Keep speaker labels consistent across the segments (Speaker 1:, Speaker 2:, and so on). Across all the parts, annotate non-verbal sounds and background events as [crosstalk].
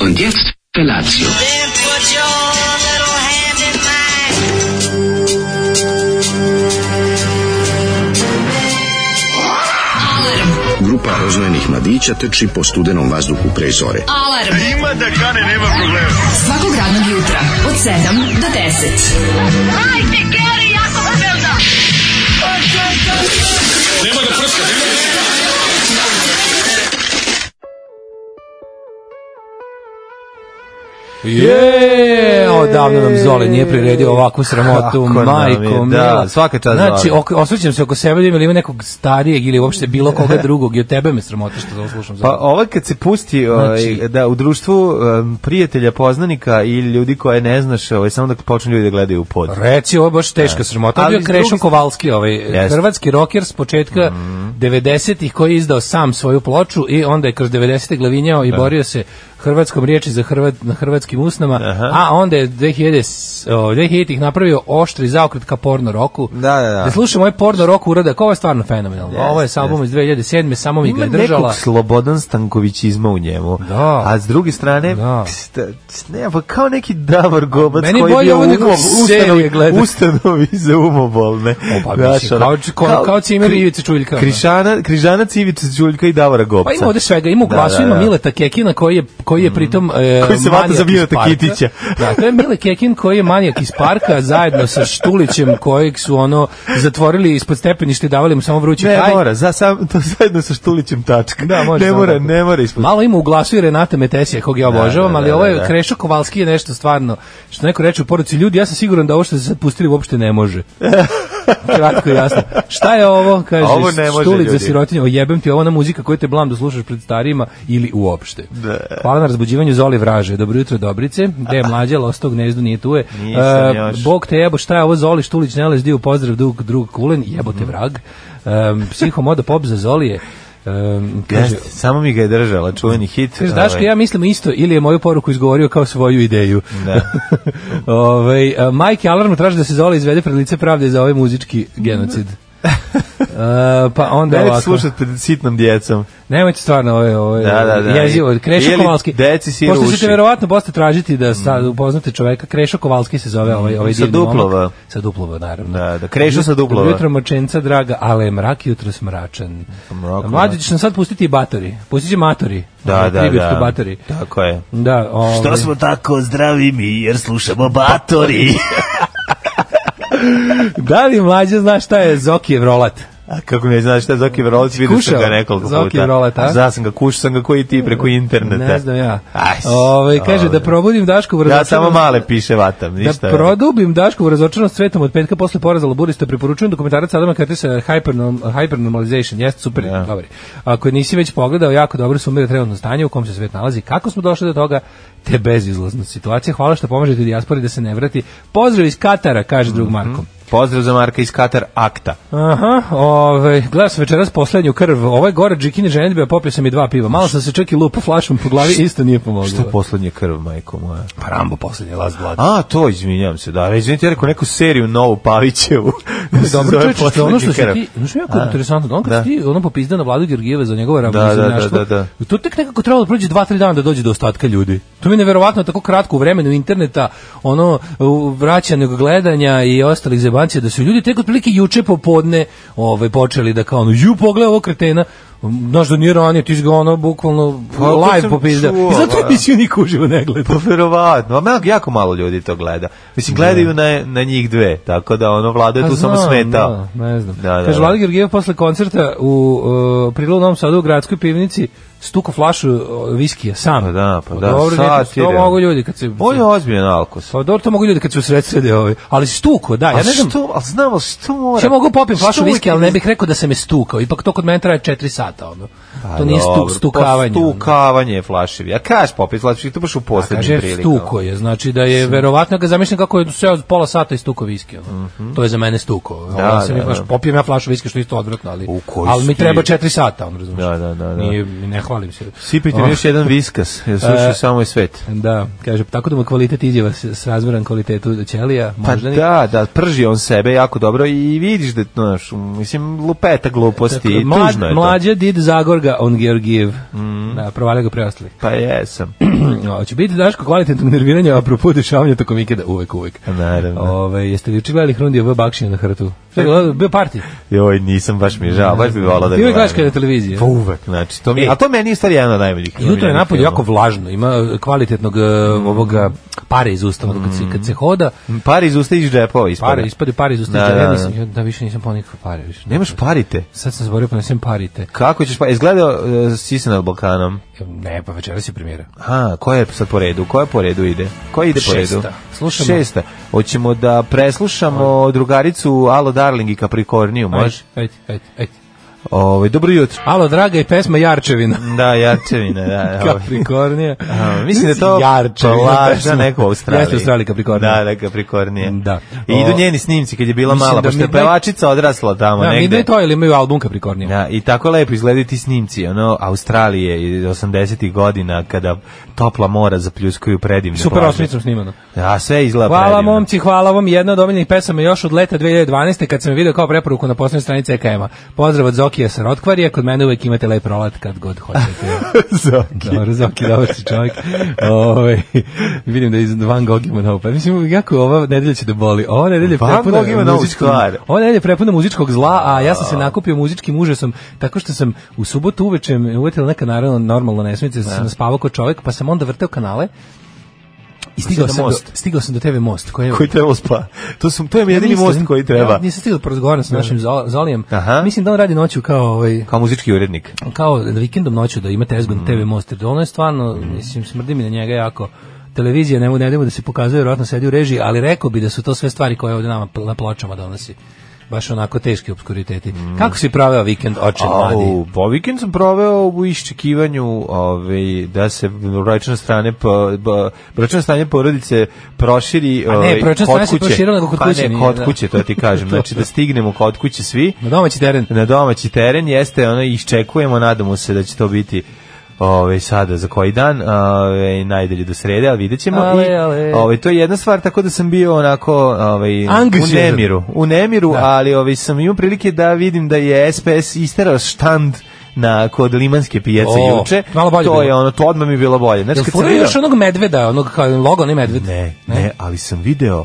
Speaker 1: Und jetzt Felatio.
Speaker 2: Then put your little hand in mine.
Speaker 3: Grupa roznojenih mladića teči po studenom vazduhu pre zore.
Speaker 4: Alarm. Ima da kane, nema problema. Svakog radnog jutra, od 7 do 10.
Speaker 5: Je, odavno nam Zoli nije priredio ovakvu sramotu,
Speaker 6: Kako nam je,
Speaker 5: majko mila.
Speaker 6: da, svaka čast
Speaker 5: Znači,
Speaker 6: Zoli.
Speaker 5: ok, osvrćem se oko sebe, da ima li ima nekog starijeg ili uopšte bilo
Speaker 6: [laughs]
Speaker 5: koga drugog i od tebe me sramota što ovo slušam.
Speaker 6: Pa
Speaker 5: Pa,
Speaker 6: ovo kad se pusti ovaj,
Speaker 5: Znači-
Speaker 6: da u društvu em, prijatelja, poznanika i ljudi koje ne znaš, ovaj, samo da počnu ljudi da gledaju u pod.
Speaker 5: Reci, ovo je baš teška sramota. Ovo
Speaker 6: Ali
Speaker 5: je bio
Speaker 6: s Mhm.
Speaker 5: Krešo
Speaker 6: druge-
Speaker 5: Kovalski, ovaj hrvatski roker s početka 90-ih koji je izdao sam svoju ploču i onda je kroz 90-te glavinjao i borio se hrvatskom riječi za Hrvat, na hrvatskim usnama, a onda je 2000, s- o, 2000-ih napravio oštri zaokret ka porno roku.
Speaker 6: Da, da, da.
Speaker 5: Da slušamo ovaj porno rock uradak, ovo je stvarno fenomenalno.
Speaker 6: Jeste,
Speaker 5: Ovo je sa albumom iz 2007. samo mi ga
Speaker 6: Ima
Speaker 5: je držala.
Speaker 6: nekog Slobodan Stankovićizma u njemu.
Speaker 5: Da.
Speaker 6: A s druge strane,
Speaker 5: Da.
Speaker 6: pst, pst, ne, pa kao neki Davor Gobac
Speaker 5: Meni
Speaker 6: koji je
Speaker 5: bolje
Speaker 6: bio u
Speaker 5: ovo nego
Speaker 6: umo-
Speaker 5: serije
Speaker 6: ustanovi,
Speaker 5: gledat.
Speaker 6: ustanovi za umobolne.
Speaker 5: pa
Speaker 6: Znaš,
Speaker 5: mislim,
Speaker 6: ono,
Speaker 5: kao- kao- kao Cimer i Ivica Čuljka, ono.
Speaker 6: Krišana, Križanac, Ivica Čuljka i Davora Gobca.
Speaker 5: Pa ima ovde svega, ima u
Speaker 6: Da,
Speaker 5: glasu,
Speaker 6: da,
Speaker 5: ima
Speaker 6: da.
Speaker 5: Mileta Kekina koji je, koji je pritom e,
Speaker 6: Koji se vata
Speaker 5: manijak
Speaker 6: za
Speaker 5: iz
Speaker 6: Mileta
Speaker 5: parka.
Speaker 6: Kitića.
Speaker 5: Da, to je Mile Kekin koji je manijak iz parka zajedno sa Štulićem kojeg su ono zatvorili ispod stepeništa i davali mu samo vrući
Speaker 6: Ne
Speaker 5: čaj.
Speaker 6: mora, za sam, to [laughs] zajedno sa Štulićem tačka.
Speaker 5: Da, može
Speaker 6: ne
Speaker 5: samo
Speaker 6: mora,
Speaker 5: tako.
Speaker 6: ne mora ispod.
Speaker 5: Malo ima u glasu i Renata Metesija, kog ja obožavam,
Speaker 6: da,
Speaker 5: ali
Speaker 6: da,
Speaker 5: ovo je
Speaker 6: da.
Speaker 5: Krešo Kovalski je nešto stvarno, što neko reče u poruci, ljudi, ja sam siguran da ovo što ste sad pustili uopšte ne
Speaker 6: [laughs]
Speaker 5: može. Kratko i jasno. Šta je ovo? Kaže,
Speaker 6: Ovo ne može,
Speaker 5: štulić za
Speaker 6: ljudi.
Speaker 5: sirotinje, o jebem ti, ovo je ona muzika koju te blam da slušaš pred starijima ili uopšte. Hvala na razbuđivanju Zoli Vraže. Dobro jutro, Dobrice. Gde je mlađa, losto gnezdu nije tu je.
Speaker 6: Nisam
Speaker 5: E,
Speaker 6: još.
Speaker 5: Bog te jebo, šta je ovo Zoli Štulić, ne lez dio, pozdrav dug, drug kulen, jebote
Speaker 6: Mhm.
Speaker 5: vrag. Um, psihomoda pop za Zoli je. Um, kaže,
Speaker 6: Jeste, samo mi ga je držala, čuveni hit.
Speaker 5: Kaže,
Speaker 6: ovaj.
Speaker 5: Daško, ja mislim isto, ili je moju poruku izgovorio kao svoju
Speaker 6: [laughs]
Speaker 5: ideju. [laughs]
Speaker 6: Da.
Speaker 5: Ovaj, a, Majke Alarm traži da se Zola izvede pred lice pravde za ovaj muzički
Speaker 6: [laughs]
Speaker 5: genocid. A, pa onda
Speaker 6: Nemojte
Speaker 5: ovako.
Speaker 6: slušati pred sitnom djecom.
Speaker 5: Nemojte stvarno ove, ove
Speaker 6: Da, da, da.
Speaker 5: jezivo. Krešo
Speaker 6: Ili
Speaker 5: Kovalski.
Speaker 6: deci siruši.
Speaker 5: Pošto ćete verovatno posle tražiti da sa, upoznate čoveka, Krešo Kovalski se zove ovaj, ovaj
Speaker 6: Sa
Speaker 5: divni momak.
Speaker 6: duplova.
Speaker 5: Sa duplova, naravno.
Speaker 6: Da, da, Krešo sa duplova.
Speaker 5: Dobro jutro, močenca draga, ali je mrak jutro smračan.
Speaker 6: Mrak,
Speaker 5: Mlađe ćeš nam sad pustiti i batori. Pustit će matori.
Speaker 6: Da, da,
Speaker 5: Tribute to
Speaker 6: da.
Speaker 5: batori.
Speaker 6: Tako je.
Speaker 5: Da, ovaj.
Speaker 6: Što smo tako zdravi mi jer slušamo Batori.
Speaker 5: Da li mlađe zna šta je Zokijev rolat?
Speaker 6: [laughs] A kako ne znaš šta je Zoki Vrolac, vidio sam
Speaker 5: Kušao?
Speaker 6: ga nekoliko puta.
Speaker 5: Zoki Vrolac, a?
Speaker 6: Zna sam ga, kušao sam ga koji ti preko interneta.
Speaker 5: Ne znam ja.
Speaker 6: Aj,
Speaker 5: Ove, kaže
Speaker 6: dobro.
Speaker 5: da probudim Daškovu
Speaker 6: Ja
Speaker 5: razočaranost.
Speaker 6: samo male piše vatam, ništa.
Speaker 5: Da produbim Daškovu razočaranost svetom od petka posle poraza Laburista preporučujem dokumentarac Adama Curtisa Hypernorm, Hypernormalization. Jeste super, dobar. je. Ako nisi već pogledao, jako dobro sumira trenutno stanje u kom se svet nalazi. Kako smo došli do toga? Te bezizlazna situacija. Hvala što pomažete dijaspori da se ne vrati. Pozdrav iz Katara, kaže
Speaker 6: Mhm.
Speaker 5: drug Marko.
Speaker 6: Pozdrav za Marka iz Katar Akta.
Speaker 5: Aha, ovaj, gledao sam večeras poslednju krv. Ovo je gore džikini ženitbe, a popio sam i dva piva. Malo sam se čak i lupo flašom po glavi, isto nije pomoglo.
Speaker 6: Što je poslednja krv, majko moja?
Speaker 5: Pa Rambo poslednji last blood.
Speaker 6: A, to, izvinjam se, da, izvinite, ja rekao neku seriju novu
Speaker 5: [laughs]
Speaker 6: Pavićevu. Da se
Speaker 5: Dobro,
Speaker 6: zove
Speaker 5: čovječe, što je ono što se
Speaker 6: Poslednji
Speaker 5: ti,
Speaker 6: krv.
Speaker 5: znaš što je jako interesantno, on kad
Speaker 6: Da.
Speaker 5: se ti ono popizda na vladu Georgijeva za njegove
Speaker 6: da, da, da.
Speaker 5: to tek nekako trebalo da prođe 2-3 dana da dođe do ostatka ljudi. To mi je neverovatno tako kratko u vremenu interneta, ono u- vraćanog gledanja i ostalih zebancija, da su ljudi tek otprilike juče popodne ovaj, počeli da kao ono, ju pogledaj ovo kretena, Znaš da nije ranije, ti si ga ono bukvalno
Speaker 6: Pa, to
Speaker 5: live
Speaker 6: sam
Speaker 5: popizdao.
Speaker 6: čuo,
Speaker 5: I zato
Speaker 6: da.
Speaker 5: emisiju niko uživo ne gleda.
Speaker 6: Pa verovatno, a mnog jako malo ljudi to gleda. Mislim, gledaju na, na njih dve, tako da ono, vlada je
Speaker 5: Pa
Speaker 6: tu samo
Speaker 5: znam,
Speaker 6: smetao.
Speaker 5: Da, ne znam.
Speaker 6: Da, da,
Speaker 5: Kaže,
Speaker 6: da.
Speaker 5: Vlada Georgijev posle koncerta u uh, Prilu Novom Sadu u gradskoj pivnici stuko flašu uh, viskija sam.
Speaker 6: Pa da, pa da,
Speaker 5: Dobro,
Speaker 6: sad
Speaker 5: dete,
Speaker 6: ti
Speaker 5: to
Speaker 6: idem.
Speaker 5: mogu ljudi kad se...
Speaker 6: On je ozbiljan alkos.
Speaker 5: Pa dobro, to mogu ljudi kad se usredsrede ovaj. Ali stuko, da, ja
Speaker 6: A
Speaker 5: ne znam.
Speaker 6: što, ali znam, ali što mora?
Speaker 5: Što mogu popim flašu
Speaker 6: Što
Speaker 5: viskija, ali
Speaker 6: uvijek-
Speaker 5: ne bih rekao da se me stukao. Ipak to kod mene traje 4 sata, ono.
Speaker 6: Pa
Speaker 5: to nije
Speaker 6: dobro,
Speaker 5: stuk,
Speaker 6: pa
Speaker 5: stukavanje. ono.
Speaker 6: Stukavanje je flaševi. A kaš popit flaševi, to baš u poslednjim
Speaker 5: Kaže,
Speaker 6: prilikama.
Speaker 5: stuko je, znači da je verovatno ga zamišljam kako je seo pola sata i stuko viski. Ono. To je za mene stuko. Da,
Speaker 6: Mhm. Da,
Speaker 5: ja sam
Speaker 6: da,
Speaker 5: i baš
Speaker 6: da.
Speaker 5: popijem ja flašu viski što je isto odvratno, ali,
Speaker 6: U koji
Speaker 5: ali mi
Speaker 6: stil?
Speaker 5: treba četiri sata, on razumiješ.
Speaker 6: Da, da, da, da.
Speaker 5: Nije, Ah. E. ne hvalim se.
Speaker 6: Sipajte mi još jedan viskas,
Speaker 5: [laughs]
Speaker 6: jer slušaj samo je svet.
Speaker 5: Da, kaže, pa tako da mu kvalitet izjava s- srazmeran kvalitetu ćelija,
Speaker 6: Pa
Speaker 5: možda ni-
Speaker 6: da, da, prži on sebe jako dobro i vidiš da, znaš, mislim, lupeta gluposti,
Speaker 5: Tako,
Speaker 6: tužno je to. Mhm.
Speaker 5: mlađa did Zagorga on Georgijev. Da, provalja ga preostali. [clears throat]
Speaker 6: Pa jesam.
Speaker 5: Hoće biti daško kvalitetnog nerviranja, a propos dešavanja tokom vikenda, uvek, uvek.
Speaker 6: Naravno.
Speaker 5: Ove, jeste li učigledali Hrundija V. Bakšina na hrtu? Šta je bilo? Bio parti?
Speaker 6: Joj, nisam baš mi je žao, baš bi volao da
Speaker 5: Ti uvek
Speaker 6: gledam.
Speaker 5: gledaš kada je televizija.
Speaker 6: Pa uvek, znači, to mi je,
Speaker 5: E.
Speaker 6: a to meni je stvari jedan Mm. od najboljih.
Speaker 5: Jutro je
Speaker 6: omiljenih
Speaker 5: napolje jako
Speaker 6: filmova.
Speaker 5: vlažno, ima kvalitetnog e, ovoga pare iz usta, ono kad
Speaker 6: Mm.
Speaker 5: se, kad se hoda,
Speaker 6: Pare iz usta i iz džepova ispade.
Speaker 5: pare ispade, pare iz usta,
Speaker 6: Da,
Speaker 5: da,
Speaker 6: da,
Speaker 5: ja
Speaker 6: da.
Speaker 5: nisam, ja, da više nisam ponikao pare, više.
Speaker 6: Nemaš parite.
Speaker 5: Sad sam zaboravio pa nesem parite.
Speaker 6: Kako ćeš pa izgledao uh, Sisa nad Balkanom?
Speaker 5: Ne, pa večeras je premijera.
Speaker 6: A, ko je sad po redu? Ko je po redu ide? Ko ide po redu?
Speaker 5: Šesta. Slušamo.
Speaker 6: Šesta. Hoćemo da preslušamo drugaricu Alo Darling i Capricorniju, može?
Speaker 5: Ajde, ajde, ajde.
Speaker 6: Ovaj dobro jutro.
Speaker 5: Alo, draga i pesma
Speaker 6: [laughs]
Speaker 5: Jarčevina.
Speaker 6: Da,
Speaker 5: [laughs]
Speaker 6: Jarčevina, da. ovaj.
Speaker 5: Kaprikornija.
Speaker 6: A, mislim da je
Speaker 5: [laughs]
Speaker 6: to
Speaker 5: Jarčevina
Speaker 6: polaža
Speaker 5: pesma.
Speaker 6: neko u Australiji.
Speaker 5: Jeste u Australiji Kaprikornija.
Speaker 6: Da, da, Kaprikornije.
Speaker 5: Da.
Speaker 6: I idu
Speaker 5: O,
Speaker 6: njeni snimci kad je bila
Speaker 5: mislim
Speaker 6: mala,
Speaker 5: da
Speaker 6: pošto je
Speaker 5: Midnight-
Speaker 6: pevačica odrasla tamo
Speaker 5: Da, mi
Speaker 6: negde.
Speaker 5: da to ili imaju album Kaprikornija.
Speaker 6: Da, i tako lepo izgledaju ti snimci, ono, Australije iz 80-ih godina, kada topla mora zapljuskuju predivne
Speaker 5: Super
Speaker 6: plaže.
Speaker 5: osmicom snimano.
Speaker 6: Da, sve izgleda
Speaker 5: Hvala
Speaker 6: predivno. [laughs]
Speaker 5: momci, hvala vam. Jedna od omiljenih pesama još od leta 2012. kad sam je video kao preporuku na poslednjoj stranici EKM-a. Pozdrav od Zokija sa Rotkvarija, kod mene uvek imate lep rolat kad god hoćete.
Speaker 6: Zoki.
Speaker 5: [laughs] Dobro, Zoki, dobar si čovjek. Ove, vidim da iz Van Gogh ima novu. pa Mislim, jako ova nedelja će da boli. Ova nedelja je
Speaker 6: Van
Speaker 5: prepuna
Speaker 6: Gogh ima novu
Speaker 5: muzičkog-
Speaker 6: stvar.
Speaker 5: Ova nedelja je prepuna muzičkog zla, a ja sam se nakupio muzičkim užasom tako što sam u subotu uveče me uvetila neka naravno normalna nesmica, sam naspavao kao čovjek, pa sam onda vrteo kanale i stigao
Speaker 6: Pa na
Speaker 5: sam, do,
Speaker 6: most.
Speaker 5: stigao sam do TV Most. Koji je,
Speaker 6: koji treba spa. To, su, to je mi jedini
Speaker 5: Mislim,
Speaker 6: most koji treba.
Speaker 5: Ja, nisam stigao da porazgovaram sa našim Zo- Zolijem.
Speaker 6: Aha.
Speaker 5: Mislim da on radi noću kao ovaj,
Speaker 6: Kao muzički urednik.
Speaker 5: kao vikendom noću da imate ezgon
Speaker 6: Mm.
Speaker 5: TV Monster. Ono je stvarno, mislim, smrdi mi na njega jako. Televizija, ne mogu ne dajemo da se pokazuje, vjerojatno sedi u režiji, ali rekao bi da su to sve stvari koje ovdje nama pl- na pločama donosi. Baš onako teški obskuriteti. Kako si praveo vikend, oče mladi?
Speaker 6: Mm. Au, pa vikend sam proveo u iščekivanju ovaj, da se bračna strane po- ba- bračno stanje porodice proširi
Speaker 5: ne,
Speaker 6: ovaj,
Speaker 5: bračno
Speaker 6: kod
Speaker 5: stanje se
Speaker 6: kuće.
Speaker 5: proširilo, nego kod
Speaker 6: pa
Speaker 5: kuće
Speaker 6: ne,
Speaker 5: nije,
Speaker 6: kod
Speaker 5: da.
Speaker 6: kuće, to ti
Speaker 5: [laughs]
Speaker 6: kažem. znači da stignemo kod kuće svi
Speaker 5: Na domaći teren.
Speaker 6: [laughs] na domaći teren jeste ono iščekujemo, nadamo se da će to biti Ove, sada za koji dan ove, najdelje do srede, ali vidjet ćemo
Speaker 5: Ale,
Speaker 6: i,
Speaker 5: ale.
Speaker 6: Ove, to je jedna stvar, tako da sam bio onako ove, u
Speaker 5: Angažovan.
Speaker 6: nemiru u nemiru, ali ove, sam imao prilike da vidim da je SPS isterao štand na, kod Limanske pijace
Speaker 5: O,
Speaker 6: juče,
Speaker 5: malo bolje
Speaker 6: to
Speaker 5: bilo.
Speaker 6: je ono to odmah mi je bilo bolje, znači,
Speaker 5: Jel
Speaker 6: kad sam
Speaker 5: furaju
Speaker 6: vidio-
Speaker 5: još onog medveda, onog kao logo, ne medved?
Speaker 6: ne, ne, ali sam video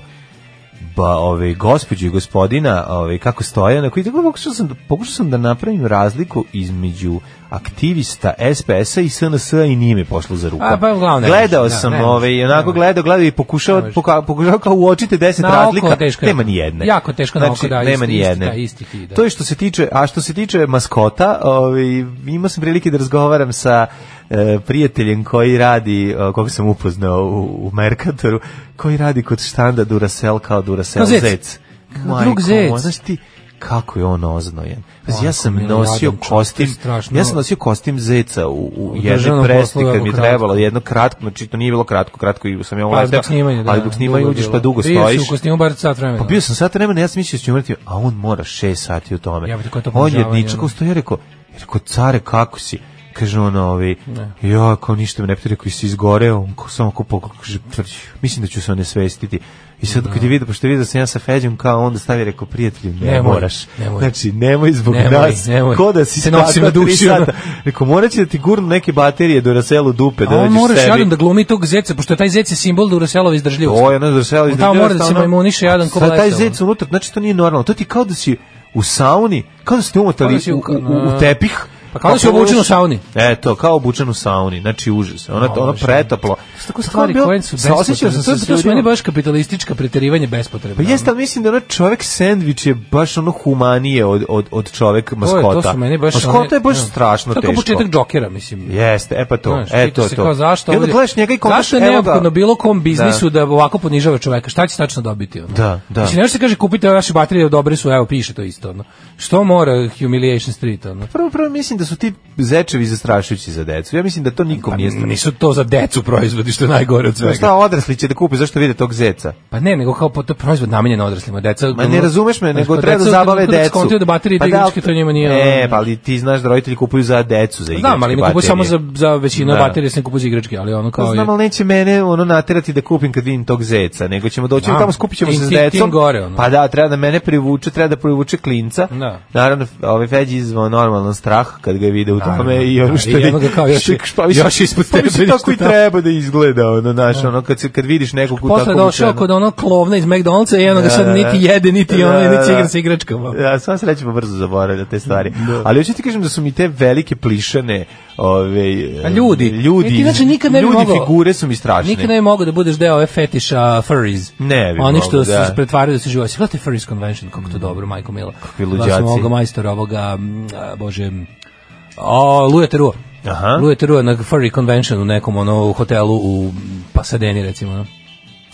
Speaker 6: ba ove gospođu i gospodina, ove kako stoje, na koji tako pokušao sam pokušao sam da napravim razliku između aktivista SPS-a i SNS-a i nije mi pošlo za rukom.
Speaker 5: A, pa uglavnom ne
Speaker 6: gledao
Speaker 5: možeš, da,
Speaker 6: sam
Speaker 5: ne možeš,
Speaker 6: ove i onako gledao, gledao i pokušao poka, pokušao kao uočiti 10
Speaker 5: Na oko
Speaker 6: razlika,
Speaker 5: teško je.
Speaker 6: nema ni jedne. Znači,
Speaker 5: Jako teško na oko, da,
Speaker 6: nema
Speaker 5: isti-
Speaker 6: ni
Speaker 5: isti,
Speaker 6: jedne.
Speaker 5: da, isti ti, da.
Speaker 6: To je što se tiče, a što se tiče maskota, ovaj imao sam prilike da razgovaram sa e, prijateljem koji radi, e, koga sam upoznao u, u Mercatoru, koji radi kod štanda Duracell kao Duracell
Speaker 5: Kao zec.
Speaker 6: zec.
Speaker 5: Kao
Speaker 6: Majko
Speaker 5: drug zec.
Speaker 6: moja, znaš ti kako je on oznojen. Pazi, ja
Speaker 5: Majko
Speaker 6: sam
Speaker 5: mila,
Speaker 6: nosio
Speaker 5: jadan čovjek,
Speaker 6: kostim,
Speaker 5: to je strašno.
Speaker 6: ja sam nosio kostim zeca u, u jednoj
Speaker 5: državnom
Speaker 6: presti
Speaker 5: poslu,
Speaker 6: kad
Speaker 5: jako
Speaker 6: mi je
Speaker 5: kratko.
Speaker 6: trebalo, jedno kratko, znači to nije bilo kratko, kratko i sam ja
Speaker 5: Pa,
Speaker 6: uleteo,
Speaker 5: zbog snimanja, da.
Speaker 6: ali dok snimanja
Speaker 5: dugo je
Speaker 6: uđeš pa
Speaker 5: bilo.
Speaker 6: dugo
Speaker 5: Bio si
Speaker 6: stojiš.
Speaker 5: u kostimu bar sat vremena.
Speaker 6: Pa bio sam sat vremena, ja sam mislio da ću umreti, a on mora 6 sati u tome.
Speaker 5: Ja bih rekao, to
Speaker 6: on je
Speaker 5: ponižavanje,
Speaker 6: ničak
Speaker 5: ono.
Speaker 6: ustao, ja rekao, ja rekao, care, kako si? Kaže on, ovi, ja, kao ništa me ne pita, rekao, si izgoreo, on kao samo ako pogledao, kaže, "Pff, mislim da ću se onesvestiti. I sad kad je vidio, pošto je vidio da sam ja sa Feđom, kao onda stavi, rekao, prijatelju, ne,
Speaker 5: Nemoj,
Speaker 6: moraš.
Speaker 5: nemoj.
Speaker 6: Znači, nemoj zbog
Speaker 5: Nemoj,
Speaker 6: nas,
Speaker 5: nemoj.
Speaker 6: ko da si
Speaker 5: Te nosim
Speaker 6: skakao
Speaker 5: na duši,
Speaker 6: tri sata.
Speaker 5: ono.
Speaker 6: Rekao, morat će da ti gurnu neke baterije do raselu dupe, da
Speaker 5: A on
Speaker 6: dođeš
Speaker 5: moraš
Speaker 6: sebi.
Speaker 5: jadan da glumi tog zeca, pošto je taj zec je simbol Duroselove izdržljivosti.
Speaker 6: To je ono zašao iz
Speaker 5: Tamo mora da se majmuniše jadan ko
Speaker 6: Sad taj
Speaker 5: blesav.
Speaker 6: zec unutra, znači to nije normalno. To ti kao da si u sauni, kao da ste umotali
Speaker 5: Kao da si
Speaker 6: u,
Speaker 5: u-
Speaker 6: u, u, u tepih.
Speaker 5: Pa kao da si obučen u sauni.
Speaker 6: E, to, kao obučen u sauni. Znači, užas. Ona, ono Pa pretaplo.
Speaker 5: Su Pa Tako stvari koje su
Speaker 6: sa- osjećao
Speaker 5: bespotrebne.
Speaker 6: sam
Speaker 5: To,
Speaker 6: se
Speaker 5: je-
Speaker 6: s
Speaker 5: to su meni
Speaker 6: ljudima.
Speaker 5: baš kapitalistička preterivanje bespotrebno.
Speaker 6: Pa jeste, ali mislim da ono čovek sandvič je baš ono humanije od, od, od čovek
Speaker 5: To je-
Speaker 6: maskota.
Speaker 5: To su meni baš...
Speaker 6: maskota
Speaker 5: one-
Speaker 6: je baš
Speaker 5: ja.
Speaker 6: strašno
Speaker 5: To je kao
Speaker 6: teško.
Speaker 5: početak džokera, mislim.
Speaker 6: Jeste, e pa to,
Speaker 5: Znaš,
Speaker 6: e
Speaker 5: pita
Speaker 6: to,
Speaker 5: se
Speaker 6: to.
Speaker 5: Kao, zašto
Speaker 6: I onda
Speaker 5: ovdje-
Speaker 6: gledaš njega i kontaš,
Speaker 5: Zašto je neophodno bilo kom biznisu da. ovako ponižava čoveka? Šta će tačno dobiti? Ono?
Speaker 6: Da, da.
Speaker 5: Mislim, nešto se kaže kupite ove vaše baterije, dobre su, evo, piše to isto. Ono. Što mora Humiliation Street? Ono?
Speaker 6: Prvo, prvo mislim da su ti zečevi zastrašujući za decu. Ja mislim da to nikom nije strašno.
Speaker 5: Nisu to za decu proizvodi, što je najgore Pa od
Speaker 6: Pa
Speaker 5: svega.
Speaker 6: šta odrasli će da kupe zašto vide tog zeca?
Speaker 5: Pa ne, nego kao po- to je proizvod namenjen odraslima, deca.
Speaker 6: Ma ne razumeš me,
Speaker 5: Znaš,
Speaker 6: nego
Speaker 5: pa
Speaker 6: treba da
Speaker 5: deca u
Speaker 6: zabave
Speaker 5: trenutku kad
Speaker 6: decu. Pa
Speaker 5: skontaju da baterije i
Speaker 6: da,
Speaker 5: igračke, to njima nije...
Speaker 6: E,
Speaker 5: ono-
Speaker 6: pa ali ti znaš da roditelji kupuju za decu za igračke.
Speaker 5: Znam, ali mi kupuju
Speaker 6: baterije.
Speaker 5: samo za, za većinu
Speaker 6: Da.
Speaker 5: baterije, sam kupuju za igračke, ali ono kao...
Speaker 6: Pa
Speaker 5: je-
Speaker 6: Znam, ali neće mene ono naterati da kupim kad vidim tog zeca, nego ćemo doći
Speaker 5: Znam.
Speaker 6: tamo skupit ćemo
Speaker 5: Tim-
Speaker 6: se s
Speaker 5: tim-
Speaker 6: decom.
Speaker 5: tim gore, ono.
Speaker 6: Pa da, treba da mene privuče, treba da privuče klinca.
Speaker 5: Da.
Speaker 6: Naravno, ovaj Feđi izvao normalan strah kad kad ga vide u tome
Speaker 5: Naravno,
Speaker 6: i ono
Speaker 5: da,
Speaker 6: što
Speaker 5: i jedno ga kao još je-
Speaker 6: pa mislim-
Speaker 5: još je ispod
Speaker 6: pa mislim,
Speaker 5: stepeništa
Speaker 6: tako i
Speaker 5: tamo.
Speaker 6: treba da izgleda ono naš ono kad se kad vidiš nekog u
Speaker 5: Posle je
Speaker 6: takvom
Speaker 5: došao
Speaker 6: učenu.
Speaker 5: kod onog klovna iz McDonald'sa i ono ga
Speaker 6: Da,
Speaker 5: sad
Speaker 6: da,
Speaker 5: niti
Speaker 6: da.
Speaker 5: jede, niti
Speaker 6: Da,
Speaker 5: ono,
Speaker 6: da,
Speaker 5: niti
Speaker 6: da.
Speaker 5: igra sa ono. igračkama.
Speaker 6: [laughs] Ja, sva sreća pa brzo zaboravlja te stvari. Ali hoću ti kažem da su mi te velike plišane, ove,
Speaker 5: A ljudi,
Speaker 6: ljudi,
Speaker 5: e, ti znači nikad ne bi
Speaker 6: ljudi
Speaker 5: mogao-
Speaker 6: figure su mi strašne.
Speaker 5: Nikad ne bi mogao da budeš deo ove fetiša furries.
Speaker 6: Ne bi
Speaker 5: Oni
Speaker 6: mogao,
Speaker 5: što
Speaker 6: da.
Speaker 5: se pretvaraju da se živosi. Gledajte Furries Convention, kako to dobro, majko mila.
Speaker 6: Kakvi
Speaker 5: Gledao
Speaker 6: luđaci.
Speaker 5: sam ovoga majstora, ovoga, mm, a, bože, mm, o, Luja Terua.
Speaker 6: Aha.
Speaker 5: Luja Terua na Furry Convention u nekom ono, u hotelu u Pasadeni, recimo. Ono.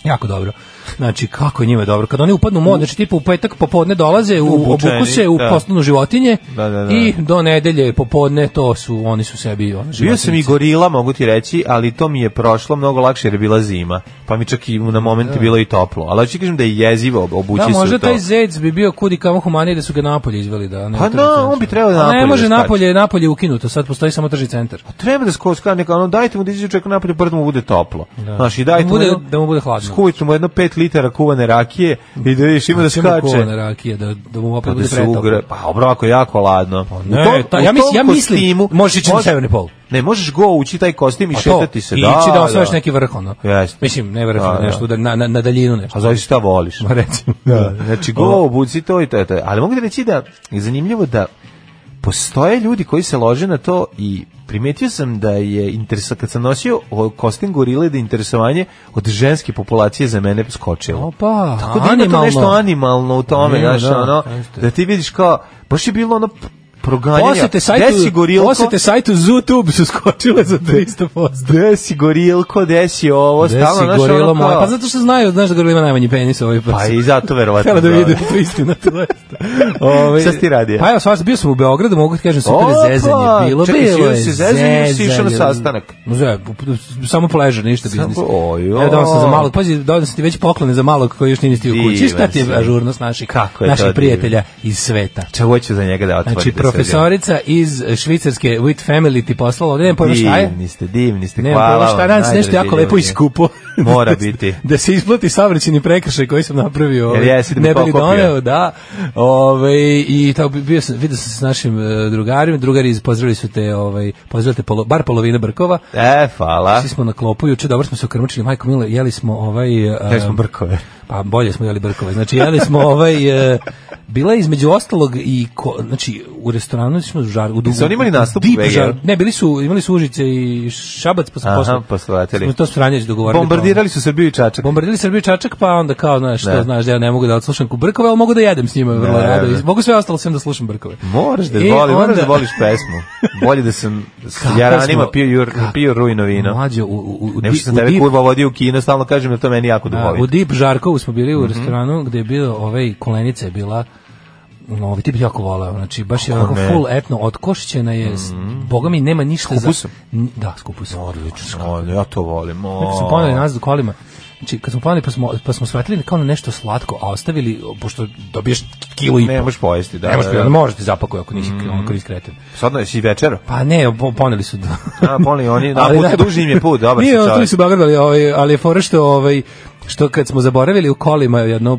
Speaker 5: Jako dobro. Znači, kako je njima dobro. Kad oni upadnu u mod, znači tipa u petak popodne dolaze, u,
Speaker 6: Obučeni,
Speaker 5: obuku se, u
Speaker 6: da.
Speaker 5: postanu životinje
Speaker 6: Da, da, da.
Speaker 5: i do nedelje popodne to su, oni su sebi ono,
Speaker 6: Bio sam i
Speaker 5: životinjice.
Speaker 6: gorila, mogu ti reći, ali to mi je prošlo mnogo lakše jer je bila zima. Pa mi čak i na moment je bilo i toplo. Ali hoću ti kažem da je jezivo ob- obući
Speaker 5: Da,
Speaker 6: se
Speaker 5: možda
Speaker 6: u to.
Speaker 5: taj Zec bi bio kudi kamo humanije da su ga napolje izveli da ne.
Speaker 6: Pa
Speaker 5: tržni
Speaker 6: da,
Speaker 5: centar.
Speaker 6: on bi trebao da
Speaker 5: A Ne
Speaker 6: napolje
Speaker 5: može
Speaker 6: da skače.
Speaker 5: napolje, napolje je ukinuto, sad postoji samo tržni centar.
Speaker 6: Treba da skoska neka, ono, dajte mu da izađe čovjek napolje, bar da mu bude toplo. Znaš, i dajte
Speaker 5: Da mu bude-
Speaker 6: mu, jedno-
Speaker 5: da mu bude hladno.
Speaker 6: Skuvajte mu jedno 5 litara kuvane rakije i da vidiš ima da
Speaker 5: Sve mu
Speaker 6: skače.
Speaker 5: kovane rakije da da mu opet
Speaker 6: Pa da
Speaker 5: bude
Speaker 6: se
Speaker 5: pretoplo. Pa
Speaker 6: ugre, pa dobro, ako je jako ladno.
Speaker 5: ne,
Speaker 6: U
Speaker 5: ta-
Speaker 6: u
Speaker 5: ja mislim- ja
Speaker 6: tom
Speaker 5: mislim,
Speaker 6: kostimu
Speaker 5: možeš ići na
Speaker 6: može-
Speaker 5: severni pol.
Speaker 6: Ne, možeš go ući taj kostim i
Speaker 5: Pa to,
Speaker 6: šetati se.
Speaker 5: i
Speaker 6: da,
Speaker 5: ići da osvojiš neki vrh ono.
Speaker 6: Jeste.
Speaker 5: Mislim, ne vrh,
Speaker 6: Da,
Speaker 5: nego
Speaker 6: da.
Speaker 5: nešto da na, na, na daljinu nešto.
Speaker 6: A zavisi šta voliš. [laughs]
Speaker 5: Ma recimo.
Speaker 6: Da, znači go obuci to i to, je to. je. Ali mogu da reći da je zanimljivo da postoje ljudi koji se lože na to i primetio sam da je interesa, kad sam nosio o- kostim gorile da je interesovanje od ženske populacije za mene skočilo.
Speaker 5: Opa,
Speaker 6: Tako da ima to
Speaker 5: animalno.
Speaker 6: nešto animalno u tome,
Speaker 5: Ima,
Speaker 6: znaš,
Speaker 5: da,
Speaker 6: ono,
Speaker 5: jeste.
Speaker 6: da ti vidiš kao, baš je bilo ono p- proganjanja.
Speaker 5: Posete
Speaker 6: Gde si
Speaker 5: sajtu,
Speaker 6: gorilko?
Speaker 5: posete sajtu ZooTube su skočile za 300%.
Speaker 6: Gde si gorilko, gde si ovo,
Speaker 5: Gde
Speaker 6: stalno,
Speaker 5: si
Speaker 6: znaš, ono
Speaker 5: gorila
Speaker 6: kao-
Speaker 5: moja? Pa zato što znaju, znaš da gorila ima najmanji penis ovaj
Speaker 6: Pa i zato verovatno.
Speaker 5: Htjela da
Speaker 6: da.
Speaker 5: vidi da je to istina, to je
Speaker 6: Ovaj- [laughs] Šta si ti radio?
Speaker 5: Pa evo, svašta, bio sam u Beogradu, mogu ti kažem, super
Speaker 6: Opa,
Speaker 5: je zezanje. Bilo,
Speaker 6: čekaj, si
Speaker 5: bilo
Speaker 6: ili
Speaker 5: je
Speaker 6: si zezanje ili si išao na sastanak?
Speaker 5: Zve, samo pleasure, ništa biznis.
Speaker 6: oj,
Speaker 5: Evo, dao sam za malog, pazi, dao sam ti već poklone za malog koji još nije ni stigao u kući.
Speaker 6: Divan
Speaker 5: Šta ti
Speaker 6: si.
Speaker 5: je ažurnost naših,
Speaker 6: Kako je to
Speaker 5: naših
Speaker 6: divno.
Speaker 5: prijatelja iz sveta?
Speaker 6: Ča hoću za njega da otvorim.
Speaker 5: Znači, profesorica iz švicarske With Family ti poslala, ovdje nemam pojma šta je.
Speaker 6: Divni ste, divni ste,
Speaker 5: Ne,
Speaker 6: hvala
Speaker 5: hvala
Speaker 6: vam.
Speaker 5: šta danas nešto
Speaker 6: najdraži
Speaker 5: jako lepo
Speaker 6: ljudi.
Speaker 5: i skupo.
Speaker 6: Mora
Speaker 5: [laughs]
Speaker 6: biti.
Speaker 5: da se isplati savrećeni prekršaj koji sam napravio. ovaj,
Speaker 6: jesi da bi
Speaker 5: ne bili
Speaker 6: pokopio?
Speaker 5: doneo, da. Ove, I tako bi- bio sam, vidio sam se s našim e, drugarima, drugari iz- pozdravili su te, ovaj, pozdravili te polo- bar polovina brkova.
Speaker 6: E, hvala.
Speaker 5: Svi smo na klopu, juče dobro smo se okrmučili, majko mile, jeli smo ovaj... e,
Speaker 6: Kaj smo brkove.
Speaker 5: pa bolje smo jeli brkove. Znači jeli smo ovaj e, bila je između ostalog i ko, znači u restoranu smo u žar u dugu.
Speaker 6: Jesu oni imali nastup u
Speaker 5: deep
Speaker 6: VG-u?
Speaker 5: žar- Ne, bili su imali su Užice i Šabac pa smo
Speaker 6: Aha,
Speaker 5: posle.
Speaker 6: pa su vratili.
Speaker 5: Smo to stranjeć dogovorili.
Speaker 6: Bombardirali su Srbiju i
Speaker 5: Pa,
Speaker 6: Čačak.
Speaker 5: Bombardirali Srbiju Čačak, pa onda kao, znaš,
Speaker 6: Da.
Speaker 5: to znaš da ja ne mogu da odslušam ku brkove, ali mogu da jedem s njima vrlo
Speaker 6: Ne,
Speaker 5: rado.
Speaker 6: ne.
Speaker 5: I Mogu sve ostalo sem da slušam brkove.
Speaker 6: Moraš da
Speaker 5: I
Speaker 6: voli, moraš
Speaker 5: E, onda-
Speaker 6: da voliš pesmu.
Speaker 5: [laughs]
Speaker 6: Bolje da sam s
Speaker 5: Kako
Speaker 6: jaranima
Speaker 5: smo-
Speaker 6: pio, jur,
Speaker 5: kako-
Speaker 6: pio rujno vino.
Speaker 5: Mlađe, u, u, u,
Speaker 6: Nego što sam
Speaker 5: u
Speaker 6: tebe
Speaker 5: deep-
Speaker 6: kurva vodio u kino, stalno kažem da to meni jako
Speaker 5: Da, u
Speaker 6: duhovito.
Speaker 5: Deep Žarkovu smo bili u
Speaker 6: Mhm.
Speaker 5: restoranu gdje je bio ovaj kolenica je bila no, ovaj tip je jako voleo, znači baš je
Speaker 6: Kako
Speaker 5: onako
Speaker 6: ne? Mhm.
Speaker 5: full etno, otkošćena je, s- boga mi nema ništa za...
Speaker 6: kupusom?
Speaker 5: N- Da, s kupusom. Odlično.
Speaker 6: O, ja to volim. o.
Speaker 5: Kad smo poneli nazad kolima, znači kad smo poneli pa smo, pa smo svratili kao na nešto slatko, a ostavili, pošto dobiješ kilo i pol.
Speaker 6: Ne možeš pojesti, da.
Speaker 5: ne možeš,
Speaker 6: da, Mhm. da.
Speaker 5: ne možeš ti zapakuj ako nisi mm. onako iskreten.
Speaker 6: Sad ne, si večero.
Speaker 5: Pa ne, po- poneli su... do- [laughs]
Speaker 6: A, poneli oni, na
Speaker 5: Ali
Speaker 6: put,
Speaker 5: najbolje-
Speaker 6: duži im je put, dobar
Speaker 5: [laughs]
Speaker 6: si
Speaker 5: Nije,
Speaker 6: čovjek.
Speaker 5: ostali su Beograd, ali, ovaj, ali je fora što, ovaj, što kad smo zaboravili u kolima jedno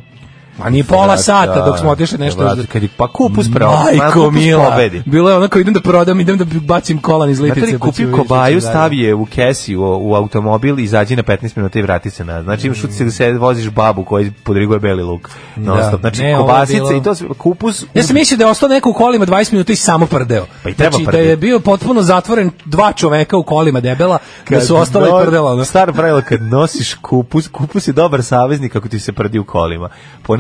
Speaker 5: A nije pola
Speaker 6: Vrati,
Speaker 5: sata
Speaker 6: da,
Speaker 5: dok smo otišli nešto.
Speaker 6: vrati, kad je- pa kupus pravo, ma,
Speaker 5: Majko
Speaker 6: kupus
Speaker 5: mila.
Speaker 6: pobedi.
Speaker 5: Bilo je onako idem da prodam, idem da bacim kolan iz litice.
Speaker 6: Znate li,
Speaker 5: pa ću
Speaker 6: kupi
Speaker 5: vidjeti šta ću
Speaker 6: kobaju,
Speaker 5: dalje.
Speaker 6: stavi je u kesi, u, u automobil, izađi na 15 minuta i vrati se nazad. Znači, imaš utisak da se voziš babu koja podriguje beli luk. Non stop. Znači,
Speaker 5: Ne, ovo je
Speaker 6: kobasice
Speaker 5: bilo-
Speaker 6: i to, sve- kupus,
Speaker 5: Ja sam mislio da je ostao neko u kolima 20 minuta i samo prdeo.
Speaker 6: Pa i treba
Speaker 5: znači, da
Speaker 6: prdeo.
Speaker 5: je bio potpuno zatvoren dva čoveka u kolima debela, da su ostala i prdela. ono.
Speaker 6: Staro pravilo, kad nosiš kupus, kupus je dobar saveznik ako ti se prdi u kolima.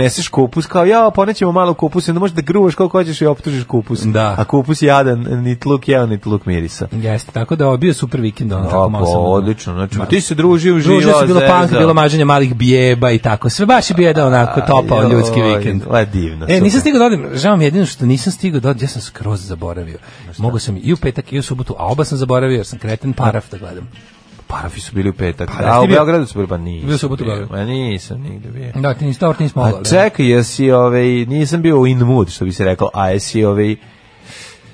Speaker 6: Poneseš kupus, kao ja, ponećemo malo kupus, i onda možeš da gruvaš koliko hoćeš i optužiš kupus.
Speaker 5: Da.
Speaker 6: A kupus jadan, nit luk jeo, nit luk mirisa.
Speaker 5: Jeste, tako da ovo je bio super vikend. Ono, tako, malo
Speaker 6: Tako,
Speaker 5: sam, ono,
Speaker 6: odlično. Znači, ti se družio, uživao,
Speaker 5: Družio se bilo punk,
Speaker 6: zezao.
Speaker 5: bilo maženje malih bijeba i tako. Sve baš je bio jedan onako topao
Speaker 6: Joj,
Speaker 5: ljudski vikend.
Speaker 6: Le, divno.
Speaker 5: E,
Speaker 6: super.
Speaker 5: nisam stigao da odim, žao mi je jedino što nisam stigao da odim, ja sam skroz zaboravio. Mogao sam i u petak i u subotu, a oba sam zaboravio jer sam kreten paraf da gledam.
Speaker 6: Parafi su bili u petak.
Speaker 5: Pa,
Speaker 6: a
Speaker 5: jesi
Speaker 6: u
Speaker 5: bio?
Speaker 6: Beogradu su bili, pa nisam.
Speaker 5: Bio sam u Beogradu. Mm.
Speaker 6: Ma nisam nigde bio.
Speaker 5: Da, ti nisam, dobro, nismo
Speaker 6: A
Speaker 5: mogao.
Speaker 6: čekaj, jesi, ovaj, nisam bio u in the mood, što bi se reklo, a jesi, ovaj,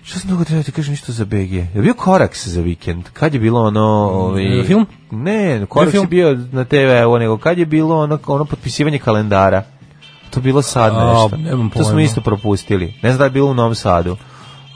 Speaker 6: Što sam dugo trebao ti kažem nešto za BG? Je bio Koraks za vikend? Kad je bilo ono... Ovaj...
Speaker 5: Jel E, film?
Speaker 6: Ne, Koraks
Speaker 5: Jel
Speaker 6: je
Speaker 5: film?
Speaker 6: bio na TV, evo, nego kad je bilo ono, ono potpisivanje kalendara? To je bilo sad
Speaker 5: A,
Speaker 6: nešto.
Speaker 5: nemam
Speaker 6: to smo
Speaker 5: pojma.
Speaker 6: isto propustili. Ne znam da je bilo u Novom Sadu.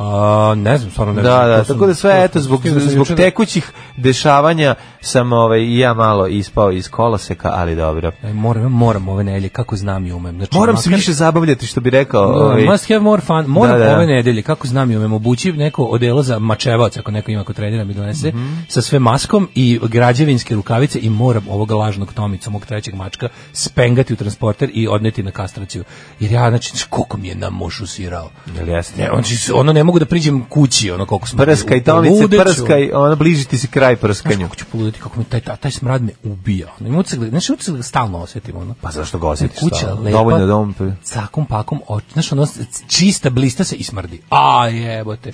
Speaker 5: A, ne znam, stvarno ne znam.
Speaker 6: Da, da,
Speaker 5: To sam-
Speaker 6: tako da
Speaker 5: to
Speaker 6: sve,
Speaker 5: sam-
Speaker 6: eto, zbog,
Speaker 5: stigao sam
Speaker 6: zbog
Speaker 5: juče da-
Speaker 6: tekućih dešavanja sam ovaj, i ja malo ispao iz koloseka, ali dobro.
Speaker 5: E, Moram, ja moram ove nedelje, kako znam i umem. Znači,
Speaker 6: Moram se
Speaker 5: makar-
Speaker 6: više zabavljati, što bi rekao.
Speaker 5: Da,
Speaker 6: ovaj,
Speaker 5: must have more fun. Moram
Speaker 6: Da, da.
Speaker 5: ove nedelje, kako znam i umem, obući neko odelo za mačevac, ako neko ima ko trenira mi donese,
Speaker 6: Mhm.
Speaker 5: sa sve maskom i građevinske rukavice i moram ovog lažnog Tomica, mog trećeg mačka, spengati u transporter i odneti na kastraciju. Jer ja, znači, znaš koliko mi je namošusirao.
Speaker 6: Jel jeste?
Speaker 5: Ne, znači, ono ne mogu da priđem kući, ono koliko smo...
Speaker 6: Prskaj, Tomice,
Speaker 5: Poludeću.
Speaker 6: prskaj, ono, bliži ti se kraj
Speaker 5: Znaš
Speaker 6: prskanju.
Speaker 5: kako ću poluditi, kako mi taj, taj, taj smrad me ubija. Ne mogu se gledati, znaš, ne mogu se gledati, stalno osjetim, ono.
Speaker 6: Pa zašto ga osjetiš?
Speaker 5: Kuća
Speaker 6: stalno?
Speaker 5: lepa.
Speaker 6: Dovoljno da on...
Speaker 5: Cakom pakom, oč, znaš, ono, čista, blista se i smrdi. A, jebote.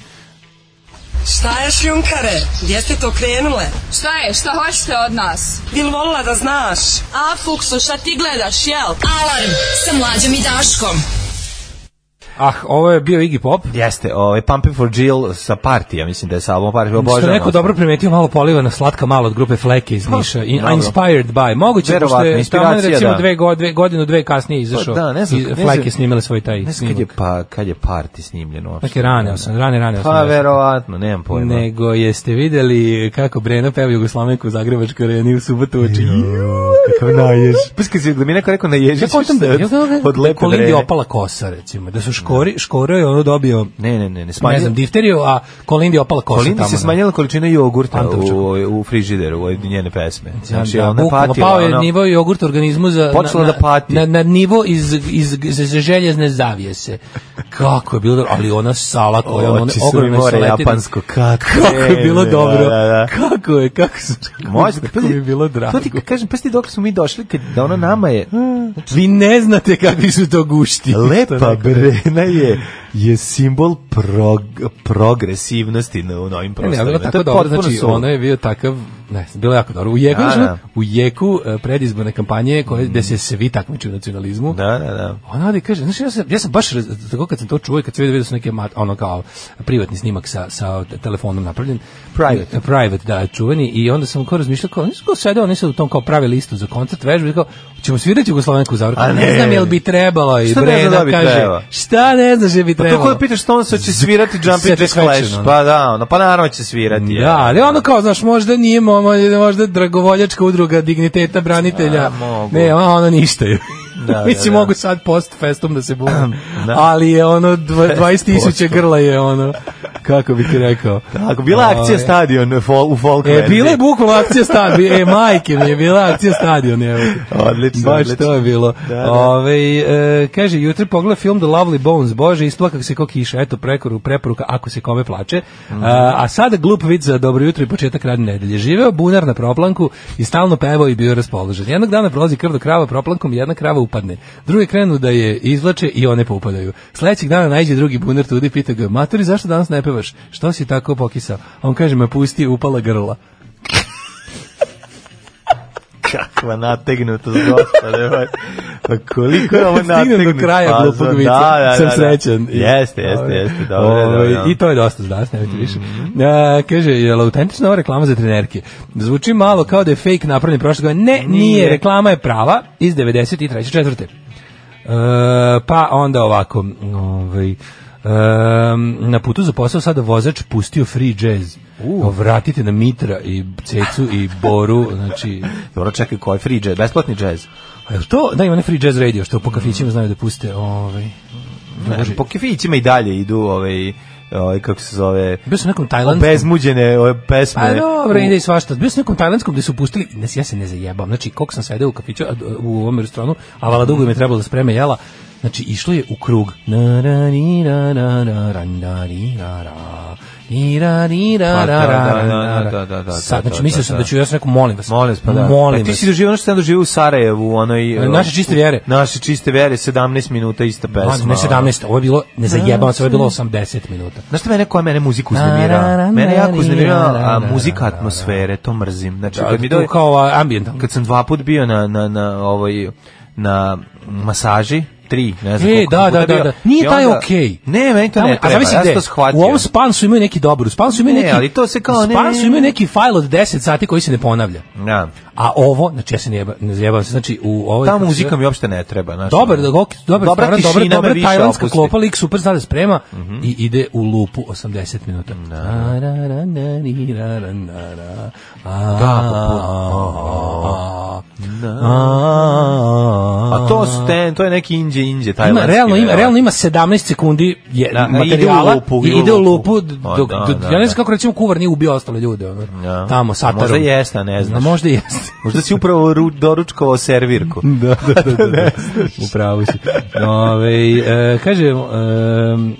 Speaker 1: Šta je šljunkare? Gdje ste to krenule?
Speaker 7: Šta je? Šta hoćete od nas?
Speaker 1: Bil volila da znaš?
Speaker 7: A, Fuksu, šta ti gledaš, jel?
Speaker 4: Alarm sa mlađom i Daškom.
Speaker 5: Ah, ovo je bio Iggy Pop.
Speaker 6: Jeste, ovaj Pumping for Jill sa partija, mislim da je sa album partija.
Speaker 5: Što
Speaker 6: Obožavam. Pa,
Speaker 5: je neko dobro primetio, malo poliva na slatka malo od grupe Fleke iz Niša. I-
Speaker 6: dobro.
Speaker 5: Inspired by. Moguće je, pošto je
Speaker 6: Verovatno,
Speaker 5: tamo
Speaker 6: inspiracija,
Speaker 5: recimo
Speaker 6: da.
Speaker 5: dve, go, dve, godinu, dve kasnije izašao.
Speaker 6: Pa da, ne znam,
Speaker 5: i
Speaker 6: ne znam.
Speaker 5: Fleke snimile svoj taj
Speaker 6: Ne znam kad je,
Speaker 5: snimak.
Speaker 6: pa, kad je party snimljen uopšte.
Speaker 5: Neke rane, osam, rane, rane.
Speaker 6: Pa,
Speaker 5: 80.
Speaker 6: verovatno, nemam pojma.
Speaker 5: Nego jeste vidjeli kako Breno peva Jugoslavenku u Zagrebačkoj areni u subotu oči.
Speaker 6: Kakav najež. Pa kad mi neko rekao naježiš,
Speaker 5: Ja kontam da
Speaker 6: šta je
Speaker 5: ja
Speaker 6: od, od lepe
Speaker 5: Kolindi
Speaker 6: vrede.
Speaker 5: opala kosa recimo, da su škori, škoro je ono dobio
Speaker 6: Ne, ne, ne, ne,
Speaker 5: ne
Speaker 6: smanjio.
Speaker 5: znam, difteriju, a Kolindi je opala kosa
Speaker 6: Kolindi
Speaker 5: tamo.
Speaker 6: se
Speaker 5: da.
Speaker 6: smanjila količina jogurta
Speaker 5: Pantovčak.
Speaker 6: u, u frižideru, u njene pesme. Znači,
Speaker 5: da,
Speaker 6: ona
Speaker 5: bukvalno,
Speaker 6: patila,
Speaker 5: pao je
Speaker 6: ono-
Speaker 5: nivo jogurta u organizmu za,
Speaker 6: Počela
Speaker 5: na,
Speaker 6: da pati.
Speaker 5: Na, na nivo iz, iz, iz, iz željezne zavijese. Kako je bilo dobro, ali ona sala koja ona
Speaker 6: Oči su mi
Speaker 5: ogromne
Speaker 6: more
Speaker 5: saletine.
Speaker 6: japansko, kako
Speaker 5: ono [laughs] kako je bilo
Speaker 6: je,
Speaker 5: dobro.
Speaker 6: da, da.
Speaker 5: Kako je, kako se kako,
Speaker 6: Može,
Speaker 5: kako mi je bilo drago.
Speaker 6: To ti kažem, pa ti dok smo mi došli, kad da ono nama
Speaker 5: [laughs]
Speaker 6: je...
Speaker 5: Vi ne znate kakvi su to gušti. To
Speaker 6: Lepa
Speaker 5: neko-
Speaker 6: Brena je, je simbol prog- progresivnosti na, u novim
Speaker 5: Ne, ne, ali bilo
Speaker 6: prostorima. To
Speaker 5: tako
Speaker 6: je
Speaker 5: dobro,
Speaker 6: potpuno
Speaker 5: znači
Speaker 6: su-
Speaker 5: ono je bio takav, ne, znam, bilo je jako dobro. U jeku,
Speaker 6: Da,
Speaker 5: znaš,
Speaker 6: da.
Speaker 5: u jeku eh, predizborne kampanje koje, gde se svi takmiče u nacionalizmu,
Speaker 6: Da, da, da.
Speaker 5: Ona odi kaže, znači ja sam ja sam baš raz- tako kad sam to čuo i kad sam vidio vidio sam neki mat, ono kao privatni snimak sa sa telefonom napravljen.
Speaker 6: Private.
Speaker 5: Eh, Private, da, čuveni i onda sam kao razmišljao kao nisu kao sede, oni su u tom kao pravi listu za koncert vežbe i kao ćemo svirati Jugoslavensku zavrku.
Speaker 6: A
Speaker 5: ne
Speaker 6: ne.
Speaker 5: znam jel bi trebalo i
Speaker 6: Šta ne zna
Speaker 5: Brena
Speaker 6: da bi
Speaker 5: kaže,
Speaker 6: trebalo?
Speaker 5: šta ne znaš je bi
Speaker 6: Pa to
Speaker 5: trebalo.
Speaker 6: kada pitaš što on se će svirati Jumping Jack
Speaker 5: Satisfaction,
Speaker 6: Flash,
Speaker 5: ono.
Speaker 6: pa da, ono, pa naravno će svirati. je.
Speaker 5: Da, ali ono kao, znaš, možda nije, mo- možda, možda dragovoljačka udruga digniteta branitelja.
Speaker 6: A, mogu.
Speaker 5: ne, ono, ono
Speaker 6: [laughs]
Speaker 5: ništa je.
Speaker 6: Da,
Speaker 5: Mislim,
Speaker 6: da, da.
Speaker 5: mogu sad post festom da se bunim.
Speaker 6: Da.
Speaker 5: Ali je ono, dva-
Speaker 6: Fest
Speaker 5: 20 tisuća grla je ono, kako bih ti rekao.
Speaker 6: Tako, bila je akcija
Speaker 5: Ovaj,
Speaker 6: stadion u fol- u folk
Speaker 5: E,
Speaker 6: verziji.
Speaker 5: bila je bukvalno akcija stadion, e, majke mi je bila akcija stadion, evo. ti.
Speaker 6: Odlično,
Speaker 5: Baš
Speaker 6: odlično.
Speaker 5: to je bilo.
Speaker 6: Da, da.
Speaker 5: Ovaj, e, kaže, jutro pogleda film The Lovely Bones, bože, isplakak se ko kiša, eto prekoru, preporuka, ako se kome plače.
Speaker 6: Mhm.
Speaker 5: a, a sada glup vid za dobro jutro i početak radne nedelje. Živeo bunar na proplanku i stalno pevao i bio raspoložen. Jednog dana prolazi krv do krava proplankom i jedna krava upadne. Druge krenu da je izvlače i one poupadaju. Sledećeg dana najđe drugi bunar tudi i pita ga, maturi, zašto danas ne pevaš? Što si tako pokisao? A on kaže, me pusti, upala grla.
Speaker 6: Kakva nategnuta gospode. moj. Pa
Speaker 5: [laughs]
Speaker 6: koliko je ovo
Speaker 5: Kad stignem
Speaker 6: nategnut
Speaker 5: do kraja
Speaker 6: fazon.
Speaker 5: glupog vica,
Speaker 6: Pa Da, da,
Speaker 5: sam
Speaker 6: da, da.
Speaker 5: srećan. I-
Speaker 6: Jeste, jeste,
Speaker 5: Ovaj,
Speaker 6: jeste. Dobro, Mhm. je,
Speaker 5: ovaj,
Speaker 6: dobro.
Speaker 5: I to je dosta za danas, nemojte više. A, kaže, je li autentična ova reklama za trenerke? Zvuči malo kao da je fake napravljen prošle godine. Ne, nije. Reklama je prava iz 93. četvrte. E, pa onda ovako, ovaj, e, na putu za posao sada vozač pustio free jazz. Kao, Vratite na Mitra i Cecu i Boru,
Speaker 6: [laughs]
Speaker 5: znači
Speaker 6: Dobro, čekaj, koji free jazz? Besplatni jazz?
Speaker 5: a jel to, da ima onaj free jazz radio što po kafićima znaju da puste, ovaj.
Speaker 6: Ne, po kafićima i dalje idu ovaj, ovaj kako se zove,
Speaker 5: Bio sam u nekom Tajlandu.
Speaker 6: bezmuđene ove pesme.
Speaker 5: Pa dobro,
Speaker 6: U-
Speaker 5: ide i svašta. Bio sam u nekom tajlandskom gde su pustili, ne, ja se ne zajebam, znači koliko sam sedeo u kafiću, a, u ovom restoranu, a vala dugo mi je trebalo da spreme jela, znači išlo je u krug. Na, ra, ni, ra, ra, ra, ra, na, ni, ra, ra. Ni, ra, ni, ra,
Speaker 6: Pa
Speaker 5: ra,
Speaker 6: da,
Speaker 5: ra,
Speaker 6: da,
Speaker 5: ra,
Speaker 6: da,
Speaker 5: ra.
Speaker 6: da, da, da,
Speaker 5: Sad,
Speaker 6: da,
Speaker 5: znači
Speaker 6: da,
Speaker 5: mislio
Speaker 6: da,
Speaker 5: sam
Speaker 6: da.
Speaker 5: da ću ja sam rekao, molim vas.
Speaker 6: Molim vas, pa da.
Speaker 5: Molim
Speaker 6: E, ti
Speaker 5: vas.
Speaker 6: si doživio ono što sam doživio u Sarajevu, u onoj...
Speaker 5: E, naše čiste vjere.
Speaker 6: u- Naše čiste vjere, 17 minuta ista pesma. ono.
Speaker 5: Ma, Ne 17, ovo je bilo, ne zajebam se, ovo je bilo 80 minuta.
Speaker 6: Znaš šta mene koja mene muziku
Speaker 5: Na, na,
Speaker 6: uznemira?
Speaker 5: na,
Speaker 6: Mene jako
Speaker 5: na,
Speaker 6: uznemira
Speaker 5: na, na,
Speaker 6: a,
Speaker 5: na,
Speaker 6: muzika
Speaker 5: na, na,
Speaker 6: atmosfere, to mrzim. Znači,
Speaker 5: Da,
Speaker 6: kad mi
Speaker 5: to
Speaker 6: dođe,
Speaker 5: kao ambijent.
Speaker 6: kad sam dva put bio na, na, na, ovoj, na masaži, 3, ne znam
Speaker 5: E,
Speaker 6: koliko
Speaker 5: da, da,
Speaker 6: puta
Speaker 5: da,
Speaker 6: bio.
Speaker 5: da. Nije
Speaker 6: I
Speaker 5: taj
Speaker 6: onda-
Speaker 5: okej.
Speaker 6: Ne, meni to
Speaker 5: Tamo-
Speaker 6: ne
Speaker 5: a
Speaker 6: treba,
Speaker 5: zamisli
Speaker 6: ja sam
Speaker 5: gde?
Speaker 6: to shvatio.
Speaker 5: U ovom Spansu imaju neki dobar, u Spansu imaju
Speaker 6: Ne,
Speaker 5: neki...
Speaker 6: ali to se kao
Speaker 5: u
Speaker 6: ne-
Speaker 5: Spansu imaju neki fajl od 10 sati koji se ne ponavlja.
Speaker 6: Da.
Speaker 5: A ovo, znači ja se ne, jeba, ne zajebam se, znači u ovoj...
Speaker 6: Ta
Speaker 5: kako se
Speaker 6: muzika
Speaker 5: zove?
Speaker 6: mi uopšte ne treba. Znaš,
Speaker 5: Dobar,
Speaker 6: ono.
Speaker 5: da ok, dobar,
Speaker 6: Dobra
Speaker 5: dobra, dobra,
Speaker 6: tišina me
Speaker 5: dobra
Speaker 6: više
Speaker 5: tajlandska
Speaker 6: opusti. Mhm.
Speaker 5: klopa, lik super sada sprema i ide u lupu 80 minuta. Na, ra, ra, na, ni, ra, ra, na, ra. A,
Speaker 6: Da, pa
Speaker 5: a, a,
Speaker 6: A to su te, to je neki inđe, inđe,
Speaker 5: ima,
Speaker 6: tajlandski.
Speaker 5: realno, ima,
Speaker 6: verovatno.
Speaker 5: realno ima 17 sekundi je,
Speaker 6: Da, da,
Speaker 5: materijala
Speaker 6: ide u lupu,
Speaker 5: i
Speaker 6: ide u
Speaker 5: ide u
Speaker 6: lupu.
Speaker 5: lupu. d-
Speaker 6: Pa
Speaker 5: Dok,
Speaker 6: da,
Speaker 5: d-
Speaker 6: da,
Speaker 5: ja ne
Speaker 6: da.
Speaker 5: znam kako recimo kuvar nije ubio ostale ljude. Ono,
Speaker 6: Da.
Speaker 5: Tamo, satarom.
Speaker 6: Možda jeste, a ne
Speaker 5: A
Speaker 6: znaš.
Speaker 5: možda jeste.
Speaker 6: Možda si upravo ru, doručkovao servirku.
Speaker 5: [laughs] da, da, [laughs] da, da, da. Upravo si. Ove, e, kaže, em,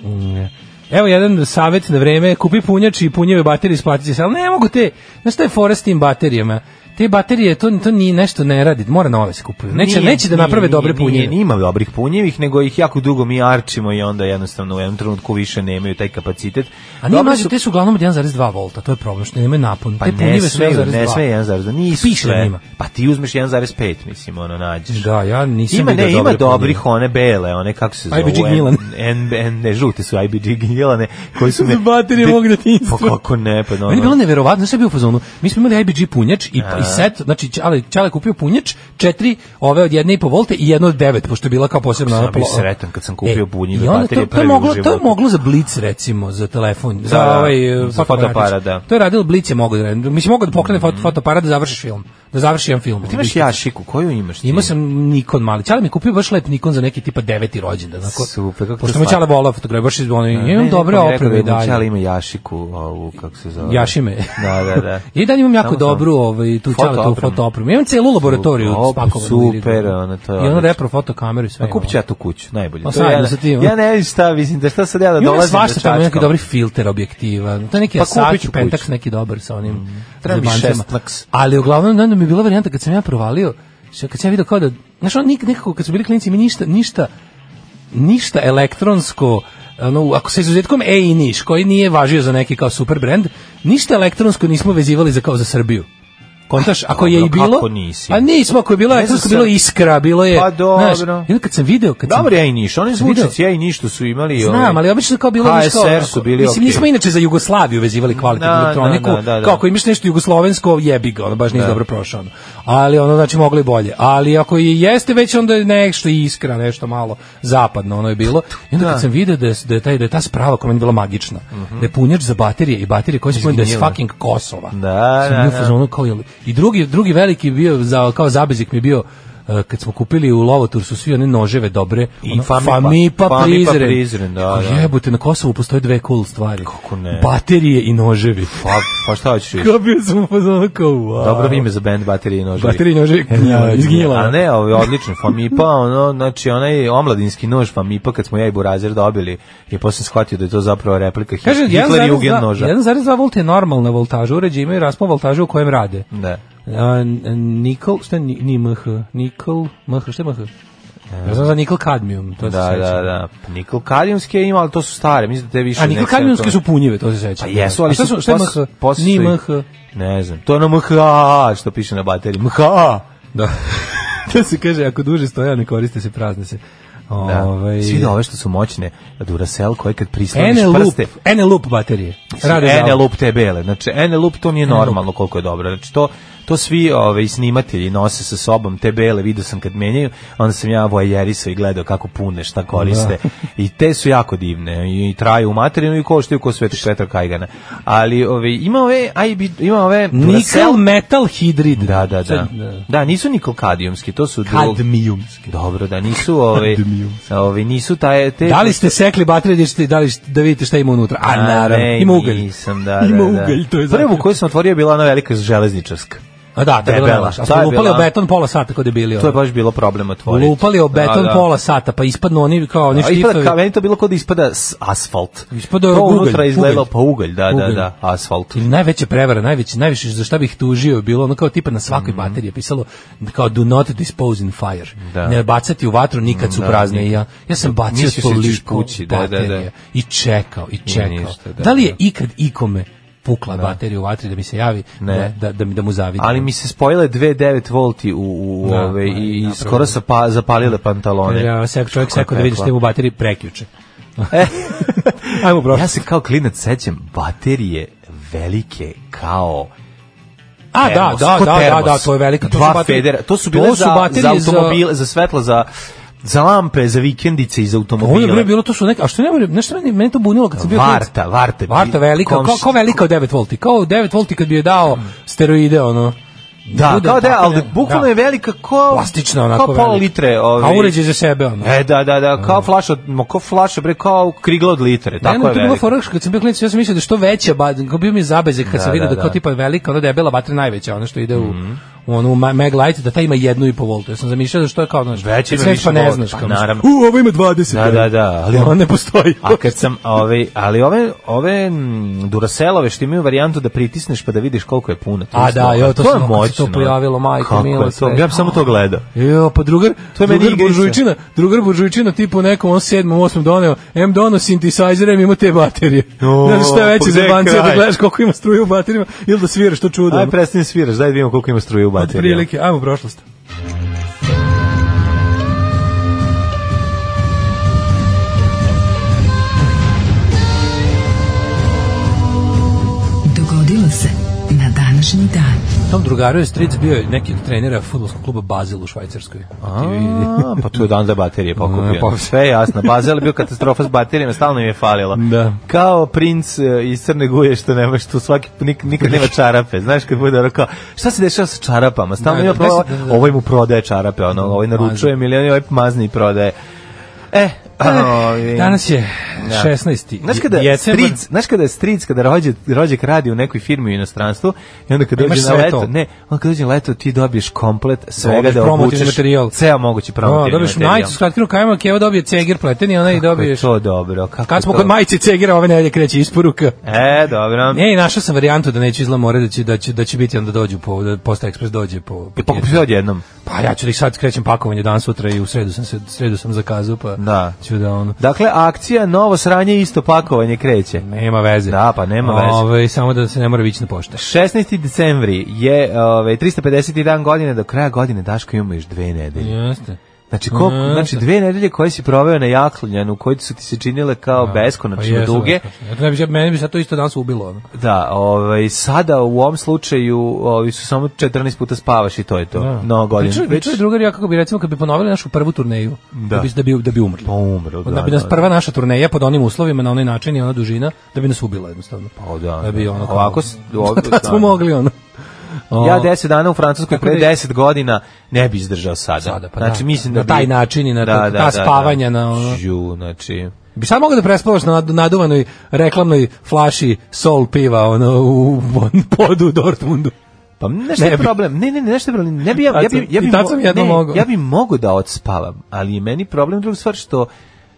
Speaker 5: evo jedan savjet na vreme, kupi punjač i punjeve baterije isplatit će se, ali ne mogu te, znaš šta je fora s tim baterijama? Te baterije, to, to ni nešto ne radi, mora nove se kupuju. Neće,
Speaker 6: Nije,
Speaker 5: neće da
Speaker 6: nije,
Speaker 5: naprave
Speaker 6: nije,
Speaker 5: dobre
Speaker 6: nije,
Speaker 5: punjeve.
Speaker 6: Nije, ima dobrih punjevih, nego ih jako dugo mi arčimo i onda jednostavno u jednom trenutku više nemaju taj kapacitet.
Speaker 5: A nije
Speaker 6: Dobre
Speaker 5: mlađe, te su uglavnom od 1,2 volta, to je problem, što nemaju napon.
Speaker 6: Pa
Speaker 5: te
Speaker 6: ne
Speaker 5: punjive su
Speaker 6: sve,
Speaker 5: 1,2.
Speaker 6: ne sve 1,2, nisu
Speaker 5: Piše na
Speaker 6: sve.
Speaker 5: njima.
Speaker 6: Pa ti uzmeš 1,5, mislim, ono, nađeš.
Speaker 5: Da, ja nisam
Speaker 6: Ima,
Speaker 5: vidio
Speaker 6: ne, ima
Speaker 5: dobre punjive.
Speaker 6: dobrih ono- one bele, one kako se zove.
Speaker 5: IBG Gnjilane.
Speaker 6: N, N, ne, žute su IBG Gnjilane,
Speaker 5: [laughs]
Speaker 6: koji su...
Speaker 5: Za baterije mog detinjstva.
Speaker 6: Pa kako ne, pa no.
Speaker 5: Meni je bilo neverovatno, znaš šta je bio u fazonu. Mi smo imali IBG punjač i, i set, znači Čale, Čale je kupio punjač, četiri ove od jedne i po volte i jedno od devet, pošto je bila kao posebna.
Speaker 6: sam
Speaker 5: ona
Speaker 6: ja bio
Speaker 5: plo-
Speaker 6: sretan kad sam kupio punjive
Speaker 5: Pa, e, i onda
Speaker 6: baterije
Speaker 5: to, to, je
Speaker 6: prvi u
Speaker 5: moglo, to je
Speaker 6: životu.
Speaker 5: moglo za blic recimo, za telefon, za,
Speaker 6: da,
Speaker 5: ovaj, e,
Speaker 6: za fotoaparat, da. Mm.
Speaker 5: To je radilo blic je mogao da radi. Mislim, mogao da pokrene foto, fotoaparat da završiš film, da završi jedan film.
Speaker 6: Ti imaš jašiku, koju imaš ti?
Speaker 5: Imao sam Nikon mali. Čale mi je kupio baš lep Nikon za neki tipa deveti rođendan. Onako,
Speaker 6: Super, kako
Speaker 5: Pošto
Speaker 6: to
Speaker 5: me
Speaker 6: slatko.
Speaker 5: Čale volao fotografije, baš iz ono,
Speaker 6: Ne,
Speaker 5: imam
Speaker 6: neko
Speaker 5: dobre
Speaker 6: mi je rekao
Speaker 5: oprave i
Speaker 6: da je
Speaker 5: dalje.
Speaker 6: Mućala ima jašiku, ovu, kako se zove.
Speaker 5: Jašime.
Speaker 6: Da, da,
Speaker 5: [laughs]
Speaker 6: da.
Speaker 5: I dalje imam jako
Speaker 6: Samo sam-
Speaker 5: dobru ovaj, tu
Speaker 6: Foto
Speaker 5: čale, tu
Speaker 6: opremu.
Speaker 5: foto opremu. Imam celu laboratoriju
Speaker 6: Super,
Speaker 5: spakovanu.
Speaker 6: super,
Speaker 5: ili-
Speaker 6: ono, to je
Speaker 5: I ono
Speaker 6: odlično.
Speaker 5: repro fotokameru i ono. sve.
Speaker 6: Ma kupit ću ja tu kuću, najbolje.
Speaker 5: Pa
Speaker 6: To je
Speaker 5: sajno
Speaker 6: ja-
Speaker 5: sa tim.
Speaker 6: Ja ne vidim šta, mislim, da šta sad ja da
Speaker 5: Ima
Speaker 6: dolazim
Speaker 5: ono svašta tamo, neki
Speaker 6: čačkam.
Speaker 5: dobri filter objektiva. To je neki
Speaker 6: Pa
Speaker 5: Asat,
Speaker 6: kupit ću
Speaker 5: Pentax
Speaker 6: kuću.
Speaker 5: neki dobar sa onim
Speaker 6: Treba mi
Speaker 5: zebancima.
Speaker 6: šestnax.
Speaker 5: Ali uglavnom onda mi je bila varijanta kad sam ja provalio, što kad sam ja video kao da, znaš, on nik- nekako kad su bili klinici mi ništa ništa ništa elektronsko ono, ako sa izuzetkom E i Niš, koji nije važio za neki kao super brand, ništa elektronsko nismo vezivali za kao za Srbiju. Kontaš, ako je i
Speaker 6: Dobro,
Speaker 5: bilo...
Speaker 6: kako nisi?
Speaker 5: A nismo, ako je bilo
Speaker 6: Ne
Speaker 5: elektronsko,
Speaker 6: znam
Speaker 5: bilo
Speaker 6: sad.
Speaker 5: iskra, bilo je...
Speaker 6: Pa dobro.
Speaker 5: znaš, I onda kad sam video... Kad sam-
Speaker 6: Dobar ja i Niš, oni
Speaker 5: sam video-
Speaker 6: zvučnici ja i Niš tu su imali.
Speaker 5: Znam,
Speaker 6: ovaj,
Speaker 5: ali obično kao bilo
Speaker 6: HSR su bili
Speaker 5: Mislim,
Speaker 6: okej.
Speaker 5: nismo inače za Jugoslaviju vezivali kvalitetnu
Speaker 6: Da,
Speaker 5: elektroniku.
Speaker 6: da, da, da, da.
Speaker 5: Kao ako imaš nešto jugoslovensko, jebi ga, ono baš nisi dobro prošao. Ono. Ali ono, znači, mogli bolje. Ali ako i jeste već, onda je nešto iskra, nešto malo zapadno ono je bilo. I onda kad sam vidio da je, da je, taj, da je ta sprava koja je meni bila magična,
Speaker 6: Mhm.
Speaker 5: da je punjač za baterije i baterije koje se puni da je s
Speaker 6: Izginjile.
Speaker 5: fucking Kosova.
Speaker 6: Da,
Speaker 5: Sam
Speaker 6: da,
Speaker 5: bio u
Speaker 6: da.
Speaker 5: fazonu kao, jel- I drugi, drugi veliki bio, za, kao zabezik mi je bio, e, kad smo kupili u Lovotur su svi one noževe dobre,
Speaker 6: I
Speaker 5: ono,
Speaker 6: Famipa.
Speaker 5: Famipa
Speaker 6: Famipa
Speaker 5: Prizren.
Speaker 6: pa- Prizren, da,
Speaker 5: Kako
Speaker 6: da.
Speaker 5: Jebote, na Kosovu postoje dve cool stvari.
Speaker 6: Kako ne?
Speaker 5: Baterije i noževi.
Speaker 6: Pa, pa šta hoćeš više?
Speaker 5: Kao bio sam u fazonu kao, wow.
Speaker 6: Dobro ime za band Baterije i noževi.
Speaker 5: Baterije i noževi,
Speaker 6: [laughs]
Speaker 5: gnjila, izginjila.
Speaker 6: A ne, ovo je odlično, Famipa, ono, znači onaj omladinski nož Famipa kad smo ja i Burazer dobili, je posle shvatio da je to zapravo replika Hit-
Speaker 5: Kaže,
Speaker 6: Hitler Jugend
Speaker 5: 1,2
Speaker 6: noža.
Speaker 5: 1,2 volta je normalna voltaža, uređaj imaju raspon voltaža u kojem rade.
Speaker 6: Da.
Speaker 5: A, n- Nikol, šta je ni, ni MH? Nikol, MH, šta je MH? Ja znam za nikol kadmijum, to se
Speaker 6: Da,
Speaker 5: sećam.
Speaker 6: da, da. Pa Nikol Kadijumske ima, ali to su stare, mislim da te više...
Speaker 5: A
Speaker 6: ne
Speaker 5: nikol
Speaker 6: sećam
Speaker 5: kadmijumske
Speaker 6: toga.
Speaker 5: su punjive, to se seća.
Speaker 6: Pa jesu, ali
Speaker 5: šta su, šta je MH?
Speaker 6: posle
Speaker 5: Ni
Speaker 6: su ih-
Speaker 5: MH.
Speaker 6: Ne znam. To je ono MHA što piše na bateriji. MHA.
Speaker 5: Da. [laughs] to se kaže, ako duže stoja, ne koriste se, prazne se.
Speaker 6: Da.
Speaker 5: Ovaj-
Speaker 6: Svi da ove što su moćne, Duracell koje kad prisloniš
Speaker 5: Ene loop,
Speaker 6: prste,
Speaker 5: ene loop baterije. Rade za
Speaker 6: Ene loop te bele. Znači Ene loop to nije normalno koliko je dobro. Znači to to svi ove snimatelji nose sa sobom te bele, video sam kad menjaju, onda sam ja vojerisao i gledao kako pune, šta koriste. I te su jako divne i, traju u materinu i koštaju ko sveti švetar kajgana. Ali ove ima ove IB, ima ove Duracell-
Speaker 5: Nikal metal hidrid.
Speaker 6: Da, da, da.
Speaker 5: Sad, da.
Speaker 6: Da, nisu niklokadijumski, to su drug-
Speaker 5: Kadmijumski.
Speaker 6: Dobro, da nisu ove, ove nisu taj te
Speaker 5: Da li ste sekli baterije da, ćete- da, li, da vidite šta ima unutra? A, naravno,
Speaker 6: ne,
Speaker 5: ima ugalj.
Speaker 6: Nisam, da,
Speaker 5: Ima
Speaker 6: da, da.
Speaker 5: ugalj, to je
Speaker 6: Prvu
Speaker 5: zaključak.
Speaker 6: koju sam otvorio je bila ona velika železničarska.
Speaker 5: A da, to je bilo
Speaker 6: Debela.
Speaker 5: najlaže. A
Speaker 6: Ta
Speaker 5: smo
Speaker 6: je
Speaker 5: lupali o
Speaker 6: bila-
Speaker 5: beton pola sata kod je bili.
Speaker 6: To je
Speaker 5: ono.
Speaker 6: baš bilo problem otvoriti.
Speaker 5: Lupali o beton
Speaker 6: Da, da.
Speaker 5: pola sata, pa ispadnu oni kao oni
Speaker 6: A ispada,
Speaker 5: štifovi.
Speaker 6: kao, meni to bilo kao da ispada s asfalt.
Speaker 5: Ispada
Speaker 6: to
Speaker 5: ugalj,
Speaker 6: unutra izgledalo
Speaker 5: ugalj.
Speaker 6: pa ugalj, da, da,
Speaker 5: Ugalj.
Speaker 6: da, asfalt.
Speaker 5: Ili najveća prevara, najveći, najviše za šta bih tužio je bilo ono kao tipa na svakoj
Speaker 6: Mhm.
Speaker 5: bateriji je pisalo kao do not dispose in fire.
Speaker 6: Da.
Speaker 5: Ne bacati u vatru nikad su
Speaker 6: Da,
Speaker 5: prazne. I ja, ja sam bacio
Speaker 6: Mislio si da ćeš
Speaker 5: toliko
Speaker 6: kući, da, da, da.
Speaker 5: baterija i čekao, i čekao.
Speaker 6: ništa, da,
Speaker 5: da, li je
Speaker 6: da.
Speaker 5: ikad ikome pukla baterija u vatri da mi se javi,
Speaker 6: Ne.
Speaker 5: da, da, da, mi- da mu zavidi.
Speaker 6: Ali mi se spojile dve 9 volti u, u
Speaker 5: Da,
Speaker 6: ove,
Speaker 5: da,
Speaker 6: i, i
Speaker 5: napravo.
Speaker 6: skoro sa pa, zapalile pantalone.
Speaker 5: Ja, se čovjek
Speaker 6: Kako je
Speaker 5: sekao da vidiš
Speaker 6: pekla.
Speaker 5: što mu baterije prekjuče.
Speaker 6: E,
Speaker 5: [laughs] Ajmo, bro.
Speaker 6: ja se kao klinac sećam baterije velike kao
Speaker 5: A, da,
Speaker 6: termos,
Speaker 5: da,
Speaker 6: ko
Speaker 5: da, da,
Speaker 6: termos.
Speaker 5: da, to je velika. To
Speaker 6: Dva
Speaker 5: su baterije-
Speaker 6: federa, to su bile za, za
Speaker 5: baterije
Speaker 6: automobile, za svetla, za, za lampe, za vikendice i za
Speaker 5: Ovo Ono je
Speaker 6: automobile.
Speaker 5: bilo, bilo to su neka, a što ne moram, nešto meni, meni to bunilo kad sam bio klinac.
Speaker 6: Varta, Varta.
Speaker 5: Varta velika, kao,
Speaker 6: komšija.
Speaker 5: kao velika od 9 volti, kao 9 volti kad bi je dao steroide, ono.
Speaker 6: Da,
Speaker 5: Bude
Speaker 6: kao da,
Speaker 5: tako
Speaker 6: ali
Speaker 5: ne-
Speaker 6: bukvalno
Speaker 5: da.
Speaker 6: je velika kao...
Speaker 5: plastična onako
Speaker 6: Kao pola
Speaker 5: velika.
Speaker 6: litre. Ovi.
Speaker 5: A uređaj za sebe, ono.
Speaker 6: E, da, da, da, kao flaša, od- ma kao flaša, bre, kao krigla od litre,
Speaker 5: Ne,
Speaker 6: tako je
Speaker 5: to je bilo
Speaker 6: velika.
Speaker 5: fora kad sam bio klinac, ja sam mislio da što veća, ba, kao bio mi je zabezek kad
Speaker 6: Da,
Speaker 5: sam vidio da,
Speaker 6: da,
Speaker 5: kao
Speaker 6: da. Mhm.
Speaker 5: tipa velika, ono da je bila baterija najveća, ono što ide u, u onu ma- Mag Light, da ta ima jednu i po voltu. Ja sam zamišljao da što je kao, znaš,
Speaker 6: Veća ima
Speaker 5: sve
Speaker 6: više
Speaker 5: pa ne
Speaker 6: volta,
Speaker 5: znaš,
Speaker 6: pa
Speaker 5: kao, mislim,
Speaker 6: naravno.
Speaker 5: u, ovo ima 20.
Speaker 6: Da, da, da, ali-
Speaker 5: ali on ne postoji.
Speaker 6: A kad sam ove, ali ove, ove mm, Duracelove što imaju varijantu da pritisneš pa da vidiš koliko je puno.
Speaker 5: A,
Speaker 6: je
Speaker 5: da,
Speaker 6: smoka.
Speaker 5: jo, to
Speaker 6: je
Speaker 5: sam- kad se to
Speaker 6: moćno.
Speaker 5: pojavilo, majko
Speaker 6: Kako
Speaker 5: mila,
Speaker 6: je to?
Speaker 5: sve.
Speaker 6: Ja bi samo to gledao.
Speaker 5: Jo, pa drugar,
Speaker 6: To je meni
Speaker 5: drugar
Speaker 6: igrica.
Speaker 5: buržujčina, drugar buržujčina tipu nekom on sedmom, osmom doneo, M dono synthesizer, M ima te baterije.
Speaker 6: O,
Speaker 5: Znaš šta je veće za
Speaker 6: pa gde je
Speaker 5: bancija da
Speaker 6: kraj?
Speaker 5: gledaš koliko ima struje u baterijama ili da sviraš to čudo.
Speaker 6: Aj, prestani sviraš, daj da vidimo koliko ima struje u
Speaker 5: Od
Speaker 6: bateriji.
Speaker 5: prilike, ajmo u prošlost.
Speaker 4: Dogodilo se na današnji dan.
Speaker 5: Tom drugaru je stric bio neki od trenera futbolskog kluba Bazel u Švajcarskoj.
Speaker 6: A, pa tu je dan za baterije pokupio.
Speaker 5: [laughs] Ne, pa-
Speaker 6: Sve je jasno. Bazel je bio katastrofa s baterijama, stalno im je falilo.
Speaker 5: Da.
Speaker 6: Kao princ e, iz Crne Guje što nema što svaki nik, nikad nema čarape. Znaš kad bude ono kao, šta se dešava sa čarapama? Stalno
Speaker 5: Da,
Speaker 6: ima
Speaker 5: da,
Speaker 6: problem,
Speaker 5: da, da, da.
Speaker 6: ovaj mu prodaje čarape, ono, ovaj naručuje milion i ovaj mazni i prodaje. E, ovaj, ovi-
Speaker 5: Danas je
Speaker 6: Da.
Speaker 5: 16.
Speaker 6: Znaš kada
Speaker 5: decembar.
Speaker 6: stric, znaš kada je stric kada rođe rođak radi u nekoj firmi u inostranstvu i onda kad
Speaker 5: Imaš
Speaker 6: dođe na
Speaker 5: sve
Speaker 6: leto,
Speaker 5: to.
Speaker 6: ne, onda kad dođe na leto ti dobiješ komplet svega
Speaker 5: Dobiješ
Speaker 6: da
Speaker 5: promotivni
Speaker 6: obučeš
Speaker 5: materijal.
Speaker 6: ceo mogući
Speaker 5: O,
Speaker 6: promotivni
Speaker 5: dobiješ
Speaker 6: materijal.
Speaker 5: majicu, skratkinu kajmak, evo dobije ceger pleten i ona i
Speaker 6: Kako je
Speaker 5: dobiješ.
Speaker 6: to dobro. Kako je
Speaker 5: Kad smo
Speaker 6: to?
Speaker 5: kod majice i cegera, ove nedelje kreće isporuka.
Speaker 6: E, dobro.
Speaker 5: Ne, našao sam varijantu da neću izla mora da će, da će, da će biti onda dođu po, da Posta Ekspres dođe po... po
Speaker 6: I pokupi sve odjednom.
Speaker 5: pa ja ću da ih sad krećem pakovanje dan sutra i u sredu sam, se, sredu sam zakazao, pa
Speaker 6: Da.
Speaker 5: ću da ono...
Speaker 6: Dakle, akcija novo sranje isto pakovanje kreće.
Speaker 5: Nema veze.
Speaker 6: Da, pa nema veze.
Speaker 5: Ovaj, samo da se ne mora ići na pošte.
Speaker 6: 16. decembri je ovaj 350. dan godine, do kraja godine Daško imamo još dve nedelje.
Speaker 5: Jeste.
Speaker 6: Znači, koliko-
Speaker 5: Mm,
Speaker 6: znači dve nedelje koje si proveo na Jaklanjanu, koje su ti se činile kao beskonačno
Speaker 5: Pa jesu,
Speaker 6: Znači, duge,
Speaker 5: beskonačno. Eto, ne bi- meni bi sad to isto danas ubilo. Ono.
Speaker 6: da, ovaj, sada u ovom slučaju ovaj, su samo 14 puta spavaš i to je to.
Speaker 5: Da. Pa
Speaker 6: No, godina.
Speaker 5: Pričao- Pričao je drugar ja kako bi recimo kad bi ponovili našu prvu turneju, da,
Speaker 6: Da.
Speaker 5: bi, da, bi, da bi umrli.
Speaker 6: Pa umro, da,
Speaker 5: da, bi
Speaker 6: da,
Speaker 5: nas
Speaker 6: da.
Speaker 5: prva naša turneja pod onim uslovima na onaj način i ona dužina da bi nas ubila jednostavno.
Speaker 6: O, da,
Speaker 5: da bi
Speaker 6: da.
Speaker 5: ono
Speaker 6: Ovako s- ovako,
Speaker 5: [laughs] da smo
Speaker 6: Pa da.
Speaker 5: mogli ono. O,
Speaker 6: Ja 10 dana u Francuskoj
Speaker 5: Tako da
Speaker 6: pre
Speaker 5: je-
Speaker 6: 10 godina ne bi izdržao sada.
Speaker 5: Sada, pa
Speaker 6: znači,
Speaker 5: da,
Speaker 6: mislim
Speaker 5: da.
Speaker 6: da,
Speaker 5: Na taj
Speaker 6: bi-
Speaker 5: način i na ta- ta spavanja na ono-
Speaker 6: Žu, znači...
Speaker 5: bi sad mogao da prespavaš na nad- naduvanoj reklamnoj flaši sol piva ono u podu u Dortmundu.
Speaker 6: Pa nešto
Speaker 5: Ne
Speaker 6: je
Speaker 5: bi.
Speaker 6: problem. Ne, ne, ne, nešto je problem. Ne bi ja,
Speaker 5: Tad
Speaker 6: ja
Speaker 5: sam-
Speaker 6: bi, ja bi,
Speaker 5: i tad
Speaker 6: mo-
Speaker 5: sam jedno
Speaker 6: ne,
Speaker 5: mogao.
Speaker 6: Ja bi mogao da odspavam, ali je meni problem druga stvar što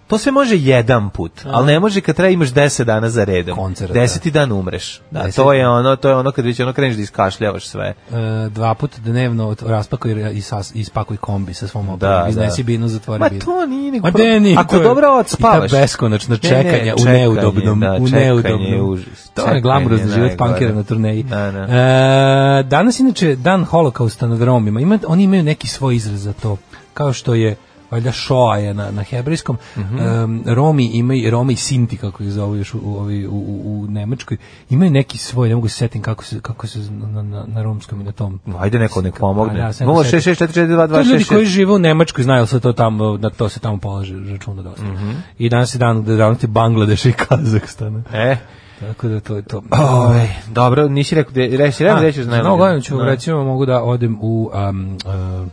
Speaker 6: to sve može jedan put, ali ne može kad treba imaš 10 dana za redom.
Speaker 5: Koncert, da.
Speaker 6: Deseti dan umreš. Da,
Speaker 5: Deseti.
Speaker 6: to je ono, to je ono kad već ono kreneš da iskašljavaš sve.
Speaker 5: E, dva put dnevno od- raspakuj i sas, ispakuj kombi sa svom
Speaker 6: Da,
Speaker 5: opremom.
Speaker 6: da.
Speaker 5: Iznesi binu, zatvori
Speaker 6: Ma
Speaker 5: binu.
Speaker 6: to nije nego
Speaker 5: Ma
Speaker 6: problem.
Speaker 5: de, nije,
Speaker 6: Ako
Speaker 5: to je-
Speaker 6: dobro
Speaker 5: I
Speaker 6: odspavaš.
Speaker 5: ta beskonačna
Speaker 6: Ne, ne,
Speaker 5: čekanja u
Speaker 6: čekanje,
Speaker 5: neudobnom,
Speaker 6: da,
Speaker 5: u
Speaker 6: čekanje je
Speaker 5: neudobnom.
Speaker 6: užas.
Speaker 5: To je
Speaker 6: Čekanje
Speaker 5: glamurozni
Speaker 6: je
Speaker 5: život
Speaker 6: najgore.
Speaker 5: pankera na turneji.
Speaker 6: Da, da.
Speaker 5: E, danas inače dan holokausta nad Romima. Ima, oni imaju neki svoj izraz za to. Kao što je valjda Shoa je na, na hebrejskom.
Speaker 6: Mhm.
Speaker 5: Em, Romi imaju, Romi i Sinti, kako ih zovu još u, u, ovi- u, u- u Nemačkoj, imaju neki svoj, ne mogu se setim kako se, kako se na, na, na romskom i na tom. Pa
Speaker 6: Ajde neko nek
Speaker 5: A,
Speaker 6: pomogne.
Speaker 5: ja sam ga
Speaker 6: 066442226.
Speaker 5: To ljudi koji žive u Nemačkoj znaju se to tamo, na to se tamo polaže računa dosta. I danas je dan državnosti Bangladeša i Kazahstana.
Speaker 6: E,
Speaker 5: Tako da to je to.
Speaker 6: ovaj, dobro, nisi rekao, da- reći,
Speaker 5: A,
Speaker 6: reći, reći,
Speaker 5: za Novu godinu ću, recimo, mogu da odem u... um, um,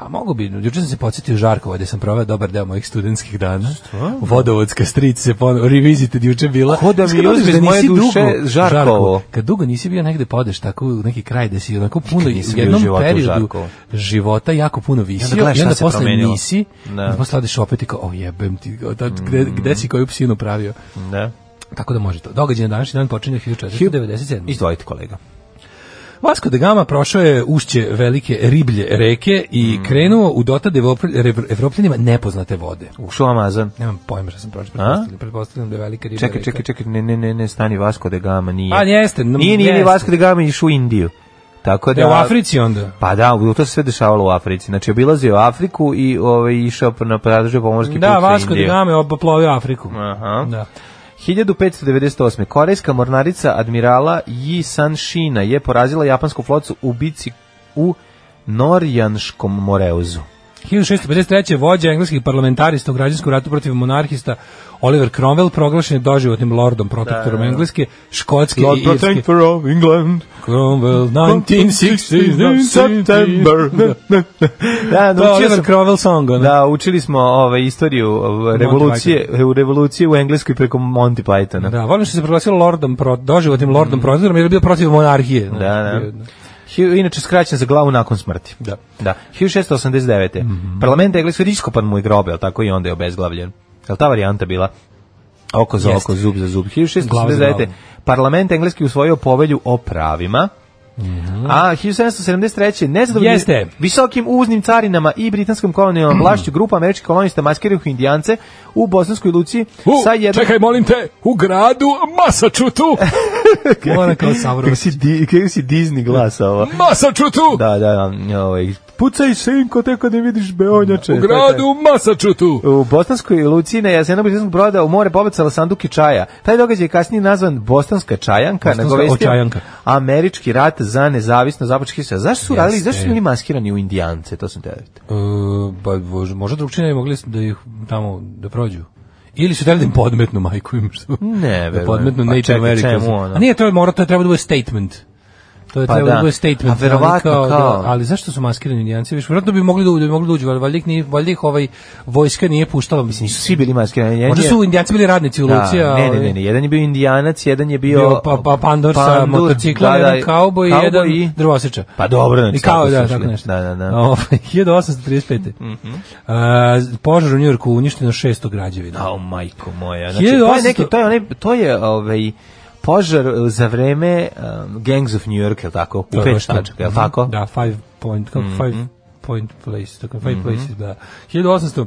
Speaker 5: pa mogu bi, juče sam se podsjetio Žarkova gde sam proveo dobar deo mojih studentskih dana. Vodovodska strica se ponovo revisited juče bila.
Speaker 6: Ko da mi
Speaker 5: Znaš kad odeš
Speaker 6: uzme iz
Speaker 5: nisi
Speaker 6: moje duše
Speaker 5: dugo-
Speaker 6: Žarkovo?
Speaker 5: Kad dugo nisi bio negde podeš tako u neki kraj da si onako puno
Speaker 6: nisam
Speaker 5: u
Speaker 6: bio u
Speaker 5: jednom
Speaker 6: životu u
Speaker 5: periodu
Speaker 6: Žarkovu.
Speaker 5: života jako puno visio i
Speaker 6: gledaš
Speaker 5: onda,
Speaker 6: šta se
Speaker 5: posle
Speaker 6: promenilo.
Speaker 5: nisi.
Speaker 6: Da. Mm.
Speaker 5: Da. Posle odeš opet i kao, o jebem ti, da, gde, gde si koju psinu pravio.
Speaker 6: Da.
Speaker 5: Tako da može to. Događaj na današnji dan počinje 1497.
Speaker 6: Izdvojite kolega.
Speaker 5: Vasco da Gama prošao je ušće velike riblje reke
Speaker 6: Mm.
Speaker 5: i krenuo u dotad Evrop- Rev- evropljanima nepoznate vode.
Speaker 6: Ušao u Amazon.
Speaker 5: Nemam pojma što sam pročio, pretpostavljam, pretpostavljam da je velika riblja
Speaker 6: Čekaj,
Speaker 5: reka.
Speaker 6: čekaj, čekaj, ne, ne, ne, ne, stani Vasco de Gama nije.
Speaker 5: A, jeste, n-
Speaker 6: Nije, nije ni
Speaker 5: jeste.
Speaker 6: Vasco de Gama išao u Indiju. Tako da...
Speaker 5: E, u Africi onda.
Speaker 6: Pa da, to se sve dešavalo u Africi. Znači, obilazio je Afriku i ovaj, išao na pradružio pomorski
Speaker 5: Da,
Speaker 6: put sa
Speaker 5: Vasco da
Speaker 6: Indijom.
Speaker 5: Gama je oplovio Afriku.
Speaker 6: Aha.
Speaker 5: Da.
Speaker 6: 1598. Korejska mornarica admirala Yi San Shina je porazila japansku flotu u bici u Norjanškom moreuzu.
Speaker 5: 1653. vođa engleskih parlamentarista u građanskom ratu protiv monarhista Oliver Cromwell proglašen je doživotnim lordom protektorom Engleske, Škotske i Irske.
Speaker 6: of England
Speaker 5: Cromwell 1960
Speaker 6: [laughs] da,
Speaker 5: To je
Speaker 6: naučio
Speaker 5: Oliver
Speaker 6: sam,
Speaker 5: Cromwell song, ono.
Speaker 6: da, učili smo ovaj, istoriju ovaj, revolucije, u revolucije u Engleskoj preko Monty Pythona.
Speaker 5: Da, volim što se proglasilo lordom, pro, doživotnim lordom protektorom jer je bio protiv monarhije.
Speaker 6: Mm. Da, da. Hi- Inače skraćen za glavu nakon smrti. Da. Da. 1689.
Speaker 5: Mhm.
Speaker 6: Parlament Engleske riskopan mu je grobe, ali tako i onda je obezglavljen. Je li ta varijanta bila? Oko za
Speaker 5: Jeste.
Speaker 6: oko, zub za zub.
Speaker 5: Glava za
Speaker 6: 1689.
Speaker 5: glavu.
Speaker 6: Parlament Engleski usvojio povelju o pravima. A 1773. nezadovoljni
Speaker 5: Mhm. Jeste.
Speaker 6: visokim uvoznim carinama i britanskom kolonijalnom vlašću grupa američkih kolonista maskiraju indijance u bosanskoj luci sa jednom...
Speaker 5: molim te, u gradu Masačutu! Ona kao Sauron.
Speaker 6: [laughs]
Speaker 5: E,
Speaker 6: Kako si, di, kako si Disney glas ovo?
Speaker 5: Masačutu!
Speaker 6: Da, da, da, ovaj, pucaj sinko te kad ne vidiš beonjače. To je taj.
Speaker 5: Masačutu!
Speaker 6: U bosanskoj luci na jasenu britanskog broda u more pobacala sanduke čaja. Taj događaj je kasnije nazvan Bostanska čajanka.
Speaker 5: Bosanska
Speaker 6: nagovestio
Speaker 5: očajanka.
Speaker 6: Američki rat za nezavisno započeo se. Zašto su radili,
Speaker 5: Jeste.
Speaker 6: zašto su bili maskirani u indijance? To sam te vidite.
Speaker 5: pa, bož- možda drugčine ne bi mogli da ih tamo da prođu. Ili su trebali da im podmetnu majku im što.
Speaker 6: Ne,
Speaker 5: [laughs] da
Speaker 6: verujem.
Speaker 5: podmetnu
Speaker 6: Mm. Pa
Speaker 5: Native
Speaker 6: čekaj,
Speaker 5: Americans.
Speaker 6: čemu ono?
Speaker 5: A nije to mora, to je trebalo da bude statement. To je
Speaker 6: Pa
Speaker 5: trebalo da
Speaker 6: da.
Speaker 5: bude statement.
Speaker 6: A verovatno
Speaker 5: Oni
Speaker 6: kao-
Speaker 5: ali zašto su maskirani indijanci? Viš, verovatno bi mogli da, da bi mogli da uđu, ali valjda ih, nije, valjda ih ovaj, vojska nije puštala. Mislim,
Speaker 6: Nisu svi bili maskirani. Jedan
Speaker 5: Možda
Speaker 6: je-
Speaker 5: su indijanci bili radnici u
Speaker 6: Da,
Speaker 5: Luci, a... ovaj-
Speaker 6: ne, ne, ne, ne, jedan je bio indijanac, jedan je bio...
Speaker 5: Bio pa, pa pandur sa
Speaker 6: pandur,
Speaker 5: motociklom,
Speaker 6: da, da,
Speaker 5: jedan kauboj i
Speaker 6: kauboj
Speaker 5: jedan
Speaker 6: i-
Speaker 5: drvoseča.
Speaker 6: Pa dobro, znači,
Speaker 5: I kao,
Speaker 6: tako
Speaker 5: da,
Speaker 6: su
Speaker 5: tako
Speaker 6: išli.
Speaker 5: nešto.
Speaker 6: Da, da, da.
Speaker 5: [laughs]
Speaker 6: Mhm.
Speaker 5: Ovaj, 1835. A, požar u Njujorku uništeno 600 građevina.
Speaker 6: Au majko moja. Znači, to je
Speaker 5: 1800
Speaker 6: neki, to je onaj, to je ovaj, požar eh, za vreme um, Gangs of New York, je li tako? U
Speaker 5: To je
Speaker 6: pet
Speaker 5: baš to.
Speaker 6: tačaka, je li
Speaker 5: Mhm.
Speaker 6: tako? Mhm.
Speaker 5: Da, five point, kako five point place, tako five places, da. 1800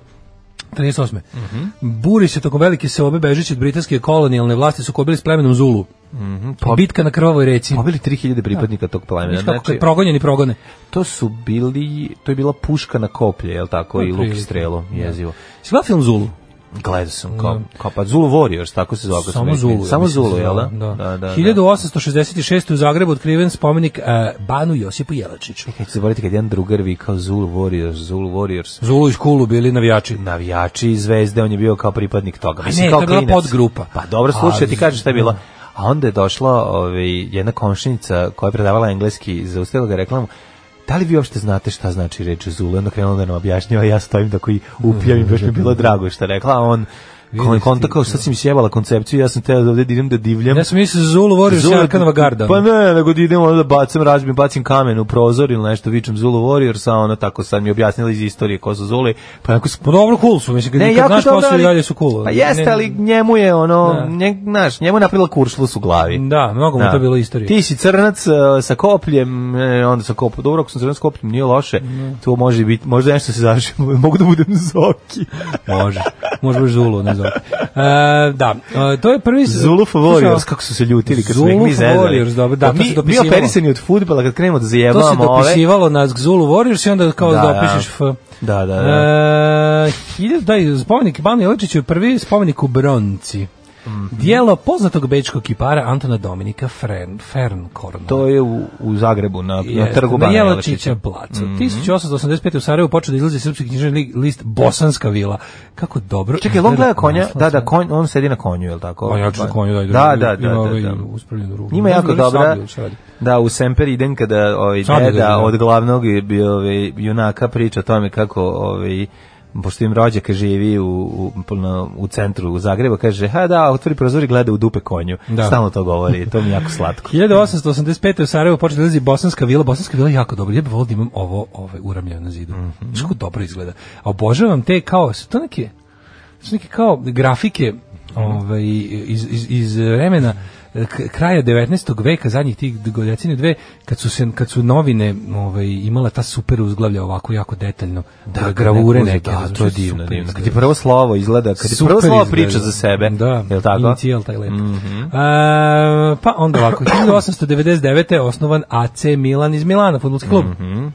Speaker 5: 38.
Speaker 6: Mhm.
Speaker 5: Buri se tokom velike seobe bežeći od britanske kolonijalne vlasti su kobili s plemenom Zulu.
Speaker 6: Mhm. Pa-
Speaker 5: Bitka na krvavoj reci.
Speaker 6: Pobili 3000 pripadnika tog plemena.
Speaker 5: Viš kako
Speaker 6: Pa- Znači,
Speaker 5: kad progonjeni progone.
Speaker 6: to su bili, to je bila puška na koplje, je li tako? I luk i
Speaker 5: Otprilike.
Speaker 6: strelo, jezivo.
Speaker 5: Si gledao film Zulu?
Speaker 6: Gledao sam, kao, kao pa Zulu Warriors, tako se zove. kad sam
Speaker 5: Samo
Speaker 6: bio
Speaker 5: Zulu.
Speaker 6: klinac. Samo
Speaker 5: mislim,
Speaker 6: Zulu,
Speaker 5: se
Speaker 6: jel da?
Speaker 5: zvala,
Speaker 6: Da, da, da.
Speaker 5: 1866. u Zagrebu otkriven spomenik eh, Banu Josipu Jelačiću.
Speaker 6: Neću zaboraviti kad jedan drugar vikao Zulu Warriors, Zulu Warriors.
Speaker 5: Zulu i Škulu bili navijači.
Speaker 6: navijači i zvezde, on je bio kao pripadnik toga.
Speaker 5: A ne,
Speaker 6: kao
Speaker 5: to je bila
Speaker 6: klinac.
Speaker 5: podgrupa.
Speaker 6: Pa dobro, slušaj,
Speaker 5: Ali-
Speaker 6: ti kažeš šta je bilo. A onda je došla ovaj, jedna komšinica koja je predavala engleski, zaustavila ga i rekla mu, da li vi uopšte znate šta znači reč Zulu? I Onda krenula da nam objašnjava, ja stojim da koji upijam i baš mi je bilo drago šta je rekla, a on kon, kontakao, sad si mi sjebala koncepciju, ja sam teo da ovde idem da divljam.
Speaker 5: Ja sam mislio Zulu Warriors i Arkanova garda.
Speaker 6: Pa ne, nego da idemo da bacam, razbim, bacim kamen u prozor ili nešto, vičem Zulu Warriors, a ona tako sad mi je objasnila iz istorije ko su Zuli, pa onako
Speaker 5: Pa dobro, cool su, mislim, kad,
Speaker 6: ne,
Speaker 5: kad
Speaker 6: jako
Speaker 5: znaš ko
Speaker 6: dobro,
Speaker 5: su i
Speaker 6: ali-
Speaker 5: dalje su cool.
Speaker 6: Pa jeste,
Speaker 5: Ne-
Speaker 6: ali njemu je ono,
Speaker 5: Da.
Speaker 6: nje, znaš, njemu je napravila kuršlus u glavi.
Speaker 5: Da, mnogo mu
Speaker 6: Da. ono
Speaker 5: to bilo istorije.
Speaker 6: Ti si crnac e, sa kopljem, e, onda sa kopljem, dobro, ako sam crnac sa kopljem, nije loše, to može biti, možda nešto se završi, [laughs] mogu da budem Zoki.
Speaker 5: Može, može baš Zulu, ne znam. E, da, e, to je prvi...
Speaker 6: Zulu Warriors, kako su se ljutili kad smo ih
Speaker 5: Zulu
Speaker 6: mi zezali.
Speaker 5: Warriors, dobro, da,
Speaker 6: Pa
Speaker 5: to
Speaker 6: mi,
Speaker 5: se
Speaker 6: mi
Speaker 5: dopisivalo.
Speaker 6: operisani od futbala, kad krenemo da
Speaker 5: To se
Speaker 6: zajebamo ove,
Speaker 5: dopisivalo na Zulu Warriors i onda kao
Speaker 6: Da,
Speaker 5: da,
Speaker 6: da.
Speaker 5: dopišeš F.
Speaker 6: Da, da, da.
Speaker 5: E, hiljadu- daj, spomenik Banu Jelačiću je prvi spomenik u Bronci.
Speaker 6: Mhm.
Speaker 5: Dijelo poznatog bečkog kipara Antona Dominika Fern, Fernkorna.
Speaker 6: to je u, u Zagrebu, na, na
Speaker 5: Jeste,
Speaker 6: trgu
Speaker 5: na
Speaker 6: Bana
Speaker 5: Jelačića
Speaker 6: Jelačića. Mhm.
Speaker 5: placu. 1885. u Sarajevu počeo da izlazi srpski književni li- list Bosanska vila. Kako dobro.
Speaker 6: Čekaj, jel on
Speaker 5: izgleda
Speaker 6: gleda konja,
Speaker 5: naslov.
Speaker 6: da, da, konj, on sedi na konju, je li tako?
Speaker 5: Pa ja ću na konju daj,
Speaker 6: da, da, da, da,
Speaker 5: ovaj
Speaker 6: da.
Speaker 5: uspravljenu ruku.
Speaker 6: Njima
Speaker 5: Ne
Speaker 6: je
Speaker 5: znam
Speaker 6: jako
Speaker 5: da li
Speaker 6: dobra.
Speaker 5: sablju šta radi.
Speaker 6: Da, u Semper idem kada ovaj
Speaker 5: Sablju ga
Speaker 6: deda
Speaker 5: zove.
Speaker 6: od glavnog i bi ovaj junaka priča o tome kako ovaj pošto im rođak živi u, u, na- u centru u Zagreba, kaže, ha da, otvori prozor i gleda u dupe konju.
Speaker 5: Da.
Speaker 6: Stalno to govori, to mi je jako
Speaker 5: [laughs]
Speaker 6: slatko.
Speaker 5: 1885. u Sarajevu počeo da izlazi Bosanska vila. Bosanska vila je jako dobro. Ja bih volio da imam ovo ovaj, uramljeno na zidu.
Speaker 6: Mhm.
Speaker 5: Znaš kako dobro izgleda. A obožavam te kao, su to neke, su neke kao grafike
Speaker 6: Mhm.
Speaker 5: ovaj, iz, iz, iz vremena eh, k- kraja 19. veka, zadnjih tih dgo- deceniju dve, kad su, se, kad su novine ovaj, imala ta super uzglavlja ovako jako detaljno, da, gravure neke.
Speaker 6: Da,
Speaker 5: razumiješ,
Speaker 6: to je divno,
Speaker 5: super
Speaker 6: divno. Kad ti
Speaker 5: izgleda.
Speaker 6: prvo slovo izgleda, kad ti
Speaker 5: Super
Speaker 6: prvo slovo
Speaker 5: izgleda.
Speaker 6: priča za sebe.
Speaker 5: Da,
Speaker 6: Je li tako? Mhm.
Speaker 5: inicijal taj lepo. E, pa onda ovako, 1899. je osnovan AC Milan iz Milana, futbolski klub. E,
Speaker 6: Mhm.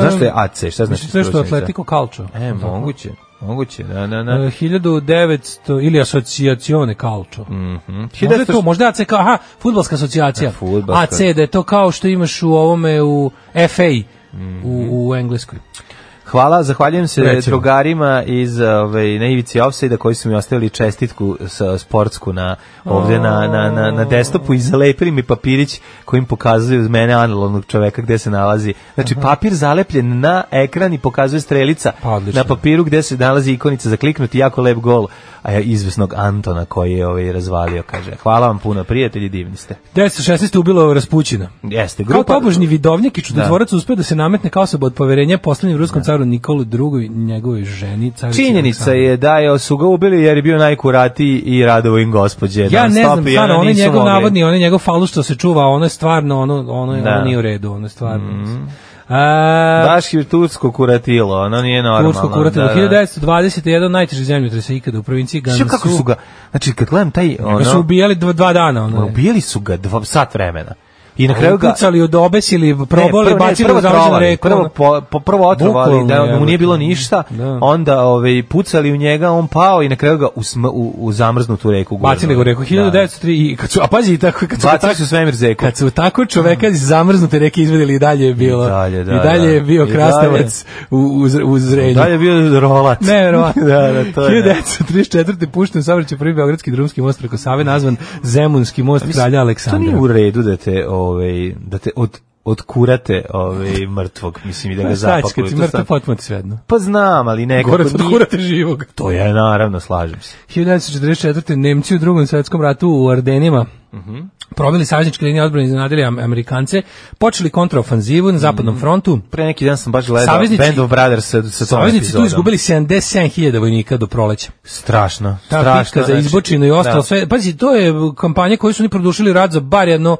Speaker 6: Zašto je AC? Šta znači?
Speaker 5: Mislim, nešto
Speaker 6: skraćenica?
Speaker 5: Atletico Calcio.
Speaker 6: E, moguće. Moguće, da, da,
Speaker 5: E,
Speaker 6: da.
Speaker 5: 1900 ili asocijacione Calcio.
Speaker 6: Mhm.
Speaker 5: Možda je to, možda je AC kao, aha, futbalska asocijacija.
Speaker 6: E, fudbalska.
Speaker 5: AC, da je to kao što imaš u ovome, u FA, u,
Speaker 6: Mhm.
Speaker 5: u Engleskoj.
Speaker 6: Hvala, zahvaljujem se
Speaker 5: Recimo.
Speaker 6: drugarima iz ovaj, na Ivici Offside koji su mi ostavili čestitku sa sportsku na, ovde na, na, na,
Speaker 5: Oh.
Speaker 6: na desktopu i zalepili mi papirić kojim pokazuju iz mene analognog čoveka gde se nalazi. Znači, papir zalepljen na ekran i pokazuje strelica
Speaker 5: Pa, odlično.
Speaker 6: na papiru gde se nalazi ikonica za kliknuti, jako lep gol a ja, izvesnog Antona koji je ovaj, razvalio, kaže. Hvala vam puno, prijatelji, divni ste.
Speaker 5: 1916. ubilo Raspućina.
Speaker 6: Jeste,
Speaker 5: Kao
Speaker 6: grupa...
Speaker 5: tobožni vidovnik i čudotvorac uspio da se nametne kao osoba od poverenja poslednjem ruskom caru Nikolu II i njegovoj ženi carici
Speaker 6: Činjenica
Speaker 5: Aleksandri.
Speaker 6: je da je su ga ubili jer je bio najkuratiji i radovo im gospođe.
Speaker 5: Ja ne znam,
Speaker 6: Non-stop i
Speaker 5: stvarno,
Speaker 6: ona
Speaker 5: on je
Speaker 6: nisu
Speaker 5: njegov
Speaker 6: mogli.
Speaker 5: navodni, on je njegov falus što se čuva, ono je stvarno, ono, ono, je-
Speaker 6: Da. Mhm.
Speaker 5: ono nije u redu, ono je stvarno. A,
Speaker 6: Baš je tursko kuratilo, ono nije normalno.
Speaker 5: Tursko kuratilo,
Speaker 6: da, da.
Speaker 5: 1921 najteži zemljotres ikada u provinciji
Speaker 6: Znaš kako su
Speaker 5: Gansu.
Speaker 6: ga, znači kad gledam taj,
Speaker 5: Ga su
Speaker 6: ono,
Speaker 5: ubijali dva, dva dana, ono. je.
Speaker 6: ubijeli su ga dva, sat vremena. I na kraju ga,
Speaker 5: Upucali, odobesili, probali,
Speaker 6: ne, prvo- ne,
Speaker 5: bacili
Speaker 6: prvo
Speaker 5: u zavađenu
Speaker 6: trovali,
Speaker 5: reku.
Speaker 6: Prvo,
Speaker 5: ono.
Speaker 6: po, po- prvo otrovali,
Speaker 5: Bukvalno,
Speaker 6: da mu nije
Speaker 5: jebote.
Speaker 6: bilo ništa,
Speaker 5: Da.
Speaker 6: onda ovaj, pucali u njega, on pao i na kraju ga u, sm- u, u zamrznutu reku. gurnuli.
Speaker 5: Bacili ga u reku,
Speaker 6: Da.
Speaker 5: 1903, i kad su, a pazi, i tako, kad su, ga
Speaker 6: Bacili
Speaker 5: tako,
Speaker 6: su svemir zeku.
Speaker 5: kad su tako čoveka iz zamrznute reke izvedeli i dalje je bilo.
Speaker 6: Mm. I dalje, da,
Speaker 5: i dalje
Speaker 6: da.
Speaker 5: je bio
Speaker 6: I
Speaker 5: krastavac u, u, Zre- u zrenju.
Speaker 6: Dalje je bio rolat.
Speaker 5: [laughs] Neverovatno.
Speaker 6: [laughs] da, da, to je. ne.
Speaker 5: 1934. pušten u saobraćaj prvi Beogradski drumski most preko Save, nazvan Zemunski most kralja
Speaker 6: To
Speaker 5: Aleksandra.
Speaker 6: nije u redu da te, ovaj, da te od, odkurate ovaj, mrtvog, mislim, i
Speaker 5: [laughs]
Speaker 6: da ga
Speaker 5: Pa šta će,
Speaker 6: zapakuju.
Speaker 5: kad si
Speaker 6: To
Speaker 5: mrtav,
Speaker 6: stvarno-
Speaker 5: potpuno ti svedno.
Speaker 6: Pa znam, ali nekako
Speaker 5: Gore od
Speaker 6: nije-
Speaker 5: kurate živog.
Speaker 6: To je, naravno, slažem se.
Speaker 5: 1944. Nemci u drugom svetskom ratu u Ardenima
Speaker 6: Mhm.
Speaker 5: proveli savezničke linije odbrane i iznenadili Am- Amerikance, počeli kontraofanzivu na
Speaker 6: Mhm.
Speaker 5: zapadnom frontu,
Speaker 6: Pre neki dan sam baš gledao
Speaker 5: Saveznici-
Speaker 6: Band of Brothers sa, sa tom
Speaker 5: saveznici tu
Speaker 6: epizodom.
Speaker 5: izgubili 77.000 vojnika do proleća.
Speaker 6: Strašno,
Speaker 5: Ta
Speaker 6: strašno.
Speaker 5: bitka za
Speaker 6: znači,
Speaker 5: izbočinu i ostalo
Speaker 6: da.
Speaker 5: sve, pazi, to je kampanja koju su oni produšili rad za bar jedno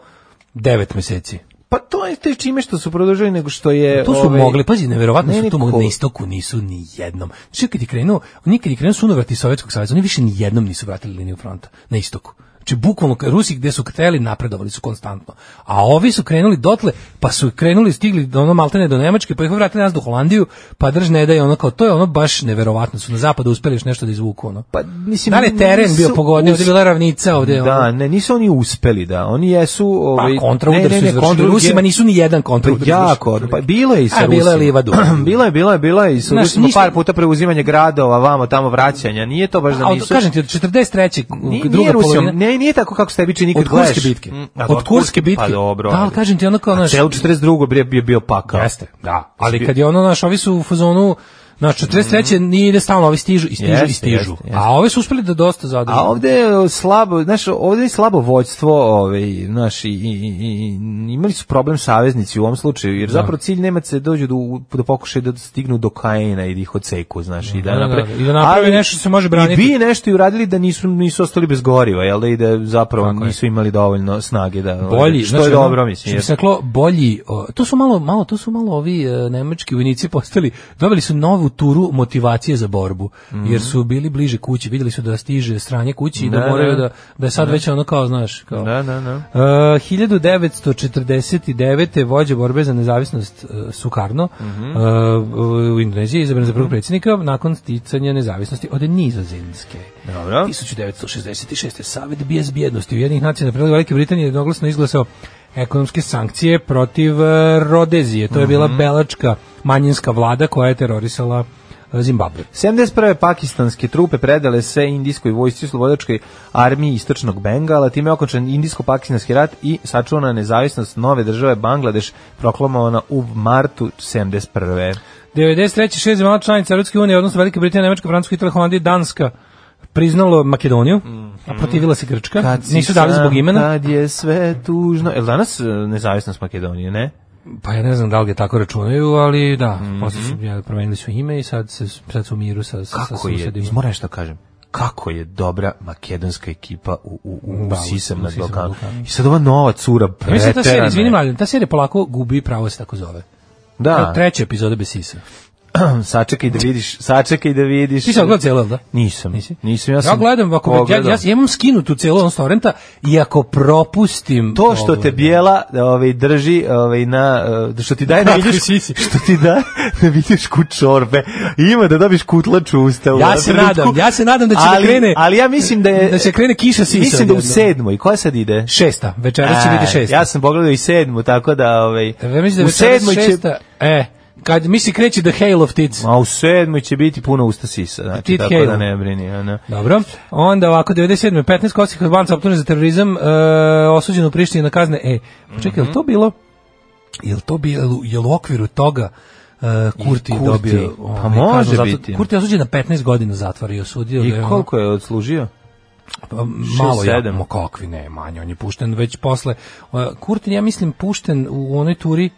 Speaker 5: 9 meseci.
Speaker 6: Pa to je te čime što su produžili nego što je...
Speaker 5: To su
Speaker 6: ovaj,
Speaker 5: mogli, pa- pazi, neverovatno
Speaker 6: ne,
Speaker 5: su to
Speaker 6: niko-
Speaker 5: mogli, na istoku nisu ni jednom. Znači, kad je krenuo, oni kad je krenuo sunovrati Sovjetskog saveza, oni više ni jednom nisu vratili liniju fronta, na istoku. Znači, bukvalno, ka- Rusi gde su hteli, napredovali su konstantno. A ovi su krenuli dotle, pa su krenuli, stigli do ono maltene do Nemačke, pa ih vratili nas do Holandiju, pa drž ne da je ono kao, to je ono baš neverovatno, su na zapadu uspeli još nešto da izvuku, ono.
Speaker 6: Pa, mislim,
Speaker 5: da li je teren bio
Speaker 6: nisu
Speaker 5: pogodniji, ovde je
Speaker 6: uspeli.
Speaker 5: bila ravnica, ovde je ono.
Speaker 6: Da, ne, nisu oni uspeli, da. Oni jesu... Ovaj,
Speaker 5: Pa kontraudar su izvršili,
Speaker 6: kontraudar je-
Speaker 5: Rusima nisu ni jedan kontraudar.
Speaker 6: Jako, pa bilo je i sa
Speaker 5: A,
Speaker 6: Rusima.
Speaker 5: bilo je
Speaker 6: [clears throat]
Speaker 5: livadu.
Speaker 6: bilo je, bilo je, bilo je i sa
Speaker 5: Znaš,
Speaker 6: Rusima
Speaker 5: ništa-
Speaker 6: par puta preuzimanje gradova, vamo, tamo vraćanja. Nije to baš da
Speaker 5: A,
Speaker 6: nisu.
Speaker 5: kažem ti, od 43.
Speaker 6: Nije,
Speaker 5: druga
Speaker 6: nije Rusijom,
Speaker 5: polovina-
Speaker 6: ne, nije tako kako se tebi čini kad
Speaker 5: Od
Speaker 6: gledaš.
Speaker 5: Kurske bitke.
Speaker 6: Mm, a,
Speaker 5: Od Kurske bitke.
Speaker 6: Pa dobro.
Speaker 5: Da, ali
Speaker 6: ajde.
Speaker 5: kažem ti ono kao
Speaker 6: A
Speaker 5: naš...
Speaker 6: Cel 42. bio bio, bio pakao.
Speaker 5: Jeste, da. Ali kad je ono naš, ovi su u fazonu... Naš 43. nije ide stalno, ovi stižu i stižu i
Speaker 6: Mhm. Jeste,
Speaker 5: stižu.
Speaker 6: jeste, jeste.
Speaker 5: A ovi su uspeli da dosta zadrže.
Speaker 6: A ovde je slabo, znaš, ovde je slabo vođstvo, ovaj, znaš, i, i, i- i- imali su problem saveznici u ovom slučaju, jer zapravo cilj Nemaca je dođu do, do pokušaja da stignu do Kajena i da ih odseku, znaš, i da,
Speaker 5: Da, da,
Speaker 6: napre,
Speaker 5: da, i da naprave
Speaker 6: Ali-
Speaker 5: nešto što se može braniti.
Speaker 6: I bi nešto i uradili da nisu, nisu ostali bez goriva, jel da, i da zapravo
Speaker 5: Tako je.
Speaker 6: nisu imali dovoljno snage da, ovaj,
Speaker 5: bolji,
Speaker 6: znači, što
Speaker 5: znaš,
Speaker 6: je
Speaker 5: ono,
Speaker 6: dobro, mislim.
Speaker 5: Što bi
Speaker 6: jer-
Speaker 5: se reklo, bolji, o, to su malo, malo, to su malo ovi e, nemački vojnici [laughs] postali, dobili su novu turu motivacije za borbu, jer su bili bliže kući, vidjeli su da stiže stranje kući i da
Speaker 6: Mhm. Da,
Speaker 5: moraju
Speaker 6: da.
Speaker 5: da, da je sad već ono kao, znaš, kao,
Speaker 6: Da, da, da.
Speaker 5: Uh, 1949. vođa borbe za nezavisnost uh, Sukarno uh, u Indoneziji je izabran za prvog predsjednika nakon sticanja nezavisnosti od Nizozemske.
Speaker 6: Dobro.
Speaker 5: 1966. Savet bez bijednosti Ujedinih nacija na predlog Velike Britanije jednoglasno izglasao ekonomske sankcije protiv uh, Rodezije. To je bila belačka manjinska vlada koja je terorisala uh, Zimbabwe.
Speaker 6: 71. pakistanske trupe predale se indijskoj vojsci slobodačkoj armiji istočnog Bengala, time je okončan indijsko-pakistanski rat i sačuvana nezavisnost nove države Bangladeš proklamovana u martu 71.
Speaker 5: 93. šest zemalja članica Europske unije, odnosno Velika Britanija, Nemačka, Francuska, Italija, Holandija i Danska priznalo Makedoniju, a protivila se Grčka.
Speaker 6: Mhm. Kad si
Speaker 5: Nisu dali
Speaker 6: sam,
Speaker 5: zbog imena.
Speaker 6: Kad je sve tužno. Jel danas e, nezavisnost Makedonije, ne?
Speaker 5: Pa ja ne znam da li ga tako računaju, ali
Speaker 6: Mhm.
Speaker 5: da, posle su ja, promenili su ime i sad, se, sad su u miru sa, sa, sa
Speaker 6: Kako je?
Speaker 5: susedima.
Speaker 6: Moram nešto da kažem. kako je dobra makedonska ekipa u, u, u,
Speaker 5: Da,
Speaker 6: u sisam
Speaker 5: u
Speaker 6: na
Speaker 5: sisam
Speaker 6: Balkanu.
Speaker 5: Balkanu.
Speaker 6: I sad ova nova cura
Speaker 5: Ja mislim da ta serija,
Speaker 6: preterana
Speaker 5: izvini
Speaker 6: je.
Speaker 5: mladen, ta serija polako gubi pravo se tako zove. Evo,
Speaker 6: Da,
Speaker 5: Treća epizoda bez sisa.
Speaker 6: sačekaj da vidiš, sačekaj da vidiš.
Speaker 5: Ti si odgledao cijelo, jel da?
Speaker 6: Nisam,
Speaker 5: Nisi?
Speaker 6: nisam, ja sam
Speaker 5: ja gledam, ako bi- ja,
Speaker 6: pogledao.
Speaker 5: ja, ja imam skinutu cijelu on torrenta ono i ako propustim...
Speaker 6: to što te
Speaker 5: pogledam.
Speaker 6: bijela ovaj drži ovaj na eh, što ti daje da
Speaker 5: Kakvi
Speaker 6: vidiš
Speaker 5: sisi.
Speaker 6: što ti [laughs] da da vidiš kut čorbe ima da dobiš kutlač u ustavu
Speaker 5: Ja
Speaker 6: na
Speaker 5: se
Speaker 6: trenutku.
Speaker 5: nadam, ja se nadam da će da
Speaker 6: ali,
Speaker 5: krene-
Speaker 6: ali ja mislim da je
Speaker 5: da će krene kiša sisa
Speaker 6: mislim da u
Speaker 5: odjednom.
Speaker 6: sedmoj koja sad ide
Speaker 5: Šesta, večeras će
Speaker 6: E,
Speaker 5: biti šesta.
Speaker 6: ja sam pogledao i sedmu tako da ovaj
Speaker 5: Ja mislim da je
Speaker 6: u
Speaker 5: večeras
Speaker 6: sedmoj će
Speaker 5: šesta... E, kad mi se kreće The Hail of Tids.
Speaker 6: a u sedmoj će biti puno usta sisa znači
Speaker 5: Tit
Speaker 6: tako
Speaker 5: Hale.
Speaker 6: da ne brini ono. ona
Speaker 5: Dobro. Onda ovako 97. 15 kosih Albanca optužen za terorizam, e, osuđen u Prištini na kazne. E, čekaj,
Speaker 6: Mhm.
Speaker 5: je li to bilo? Je li to bilo je li u okviru toga e, Kurti,
Speaker 6: Kurti.
Speaker 5: dobio?
Speaker 6: Pa
Speaker 5: ovaj, kaznu
Speaker 6: može
Speaker 5: zatvora?
Speaker 6: biti.
Speaker 5: Kurti je osuđen na 15 godina zatvora i osudio
Speaker 6: i
Speaker 5: ga ono-
Speaker 6: koliko je odslužio
Speaker 5: Pa, malo ja,
Speaker 6: sedam.
Speaker 5: ma kakvi ne, manje, on je pušten već posle. E, Kurtin, ja mislim, pušten u onoj turi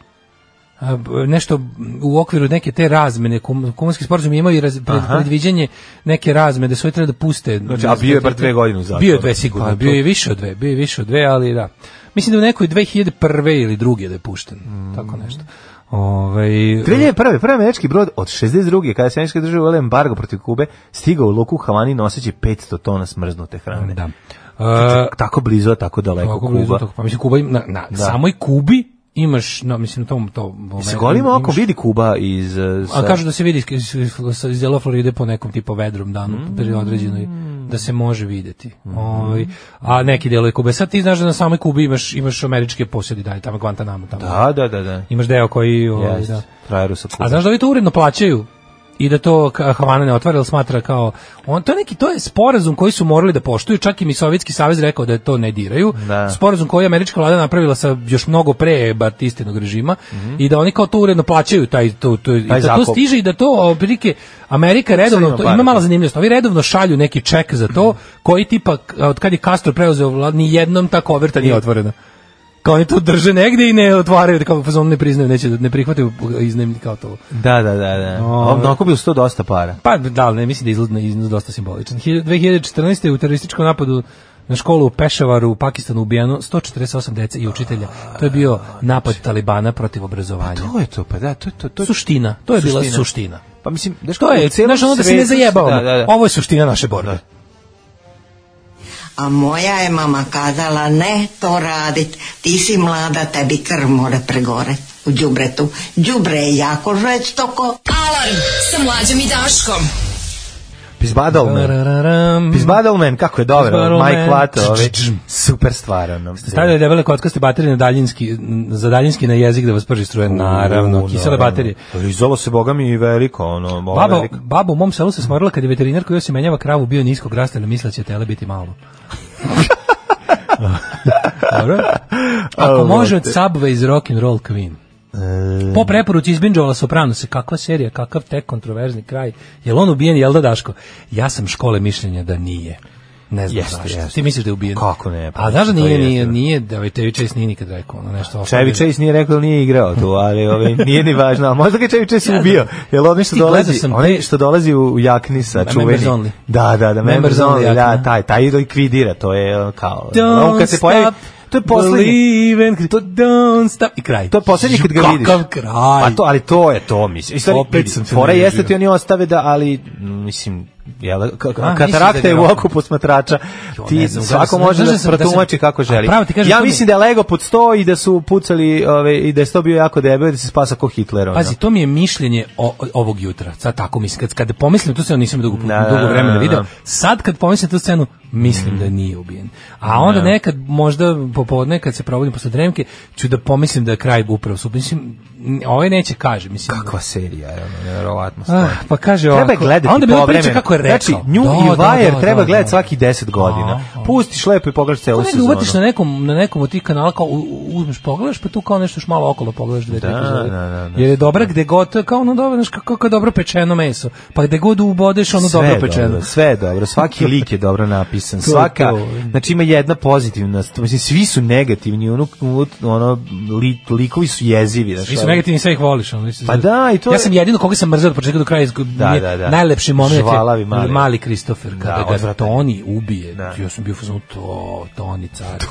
Speaker 5: a, b- nešto u okviru neke te razmene, kum, kumanski sporazum je imao i raz, pred, predviđenje neke razmene, da su ovi trebali da puste.
Speaker 6: Znači, a bio je bar dve godine u zatvoru.
Speaker 5: Bio je dve sigurno,
Speaker 6: Pa to-
Speaker 5: bio je više od dve, bio je više od dve, ali da. Mislim da u nekoj 2001. ili druge da je pušten,
Speaker 6: Mm.
Speaker 5: tako nešto. Ovaj,
Speaker 6: 2001. prvi američki brod od 62. kada se američke države uvele embargo protiv Kube stigao u luku u Havani noseći 500 tona smrznute hrane.
Speaker 5: da. E,
Speaker 6: Znači, tako blizu, a tako daleko
Speaker 5: Tako
Speaker 6: Kuba.
Speaker 5: blizu toga. Pa mislim Kuba im- na, na samoj Kubi imaš no mislim na tom to
Speaker 6: Se golim oko vidi Kuba iz... e,
Speaker 5: A
Speaker 6: Sa,
Speaker 5: kažu da se vidi iz, iz, iz Jelo Floride po nekom tipu vedrom danu pri
Speaker 6: Mm.
Speaker 5: određenoj da se može videti.
Speaker 6: Mm-hmm.
Speaker 5: Ovaj, a neki delovi Kube. Sad ti znaš da na samoj Kubi imaš imaš američke posjedi dalje tamo Guantanamo tamo.
Speaker 6: Da, da, da, da.
Speaker 5: Imaš deo koji ovaj,
Speaker 6: Yes.
Speaker 5: da.
Speaker 6: Frajeru sa Kuba.
Speaker 5: A znaš da ovi to uredno plaćaju? I da to ka- Havana ne otvara, jer smatra kao... On, to je neki, to je sporazum koji su morali da poštuju, čak i mi Sovjetski savez rekao da to ne diraju.
Speaker 6: Da.
Speaker 5: Sporazum koji je američka vlada napravila sa još mnogo pre Batistinog režima i da oni kao to uredno plaćaju taj, to, to, i
Speaker 6: Mhm. Taj
Speaker 5: da to
Speaker 6: zakup.
Speaker 5: stiže i da to otprilike Amerika redovno,
Speaker 6: ima
Speaker 5: Ono, to,
Speaker 6: para,
Speaker 5: ima mala
Speaker 6: da.
Speaker 5: zanimljivost, ovi redovno šalju neki ček za to koji tipa, k- od kad je Castro preuzeo vladu, ni jednom ta koverta nije otvorena kao oni to drže negde i ne otvaraju, kao fazon ne priznaju, neće, da- ne prihvataju iznajmlji kao to.
Speaker 6: Da, da, da, da.
Speaker 5: Ove.
Speaker 6: Ovom nakupio sto dosta para.
Speaker 5: Pa da, ali ne mislim da je izgleda iznos dosta simboličan. Hilj- 2014. u terorističkom napadu na školu u Pešavaru u Pakistanu ubijeno 148 dece i učitelja. To je bio napad Talibana protiv obrazovanja.
Speaker 6: To je to, pa da, to je to. to je-
Speaker 5: Suština, to je bila
Speaker 6: Suština.
Speaker 5: suština.
Speaker 6: Pa mislim, da
Speaker 5: To je, znaš ono da se ne zajebavamo. Ovo je suština naše borbe.
Speaker 2: A moja je mama kazala ne to radit, ti si mlada, tebi krv more pregore u đubretu. Đubre je jako žestoko.
Speaker 4: Alarm sa mlađom i Daškom.
Speaker 6: Pizbadal men.
Speaker 5: Tarararam.
Speaker 6: Pizbadal men, kako je dobro.
Speaker 5: Pizbadal Man.
Speaker 6: Mike Vato, ovaj,
Speaker 5: Tš, tš, tš.
Speaker 6: super stvar. ono.
Speaker 5: Stavljaju debele kockaste baterije na daljinski, n- za daljinski na jezik da vas prži struje, naravno,
Speaker 6: U,
Speaker 5: kisele
Speaker 6: naravno.
Speaker 5: baterije.
Speaker 6: Lizalo se, boga mi, Ono, i veliko, ono, ovo
Speaker 5: Baba, E,
Speaker 6: veliko.
Speaker 5: baba u mom selu se smorila kad je veterinar koji se menjava kravu bio niskog rasta, ne misle da će tele biti
Speaker 6: [laughs]
Speaker 5: malo. Dobro. Ako
Speaker 6: Ovo
Speaker 5: može od
Speaker 6: te.
Speaker 5: Subway iz Rock'n'Roll Queen. Po preporuci izbinđovala Soprano se, kakva serija, kakav tek kontroverzni kraj. Jel on ubijen, jel da Daško? Ja sam škole mišljenja da nije. Ne znam
Speaker 6: Jeste,
Speaker 5: zašto.
Speaker 6: jeste.
Speaker 5: Ti misliš da je ubijen?
Speaker 6: Kako ne, pa
Speaker 5: A znaš da
Speaker 6: to
Speaker 5: nije,
Speaker 6: jeste.
Speaker 5: nije, nije, da ovaj Tevi Chase nije nikad rekao ono nešto.
Speaker 6: Čevi
Speaker 5: ostavljeno.
Speaker 6: Chase nije rekao da nije igrao tu, ali ovaj, nije ni važno. A možda ga Čevi Chase ubio, jer onaj što
Speaker 5: Ti gledao
Speaker 6: dolazi,
Speaker 5: sam
Speaker 6: onaj
Speaker 5: te-
Speaker 6: što dolazi u, u jakni sa
Speaker 5: Members
Speaker 6: čuveni.
Speaker 5: only.
Speaker 6: Da, da, da, members
Speaker 5: Members only
Speaker 6: only, da,
Speaker 5: jakna.
Speaker 6: taj, taj likvidira, to je ono, kao,
Speaker 5: Don't
Speaker 6: on kad se pojavi,
Speaker 5: stop
Speaker 6: to je poslednji,
Speaker 5: believing, to don't stop i kraj.
Speaker 6: to je poslednji kad ga
Speaker 5: Kakav
Speaker 6: vidiš.
Speaker 5: kraj.
Speaker 6: Pa to, ali to je to, mislim. I stvari,
Speaker 5: Opet
Speaker 6: vidi,
Speaker 5: sam se
Speaker 6: fora
Speaker 5: nervirao.
Speaker 6: jeste ti oni ostave da, ali, mm, mislim, jel, ka- ka-
Speaker 5: A, mislim
Speaker 6: katarakta
Speaker 5: da
Speaker 6: je
Speaker 5: je
Speaker 6: u
Speaker 5: rock.
Speaker 6: oku posmatrača.
Speaker 5: Jo,
Speaker 6: Ti
Speaker 5: ne znam,
Speaker 6: svako
Speaker 5: znaš da
Speaker 6: može
Speaker 5: sam-
Speaker 6: da
Speaker 5: znaš da sam- da sam-
Speaker 6: protumači kako
Speaker 5: a
Speaker 6: želi.
Speaker 5: pravo ti kažem,
Speaker 6: Ja
Speaker 5: to mi-
Speaker 6: mislim da je Lego pod 100 i da su pucali ove, i da je to bio jako debel i da se spasa ko Hitler. Ono.
Speaker 5: Pazi, to mi je mišljenje o, ovog jutra. Sad tako mislim, kad, kad pomislim tu scenu, nisam dugo,
Speaker 6: Da,
Speaker 5: dugo
Speaker 6: da, da, Mm.
Speaker 5: vremena
Speaker 6: da.
Speaker 5: video, sad kad pomislim tu scenu, mislim da nije ubijen. A onda nekad, možda popodne, kad se probudim posle dremke, ću da pomislim da je kraj upravo su. Mislim, n- ovaj neće kaže, mislim.
Speaker 6: Kakva serija, je, ono, nevjerovatno.
Speaker 5: Ah,
Speaker 6: stvar.
Speaker 5: pa kaže ovako.
Speaker 6: Treba je gledati
Speaker 5: a onda bi on
Speaker 6: povremeno.
Speaker 5: pričao kako je rekao.
Speaker 6: Znači, nju
Speaker 5: Da,
Speaker 6: i
Speaker 5: da,
Speaker 6: Wire
Speaker 5: da,
Speaker 6: treba
Speaker 5: da,
Speaker 6: gledati
Speaker 5: da.
Speaker 6: svaki 10 godina.
Speaker 5: A, a.
Speaker 6: Pustiš lepo i pogledaš celu
Speaker 5: Kako
Speaker 6: sezonu.
Speaker 5: negdje Ono uvatiš na nekom, na nekom od tih kanala, kao u- u- uzmeš, pogledaš, pa tu kao nešto još malo okolo pogledaš dve, tri
Speaker 6: Da,
Speaker 5: epizode.
Speaker 6: da, da, da.
Speaker 5: Jer je dobra gde god, to je kao ono dobro, znaš, kako, kako je dobro pečeno meso. Pa gde god ubodeš, ono
Speaker 6: Sve
Speaker 5: dobro
Speaker 6: je
Speaker 5: pečeno.
Speaker 6: dobro, sve je dobro, svaki lik je dobro
Speaker 5: [laughs]
Speaker 6: napisan,
Speaker 5: To je
Speaker 6: svaka,
Speaker 5: to.
Speaker 6: znači ima jedna pozitivna, st- mislim svi su negativni, ono, ono li, likovi su jezivi, znači.
Speaker 5: Svi su negativni, sve ih voliš. Ono, mislim,
Speaker 6: Pa da, i to
Speaker 5: Ja
Speaker 6: je-
Speaker 5: sam jedino koga sam mrzeo od početka do kraja, izgu-
Speaker 6: Da,
Speaker 5: mi je
Speaker 6: da, da.
Speaker 5: najlepši moment je
Speaker 6: Žvalavi mali.
Speaker 5: mali Kristofer, kada
Speaker 6: Da,
Speaker 5: ga
Speaker 6: odvratan.
Speaker 5: Toni ubije,
Speaker 6: Da.
Speaker 5: ja sam bio fuzon, to, Toni car,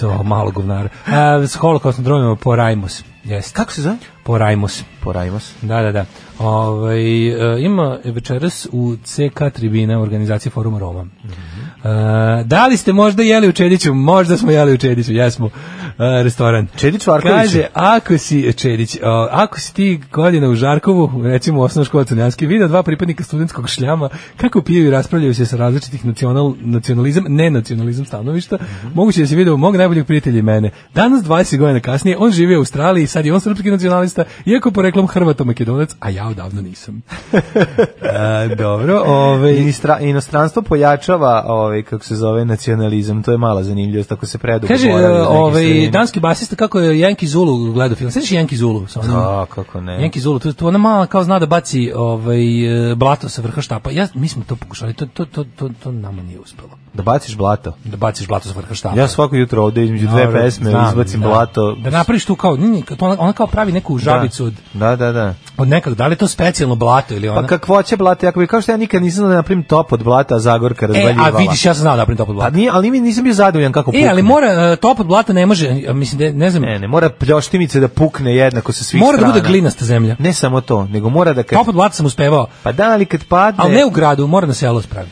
Speaker 5: to, malo govnar. A, s holokaustnom drugom po Rajmus, jeste.
Speaker 6: Kako se zove?
Speaker 5: Po Rajmus.
Speaker 6: Porajmos.
Speaker 5: Da, da, da. Ovaj, e, ima večeras u CK tribina organizacije Foruma Roma. E, da li ste možda jeli u Čediću? Možda smo jeli u Čediću, jesmo. E, restoran.
Speaker 6: Čedić Varković.
Speaker 5: Kaže, ako si, Čedić, o, ako si ti godina u Žarkovu, recimo u osnovnoj školi Crnjanske, video dva pripadnika studentskog šljama, kako piju i raspravljaju se sa različitih nacional, nacionalizam, ne nacionalizam stanovišta, moguće da si video mog najboljeg prijatelja i mene. Danas, 20 godina kasnije, on živi u Australiji, sad je on srpski nacionalista, iako poreklom Hrvato-Makedonac, a ja odavno nisam. E, dobro, ovaj,
Speaker 6: Inistra, inostranstvo pojačava ovaj kako se zove nacionalizam, to je mala zanimljivost ako se predugo
Speaker 5: Kaže,
Speaker 6: boravi u
Speaker 5: e,
Speaker 6: nekim
Speaker 5: ovaj,
Speaker 6: sredinama.
Speaker 5: danski basista kako je Janki Zulu gledao film. Sveći Janki Zulu sa onim
Speaker 6: Da, kako ne.
Speaker 5: Jenki Zulu, to, to ona mala kao zna da baci ovaj, e, blato sa vrha štapa. Ja, mi smo to pokušali, to, to, to, to, to nama nije uspelo.
Speaker 6: Da baciš blato.
Speaker 5: Da baciš blato sa vrha štapa.
Speaker 6: Ja svako jutro ovde između dve
Speaker 5: Naravno,
Speaker 6: pesme
Speaker 5: znam,
Speaker 6: izbacim
Speaker 5: da.
Speaker 6: blato.
Speaker 5: Da napraviš tu kao, nije, to ona, ona kao pravi neku žabicu od,
Speaker 6: Da, da, da.
Speaker 5: od nekog, da li je to specijalno blato ili ona?
Speaker 6: Pa kakvoće blata, ako bi kao što ja nikad nisam znao da napravim top od blata, a Zagorka
Speaker 5: e,
Speaker 6: razvaljivala.
Speaker 5: a vidiš, ja sam znao da napravim to pod
Speaker 6: Pa
Speaker 5: blato.
Speaker 6: nije, ali mi nisam bio zadovoljan kako pukne.
Speaker 5: E, ali mora, e, top od blata ne može, e, mislim, ne, ne znam,
Speaker 6: Ne, ne, mora pljoštimice da pukne jednako sa svih
Speaker 5: mora
Speaker 6: strana.
Speaker 5: da bude glinasta zemlja.
Speaker 6: Ne samo to, nego mora da kad...
Speaker 5: Top od blata sam uspevao,
Speaker 6: Pa da, ali kad padne...
Speaker 5: ali ne u gradu, mora na selu spravi.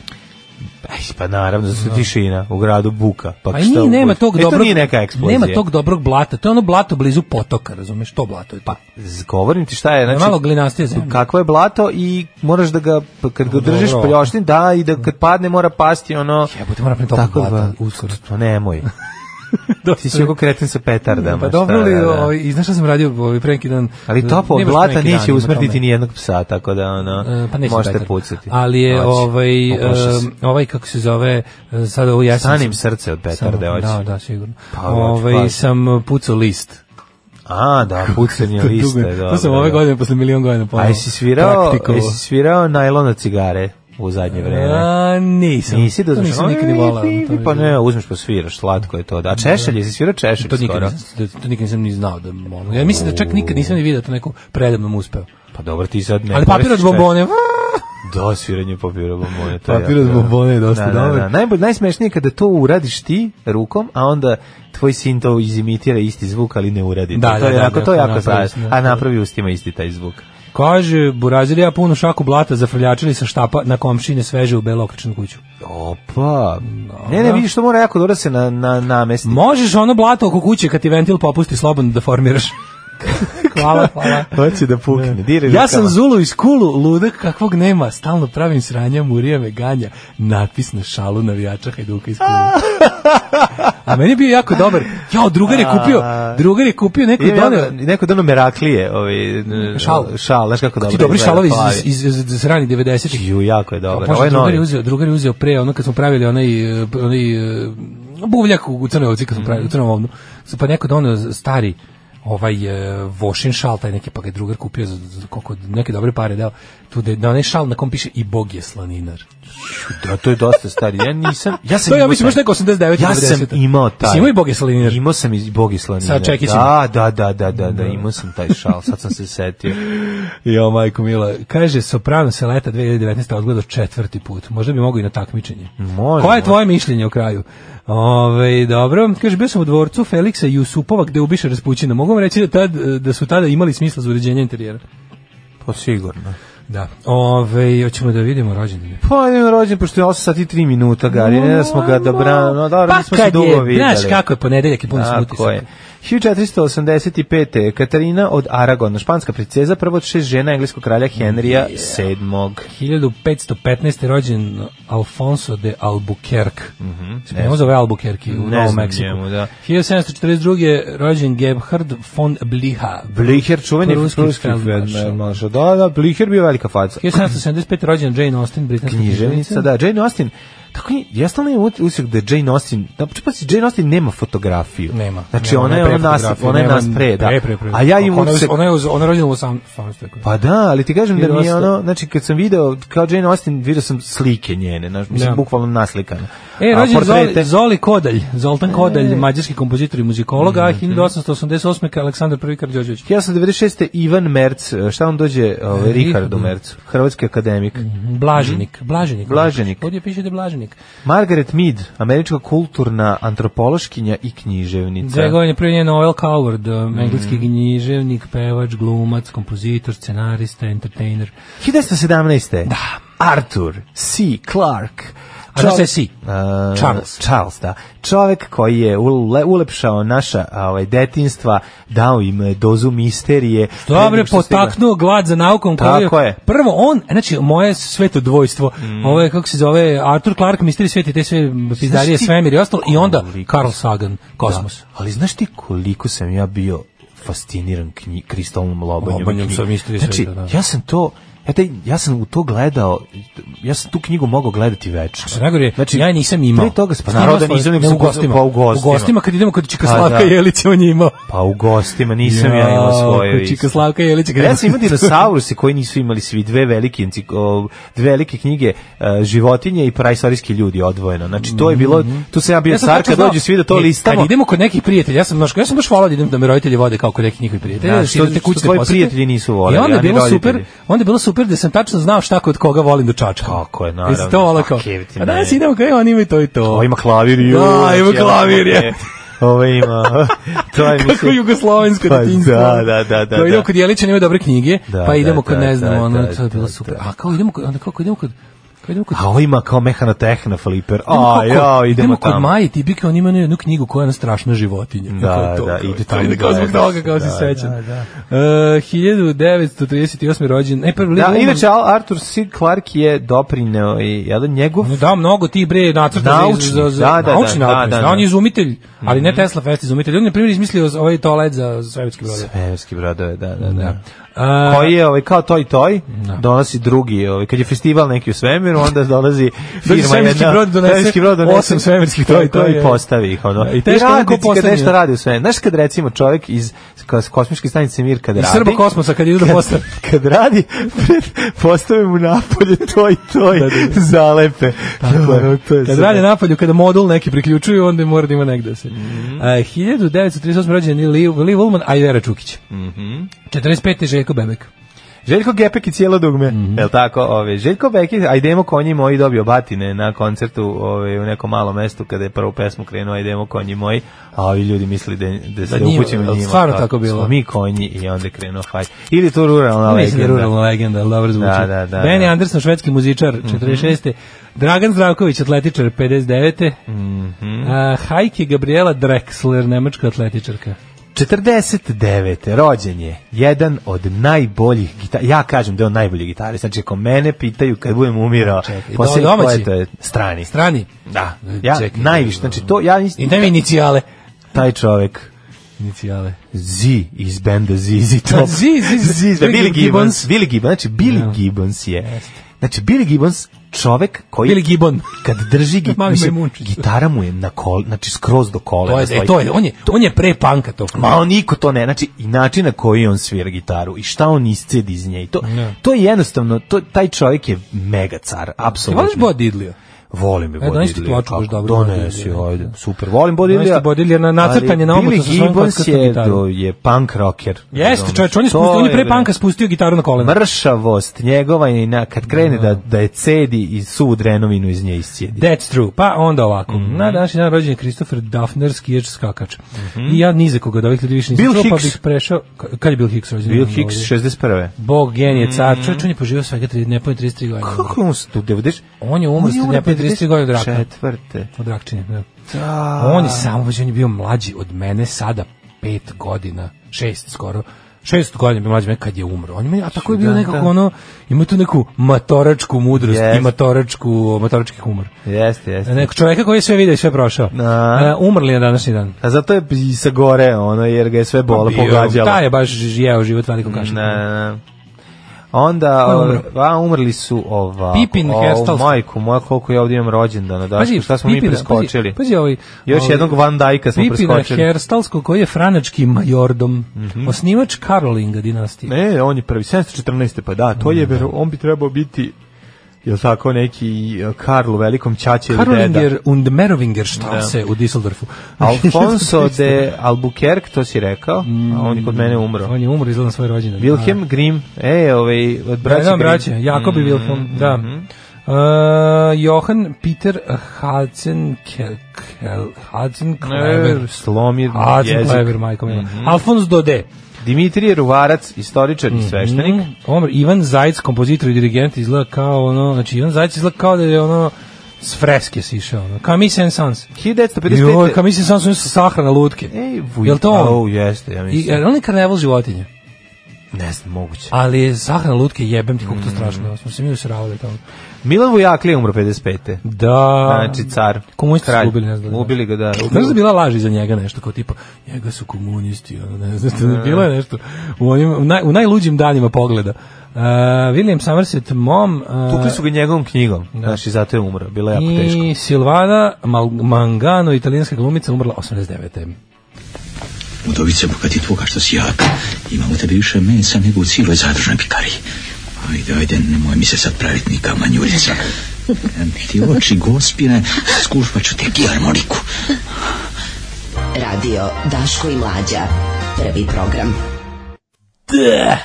Speaker 6: Ej, pa naravno, zato je tišina u gradu buka. Pa,
Speaker 5: Pa
Speaker 6: šta
Speaker 5: nije, nema
Speaker 6: buka?
Speaker 5: tog
Speaker 6: E,
Speaker 5: dobrog,
Speaker 6: to nije neka eksplozija.
Speaker 5: Nema tog dobrog blata, to je ono blato blizu potoka, razumeš, to blato je. Pa,
Speaker 6: Z- Govorim ti šta je, znači...
Speaker 5: malo glinastije zemlje.
Speaker 6: Kakvo je blato i moraš da ga, pa kad ga držiš
Speaker 5: Dobro.
Speaker 6: pljoštin, da, i da kad padne mora pasti ono...
Speaker 5: Jebote, moram napraviti
Speaker 6: Tako
Speaker 5: toliko blata,
Speaker 6: da,
Speaker 5: [laughs] uskoro.
Speaker 6: Pa nemoj. Ti si jako kreten sa petardama.
Speaker 5: Pa dobro
Speaker 6: šta
Speaker 5: li,
Speaker 6: da, da.
Speaker 5: ovaj, i znaš šta sam radio ovaj, pre neki dan?
Speaker 6: Ali topo od
Speaker 5: Nemaš pre
Speaker 6: blata
Speaker 5: neki dan,
Speaker 6: neće
Speaker 5: ima
Speaker 6: usmrtiti
Speaker 5: tome.
Speaker 6: ni jednog psa, tako da ono,
Speaker 5: E, pa neće
Speaker 6: možete
Speaker 5: Petar.
Speaker 6: pucati.
Speaker 5: Ali je
Speaker 6: Hoće.
Speaker 5: ovaj
Speaker 6: Opušio
Speaker 5: em,
Speaker 6: se.
Speaker 5: ovaj kako se zove e, sad ovo jesen. sam-
Speaker 6: Stanem srce od petarde,
Speaker 5: Samo-
Speaker 6: hoće.
Speaker 5: Da, da, sigurno.
Speaker 6: Pa, hoće,
Speaker 5: ovaj
Speaker 6: pazi.
Speaker 5: sam pucao list.
Speaker 6: A, da, pucanje
Speaker 5: To je dugo.
Speaker 6: liste. dobro,
Speaker 5: To sam ove
Speaker 6: da.
Speaker 5: godine posle milion godina pa
Speaker 6: A
Speaker 5: ponovo.
Speaker 6: jesi svirao,
Speaker 5: praktikovao.
Speaker 6: jesi svirao najlona cigare u zadnje vreme?
Speaker 5: A, nisam.
Speaker 6: Nisi da
Speaker 5: To
Speaker 6: uzmeš,
Speaker 5: nisam nikad ni volao. to mi-
Speaker 6: Pa ne, uzmeš pa sviraš, slatko je to. Da. A češelj, jesi svirao češelj
Speaker 5: To nikad,
Speaker 6: skoro?
Speaker 5: nisam, to, to nikad nisam ni znao da ono, ja mislim da čak nikad nisam ni vidio da to neko predavnom uspeo.
Speaker 6: Pa dobro, ti sad ne.
Speaker 5: Ali papir od
Speaker 6: koristiš
Speaker 5: bombone,
Speaker 6: češelj. Da, sviranje papira bombone. to
Speaker 5: Papir
Speaker 6: jako
Speaker 5: od
Speaker 6: dobro.
Speaker 5: bombone Pa je dosta
Speaker 6: da, da,
Speaker 5: dobar.
Speaker 6: Da. Najbolj, najsmešnije je kada to uradiš ti rukom, a onda tvoj sin to izimitira isti zvuk, ali ne uradi.
Speaker 5: Da,
Speaker 6: to,
Speaker 5: da,
Speaker 6: je
Speaker 5: da,
Speaker 6: jako,
Speaker 5: da,
Speaker 6: to je
Speaker 5: da,
Speaker 6: jako
Speaker 5: napravi
Speaker 6: strašno.
Speaker 5: se, da.
Speaker 6: A napravi ustima isti taj zvuk.
Speaker 5: Kaže, burazir ja punu šaku blata zafrljačili sa štapa na komšine sveže u belokričnu kuću.
Speaker 6: Opa. Ne, ne, vidiš što mora jako dobro da se na, na, namesti.
Speaker 5: Možeš ono blato oko kuće kad ti ventil popusti slobodno da formiraš. [laughs] hvala, hvala.
Speaker 6: Hoće da pukne.
Speaker 5: Ja
Speaker 6: Diraj rukama.
Speaker 5: sam Zulu iz Kulu, ludak kakvog nema, stalno pravim sranja, murija me ganja, natpis na šalu navijača Hajduka iz
Speaker 6: [laughs]
Speaker 5: Kulu. A meni je bio jako dobar. Jao, drugar je kupio, drugar je kupio neko
Speaker 6: Ima
Speaker 5: doneo.
Speaker 6: jako- neko dono Meraklije, ovaj n-
Speaker 5: Šal.
Speaker 6: šal, znaš kako dobro.
Speaker 5: Ti dobri
Speaker 6: izgleda,
Speaker 5: šalovi
Speaker 6: plavi.
Speaker 5: iz, iz, iz, iz ranih 90-ih.
Speaker 6: Ju, jako je dobar.
Speaker 5: Bože,
Speaker 6: Ovo je
Speaker 5: drugar,
Speaker 6: novi.
Speaker 5: Pa je uzeo, drugar je uzeo pre, ono kad smo pravili onaj, e, onaj e, buvljak u, u Crnoj Ovci, kad smo
Speaker 6: Mhm.
Speaker 5: pravili u Crnom ovnu, su pa neko donio stari ovaj e, vošin šal, taj neki, pa ga je drugar kupio za, za koliko, neke dobre pare dao, tu da je na onaj šal na kom piše i Bog je slaninar.
Speaker 6: Da, to je dosta stari. Ja nisam, ja sam
Speaker 5: To ja
Speaker 6: imao
Speaker 5: mislim,
Speaker 6: taj.
Speaker 5: možda neko 89
Speaker 6: Ja sam
Speaker 5: 90-ta.
Speaker 6: imao taj.
Speaker 5: Jesi imao i Bog je slaninar?
Speaker 6: Imao sam i Bog je slaninja.
Speaker 5: Sa čekićima.
Speaker 6: Da, da, da, da, da, da, imao sam taj šal, sad sam se setio.
Speaker 5: Jo, majko Mila, kaže, Soprano se leta 2019. odgledao četvrti put. Možda bi mogo i na takmičenje.
Speaker 6: Može,
Speaker 5: Koje je
Speaker 6: može.
Speaker 5: tvoje mišljenje o kraju? Ove, dobro, kaže, bio sam u dvorcu Feliksa Jusupova gde ubiše Raspućina. Mogu vam reći da, tad, e, da su tada imali smisla za uređenje interijera?
Speaker 6: Pa sigurno.
Speaker 5: Da. Ove, hoćemo da vidimo rođendane.
Speaker 6: Pa idemo rođen, pošto je 8 sati i 3 minuta, Gari, ne da smo ga dobrano, no dobro,
Speaker 5: pa
Speaker 6: nismo se
Speaker 5: kad
Speaker 6: dugo
Speaker 5: je,
Speaker 6: videli.
Speaker 5: Znaš kako je ponedeljak i puno sam
Speaker 6: Tako je.
Speaker 5: utisak.
Speaker 6: 1485. Katarina od Aragona, španska princeza, prva od šest žena engleskog kralja Henrija VII.
Speaker 5: 1515. rođen Alfonso de Albuquerque. Mm -hmm, ne zove Albuquerque u
Speaker 6: Mhm, Ne
Speaker 5: Novom
Speaker 6: znam
Speaker 5: Meksiku.
Speaker 6: njemu, da.
Speaker 5: 1742. rođen Gebhard von Bliha.
Speaker 6: Blicher, čuveni
Speaker 5: Pruski
Speaker 6: pruski
Speaker 5: feldmaršal.
Speaker 6: feldmaršal. Da, da, Blicher bio velika faca.
Speaker 5: 1775. rođen Jane Austen, britanska
Speaker 6: Književnica, da, Jane Austen. Tako i ja stalno imam utisak da je Jane Austen, da pa si Jane Austen nema fotografiju.
Speaker 5: Nema.
Speaker 6: Znači
Speaker 5: nema,
Speaker 6: ona je
Speaker 5: pre
Speaker 6: ona nas,
Speaker 5: fotografije,
Speaker 6: ona je
Speaker 5: nema
Speaker 6: nas pre, da.
Speaker 5: Pre, pre, pre.
Speaker 6: A ja im
Speaker 5: Ona je-
Speaker 6: utisak
Speaker 5: Ona je, uz- ona je rođena u 18. veku.
Speaker 6: Pa da, ali ti kažem da mi je
Speaker 5: 1900.
Speaker 6: ono, znači kad sam video kao Jane Austen, video sam slike njene, znaš, mislim
Speaker 5: Da.
Speaker 6: bukvalno naslikane.
Speaker 5: E,
Speaker 6: A
Speaker 5: rođen
Speaker 6: portrete-
Speaker 5: Zoli, Zoli Kodalj, Zoltan Kodalj, mađarski kompozitor i muzikolog, a 1888. Aleksandar I. Karđođević.
Speaker 6: 1996. Ivan Merc, šta on dođe ovaj,
Speaker 5: E,
Speaker 6: Rihardu Mercu, hrvatski akademik.
Speaker 5: Mhm. Blaženik, Blaženik.
Speaker 6: Blaženik.
Speaker 5: Ovdje piše da je Blaženik.
Speaker 6: Margaret Mead, američka kulturna antropološkinja i književnica.
Speaker 5: Dve godine prije nje Noel Coward, um, engleski književnik, pevač, glumac, kompozitor, scenarista, entertainer.
Speaker 6: 1917. Da. Arthur C. Clarke.
Speaker 5: A znaš šta je
Speaker 6: Čovek-
Speaker 5: C? Uh,
Speaker 6: A,
Speaker 5: Charles.
Speaker 6: Charles, da. Čovek koji je ule- ulepšao naša a, ovaj, detinstva, dao im e, dozu misterije. Pre
Speaker 5: Dobro,
Speaker 6: nego što stigla-
Speaker 5: potaknuo glad za naukom. koju
Speaker 6: Tako je. Mm.
Speaker 5: Prvo on, znači moje sveto dvojstvo, ovo je kako se zove Arthur Clarke, Misteri sveti, te sve pizdarije,
Speaker 6: ti
Speaker 5: svemir i ostalo, i onda
Speaker 6: koliko-
Speaker 5: Carl Sagan, kosmos.
Speaker 6: Da. Ali znaš ti koliko sam ja bio fasciniran knji, kristalnom lobanjom?
Speaker 5: Lobanjom
Speaker 6: knjige?
Speaker 5: sa Mystery
Speaker 6: Znači,
Speaker 5: Sveta, da.
Speaker 6: ja sam to... Ja, taj, ja sam u to gledao, ja sam tu knjigu mogao gledati večno.
Speaker 5: Što najgore, znači, ja je nisam imao.
Speaker 6: Pre toga, sam- pa
Speaker 5: Snimao
Speaker 6: naravno da
Speaker 5: svoje-
Speaker 6: nisam,
Speaker 5: ne,
Speaker 6: nego sam
Speaker 5: u gostima.
Speaker 6: Pa u gostima.
Speaker 5: U gostima kad idemo kod Čika
Speaker 6: Pa
Speaker 5: Slavka
Speaker 6: da.
Speaker 5: Jelića, on je imao.
Speaker 6: Pa u gostima, nisam ja imao svoje.
Speaker 5: Kod Čika Slavka Jelića. kad
Speaker 6: Ja
Speaker 5: idemo-
Speaker 6: sam imao dinosauruse koji nisu imali svi dve velike, encik- o, dve velike knjige e, životinje i praistorijski ljudi odvojeno. Znači to je bilo, tu sam ja bio
Speaker 5: Mhm. Ja sam
Speaker 6: car
Speaker 5: tačno
Speaker 6: kad
Speaker 5: znao-
Speaker 6: dođu svi da to
Speaker 5: Ne,
Speaker 6: listamo.
Speaker 5: Kad idemo kod nekih prijatelja, ja sam baš ja sam baš volao da idem da me roditelji vode kao kod nekih njihovih prijatelja.
Speaker 6: Da,
Speaker 5: da
Speaker 6: što-
Speaker 5: idete
Speaker 6: što
Speaker 5: kući da
Speaker 6: tvoji
Speaker 5: posete.
Speaker 6: prijatelji nisu voleli,
Speaker 5: I onda je
Speaker 6: ani
Speaker 5: bilo
Speaker 6: roditelji.
Speaker 5: super, onda je bilo super da sam tačno znao šta kod koga volim da čačkam.
Speaker 6: Tako je,
Speaker 5: Jesi
Speaker 6: naravno.
Speaker 5: to volao
Speaker 6: A,
Speaker 5: kao.
Speaker 6: keviti
Speaker 5: A danas
Speaker 6: me.
Speaker 5: idemo kao, e, on ima i to i to.
Speaker 6: Ovo ima klavir i...
Speaker 5: Da, ima klavir, je.
Speaker 6: [laughs] Ovo ima... [laughs] to je,
Speaker 5: [laughs] Kako
Speaker 6: mislim-
Speaker 5: jugoslovensko
Speaker 6: Pa
Speaker 5: detinjstvo.
Speaker 6: da, da, da, da,
Speaker 5: Kao idemo
Speaker 6: da.
Speaker 5: kod Jelića, nema dobre knjige,
Speaker 6: Da,
Speaker 5: pa
Speaker 6: da,
Speaker 5: idemo kod,
Speaker 6: da,
Speaker 5: ne znam,
Speaker 6: da,
Speaker 5: ono,
Speaker 6: da,
Speaker 5: to je bilo
Speaker 6: da,
Speaker 5: super.
Speaker 6: da.
Speaker 5: A kao idemo kod, onda kao idemo kod, kao idemo kod
Speaker 6: A Pa ovo ima kao mehanotehna fliper.
Speaker 5: Idemo
Speaker 6: A,
Speaker 5: kako-
Speaker 6: ja, idemo
Speaker 5: kod
Speaker 6: tamo.
Speaker 5: Maje Tipike, on ima jednu knjigu koja je ona strašna životinja.
Speaker 6: Da,
Speaker 5: Kao to,
Speaker 6: da,
Speaker 5: kao
Speaker 6: ide
Speaker 5: to,
Speaker 6: tamo
Speaker 5: ide kao zbog
Speaker 6: da,
Speaker 5: toga, kao
Speaker 6: da,
Speaker 5: si sećan.
Speaker 6: da, da.
Speaker 5: E, 1938. rođen. E, prvi
Speaker 6: Da,
Speaker 5: Lin-
Speaker 6: inače, Al- Arthur C. Clarke je doprineo i jedan njegov
Speaker 5: No, Da, mnogo ti bre nacrta
Speaker 6: Naučni,
Speaker 5: za, za, za
Speaker 6: da, da,
Speaker 5: naučni
Speaker 6: da,
Speaker 5: alpinist,
Speaker 6: da,
Speaker 5: da,
Speaker 6: da, Mhm.
Speaker 5: on je
Speaker 6: da.
Speaker 5: izumitelj, ali ne Tesla Fest izumitelj. On je, na primjer, izmislio ovaj toalet za svemirski brode.
Speaker 6: Svemirski brodove, da, da, da.
Speaker 5: A-
Speaker 6: Koji je ovaj, kao toj toj, donosi drugi, ovaj, kad je festival neki u svemiru, onda dolazi firma
Speaker 5: [laughs] Dođe svemirski brod donese osam svemirskih toj
Speaker 6: Tako
Speaker 5: toj,
Speaker 6: i
Speaker 5: je.
Speaker 6: postavi ih. Ono.
Speaker 5: I teško
Speaker 6: radi
Speaker 5: neko
Speaker 6: ti kad
Speaker 5: poslednji,
Speaker 6: nešto
Speaker 5: da.
Speaker 6: radi u svemiru. Znaš kad recimo čovjek iz kos- kosmičke stanice Mir kad
Speaker 5: E, Iz
Speaker 6: radi...
Speaker 5: Srba kosmosa, kad idu da
Speaker 6: Kad,
Speaker 5: postave.
Speaker 6: [laughs] kad radi, postavi mu napolje to i to i
Speaker 5: Da, da, da.
Speaker 6: zalepe. Tako, je, to je
Speaker 5: Kad
Speaker 6: sve.
Speaker 5: rade napolju, kada modul neki priključuju, onda mora da ima negde da se.
Speaker 6: Mhm.
Speaker 5: A, 1938. rođen je Liv, Liv Ullman, a i Vera Čukić.
Speaker 6: Mhm.
Speaker 5: 45. je Željko Bebek.
Speaker 6: Željko Gepek i cijelo dugme,
Speaker 5: Mhm.
Speaker 6: jel tako? Ove, Željko Beki, ajdemo konji moji, dobio batine na koncertu ove, u nekom malom mestu kada je prvu pesmu krenuo Ajdemo konji moji, a ovi ljudi misli da, da se
Speaker 5: Da
Speaker 6: da
Speaker 5: njima,
Speaker 6: upućimo
Speaker 5: jel
Speaker 6: njima.
Speaker 5: stvarno tako bilo?
Speaker 6: Smo mi konji i onda je krenuo haj. Ili je to ruralna
Speaker 5: Mislim da je
Speaker 6: legenda.
Speaker 5: ruralna legenda, ali dobro zvuči.
Speaker 6: Da, da, da,
Speaker 5: Benny
Speaker 6: da. Mhm.
Speaker 5: Anderson, švedski muzičar, 46. Dragan Zdravković, atletičar, 59.
Speaker 6: Mhm.
Speaker 5: A, Hajke Gabriela Drexler, nemačka atletičarka.
Speaker 6: 49. rođen je jedan od najboljih gitara, ja kažem da je on najbolji gitarist, znači ako mene pitaju kad budem umirao,
Speaker 5: Čekaj,
Speaker 6: posljednji
Speaker 5: domaći?
Speaker 6: ko je to je strani.
Speaker 5: Strani.
Speaker 6: Da, ja,
Speaker 5: Čekaj.
Speaker 6: najviše, znači to, ja,
Speaker 5: I da mi inicijale.
Speaker 6: taj čovek,
Speaker 5: Inicijale.
Speaker 6: Z iz benda ZZ Top.
Speaker 5: Z, Z, Z,
Speaker 6: Z iz benda- Billy
Speaker 5: Billy
Speaker 6: Gibbons.
Speaker 5: Gibbons. Ja.
Speaker 6: Billy Gibbons, znači Billy
Speaker 5: Da.
Speaker 6: Gibbons je. Znači Billy Gibbons čovek koji
Speaker 5: Billy Gibbon.
Speaker 6: kad
Speaker 5: [laughs]
Speaker 6: drži git,
Speaker 5: Mali
Speaker 6: mislim,
Speaker 5: majmunčić.
Speaker 6: gitara mu je na kol, znači skroz do kola.
Speaker 5: To je, e, to je, on je, on je pre panka to.
Speaker 6: Ma on niko to ne, znači i način na koji on svira gitaru i šta on iscedi iz nje. I to,
Speaker 5: Ne.
Speaker 6: to je jednostavno, to, taj čovjek je mega car,
Speaker 5: Ti voliš
Speaker 6: apsolutno.
Speaker 5: Bo Diddlio?
Speaker 6: Volim je
Speaker 5: E, donesi ti
Speaker 6: Bodilija.
Speaker 5: ploču baš dobro, ono
Speaker 6: Donesi,
Speaker 5: Bodilija.
Speaker 6: ajde. Super, volim
Speaker 5: Donesi
Speaker 6: Bodilija.
Speaker 5: ti Bodilija na nacrtanje na omotnicu sa
Speaker 6: Billy
Speaker 5: svojom
Speaker 6: Gibbons
Speaker 5: podcastom
Speaker 6: je,
Speaker 5: gitarom.
Speaker 6: do, je punk rocker.
Speaker 5: Jeste,
Speaker 6: Razumeš?
Speaker 5: čovječ, on je,
Speaker 6: To
Speaker 5: spustio, on je pre
Speaker 6: bre,
Speaker 5: panka spustio gitaru na kolena.
Speaker 6: Mršavost njegova i na, kad krene da, da je cedi i sud drenovinu iz nje iscijedi.
Speaker 5: That's true. Pa onda ovako.
Speaker 6: Mhm.
Speaker 5: Na današnji dan rođen je Christopher Duffner, skijač, skakač. I ja ni za koga od ovih ljudi više nisam
Speaker 6: Mhm. Bill
Speaker 5: čuo, pa
Speaker 6: Hicks.
Speaker 5: bih prešao... Ka- Kad je Bill Hicks rođen?
Speaker 6: Bill
Speaker 5: Ovdje.
Speaker 6: Hicks, 61.
Speaker 5: Bog, genije, car. Čovječ, on je poživio svega tri, nepojne 33 godine.
Speaker 6: Kako on se tu devdeš?
Speaker 5: On je umro sa nepojne 33 godine od raka.
Speaker 6: Četvrte.
Speaker 5: Od rakčine, da. On je samo, znači, on je bio mlađi od mene sada pet godina, šest skoro. Šest godina je bio mlađi od mene kad je umro. On je, meni- a tako je bio
Speaker 6: Da,
Speaker 5: nekako
Speaker 6: da.
Speaker 5: ono, ima tu neku matoračku mudrost
Speaker 6: Jest.
Speaker 5: i matoračku, matorački humor.
Speaker 6: Jeste, jeste.
Speaker 5: Neko čoveka koji je sve vidio i sve prošao.
Speaker 6: Da.
Speaker 5: E, umrli je na današnji dan.
Speaker 6: A zato je i sa gore, ono, jer ga je sve bola
Speaker 5: Pa Bio-
Speaker 6: pogađala.
Speaker 5: Taj je baš ž- jeo život velikom kašom.
Speaker 6: Na, na, na. Onda
Speaker 5: Ko je
Speaker 6: o,
Speaker 5: umro?
Speaker 6: a, umrli su ova
Speaker 5: Pipin Herstal.
Speaker 6: majku moja koliko ja ovdje imam rođendana, da. šta smo mi
Speaker 5: Pipina,
Speaker 6: preskočili?
Speaker 5: Pazi, pazi ovaj,
Speaker 6: Još
Speaker 5: ovaj,
Speaker 6: jednog Van Dajka smo
Speaker 5: Pipina
Speaker 6: preskočili.
Speaker 5: Herstalskog koji je franački majordom, osnivač Karolinga dinastije.
Speaker 6: Ne, on je prvi 714. pa da, to
Speaker 5: Mm.
Speaker 6: je vero, on bi trebao biti je tako neki e, Karlu velikom ćaće ili deda.
Speaker 5: Karolinger und Merovinger Strasse u Düsseldorfu.
Speaker 6: [laughs]
Speaker 5: [laughs]
Speaker 6: Alfonso de Albuquerque, to si rekao, a on je kod mene umro.
Speaker 5: Mm. On je umro izgleda na svoje rođene.
Speaker 6: Wilhelm Grimm, e, ovaj, od
Speaker 5: Da,
Speaker 6: braća
Speaker 5: da,
Speaker 6: Grimm.
Speaker 5: braće, Jakobi
Speaker 6: Mm,
Speaker 5: Wilhelm, da. Uh, Johan Peter Hazenkel,
Speaker 6: E,
Speaker 5: Hazenklever,
Speaker 6: Slomir, jezik.
Speaker 5: Hazenklever, majko mila. Alfons Dode,
Speaker 6: Dimitrije Ruvarac, istoričar i sveštenik.
Speaker 5: Mm, Omar, Ivan Zajc, kompozitor i dirigent, izgleda kao ono, znači Ivan Zajc izgleda kao da je ono s freske sišao, ono, Camille Saint-Saëns.
Speaker 6: 1955.
Speaker 5: Joj, Camille Saint-Saëns su sahrana lutke.
Speaker 6: Ej, vuj,
Speaker 5: Jel to on?
Speaker 6: au, jeste, ja
Speaker 5: I,
Speaker 6: mislim.
Speaker 5: jer on je karneval životinje,
Speaker 6: ne znam, moguće.
Speaker 5: ali je sahrana lutke jebem ti
Speaker 6: Mm.
Speaker 5: koliko to strašno, ono, smo se mi usiravali tamo.
Speaker 6: Milan Vujakli je umro 55.
Speaker 5: Da,
Speaker 6: Znači, car.
Speaker 5: Komunisti
Speaker 6: kralj.
Speaker 5: su ubili, ne znam. da.
Speaker 6: Ubili ga, da.
Speaker 5: Znaš da je bila laž iza njega nešto kao tipa njega su komunisti, ono ne znam, što je bilo je nešto u, onim, u, naj, u najluđim danima pogleda. Uh, William Somerset Mom uh,
Speaker 6: Tukli su ga njegovom knjigom, znači, zato je umro. Bilo je jako teško.
Speaker 5: i Silvana Mal Mangano, italijanska glumica, umrla 89.
Speaker 8: Udovice, bogati tvoga što si jak. Imam u tebi više mesa nego u cijeloj zadružnoj pikariji. Ajde, ajde, nemoj mi se sad praviti nika manjurica. Em, Ti oči gospine, skušpat ću te gilarmoniku.
Speaker 4: Radio Daško i Mlađa. Prvi program.
Speaker 6: E,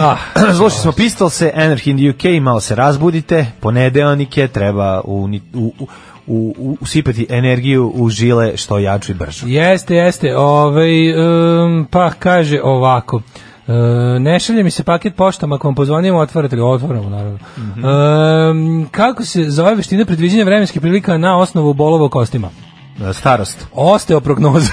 Speaker 5: Ah,
Speaker 6: [clears throat] slušali smo Pistolse, Anarchy in the UK, malo se razbudite, ponedeonik je, treba u, u, u, u- usipati energiju u žile što jaču i bržu.
Speaker 5: Jeste, jeste. Ovaj, em, pa kaže ovako. E, ne šalje mi se paket poštom ako vam pozvonimo otvarate li otvaramo naravno
Speaker 6: Mhm.
Speaker 5: Em, kako se zove veština predviđanja vremenskih prilika na osnovu bolova u kostima
Speaker 6: E, Starost. [laughs]
Speaker 5: Osteoprognoza.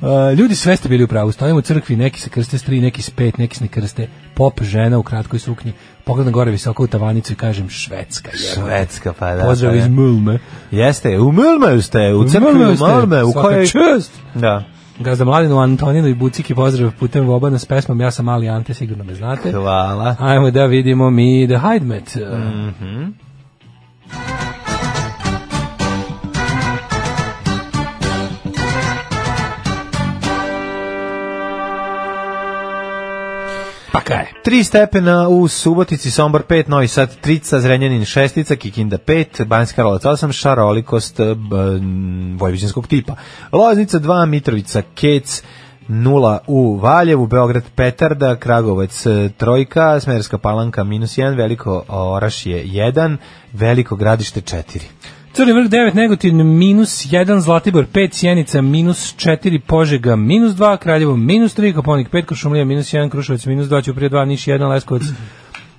Speaker 5: Uh, ljudi sve ste bili u pravu, stojimo u crkvi, neki se krste s tri, neki s pet, neki se ne krste, pop, žena u kratkoj suknji, pogledam gore visoko u tavanicu i kažem Švedska, jebote.
Speaker 6: Švedska, pa da.
Speaker 5: Pozdrav
Speaker 6: pa da.
Speaker 5: iz Mulme.
Speaker 6: Jeste, u Mulmeju ste, u crkvi u
Speaker 5: Mulmeu ste,
Speaker 6: Mulmeju, u
Speaker 5: svaka
Speaker 6: kojoj...
Speaker 5: čast.
Speaker 6: Da.
Speaker 5: Gazda Mladinu, Antoninu i Buciki pozdrav putem Vobana s pesmom Ja sam mali Ante, sigurno me znate.
Speaker 6: Hvala.
Speaker 5: Ajmo da vidimo mi The Hidemet. Pa kaj?
Speaker 6: 3 stepena u Subotici, Sombor 5, Novi Sad 3, Zrenjanin 6, Kikinda 5, Banjska Karlovac 8, šarolikost b, m, vojvođanskog tipa. Loznica 2, Mitrovica, Kec 0 u Valjevu, Beograd Petarda, Kragovac e, trojka, Smerska palanka minus 1, Veliko Orašje 1, Veliko gradište 4.
Speaker 5: Crni vrh 9, Negotin minus 1, Zlatibor 5, Sjenica minus 4, Požega minus 2, Kraljevo minus 3, Koponik 5, Košumlija minus 1, Kruševac minus 2, Ćuprije 2, Niš 1, Leskovac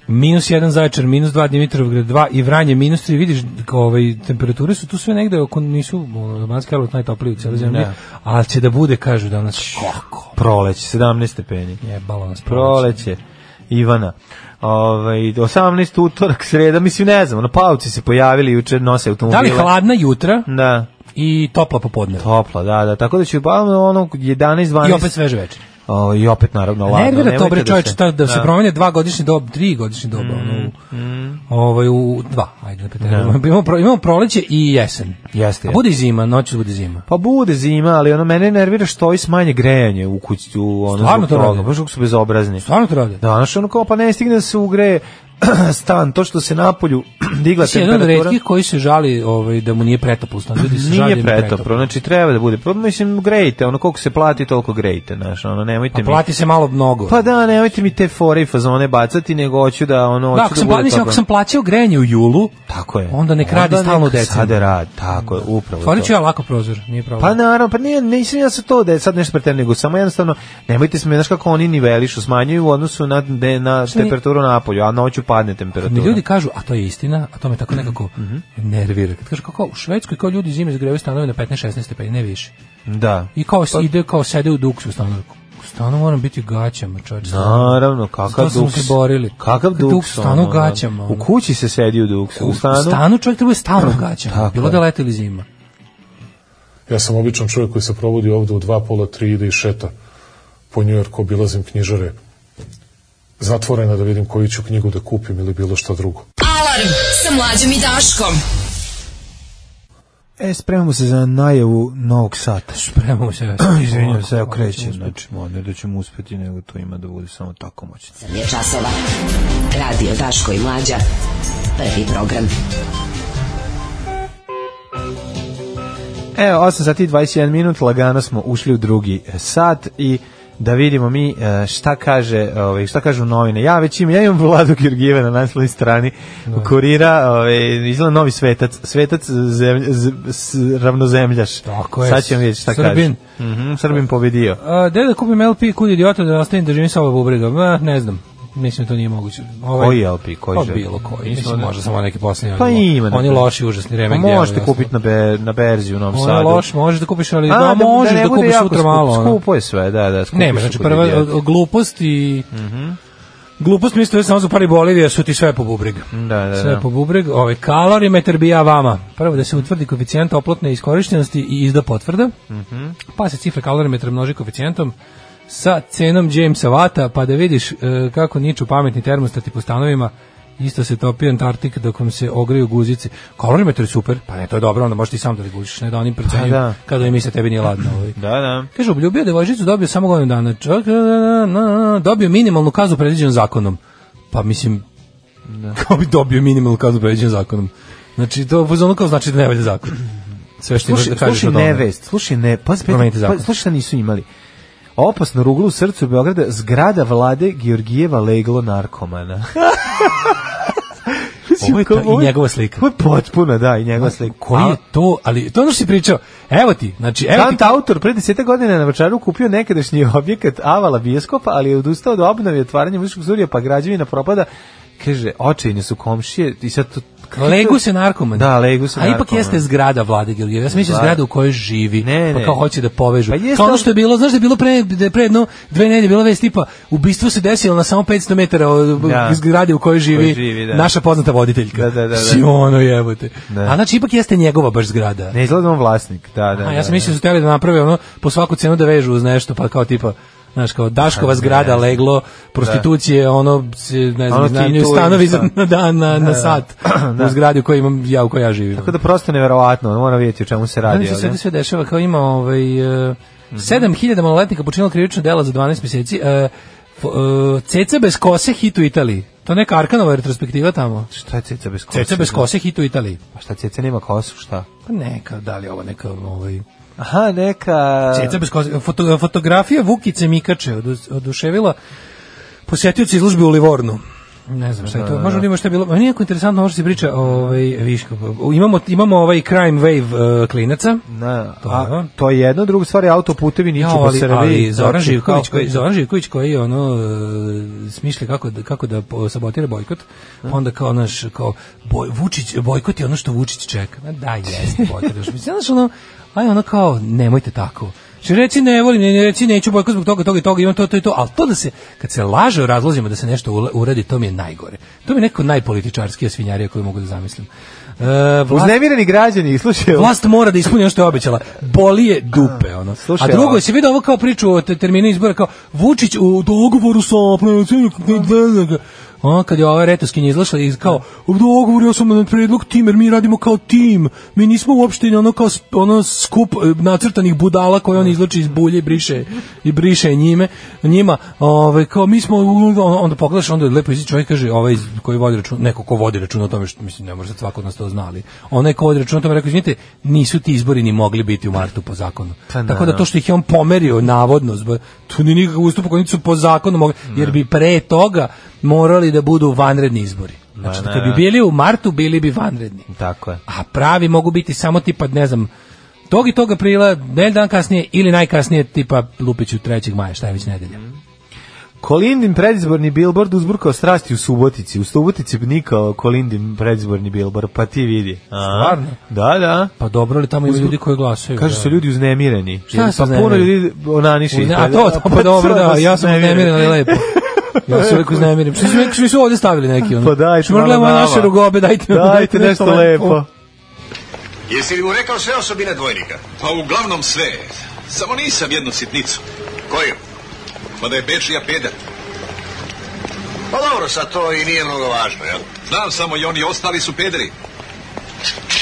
Speaker 5: minus 1, Zaječar minus 2, Dimitrovgrad 2 i Vranje minus 3. Vidiš, ovaj, temperature su tu sve negde, oko nisu, ono, Banski Karlovac najtopliji u cijeloj zemlji,
Speaker 6: Da.
Speaker 5: ali će da bude, kažu danas, kako?
Speaker 6: Proleće, 17 stepeni.
Speaker 5: Jebalo nas proleće.
Speaker 6: Proleće. Ivana. Ovaj 18 utorak, sreda, mislim ne znam, na pauci se pojavili juče nose
Speaker 5: Da
Speaker 6: automobile.
Speaker 5: li hladna jutra
Speaker 6: Da,
Speaker 5: i topla popodne?
Speaker 6: topla, da, da. Tako da će pa ono 11 12.
Speaker 5: I opet sveže večer.
Speaker 6: O, i opet naravno ladno.
Speaker 5: Nervira to
Speaker 6: nemojte
Speaker 5: bre
Speaker 6: da Mm,
Speaker 5: čoveče
Speaker 6: se-
Speaker 5: da, da se promene dva godišnje doba, tri godišnje doba, ono, u- ovaj u dva, ajde da preterujemo. [laughs] Imamo, pro- imamo proleće i jesen.
Speaker 6: Jeste,
Speaker 5: A bude i zima, noću bude zima.
Speaker 6: Pa bude zima, ali ono mene nervira što i smanje grejanje u kući, u ono
Speaker 5: Stvarno
Speaker 6: zbog
Speaker 5: to
Speaker 6: toga,
Speaker 5: rade?
Speaker 6: Baš kako su bezobrazni.
Speaker 5: Stvarno to rade.
Speaker 6: Da, znaš, ono kao pa ne stigne da se ugreje [clears throat] stan, to što se napolju [clears throat] digla
Speaker 5: Ti jedan od
Speaker 6: temperatura.
Speaker 5: retkih koji se žali ovaj, da mu nije pretoplo, stan, ljudi se žali da im
Speaker 6: Nije
Speaker 5: je
Speaker 6: pretopro, znači treba da bude. Pa mislim grejte, ono koliko se plati toliko grejte, znaš, ono nemojte
Speaker 5: Pa
Speaker 6: mi.
Speaker 5: plati se malo mnogo.
Speaker 6: Pa da, nemojte mi te fore i fazone bacati, nego hoću da ono hoću
Speaker 5: da, ako sam, pla-
Speaker 6: bude
Speaker 5: mislim, ako
Speaker 6: toplo.
Speaker 5: sam plaćao grejanje u julu,
Speaker 6: Tako je.
Speaker 5: onda nek radi stalno u
Speaker 6: nek
Speaker 5: decembru.
Speaker 6: Sada radi, tako je, upravo.
Speaker 5: otvorit ću
Speaker 6: to.
Speaker 5: ja lako prozor, nije problem.
Speaker 6: Pa naravno, pa nije, nisam ja sa to da je sad nešto pretjerano, nego samo jednostavno, nemojte se, znaš kako oni nivelišu, smanjuju u odnosu na, de, na
Speaker 5: mi-
Speaker 6: temperaturu napolju, a noću padne temperatura.
Speaker 5: Mi ljudi kažu, a to je istina, a to me
Speaker 6: Mhm.
Speaker 5: tako nekako nervira. Kad kažu kako u Švedskoj kao ljudi zime zagrevaju stanove na 15-16 stepeni, ne više.
Speaker 6: Da.
Speaker 5: I kao se ide, kao sede u duksu u stanu. U stanu moram biti u gaćama, čovječ.
Speaker 6: Naravno, kakav
Speaker 5: Zato smo
Speaker 6: duks.
Speaker 5: se borili.
Speaker 6: Kakav
Speaker 5: Kakav duks,
Speaker 6: duks.
Speaker 5: stanu
Speaker 6: ono,
Speaker 5: u gaćama,
Speaker 6: U
Speaker 5: ono.
Speaker 6: kući se sedi u duksu, u stanu.
Speaker 5: U stanu čovjek treba je stalno
Speaker 6: [laughs]
Speaker 5: u gaćama.
Speaker 6: Tako
Speaker 5: bilo
Speaker 6: je.
Speaker 5: da leti ili zima.
Speaker 9: Ja sam običan čovjek koji se provodi ovde u dva, pola, tri, ide i šeta po Njujorku, obilazim knjižare. zatvorena da vidim koju ću knjigu da kupim ili bilo šta drugo.
Speaker 4: Alarm sa mlađom i Daškom.
Speaker 6: E, spremamo se za najavu novog sata.
Speaker 5: [clears throat] Spremamo se.
Speaker 6: [clears throat]
Speaker 5: ja sam-
Speaker 6: Izvinjam se, evo
Speaker 5: Kako ćemo
Speaker 6: krećem.
Speaker 5: uspeti?
Speaker 6: Znači, mo, ne da ćemo uspeti, nego to ima da bude samo tako moćno.
Speaker 10: Osam je časova. Radio Daško i Mlađa. Prvi program.
Speaker 6: Evo, 8 sati i 21 minut, lagano smo ušli u drugi e, sat i da vidimo mi e, šta kaže, ovaj šta kažu novine. Ja već imam, ja imam Vladu Georgijeva na naslovnoj strani kurira, ovaj izgleda novi svetac, svetac zemlj, z, s- ravnozemljaš.
Speaker 5: Tako je.
Speaker 6: Sad ćemo vidjeti šta
Speaker 5: Srbin.
Speaker 6: kaže. Mhm, Srbin pobedio.
Speaker 5: A, gde da kupim LP kud idiota da ostavim da živim sa ovo bubrega? Ma, ne znam. Mislim da to nije moguće. Ovaj,
Speaker 6: Koji LP, koji
Speaker 5: Pa
Speaker 6: želi?
Speaker 5: bilo koji.
Speaker 6: Mislim,
Speaker 5: Mislim,
Speaker 6: one-
Speaker 5: možda samo neki posljednji.
Speaker 6: Pa
Speaker 5: oni-
Speaker 6: ima.
Speaker 5: Oni
Speaker 6: na-
Speaker 5: loši, užasni remek.
Speaker 6: Pa
Speaker 5: djela,
Speaker 6: možete
Speaker 5: jasno.
Speaker 6: kupiti na, be, na berzi u Novom
Speaker 5: Ono je
Speaker 6: Sadu.
Speaker 5: loš, možeš da kupiš, ali
Speaker 6: A,
Speaker 5: da, možeš
Speaker 6: ne
Speaker 5: da,
Speaker 6: bude
Speaker 5: kupiš
Speaker 6: jako
Speaker 5: sutra
Speaker 6: skup-
Speaker 5: malo. ono.
Speaker 6: Skupo je sve, da, da. skupi
Speaker 5: Nema,
Speaker 6: su
Speaker 5: znači
Speaker 6: kod Mhm.
Speaker 5: prva
Speaker 6: idiota.
Speaker 5: o- o- glupost i... Glupost mislim da je samo za pari Bolivije su ti sve po bubreg.
Speaker 6: Da, da,
Speaker 5: sve
Speaker 6: da.
Speaker 5: po bubreg. Ovaj, Ove, kalorimetar bija vama. Prvo da se utvrdi koeficijent oplotne iskorištenosti i izda potvrda.
Speaker 6: Mhm.
Speaker 5: Pa se cifra kalorimetra množi koeficijentom sa cenom Jamesa Vata, pa da vidiš e, kako niču pametni termostati po stanovima. Isto se topi Antarktik dok vam se ogreju guzice. Kalorimetar je super, pa ne, to je dobro, onda možeš ti sam da regulišeš, ne da onim procenjuju
Speaker 6: Pa da.
Speaker 5: kada im misle tebi nije ladno. Ovaj.
Speaker 6: Da, da.
Speaker 5: Kaže, obljubio devojčicu, dobio samo godinu dana. Čak, na, na, na, dobio minimalnu kaznu predviđenu zakonom. Pa mislim, [laughs] kao bi dobio minimalnu kaznu predviđenu zakonom. Znači, to ono kao znači da ne valja zakon. Sve što imaš
Speaker 6: Slušaj,
Speaker 5: da kažeš
Speaker 6: slušaj
Speaker 5: od onoga.
Speaker 6: nevest, slušaj ne, pa
Speaker 5: Promenite zakon.
Speaker 6: pa, slušaj šta nisu imali. Opasno ruglo u srcu Beograda, zgrada vlade Georgijeva leglo
Speaker 5: [laughs]
Speaker 6: narkomana.
Speaker 5: Ovo je ta- i njegova slika.
Speaker 6: Ovo je potpuno, da, i njegova slika.
Speaker 5: Koji je to, ali to je ono što si pričao. Evo ti, znači, evo ti.
Speaker 6: Kant autor pre 10 godina na Vračaru kupio nekadašnji [laughs] objekat Avala bioskopa, ali je odustao od obnove i otvaranja muzičkog studija, pa građevina propada. Kaže, očajni su komšije i sad to...
Speaker 5: Legu se narkoman.
Speaker 6: Da, legu se ono.
Speaker 5: A ipak
Speaker 6: narkoman.
Speaker 5: jeste zgrada vlade Georgijeva. Ja sam mislio
Speaker 6: Zgrada.
Speaker 5: zgrada u kojoj živi.
Speaker 6: Ne,
Speaker 5: pa
Speaker 6: ne.
Speaker 5: kao hoće da povežu.
Speaker 6: Pa jeste,
Speaker 5: kao ono
Speaker 6: ali-
Speaker 5: što je bilo, znaš da je bilo pre, da je pre jedno, dve nedelje bila vest tipa, ubistvo se desilo na samo 500 metara od
Speaker 6: Da.
Speaker 5: zgrade u kojoj živi,
Speaker 6: živi, da.
Speaker 5: naša poznata voditeljka.
Speaker 6: Da,
Speaker 5: [laughs]
Speaker 6: da, da, da.
Speaker 5: Si ono jebote.
Speaker 6: Da.
Speaker 5: A znači ipak jeste njegova baš zgrada.
Speaker 6: Ne izgleda on vlasnik, da, da.
Speaker 5: A
Speaker 6: da,
Speaker 5: ja sam
Speaker 6: da.
Speaker 5: mislio da su hteli da naprave ono po svaku cenu da vežu uz nešto, pa kao tipa Znaš, kao Daškova zgrada, leglo, prostitucije, ono, se, ne znam,
Speaker 6: Ono ti
Speaker 5: iznajmljuju
Speaker 6: tu i
Speaker 5: stanovi za,
Speaker 6: stan.
Speaker 5: na dan, na, na
Speaker 6: [clears throat]
Speaker 5: sat, u zgradi u kojoj imam, ja, u kojoj ja živim.
Speaker 6: Tako da prosto neverovatno, ono mora vidjeti o čemu se radi.
Speaker 5: Znaš što se
Speaker 6: jel da?
Speaker 5: ovdje sve dešava, kao ima ovaj, uh, 7000 maloletnika počinilo krivično dela za 12 mjeseci, uh, f- uh, Ceca bez kose hit u Italiji. To je neka Arkanova retrospektiva tamo.
Speaker 6: Šta je ceca bez kose?
Speaker 5: Ceca bez kose hit u Italiji.
Speaker 6: Pa šta, ceca nema kosu, šta?
Speaker 5: Pa neka, da li je ovo neka, ovaj...
Speaker 6: Aha, neka...
Speaker 5: Ceca bez koze. Foto, fotografija Vukice Mikače odu- oduševila posjetioci izložbe u Livornu. Ne znam šta je to. Možda vidimo šta je bilo. Meni je jako interesantno ovo što se priča. Ovaj, viško, imamo, imamo ovaj crime wave uh, klinaca.
Speaker 6: Na,
Speaker 5: To,
Speaker 6: a,
Speaker 5: da.
Speaker 6: to je jedno, drugo stvar je autoputevi niču pa
Speaker 5: Ja,
Speaker 6: po
Speaker 5: ali,
Speaker 6: Srbiji.
Speaker 5: ali Zoran
Speaker 6: Znači,
Speaker 5: Živković
Speaker 6: kao-
Speaker 5: koji Zoran Živković koji ono e, smišlja kako da, kako da po- sabotira bojkot. pa Onda kao naš kao boj, Vučić bojkot je ono što Vučić čeka. Ma da jeste bojkot. Mislim znaš ono aj ono kao nemojte tako. Što reci ne volim, ne, ne reci neću bojkot zbog toga, toga i toga, imam to, to i to, ali to da se, kad se laže o razlozima da se nešto ula- uradi, to mi je najgore. To mi je neko najpolitičarskija svinjarija koju mogu da zamislim. E, vlast-
Speaker 6: Uznemireni građani, slušaj.
Speaker 5: Vlast mora da ispuni ono što je obećala. Boli je dupe, ono.
Speaker 6: Slušaj,
Speaker 5: A drugo,
Speaker 6: ovo-
Speaker 5: se vidi ovo kao priču o te- terminu izbora, kao Vučić u dogovoru sa... Ono, kad je ova retoskinja izlašla i kao, u dogovoru ja sam na predlog tim, jer mi radimo kao tim. Mi nismo uopšte ono kao sp- ono skup e, nacrtanih budala koje on izlači iz bulje i briše, i briše njime, njima. Ove, kao, mi smo, u- u- onda pogledaš, onda lepo izi čovjek kaže, ovaj iz- koji vodi račun, neko ko vodi račun o tome, što mislim, ne može sad svako od nas to znali. Onaj ko vodi račun o tome rekao, izvinite, nisu ti izbori ni mogli biti u martu po zakonu.
Speaker 6: Pa da,
Speaker 5: Tako da
Speaker 6: da.
Speaker 5: to što ih je on pomerio navodno zbog tu ni nikakav ustupak oni su po zakonu mogli jer bi pre toga morali da budu vanredni izbori. Znači
Speaker 6: da,
Speaker 5: kad bi
Speaker 6: da.
Speaker 5: bili u martu bili bi vanredni.
Speaker 6: Tako je.
Speaker 5: A pravi mogu biti samo tipa ne znam tog i tog aprila, ne dan kasnije ili najkasnije tipa Lupiću 3. maja, šta je već nedelja.
Speaker 6: Kolindin predizborni bilbord uzburkao strasti u Subotici. U Subotici bi nikao Kolindin predizborni bilbord, pa ti vidi. A?
Speaker 5: Stvarno?
Speaker 6: Da, da.
Speaker 5: Pa dobro li tamo ima ljudi koji glasaju?
Speaker 6: Kažu
Speaker 5: da.
Speaker 6: su ljudi uznemireni.
Speaker 5: Šta
Speaker 6: Jer
Speaker 5: su
Speaker 6: Pa puno
Speaker 5: uznemireni?
Speaker 6: ljudi onaniši.
Speaker 5: U- A to, to pa dobro, da, ja sam uznemiren, ali lepo. Ja se uvijek uznemirim. Što su, što su ovdje stavili
Speaker 6: [laughs]
Speaker 5: neki? Ono?
Speaker 6: Pa dajte
Speaker 5: Što moramo
Speaker 6: malo
Speaker 5: gledamo
Speaker 6: nama.
Speaker 5: naše rugobe, dajte,
Speaker 6: [laughs] Dajte nešto lepo.
Speaker 11: Jesi li mu rekao sve osobine dvojnika?
Speaker 8: Pa uglavnom sve. Samo nisam jednu sitnicu.
Speaker 11: Koju?
Speaker 8: Pa da je Bečija peder.
Speaker 11: Pa dobro, sad to i nije mnogo važno, jel?
Speaker 12: Znam samo i oni ostali su pederi.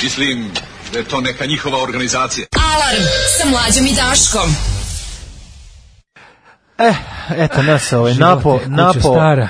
Speaker 12: Mislim da je to neka njihova organizacija.
Speaker 4: Alarm sa mlađom i Daškom.
Speaker 6: Eh, eto nas ovaj napo,
Speaker 5: kuća
Speaker 6: napo,
Speaker 5: stara.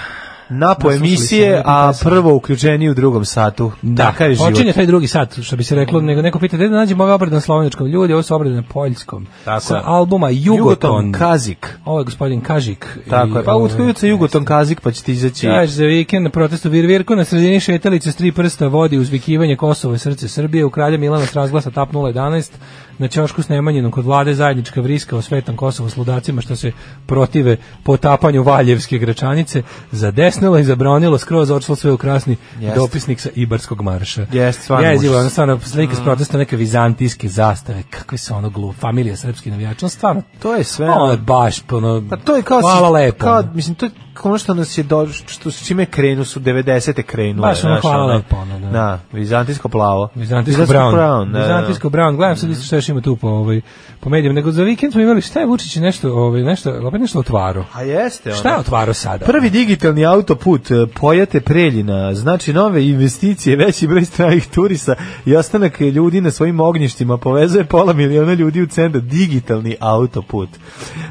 Speaker 6: napo
Speaker 5: Naslušali smo
Speaker 6: emisije,
Speaker 5: lepe
Speaker 6: a
Speaker 5: pesme.
Speaker 6: prvo uključenje u drugom satu. Da, Takav je život.
Speaker 5: Počinje taj drugi sat, što bi se reklo, nego neko pita, gde da nađemo ove obrade na sloveničkom? Ljudi, ovo su obrade na poljskom.
Speaker 6: Tako
Speaker 5: sa
Speaker 6: je.
Speaker 5: albuma Jugoton.
Speaker 6: Jugoton Kazik.
Speaker 5: Ovo je gospodin Kažik.
Speaker 6: Tako je. Pa
Speaker 5: ovaj,
Speaker 6: utkojit se Jugoton Kazik, pa će ti izaći.
Speaker 5: Kaže za vikend na protestu Virvirku na sredini šetalice s tri prsta vodi uzvikivanje Kosovo i srce Srbije. U kralja Milana s razglasa tap 011 na ćošku s Nemanjinom kod vlade zajednička vriska o svetom Kosovo s ludacima što se protive potapanju Valjevske gračanice zadesnilo i zabranilo skroz očlo sve u krasni
Speaker 6: Jeste.
Speaker 5: dopisnik sa Ibarskog marša.
Speaker 6: Jeste, stvarno
Speaker 5: Jezivo,
Speaker 6: užas. Mm.
Speaker 5: ono stvarno slike s protesta neke vizantijske zastave. Kakve su ono glup, familija srpskih navijača, ono stvarno.
Speaker 6: To je sve.
Speaker 5: Ono je baš, ono,
Speaker 6: Pa to je kao
Speaker 5: hvala
Speaker 6: si-
Speaker 5: lepo.
Speaker 6: Kao,
Speaker 5: ono.
Speaker 6: mislim to je ono što nas je do, što s čime krenu su 90-te krenule.
Speaker 5: Baš ono
Speaker 6: znaš,
Speaker 5: hvala lepo, ono, da.
Speaker 6: Da, vizantijsko plavo.
Speaker 5: Vizantijsko Brown.
Speaker 6: da, da.
Speaker 5: Vizantijsko Brown. Gledam sad isto šta još ima tu po, ovaj, po medijima. Nego za vikend smo imali šta je Vučić nešto, ovaj, nešto, opet nešto otvaro.
Speaker 6: A jeste ono.
Speaker 5: Šta je otvaro sada?
Speaker 6: Prvi digitalni autoput e, Pojate Preljina znači nove investicije, veći broj stranih turista i ostanak ljudi na svojim ognjištima povezuje pola miliona ljudi u centru digitalni autoput.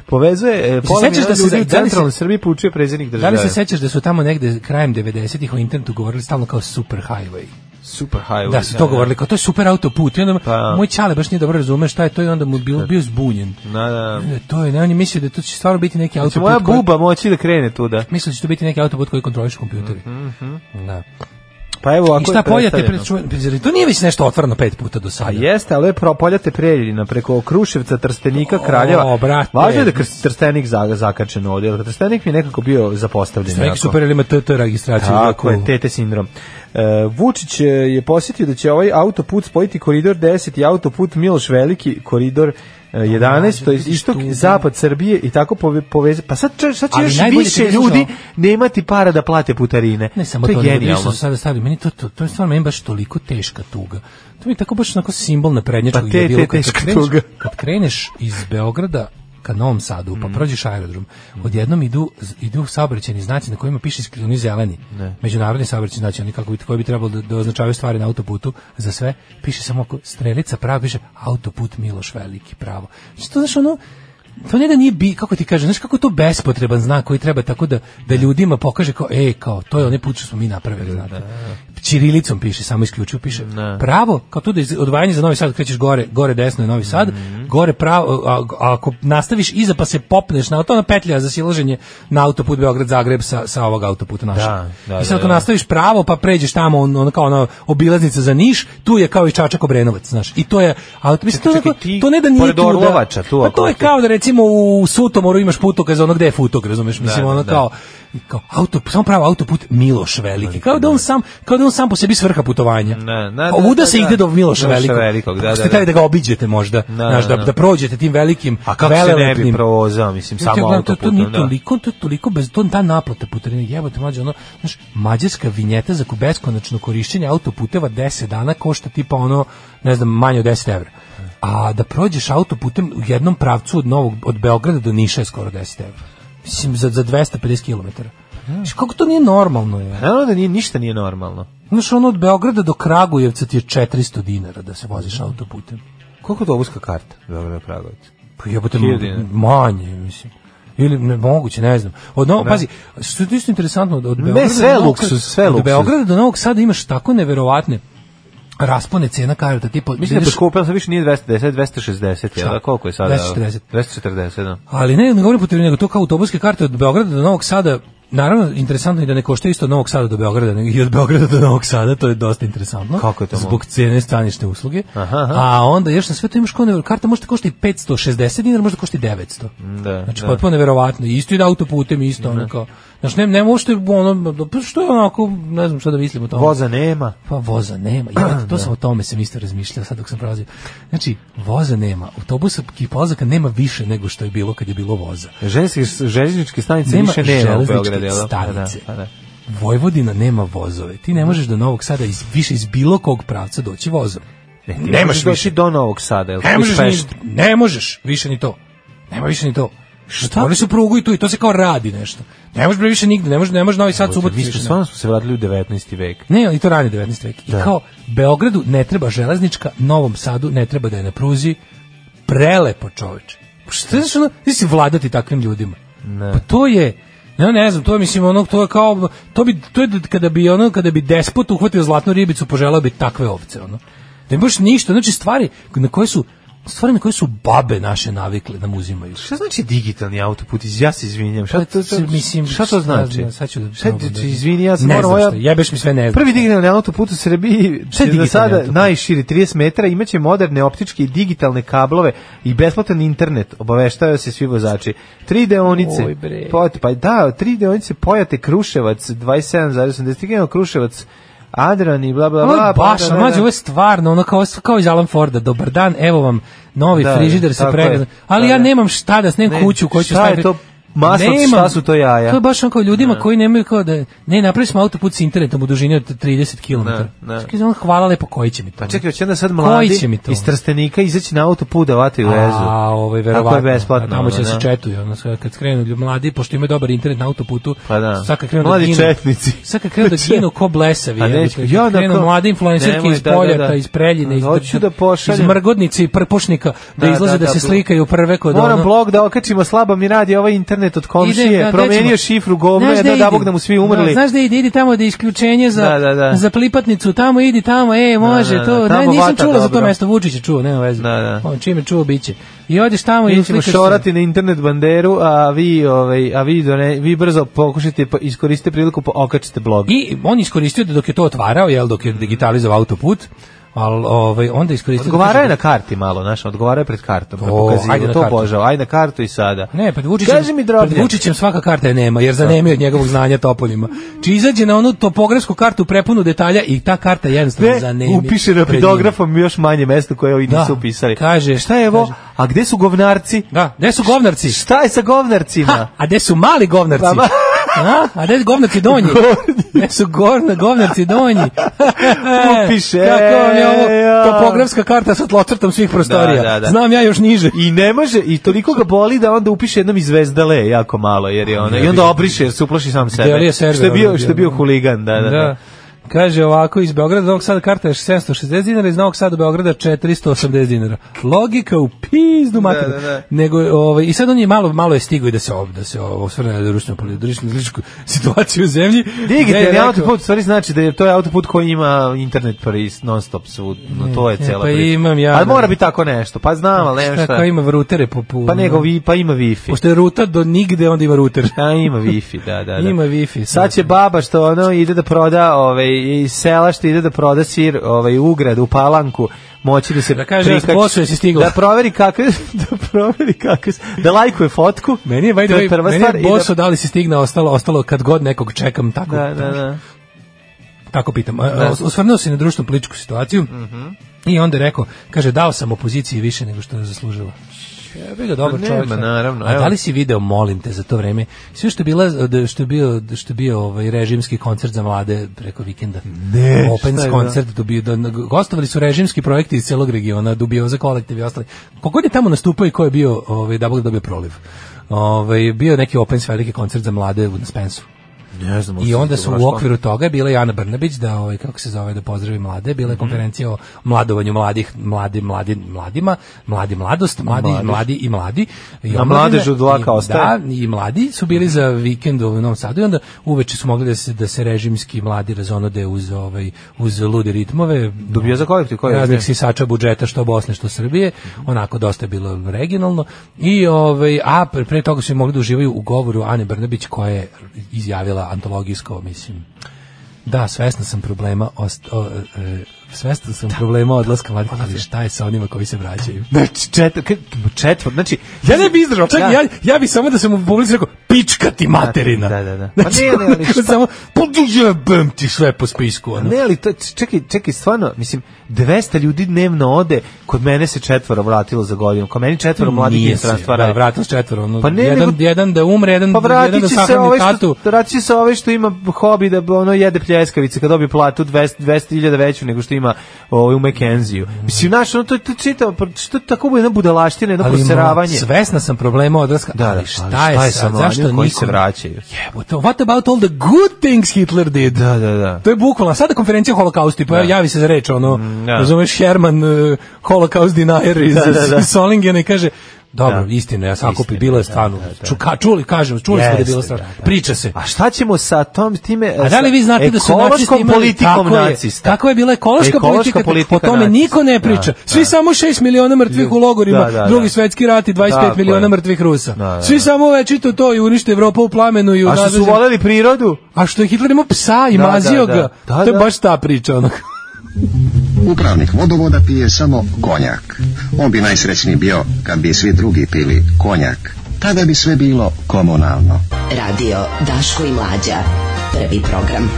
Speaker 6: Povezuje e, pola
Speaker 5: sećaš
Speaker 6: miliona
Speaker 5: da se-
Speaker 6: ljudi
Speaker 5: da
Speaker 6: u
Speaker 5: li se-
Speaker 6: centralnoj Srbiji poučio predsjednik
Speaker 5: Da
Speaker 6: države.
Speaker 5: li se sećaš da su tamo negde krajem 90-ih o internetu govorili stalno kao super highway?
Speaker 6: super highway?
Speaker 5: Da su to govorili kao to je super autoput. I onda
Speaker 6: Pa.
Speaker 5: moj čale baš nije dobro razume šta je to i onda mu bio, bio zbunjen.
Speaker 6: Da, da.
Speaker 5: E, To je, ne, on je mislio da to će stvarno biti neki
Speaker 6: Će
Speaker 5: autoput.
Speaker 6: Znači, moja
Speaker 5: koji-
Speaker 6: buba moći da krene tuda.
Speaker 5: Mislio da će to biti neki autoput koji kontroliš kompjuteri. Da.
Speaker 6: Pa evo, ako
Speaker 5: I šta
Speaker 6: Mhm, je
Speaker 5: pojate,
Speaker 6: predstavljeno.
Speaker 5: pre- zar to nije već nešto otvoreno pet puta do
Speaker 6: A
Speaker 5: sada.
Speaker 6: jeste, ali je pro, poljate Preljina preko Kruševca, Trstenika, Kraljeva.
Speaker 5: O, brate.
Speaker 6: Važno je da je Krs- Trstenik za, zakačen ovdje, jer Trstenik mi je nekako bio zapostavljen.
Speaker 5: Neki
Speaker 6: jako.
Speaker 5: super ili ima TT registraciju.
Speaker 6: Tako je, tete sindrom. E, Vučić e, je posjetio da će ovaj autoput spojiti koridor 10 i autoput Miloš Veliki, koridor e, 11, to je
Speaker 5: vidiš
Speaker 6: istok,
Speaker 5: tu.
Speaker 6: zapad Srbije i tako pove, poveze. Pa sad, će- sad će
Speaker 5: Ali
Speaker 6: još
Speaker 5: najbolje
Speaker 6: više
Speaker 5: ti kažeš
Speaker 6: ljudi
Speaker 5: ovo.
Speaker 6: nemati para da plate putarine.
Speaker 5: Ne samo
Speaker 6: to
Speaker 5: to,
Speaker 6: je
Speaker 5: nego vidiš što
Speaker 6: genijalno.
Speaker 5: su sada stavili. Meni to, to, to je stvarno meni baš toliko teška tuga. To mi je tako baš onako simbol na prednjačkog
Speaker 6: Pa te- te teška tuga.
Speaker 5: kad kreneš iz Beograda ka Novom Sadu,
Speaker 6: Mhm.
Speaker 5: pa prođeš aerodrom, odjednom idu, idu saobraćeni znaci na kojima piše iskri- oni zeleni, međunarodni saobraćeni znaci, oni kako bi, koji bi trebalo da, da označavaju stvari na autoputu za sve, piše samo ako strelica pravo, piše autoput Miloš Veliki pravo. Znači to znaš ono, to ne da nije bi, kako ti kažem, znaš kako je to bespotreban znak koji treba tako da, da ljudima pokaže kao, e, kao, to je onaj put što smo mi napravili, znate. Čirilicom piše, samo isključivo piše. Pravo, kao tu da iz- odvajanje za Novi Sad krećeš gore, gore desno je Novi Sad,
Speaker 6: Mhm.
Speaker 5: gore pravo, a, a ako nastaviš iza pa se popneš na to, na petlja za silaženje na autoput Beograd-Zagreb sa, sa ovog autoputa našeg.
Speaker 6: Da, da,
Speaker 5: I sad
Speaker 6: da,
Speaker 5: ako
Speaker 6: da.
Speaker 5: nastaviš pravo pa pređeš tamo, on, on kao ona obilaznica za Niš, tu je kao i Čačak Obrenovac, znaš. I to je, ali mislim, to, je
Speaker 6: Čekaj,
Speaker 5: onako-
Speaker 6: ti
Speaker 5: to ne da nije
Speaker 6: pored
Speaker 5: tuda.
Speaker 6: Orlovača tu,
Speaker 5: Pa
Speaker 6: ako
Speaker 5: to je
Speaker 6: hoćeš.
Speaker 5: kao da recimo u Sutomoru imaš putokaz ono gde je futog, razumeš? Mislim,
Speaker 6: Da, da,
Speaker 5: ono
Speaker 6: da.
Speaker 5: kao, kao auto, samo pravo autoput Miloš Veliki. Kao da on sam, kao da on sam po sebi svrha putovanja.
Speaker 6: Da, da,
Speaker 5: Pa Ovuda
Speaker 6: da,
Speaker 5: se
Speaker 6: da.
Speaker 5: ide do Miloša
Speaker 6: Miloša
Speaker 5: Velikog.
Speaker 6: Velikog, da,
Speaker 5: Ako ste
Speaker 6: da,
Speaker 5: hteli
Speaker 6: da.
Speaker 5: da ga obiđete možda,
Speaker 6: Da,
Speaker 5: znaš, da,
Speaker 6: da.
Speaker 5: da prođete tim velikim,
Speaker 6: A kako se ne bi
Speaker 5: velelepnim-
Speaker 6: provozao, mislim,
Speaker 5: Znate, ja
Speaker 6: samo
Speaker 5: gledam, to, to nije
Speaker 6: autoputom. da.
Speaker 5: toliko, to je toliko bez to ta naplata putarine jebote mlađe ono, znaš, mađarska vinjeta za beskonačno korišćenje autoputeva 10 dana košta tipa ono, ne znam, manje od 10 evra. A da prođeš autoputem u jednom pravcu od Novog od Beograda do Niša je skoro 10 evra. Mislim za za 250 km. Znaš, kako to nije normalno je?
Speaker 6: Naravno da nije, ništa nije normalno.
Speaker 5: Znaš, ono od Beograda do Kragujevca ti je 400 dinara da se voziš autoputem.
Speaker 6: Koliko je autobuska karta? Beograd Pragovic.
Speaker 5: Pa jebote,
Speaker 6: Hiljadu
Speaker 5: m-
Speaker 6: dinara.
Speaker 5: manje, mislim. Ili ne, moguće, ne znam. Od Novog, pazi, što je isto interesantno, od, od
Speaker 6: Ne,
Speaker 5: Beograda
Speaker 6: sve
Speaker 5: do Novog
Speaker 6: luksuz,
Speaker 5: Sada-
Speaker 6: sve
Speaker 5: od
Speaker 6: luksuz.
Speaker 5: Beograda do Novog Sada imaš tako neverovatne raspone cena karta, tipa,
Speaker 6: Mislim da
Speaker 5: ideš-
Speaker 6: je poskupila, sad više nije 210, 260, jel da? Koliko je sada?
Speaker 5: 240.
Speaker 6: 240, da.
Speaker 5: ali ne, ne govorim po nego to kao autobuske karte od Beograda do Novog Sada, naravno, interesantno je da ne košta isto od Novog Sada do Beograda, nego i od Beograda do Novog Sada, to je dosta interesantno.
Speaker 6: Kako je to
Speaker 5: Zbog
Speaker 6: moguće?
Speaker 5: cene stanišne usluge.
Speaker 6: Aha, aha.
Speaker 5: A onda, još na sve to imaš kao never- karta možda košta i 560 dinara, možda košta i 900.
Speaker 6: Da,
Speaker 5: Znači,
Speaker 6: da.
Speaker 5: potpuno neverovatno. Isto ide autoputem, isto ono kao. Znači, ne, ne možete, ono, pa što je onako, ne znam šta da mislim o tome.
Speaker 6: Voza nema.
Speaker 5: Pa voza nema.
Speaker 6: [clears throat]
Speaker 5: Ja, to sam o tome sam isto razmišljao sad dok sam prolazio. Znači, voza nema. Autobusa i polazaka nema više nego što je bilo kad je bilo voza.
Speaker 6: Željezničke, željezničke stanice
Speaker 5: Nema
Speaker 6: više nema u
Speaker 5: železničke
Speaker 6: Beogradu, jel da? Pa
Speaker 5: stanice.
Speaker 6: Da, da.
Speaker 5: Vojvodina nema vozove. Ti ne možeš do Novog Sada iz, više iz bilo kog pravca doći vozom.
Speaker 6: Ne, E, ti
Speaker 5: Nemaš
Speaker 6: možeš doći
Speaker 5: više.
Speaker 6: do Novog Sada, jel?
Speaker 5: Ne
Speaker 6: Iz
Speaker 5: možeš,
Speaker 6: Pešta.
Speaker 5: ni, ne možeš više ni to. Nema više ni to. Šta? Oni su prugu i tu i to se kao radi nešto. Ne može bre više nigde, ne može ne može Novi Sad subot.
Speaker 6: Mi smo stvarno smo se vratili u 19. vek.
Speaker 5: Ne, ali to rani 19. vek. I kao Beogradu ne treba železnička, Novom Sadu ne treba da je na pruzi. Prelepo, čoveče. Šta znaš, ono, ti si vladati takvim ljudima.
Speaker 6: Ne.
Speaker 5: Pa to je Ja ne znam, to je mislim ono to je kao to bi to je da- kada bi ono kada bi despot uhvatio zlatnu ribicu, poželeo bi takve ovce ono. Da baš ništa, znači stvari na koje su stvari na koje su babe naše navikle nam uzimaju.
Speaker 6: Šta znači digitalni autoput? Ja se izvinjam. Šta
Speaker 5: Pa,
Speaker 6: to,
Speaker 5: to- mislim,
Speaker 6: šta to znači?
Speaker 5: ne znam, sad ću da-
Speaker 6: Šta ti- ti- izvini, ja sam
Speaker 5: Ne
Speaker 6: moram,
Speaker 5: znam
Speaker 6: ja-
Speaker 5: šta, jebeš mi sve, ne znam.
Speaker 6: Prvi digitalni autoput u Srbiji
Speaker 5: Šta je
Speaker 6: je do
Speaker 5: digitalni
Speaker 6: sada
Speaker 5: autoput?
Speaker 6: najširi 30 metara, imaće moderne optičke i digitalne kablove i besplatan internet. Obaveštavaju se svi vozači. Tri deonice.
Speaker 5: Oj, bre.
Speaker 6: Pojate, pa da, tri deonice Pojate Kruševac 27,80 km Kruševac Adran i bla bla
Speaker 5: Ovo
Speaker 6: bla.
Speaker 5: je
Speaker 6: pa onda,
Speaker 5: baš,
Speaker 6: da, da.
Speaker 5: mlađe, ovo je stvarno, ono kao, kao iz Alan Forda, dobar dan, evo vam novi
Speaker 6: Da,
Speaker 5: frižider sa
Speaker 6: tako
Speaker 5: pregazom,
Speaker 6: je.
Speaker 5: ali
Speaker 6: Da,
Speaker 5: ja
Speaker 6: da.
Speaker 5: nemam šta da snem
Speaker 6: Ne,
Speaker 5: kuću koju ću
Speaker 6: šta je
Speaker 5: staviti.
Speaker 6: to maslac,
Speaker 5: Nemam.
Speaker 6: šta su to jaja?
Speaker 5: To je baš onako ljudima koji nemaju kao da, ne, napravili smo autoput s internetom u dužini od 30 km.
Speaker 6: Da, da.
Speaker 5: Čekaj, ono, hvala lepo, koji će mi to?
Speaker 6: Pa čekaj, će onda sad
Speaker 5: Koji
Speaker 6: mladi
Speaker 5: će mi to?
Speaker 6: iz Trstenika izaći na autoput da vataju vezu.
Speaker 5: A, ovaj,
Speaker 6: Tako
Speaker 5: verovatno.
Speaker 6: je besplatno.
Speaker 5: A Tamo će
Speaker 6: ono,
Speaker 5: da se
Speaker 6: da.
Speaker 5: četuju, ono, sve, kad skrenu ljudi mladi, pošto imaju dobar internet na autoputu,
Speaker 6: Pa da.
Speaker 5: sad kad krenu
Speaker 6: Mladi
Speaker 5: da ginu,
Speaker 6: četnici. Znači,
Speaker 5: Sad kad krenu
Speaker 6: [laughs]
Speaker 5: da ginu ko blesavi,
Speaker 6: A
Speaker 5: jebote,
Speaker 6: neću,
Speaker 5: kad
Speaker 6: ja da
Speaker 5: krenu
Speaker 6: kao-
Speaker 5: mlade influencerke
Speaker 6: nemoj,
Speaker 5: iz
Speaker 6: da, da,
Speaker 5: Poljata,
Speaker 6: da. Ono,
Speaker 5: iz Preljine, iz,
Speaker 6: Hoću da
Speaker 5: iz
Speaker 6: pošaljem.
Speaker 5: Mrgodnice i Prpušnika, da,
Speaker 6: Da,
Speaker 5: izlaze
Speaker 6: da,
Speaker 5: da,
Speaker 6: da,
Speaker 5: se
Speaker 6: da.
Speaker 5: slikaju prve kod
Speaker 6: Moram
Speaker 5: ono-
Speaker 6: blog da okačimo, slaba mi radi ovaj internet od komšije,
Speaker 5: Idem, gde
Speaker 6: promenio
Speaker 5: ćemo?
Speaker 6: šifru govno,
Speaker 5: Znaš
Speaker 6: jedno da,
Speaker 5: ide?
Speaker 6: Bog da mu svi umrli.
Speaker 5: Da, znaš da ide, idi tamo da je isključenje za,
Speaker 6: Da, da, da.
Speaker 5: za plipatnicu, tamo idi, tamo, e, može,
Speaker 6: Da, da, da,
Speaker 5: to, ne,
Speaker 6: tamo
Speaker 5: nisam
Speaker 6: vata
Speaker 5: čula za to
Speaker 6: dobro.
Speaker 5: mesto, Vučić je čuo, nema veze.
Speaker 6: Da, da.
Speaker 5: On čim je čuo, biće. I odeš tamo i
Speaker 6: Mi ćemo
Speaker 5: slikaš se.
Speaker 6: šorati na internet banderu, a vi, ovaj, a vi, done, vi brzo pokušajte, pa iskoristite priliku, pa okačite blog.
Speaker 5: I on je iskoristio da dok je to otvarao, jel, dok je digitalizovao autoput, ali ovaj, onda je iskoristio...
Speaker 6: Odgovarao je
Speaker 5: da
Speaker 6: na karti malo, znaš, odgovarao je pred kartom.
Speaker 5: To,
Speaker 6: na pokazivanju,
Speaker 5: ajde na
Speaker 6: to
Speaker 5: kartu.
Speaker 6: božao, ajde na kartu i sada.
Speaker 5: Ne, pred Vučićem,
Speaker 6: Kaži mi,
Speaker 5: pred
Speaker 6: drobnjak.
Speaker 5: Vučićem svaka karta je nema, jer zanemi od njegovog znanja topoljima. Či izađe na onu topografsku kartu prepunu detalja i ta karta jednostavno
Speaker 6: Ne,
Speaker 5: zanemi.
Speaker 6: upiše
Speaker 5: pred njim.
Speaker 6: rapidografom još manje mesto koje ovi
Speaker 5: Da,
Speaker 6: nisu upisali.
Speaker 5: kaže,
Speaker 6: šta je ovo?
Speaker 5: kaže.
Speaker 6: A gde su govnarci?
Speaker 5: Da, gde su govnarci?
Speaker 6: Šta je sa govnarcima?
Speaker 5: Ha, a gde su mali govnarci?
Speaker 6: Pa, ma-
Speaker 5: A, a gde su govnarci donji? Gde su gorna, govnarci donji?
Speaker 6: Upiše,
Speaker 5: Kako vam je ovo
Speaker 6: ja.
Speaker 5: topografska karta sa tlocrtom svih prostorija?
Speaker 6: Da, da, da.
Speaker 5: Znam ja još niže.
Speaker 6: I ne može, i toliko ga boli da onda upiše jednom iz Zvezdale jako malo, jer je ona, i onda obriše jer se uplaši sam
Speaker 5: Delije
Speaker 6: sebe.
Speaker 5: server
Speaker 6: što je bio,
Speaker 5: ono
Speaker 6: što je bio huligan, da, da, da.
Speaker 5: Kaže ovako, iz Beograda do Novog Sada karta je 760 dinara, iz Novog Sada do Beograda 480 dinara. Logika u pizdu mater.
Speaker 6: da, da.
Speaker 5: Nego, ovaj, I sad on je malo, malo je stigao i da se, ob- da se o- osvrne na društvenu političku političku situaciju u zemlji. Gde je
Speaker 6: Digitalni
Speaker 5: rekao-
Speaker 6: autoput, u stvari znači da je to je autoput koji ima internet prist, non stop svud, no to je
Speaker 5: E,
Speaker 6: cela
Speaker 5: pa
Speaker 6: priča.
Speaker 5: imam ja,
Speaker 6: Ali
Speaker 5: da.
Speaker 6: mora biti tako nešto, pa znam, ali nema šta.
Speaker 5: Tako ima vrutere po po- ono,
Speaker 6: Pa nego, vi, pa ima wifi.
Speaker 5: Pošto je ruta do nigde, onda ima ruter.
Speaker 6: A ima wifi, da, da, da.
Speaker 5: Ima wifi.
Speaker 6: Sad će baba što ono ide da proda, ovaj iz sela što ide da proda sir, ovaj u grad, u Palanku, moći da se
Speaker 5: Da kaže,
Speaker 6: prikači-
Speaker 5: "Bosu, jesi stigla?"
Speaker 6: Da proveri kakve [laughs] da proveri kakve da lajkuje fotku.
Speaker 5: Meni je, by the
Speaker 6: to je
Speaker 5: way,
Speaker 6: prva
Speaker 5: meni
Speaker 6: stvar
Speaker 5: je
Speaker 6: i
Speaker 5: boso da li se stigne ostalo, ostalo kad god nekog čekam, tako,
Speaker 6: Da, da, da.
Speaker 5: tako pitam. A, a, Osvrnuo se na društvenu političku situaciju
Speaker 6: Mhm.
Speaker 5: i onda je rekao, kaže, dao sam opoziciji više nego što je zaslužila. Jebe ga, dobar
Speaker 6: Ma
Speaker 5: čovjek.
Speaker 6: Pa nema, naravno,
Speaker 5: A
Speaker 6: evo.
Speaker 5: da li si video, molim te, za to vreme, sve što je, bila, što je bio, što je bio ovaj režimski koncert za mlade preko vikenda?
Speaker 6: Ne,
Speaker 5: Open
Speaker 6: šta je
Speaker 5: koncert dobio, da, gostovali su režimski projekti iz celog regiona, Dubioza kolektiv i ostali. Kogod je tamo nastupao i ko je bio, ovaj, da Bog dobio proliv. Ovaj, bio je neki Opens veliki koncert za mlade u Spensu.
Speaker 6: Ne znam.
Speaker 5: I onda su u okviru toga bila i Ana Brnabić da ovaj kako se zove da pozdravi mlade,
Speaker 6: Mhm.
Speaker 5: bila je konferencija o mladovanju mladih, mladi mladi mladima, mladi mladost, mladi
Speaker 6: Mladež.
Speaker 5: mladi i mladi. I
Speaker 6: Na
Speaker 5: omladina,
Speaker 6: mladež od dlaka
Speaker 5: i- da,
Speaker 6: ostaje.
Speaker 5: i mladi su bili za vikend u Novom Sadu i onda uveče su mogli da se da se režimski mladi razonode uz ovaj uz lude ritmove.
Speaker 6: Dobio za kolektiv, koji je?
Speaker 5: raznih sisača budžeta što Bosne što Srbije, onako dosta je bilo regionalno i ovaj a pre, pre toga su i mogli da uživaju u govoru Ane Brnabić koja je izjavila antologijsko mislim da, svesna sam problema ost, o, e, svestan sam problema odlaska mladih, ali šta je sa onima koji se vraćaju?
Speaker 6: Znači, četvr, četvr, znači,
Speaker 5: Ja ne bi izdržao, čekaj, ja, ja bi samo da sam u publici rekao, pička ti materina. [laughs]
Speaker 6: Da, da, da.
Speaker 5: Pa ne, ne, ali
Speaker 6: šta-
Speaker 5: Samo, pa jebem ti sve po spisku. Ono.
Speaker 6: Ne, ali to, čekaj, čekaj, stvarno, mislim, 200 ljudi dnevno ode, kod mene se četvora vratilo za godinu, kod meni četvora mladih
Speaker 5: Nije se,
Speaker 6: inostranstva
Speaker 5: da,
Speaker 6: radi.
Speaker 5: vratilo se četvoro. Ono,
Speaker 6: Pa ne,
Speaker 5: jedan,
Speaker 6: nego-
Speaker 5: jedan da umre, jedan,
Speaker 6: Pa
Speaker 5: jedan da
Speaker 6: vratit će se
Speaker 5: sahrani
Speaker 6: ovaj
Speaker 5: tatu.
Speaker 6: što, vratit će se ovaj što ima hobi da ono jede pljeskavice kad dobije platu 200 200.000 veću nego što ima ovaj, u McKenziju. Mislim, znaš, ono, to, to čita, što tako bude jedna budalaština, jedno
Speaker 5: Ali, ma,
Speaker 6: poseravanje.
Speaker 5: Svesna sam problema odraska.
Speaker 6: Da, da,
Speaker 5: ali
Speaker 6: ali
Speaker 5: šta,
Speaker 6: šta
Speaker 5: je
Speaker 6: je
Speaker 5: sad?
Speaker 6: sa
Speaker 5: Zašto
Speaker 6: mladima koji se
Speaker 5: nikom-
Speaker 6: vraćaju?
Speaker 5: Jebote, what about all the good things Hitler did?
Speaker 6: Da, da, da.
Speaker 5: To je bukvalno, sada konferencija o holokaustu, pa javi se za reč, ono,
Speaker 6: Mm, da.
Speaker 5: razumeš, Herman, uh, holokaust denier iz,
Speaker 6: Da, da, da.
Speaker 5: iz Solingena i kaže, dobro,
Speaker 6: Da.
Speaker 5: istina, ja sam kupi,
Speaker 6: Istina,
Speaker 5: bilo je stvarno, čuka, čuli, kažem, čuli smo da je
Speaker 6: Jeste,
Speaker 5: bilo stvarno, priča se.
Speaker 6: A šta ćemo sa tom time?
Speaker 5: A da li vi znate da su nacisti
Speaker 6: ekološkom
Speaker 5: imali
Speaker 6: politikom
Speaker 5: tako je,
Speaker 6: nacista?
Speaker 5: Tako je bila ekološka, politika, o tome
Speaker 6: nacista.
Speaker 5: niko ne priča.
Speaker 6: Da,
Speaker 5: Svi
Speaker 6: da.
Speaker 5: samo 6 miliona mrtvih u logorima,
Speaker 6: Da, da, da.
Speaker 5: drugi svetski rat i 25
Speaker 6: Tako
Speaker 5: miliona
Speaker 6: je.
Speaker 5: mrtvih Rusa.
Speaker 6: Da, da,
Speaker 5: Svi
Speaker 6: da.
Speaker 5: samo večito to i unište Evropu u plamenu i u
Speaker 6: A što su
Speaker 5: nadležnim-
Speaker 6: voljeli prirodu?
Speaker 5: A što je Hitler imao psa i
Speaker 6: Da,
Speaker 5: mazio
Speaker 6: da,
Speaker 5: ga.
Speaker 6: da. Da,
Speaker 5: to je
Speaker 6: da.
Speaker 5: baš ta priča ono. onog.
Speaker 11: Upravnik vodovoda pije samo konjak. On bi najsrećniji bio kad bi svi drugi pili konjak. Tada bi sve bilo komunalno.
Speaker 10: Radio Daško i Mlađa. Prvi program.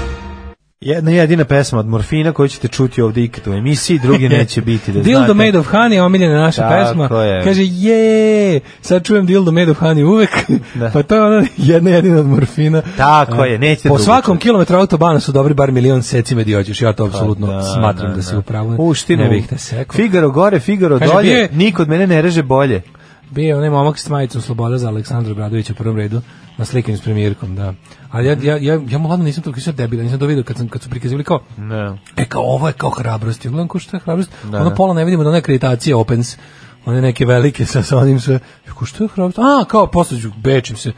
Speaker 6: Jedna jedina pesma od Morfina koju ćete čuti ovdje ikad u emisiji,
Speaker 5: [laughs]
Speaker 6: druge neće biti. Da
Speaker 5: Dildo
Speaker 6: znate.
Speaker 5: Made of Honey, omiljena naša
Speaker 6: Tako
Speaker 5: pesma.
Speaker 6: je.
Speaker 5: Kaže, je, sad čujem Dildo Made of Honey uvek.
Speaker 6: [laughs] Da.
Speaker 5: pa to je ona jedna jedina od morfina.
Speaker 6: Tako je, nećete
Speaker 5: Po
Speaker 6: drugo
Speaker 5: svakom kilometru autobana su dobri bar milion seci mediođeš. Ja to apsolutno
Speaker 6: Pa Da,
Speaker 5: smatram da, si upravo.
Speaker 6: Uštinu.
Speaker 5: Ne bih te sekao.
Speaker 6: Figaro gore, Figaro
Speaker 5: Kaže, bio je-
Speaker 6: dolje, niko od mene ne reže bolje.
Speaker 5: Bio je onaj momak s majicom Sloboda za Aleksandra Bradovića u prvom redu na slikanju s premijerkom, da. Ali ja, ja, ja, ja mu ladno nisam toliko sad debila, nisam to vidio kad, sam, kad su prikazivali kao,
Speaker 6: Ne.
Speaker 5: E kao ovo je kao hrabrost. Ja gledam ko šta je hrabrost.
Speaker 6: Da,
Speaker 5: ono
Speaker 6: da.
Speaker 5: pola ne vidimo da ona akreditacija Opens. One neke velike sa, sa onim sve. Ja Ko šta je hrabrost? A, kao poslađu, bečim se.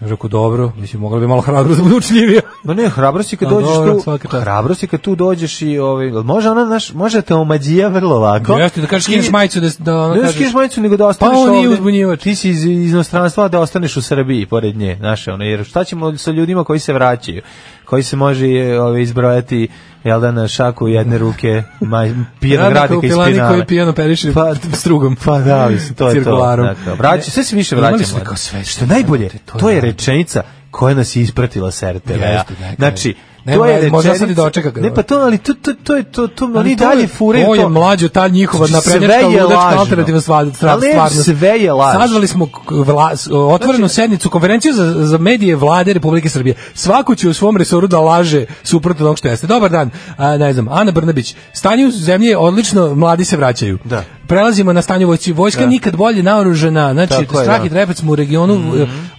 Speaker 5: Ja Rekao, dobro, mislim, mogla bi malo hrabrost da bude učljivija.
Speaker 6: Ma ne, hrabrost je kad
Speaker 5: A,
Speaker 6: dođeš
Speaker 5: Pa dobro, svaka
Speaker 6: tu,
Speaker 5: čast.
Speaker 6: hrabrost je kad tu dođeš i ovaj, može ona, znaš, može te omađija vrlo lako.
Speaker 5: Jeste, da kažeš,
Speaker 6: I-
Speaker 5: skineš majicu, da, da ona
Speaker 6: Ne da
Speaker 5: ono kažeš-
Speaker 6: skineš majicu, nego da ostaneš
Speaker 5: Pa on nije
Speaker 6: ovde.
Speaker 5: uzbunjivač.
Speaker 6: Ti si iz, iz inostranstva, a da ostaneš u Srbiji pored nje, znaš, ono, jer šta ćemo sa ljudima koji se vraćaju, koji se može e, ove, izbrojati, jel da, na šaku jedne ruke, [laughs] ma, pijenog
Speaker 5: Radnika u
Speaker 6: radnika iz
Speaker 5: pilani
Speaker 6: Pinale.
Speaker 5: koji pijano periše
Speaker 6: Pa,
Speaker 5: strugom.
Speaker 6: Pa da, mislim, to je to.
Speaker 5: Cirkularom.
Speaker 6: da, kao, vraća- sve se više
Speaker 5: Imali
Speaker 6: vraćamo.
Speaker 5: smo kao sve,
Speaker 6: Što je najbolje,
Speaker 5: brate, to
Speaker 6: to
Speaker 5: je
Speaker 6: je rečenica koja nas je ispratila s RTV-a.
Speaker 5: Jeste, da,
Speaker 6: Znači,
Speaker 5: Ne,
Speaker 6: to je
Speaker 5: ma,
Speaker 6: rečenica...
Speaker 5: možda sad i dočeka ga.
Speaker 6: Ne, pa to, ali to, to, to, je- to, to,
Speaker 5: Ali
Speaker 6: oni
Speaker 5: to je-
Speaker 6: dalje fure
Speaker 5: to.
Speaker 6: to.
Speaker 5: je mlađo, ta njihova
Speaker 6: Znači, sve
Speaker 5: naprednjačka
Speaker 6: je
Speaker 5: ludačka
Speaker 6: lažno.
Speaker 5: alternativna sva, stra,
Speaker 6: Ali
Speaker 5: stvarnost.
Speaker 6: sve je laž. Znači-
Speaker 5: Sazvali smo k- vla, s- otvorenu sednicu, konferenciju za, za medije vlade Republike Srbije. Svako će u svom resoru da laže suprotno onog što jeste. Dobar dan, a, ne znam, Ana Brnabić. Stanje u zemlji je odlično, mladi se vraćaju.
Speaker 6: Da.
Speaker 5: Prelazimo na stanje vojci. Vojska nikad bolje naoružena. Znači,
Speaker 6: Tako je,
Speaker 5: strah
Speaker 6: da. Mhm.
Speaker 5: i trepet smo u regionu.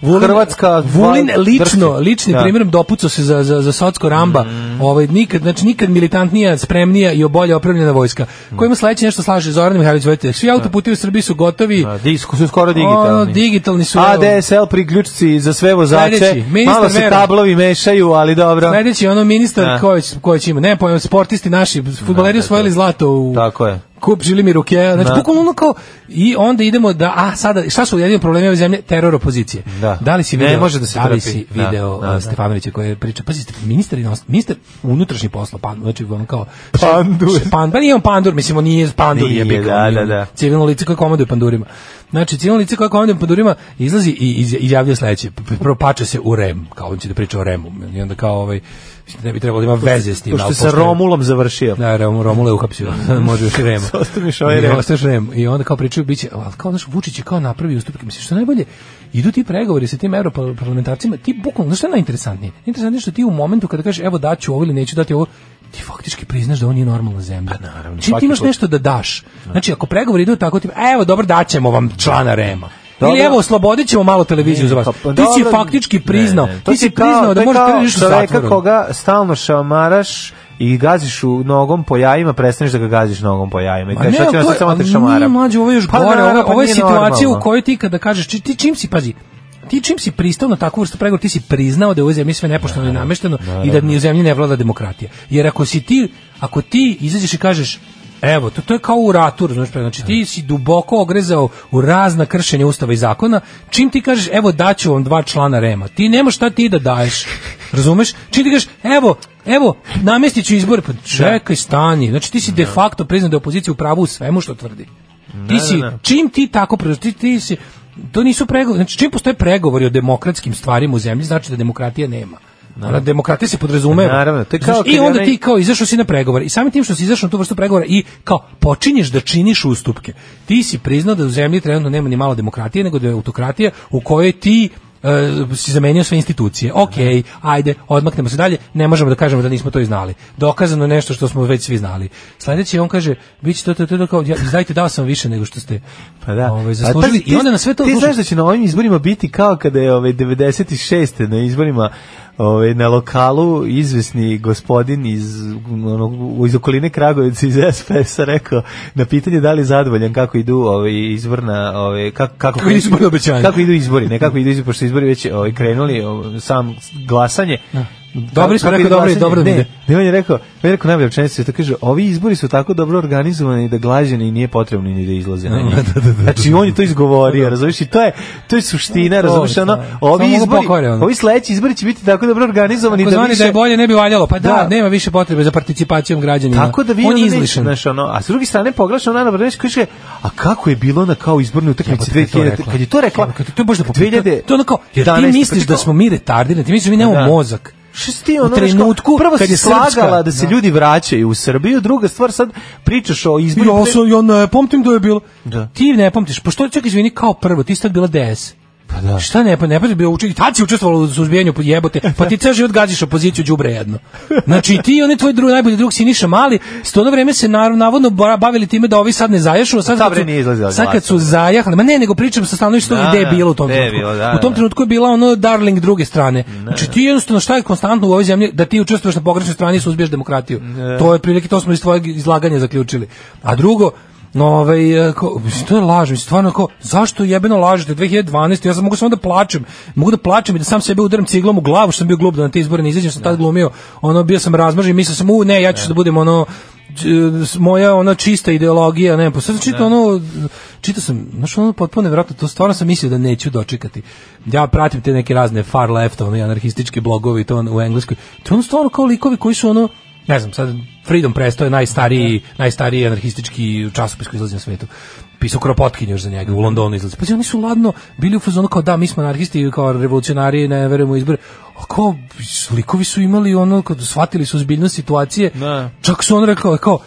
Speaker 5: Vulin,
Speaker 6: Hrvatska
Speaker 5: Vulin
Speaker 6: dva-
Speaker 5: lično,
Speaker 6: drhti.
Speaker 5: ličnim
Speaker 6: Da.
Speaker 5: primjerom primjerom dopucao se za, za, za socko ramba.
Speaker 6: Mhm.
Speaker 5: Ovaj, nikad, znači, nikad militantnija, spremnija i bolje opremljena vojska.
Speaker 6: Mhm.
Speaker 5: Koji ima sledeće nešto slaže Zoran Mihajlović Vojte. Svi autoputi u Srbiji su gotovi.
Speaker 6: Da, di- Pa, su skoro digitalni.
Speaker 5: Ono, digitalni su.
Speaker 6: ADSL priključci za sve vozače.
Speaker 5: Sledeći, ministar
Speaker 6: Malo se
Speaker 5: Vera.
Speaker 6: tablovi mešaju, ali dobro.
Speaker 5: Sledeći je ono ministar
Speaker 6: Da.
Speaker 5: koji koji će ima, ne pojma, sportisti naši, fudbaleri osvojili zlato u
Speaker 6: Tako je.
Speaker 5: kup Žilimiru Ruke, znači
Speaker 6: Da.
Speaker 5: bukvalno ono kao i onda idemo da a sada šta su jedini problemi ove zemlje teror opozicije.
Speaker 6: Da.
Speaker 5: da li si
Speaker 6: Ne
Speaker 5: video,
Speaker 6: može da se
Speaker 5: da li
Speaker 6: trpi.
Speaker 5: si
Speaker 6: Da,
Speaker 5: video
Speaker 6: da,
Speaker 5: uh,
Speaker 6: da.
Speaker 5: Stefanovića koji je priča pazi ministar inost- ministar unutrašnjih poslova pan znači on kao
Speaker 6: Pandur.
Speaker 5: pan pa nije on pandur mislim on nije pandur
Speaker 6: Nije,
Speaker 5: je bik,
Speaker 6: da,
Speaker 5: on je
Speaker 6: da, da.
Speaker 5: civilno lice koje komanduje pandurima znači civilno lice koje komanduje pandurima izlazi i iz- izjavljuje sledeće P- p- prvo pače se u rem kao on će da priča o remu i onda kao ovaj mislim da ne bi trebalo da ima veze s tim
Speaker 6: To što
Speaker 5: ali
Speaker 6: je sa
Speaker 5: pošto je-
Speaker 6: Romulom završio.
Speaker 5: da, Rom, Romula je uhapsio,
Speaker 6: [laughs]
Speaker 5: [laughs] može još i Rema.
Speaker 6: Ostaviš ovaj
Speaker 5: I
Speaker 6: Rem.
Speaker 5: ostaviš Rem. I onda kao pričaju, biće, ali kao, znaš, Vučić je kao napravi ustupke. Mislim, što je najbolje, idu ti pregovori sa tim europarlamentarcima, ti bukvalno, znaš što je najinteresantnije? Najinteresantnije je što ti u momentu kada kažeš, evo daću ovo ili neću dati ovo, ti faktički priznaš da ovo nije normalna zemlja. naravno. Čim ti
Speaker 6: Pa svaki
Speaker 5: imaš
Speaker 6: put.
Speaker 5: nešto da daš. Znači, ako pregovori idu tako, ti, evo, dobro, daćemo vam člana Rema. Ili
Speaker 6: Dobro.
Speaker 5: evo, oslobodit ćemo malo televiziju za vas.
Speaker 6: Pa,
Speaker 5: Ti
Speaker 6: pa,
Speaker 5: si
Speaker 6: dobro,
Speaker 5: faktički
Speaker 6: ne,
Speaker 5: priznao,
Speaker 6: ne, to
Speaker 5: ti si
Speaker 6: kao-
Speaker 5: priznao
Speaker 6: to
Speaker 5: da
Speaker 6: je
Speaker 5: možeš
Speaker 6: kao
Speaker 5: prežiš u ono.
Speaker 6: čoveka
Speaker 5: zatvoru.
Speaker 6: koga stalno šamaraš i gaziš u nogom po jajima, prestaneš da ga gaziš nogom po jajima. I
Speaker 5: Ma
Speaker 6: kažeš,
Speaker 5: ne,
Speaker 6: "Ja
Speaker 5: ali
Speaker 6: ću vas
Speaker 5: to
Speaker 6: sad
Speaker 5: je-
Speaker 6: samo te
Speaker 5: ali
Speaker 6: šamaram."
Speaker 5: Nije mlađe, ovo je još
Speaker 6: Pa
Speaker 5: gore.
Speaker 6: naravno,
Speaker 5: ovo,
Speaker 6: pa
Speaker 5: ovo je
Speaker 6: nije
Speaker 5: situacija u
Speaker 6: normalno.
Speaker 5: kojoj ti kada kažeš, ti, ti čim si, pazi, ti čim si pristao na takvu vrstu pregovora, ti si priznao da je u ovoj zemlji sve nepošteno i namešteno i da ni u zemlji ne vlada demokratija. Jer ako si ti, ako ti izađeš i kažeš, Evo, to, to je kao u ratu, razumeš, pre- znači ti si duboko ogrezao u razna kršenja ustava i zakona, čim ti kažeš, evo daću vam dva člana Rema, ti nemaš šta ti da daješ, razumeš? Čim ti kažeš, evo, evo, namestit ću izbore, pa čekaj, stani, znači ti si de facto priznao da je opozicija u pravu u svemu što tvrdi. Ti si, čim ti tako preuzeti, ti si, to nisu pregovori, znači čim postoje pregovori o demokratskim stvarima u zemlji, znači da demokratije nema. Ona demokratija se podrazumeva.
Speaker 6: Naravno, to je
Speaker 5: Znaš,
Speaker 6: kao
Speaker 5: I
Speaker 6: kad
Speaker 5: onda
Speaker 6: onaj-
Speaker 5: ti kao izašao si na pregovore i samim tim što si izašao na tu vrstu pregovora i kao počinješ da činiš ustupke. Ti si priznao da u zemlji trenutno nema ni malo demokratije, nego da je autokratija u kojoj ti e, si zamenio sve institucije. Ok, ajde, odmaknemo se dalje, ne možemo da kažemo da nismo to i znali. Dokazano je nešto što smo već svi znali. Sledeći on kaže, vi ćete to, to, to, to, kao, ja, izdajte, dao sam više nego što ste
Speaker 6: Pa da.
Speaker 5: ovaj,
Speaker 6: A
Speaker 5: zaslužili.
Speaker 6: pazi, ti-
Speaker 5: I onda na sve to
Speaker 6: Ti
Speaker 5: odlučite.
Speaker 6: znaš da će na ovim izborima biti kao kada je ovaj 96. na izborima ovaj na lokalu izvesni gospodin iz onog iz okoline Kragujevca iz SPS-a rekao na pitanje da li je zadovoljan kako idu ovaj izborna ovaj kako kako
Speaker 5: Kako idu izborna obećanja.
Speaker 6: Kako idu izbori, ne kako idu izbori, pošto su izbori već ovaj krenuli ovaj, sam glasanje.
Speaker 5: Dobri smo,
Speaker 6: Kako
Speaker 5: rekao, dobri,
Speaker 6: ide glasanje?
Speaker 5: dobro da
Speaker 6: ne,
Speaker 5: ide.
Speaker 6: ne, on je rekao, on je rekao najbolja rečenica, to kaže, ovi izbori su tako dobro organizovani da glađani nije potrebno ni da izlaze
Speaker 5: [laughs]
Speaker 6: na njih. Znači, on je to izgovorio, razumiješ, i to je, to je suština,
Speaker 5: To je,
Speaker 6: razumiješ,
Speaker 5: to je.
Speaker 6: ono,
Speaker 5: Samo
Speaker 6: ovi
Speaker 5: ovo
Speaker 6: izbori,
Speaker 5: pokvare, ono.
Speaker 6: ovi sledeći izbori će biti tako dobro organizovani
Speaker 5: Ako
Speaker 6: da
Speaker 5: zvani da je
Speaker 6: više...
Speaker 5: bolje ne bi valjalo. Pa da,
Speaker 6: Da.
Speaker 5: nema više potrebe za participacijom građanima.
Speaker 6: Tako da
Speaker 5: on
Speaker 6: vi
Speaker 5: je
Speaker 6: onda nećete,
Speaker 5: izlišan.
Speaker 6: znaš, ono, a s druge strane pogledaš ona Ana Brnabić kaže, a kako je bilo na kao izbornoj utakmici
Speaker 5: Jebote, kad je to
Speaker 6: 2000,
Speaker 5: rekla.
Speaker 6: kad je to rekla,
Speaker 5: Jebote, to je baš da pokupi-
Speaker 6: 2000,
Speaker 5: to je ono kao, jer ti misliš da smo mi retardirani, ti misliš da mi nemamo
Speaker 6: Da.
Speaker 5: mozak.
Speaker 6: Što si ti
Speaker 5: U
Speaker 6: ono, znaš, kao,
Speaker 5: trenutku
Speaker 6: prvo
Speaker 5: kad
Speaker 6: si
Speaker 5: je srpska-
Speaker 6: slagala da se
Speaker 5: Da.
Speaker 6: ljudi vraćaju u Srbiju, druga stvar sad pričaš o izborima.
Speaker 5: Ja, sam, ja ne pamtim da je bilo.
Speaker 6: Da.
Speaker 5: Ti ne pamtiš, pa što čak izvini kao prvo, ti si tad bila DS.
Speaker 6: Pa da.
Speaker 5: Šta ne, pa ne pa bio učitelj, tad si učestvovala u suzbijanju pod jebote, pa ti ceo život gađaš opoziciju đubre jedno. Znači i ti i onaj tvoj drug, najbolji drug Siniša Mali, s ono vreme se naravno navodno ba- bavili time da ovi sad ne zaješu, a sad,
Speaker 6: Ta
Speaker 5: kad
Speaker 6: bre
Speaker 5: su-
Speaker 6: nije izlazila
Speaker 5: sad kad su
Speaker 6: glasova.
Speaker 5: zajahali, ma ne, nego pričam sa stanovišta
Speaker 6: Da,
Speaker 5: gde je
Speaker 6: da,
Speaker 5: bilo u tom
Speaker 6: gde je
Speaker 5: trenutku.
Speaker 6: bilo, da,
Speaker 5: u tom
Speaker 6: da.
Speaker 5: trenutku je bila ono darling druge strane. Znači ti jednostavno šta je konstantno u ovoj zemlji da ti učestvuješ na pogrešnoj strani i suzbiješ demokratiju. To je otprilike to smo iz tvojeg izlaganja zaključili. A drugo, no, ovaj, e, ko, mislim, to je laž, mislim, stvarno, kao, zašto jebeno lažete, 2012. ja sam mogu samo da plačem, mogu da plačem i da sam sebe udaram ciglom u glavu, što sam bio glup da na te izbore ne izađem, sam tad glumio, ono, bio sam razmažen, mislio sam, u, ne, ja ću da budem, ono, č- s- moja ona čista ideologija, ne, pa sad sam čitao ono, čitao sam, znaš ono potpuno nevjerojatno, to stvarno sam mislio da neću dočekati. Ja pratim te neke razne far left, ono, i anarhističke blogovi, i to ono, u Engleskoj, to je ono stvarno kao likovi koji su ono, ne znam, sad Freedom Press, to je najstariji, najstariji anarhistički časopis koji izlazi na svetu. Pisao Kropotkin još za njega, u Londonu izlazi. Pa oni su ladno bili u fazonu kao da, mi smo anarhisti, kao revolucionari, ne verujemo u izbore. A kao, likovi su imali ono, kad shvatili su ozbiljnost situacije,
Speaker 6: Da.
Speaker 5: čak su on rekao, kao,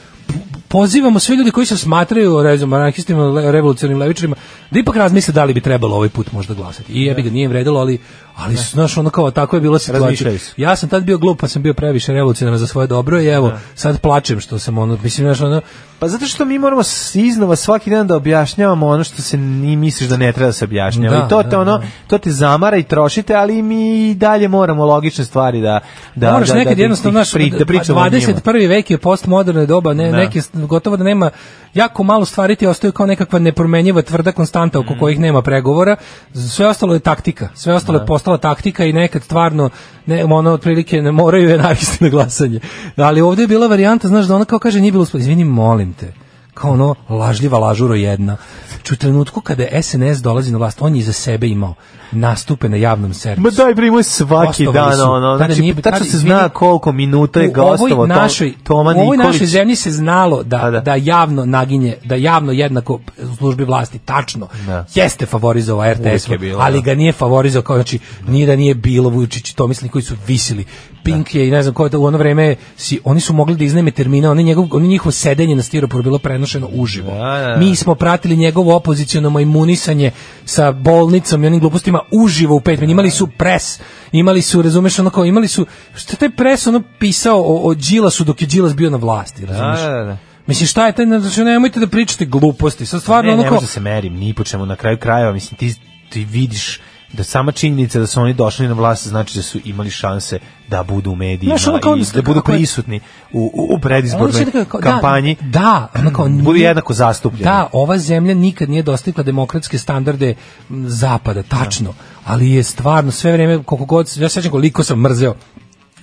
Speaker 5: pozivamo sve ljude koji se smatraju ne znam, anarhistima, le- revolucionarnim levičarima da ipak razmisle da li bi trebalo ovaj put možda glasati. I jebi ga, nije im vredilo, ali ali znaš ono kao tako je bila situacija.
Speaker 6: Razmišljaju su.
Speaker 5: Ja sam tad bio glup, pa sam bio previše revolucionaran za svoje dobro i evo, sad plačem što sam ono, mislim, znaš ono,
Speaker 6: Pa zato što mi moramo s- iznova svaki dan da objašnjavamo ono što se ni misliš da ne treba da se objašnjava.
Speaker 5: Da,
Speaker 6: I to
Speaker 5: da,
Speaker 6: te ono,
Speaker 5: da.
Speaker 6: to te zamara i trošite, ali mi i dalje moramo logične stvari da da
Speaker 5: moraš
Speaker 6: da, da,
Speaker 5: nekad
Speaker 6: da
Speaker 5: jednostavno,
Speaker 6: ih
Speaker 5: znaš,
Speaker 6: pri- da pričamo o njima.
Speaker 5: 21. vek je postmoderne doba, ne,
Speaker 6: Da.
Speaker 5: neke, gotovo da nema, jako malo stvari ti ostaju kao nekakva nepromenjiva tvrda konstanta
Speaker 6: Mm.
Speaker 5: oko kojih nema pregovora, sve ostalo je taktika, sve ostalo je postala taktika i nekad stvarno, ne, ono, otprilike ne moraju anarhisti na glasanje, ali ovdje je bila varijanta, znaš, da ona kao kaže, nije bilo, uspe- izvini, molim te, kao ono lažljiva lažuro jedna. Znači, U trenutku kada je SNS dolazi na vlast, on je za sebe imao nastupe na javnom servisu.
Speaker 6: Ma daj primo svaki
Speaker 5: Gostovali
Speaker 6: dan
Speaker 5: su.
Speaker 6: ono,
Speaker 5: Tada
Speaker 6: znači
Speaker 5: nije-
Speaker 6: tačno
Speaker 5: tada,
Speaker 6: se
Speaker 5: izvini,
Speaker 6: zna koliko minuta je
Speaker 5: u ovoj
Speaker 6: gostovo to,
Speaker 5: našoj,
Speaker 6: Toma
Speaker 5: u ovoj
Speaker 6: Nikolić.
Speaker 5: našoj zemlji se znalo da,
Speaker 6: A, da.
Speaker 5: da. javno naginje, da javno jednako u službi vlasti, tačno,
Speaker 6: Da.
Speaker 5: jeste favorizovao RTS,
Speaker 6: Uvijek je bilo,
Speaker 5: ali
Speaker 6: da.
Speaker 5: ga nije favorizovao, kao, znači, nije da nije bilo Vučić i Tomislav koji su visili. Pink je i ne znam ko je to, u ono vreme, si, oni su mogli da iznajme termine, oni, njegov, oni njihovo sedenje na stiroporu bilo prenošeno uživo.
Speaker 6: Da, da, da.
Speaker 5: Mi smo pratili njegovo opoziciono majmunisanje sa bolnicom i onim glupostima uživo u pet minuta. Imali su pres, imali su, razumeš, ono kao, imali su, što je taj pres ono pisao o, o Đilasu dok je Đilas bio na vlasti, razumeš?
Speaker 6: Da, da, da.
Speaker 5: Mislim, šta je taj, znači, nemojte da pričate gluposti, sad stvarno
Speaker 6: ne,
Speaker 5: ono
Speaker 6: ne
Speaker 5: kao,
Speaker 6: može se merim, ni po čemu na kraju krajeva, mislim ti ti vidiš da sama činjenica da su oni došli na vlast znači da su imali šanse da budu u medijima
Speaker 5: Znaš, ono kao
Speaker 6: i
Speaker 5: onda-
Speaker 6: da budu
Speaker 5: kako je-
Speaker 6: prisutni u, u, u
Speaker 5: Ono
Speaker 6: predizbornoj
Speaker 5: što je kao- da,
Speaker 6: kampanji.
Speaker 5: Da, ono kao
Speaker 6: Budu
Speaker 5: nije-
Speaker 6: jednako zastupljeni.
Speaker 5: Da, ova zemlja nikad nije dostigla demokratske standarde m, zapada, tačno. Ali je stvarno sve vrijeme koliko god ja se sećam koliko sam mrzeo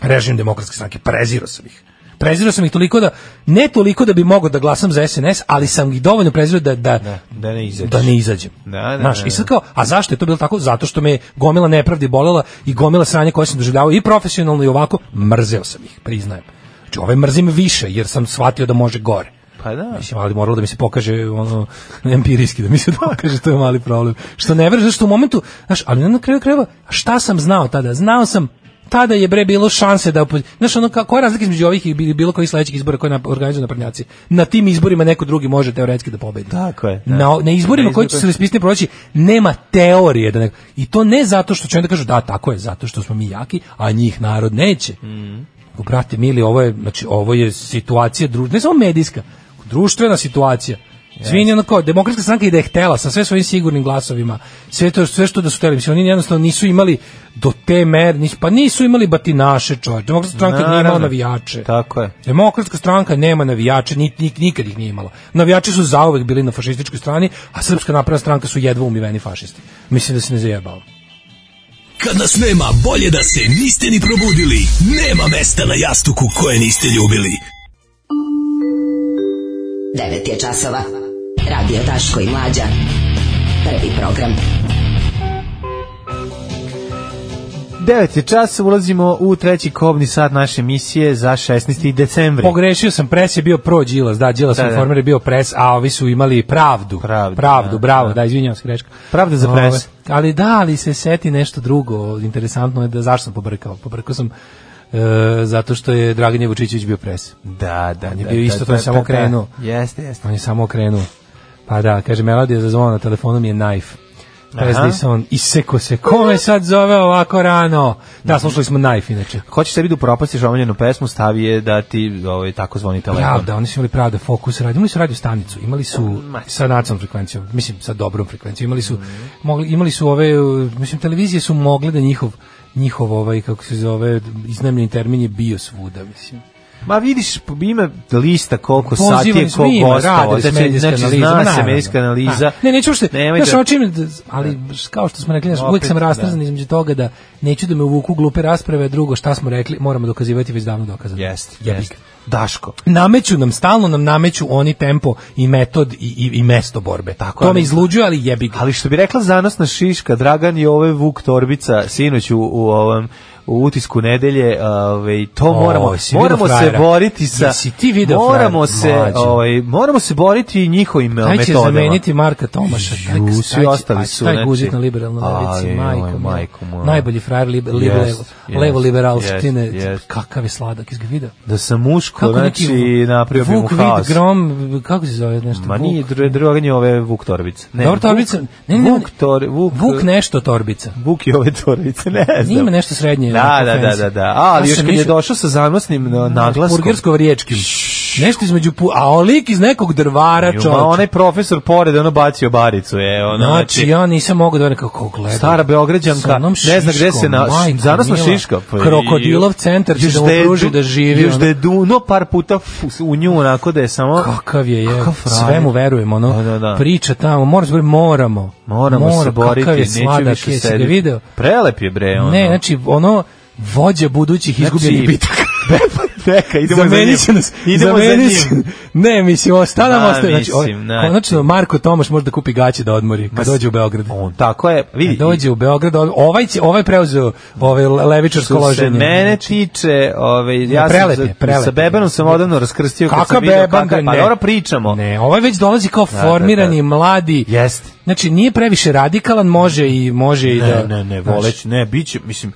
Speaker 5: režim demokratske stranke, prezirao sam ih. Prezirao sam ih toliko da ne toliko da bi mogao da glasam za SNS, ali sam ih dovoljno prezirao da da
Speaker 6: da ne izađeš.
Speaker 5: Da ne izađem.
Speaker 6: Da, da,
Speaker 5: Znaš,
Speaker 6: da,
Speaker 5: i sad kao, a zašto je to bilo tako? Zato što me je gomila nepravdi bolela i gomila sranja koje sam doživljavao i profesionalno i ovako, mrzeo sam ih, priznajem. Znači, ove mrzim više jer sam shvatio da može gore.
Speaker 6: Pa da.
Speaker 5: Mislim, ali moralo da mi se pokaže ono empirijski da mi se [laughs] pokaže to je mali problem. Što ne veruješ što u momentu, znaš, ali na kraju krajeva šta sam znao tada? Znao sam tada je bre bilo šanse da opo... znaš ono kako koja je razlika između ovih i bilo kojih sledećih izbora koje na organizuju naprednjaci na tim izborima neko drugi može teoretski da pobedi
Speaker 6: tako je
Speaker 5: na, na izborima koji će se raspisati proći nema teorije da neko... i to ne zato što će onda kažu da tako je zato što smo mi jaki a njih narod neće mm. brate mili ovo je znači ovo je situacija dru... ne samo medijska društvena situacija Izvini, yes. ono kao, demokratska stranka i da je htela sa sve svojim sigurnim glasovima, sve, to, sve što da su hteli, mislim, oni jednostavno nisu imali do te mer, nisu, pa nisu imali batinaše, čovječ, demokratska stranka Naravno. nije imala navijače.
Speaker 6: Tako je.
Speaker 5: Demokratska stranka nema navijače, ni, ni, nikad ih nije imala. Navijači su zauvek bili na fašističkoj strani, a srpska napravna stranka su jedva umiveni fašisti. Mislim da se ne zajebao.
Speaker 13: Kad nas nema, bolje da se niste ni probudili. Nema mesta na jastuku koje niste ljubili.
Speaker 10: 9 je časova. Radio Daško i Mlađa. Prvi program.
Speaker 6: 9 je čas, ulazimo u treći kobni sat naše emisije za 16. decembri.
Speaker 5: Pogrešio sam, pres je bio pro Đilas, da, Đilas da, informer je bio pres, a ovi su imali pravdu.
Speaker 6: Pravdu,
Speaker 5: pravdu
Speaker 6: da,
Speaker 5: bravo, da, da izvinjavam se, greška.
Speaker 6: Pravda za pres. Ove,
Speaker 5: ali da, ali se seti nešto drugo, interesantno je da zašto sam pobrkao. Pobrkao sam E, zato što je Dragan Jevučićević bio pres.
Speaker 6: Da, da,
Speaker 5: on je
Speaker 6: da,
Speaker 5: bio
Speaker 6: da,
Speaker 5: isto,
Speaker 6: da,
Speaker 5: to je samo krenuo.
Speaker 6: Jeste, jeste.
Speaker 5: On je samo krenuo. Pa da, kaže, melodija za zvono na telefonu mi je knife. Pezdi se on, iseko se, kome sad zove ovako rano? Da, slušali smo knife inače.
Speaker 6: Hoćeš sebi da upropastiš omiljenu pesmu, stavi je da ti ovaj, tako zvoni telefon.
Speaker 5: Pravda, oni su imali pravda, fokus radio, imali su radio stanicu, imali su
Speaker 6: Mm,
Speaker 5: sa nacionalnom frekvencijom, mislim sa dobrom frekvencijom, imali su, mogli, imali su ove, uh, mislim televizije su mogle da njihov, njihov ovaj, kako se zove, iznajmljeni termin je bio svuda, mislim.
Speaker 6: Ma vidiš, ima lista koliko sati je koliko ostalo. Znači, znači zna se medijska analiza.
Speaker 5: Ne, neću ušte, znaš, ono da... čim, ali kao što smo rekli, znaš, uvijek sam rastrzan da. između toga da neću da me uvuku glupe rasprave, drugo šta smo rekli, moramo dokazivati već davno dokazano.
Speaker 6: Jeste, jeste. Daško.
Speaker 5: Nameću nam, stalno nam nameću oni tempo i metod i, i, i mesto borbe. Tako, to me izluđuje, ali jebi ga.
Speaker 6: Ali što bi rekla zanosna Šiška, Dragan je ovaj Vuk Torbica, sinoć u, u ovom u utisku nedelje, ovaj to o, moramo moramo se boriti sa
Speaker 5: Jesi ti video
Speaker 6: moramo
Speaker 5: frajer,
Speaker 6: se ovaj moramo se boriti njihovim taj metodama.
Speaker 5: Će zameniti Marka Tomaša.
Speaker 6: Ju, taj, svi taj, ostali su znači,
Speaker 5: taj guzik na liberalno levici, majko, majko moja. Najbolji frajer libe, yes, libe, yes, levo liberalštine. Yes, Kakav je sladak, iz ga video?
Speaker 6: Da sam muško, kako znači napravio bi mu
Speaker 5: Vuk
Speaker 6: haos.
Speaker 5: Vid, Grom, kako se zove nešto?
Speaker 6: Ma nije druganje ove Vuk Torbica.
Speaker 5: Ne, Dobar, Torbica. Ne, ne,
Speaker 6: Vuk, tor, Vuk,
Speaker 5: Vuk nešto Torbica.
Speaker 6: Vuk i ove Torbice, ne znam.
Speaker 5: Ima nešto srednje
Speaker 6: da, da, da, da, da. A, ali još kad je došao sa zanosnim
Speaker 5: Mm,
Speaker 6: naglaskom.
Speaker 5: Burgersko riječkim. Nešto između pu... A on lik iz nekog drvara, čovječ. Ma
Speaker 6: onaj profesor pored, ono bacio baricu, je. Ono,
Speaker 5: znači, znači, ja nisam mogao da nekako gledam.
Speaker 6: Stara Beograđanka, ne zna gde se... Na... Zanosno Šiška. pa
Speaker 5: Krokodilov centar će da mu pruži da živi. ono.
Speaker 6: Još da je duno par puta u nju, onako da je samo...
Speaker 5: Kakav je, je. Sve mu verujem, ono. Da, da, Priča tamo, moramo, moramo.
Speaker 6: Moramo se boriti, neću više sediti. Prelep je, bre, ono.
Speaker 5: Ne, znači, ono vođa budućih izgubljenih znači,
Speaker 6: [laughs]
Speaker 5: bitaka.
Speaker 6: Neka, idemo za
Speaker 5: njim. Će nas,
Speaker 6: idemo za njim.
Speaker 5: Ne, mislim, ostanemo. Da, znači, mislim, znači. Konačno, Marko Tomaš može da kupi gaće da odmori kad Mas, dođe u Beograd.
Speaker 6: On, tako je, vidi.
Speaker 5: Kad E, dođe u Beograd, ovaj, će, ovaj preuzeo ovaj levičarsko loženje.
Speaker 6: se mene
Speaker 5: Znači-
Speaker 6: tiče, ovaj, ja
Speaker 5: prelep,
Speaker 6: sam,
Speaker 5: prelep,
Speaker 6: sa Bebanom sam odavno raskrstio.
Speaker 5: Kaka
Speaker 6: kad sam
Speaker 5: Beban, kaka,
Speaker 6: ne. Pa dobro pričamo.
Speaker 5: Ne, ovaj već dolazi kao da, formirani, da, mladi.
Speaker 6: Jeste.
Speaker 5: Znači, nije previše radikalan, može i može i da...
Speaker 6: Ne, ne, ne, voleć, ne, biće, mislim,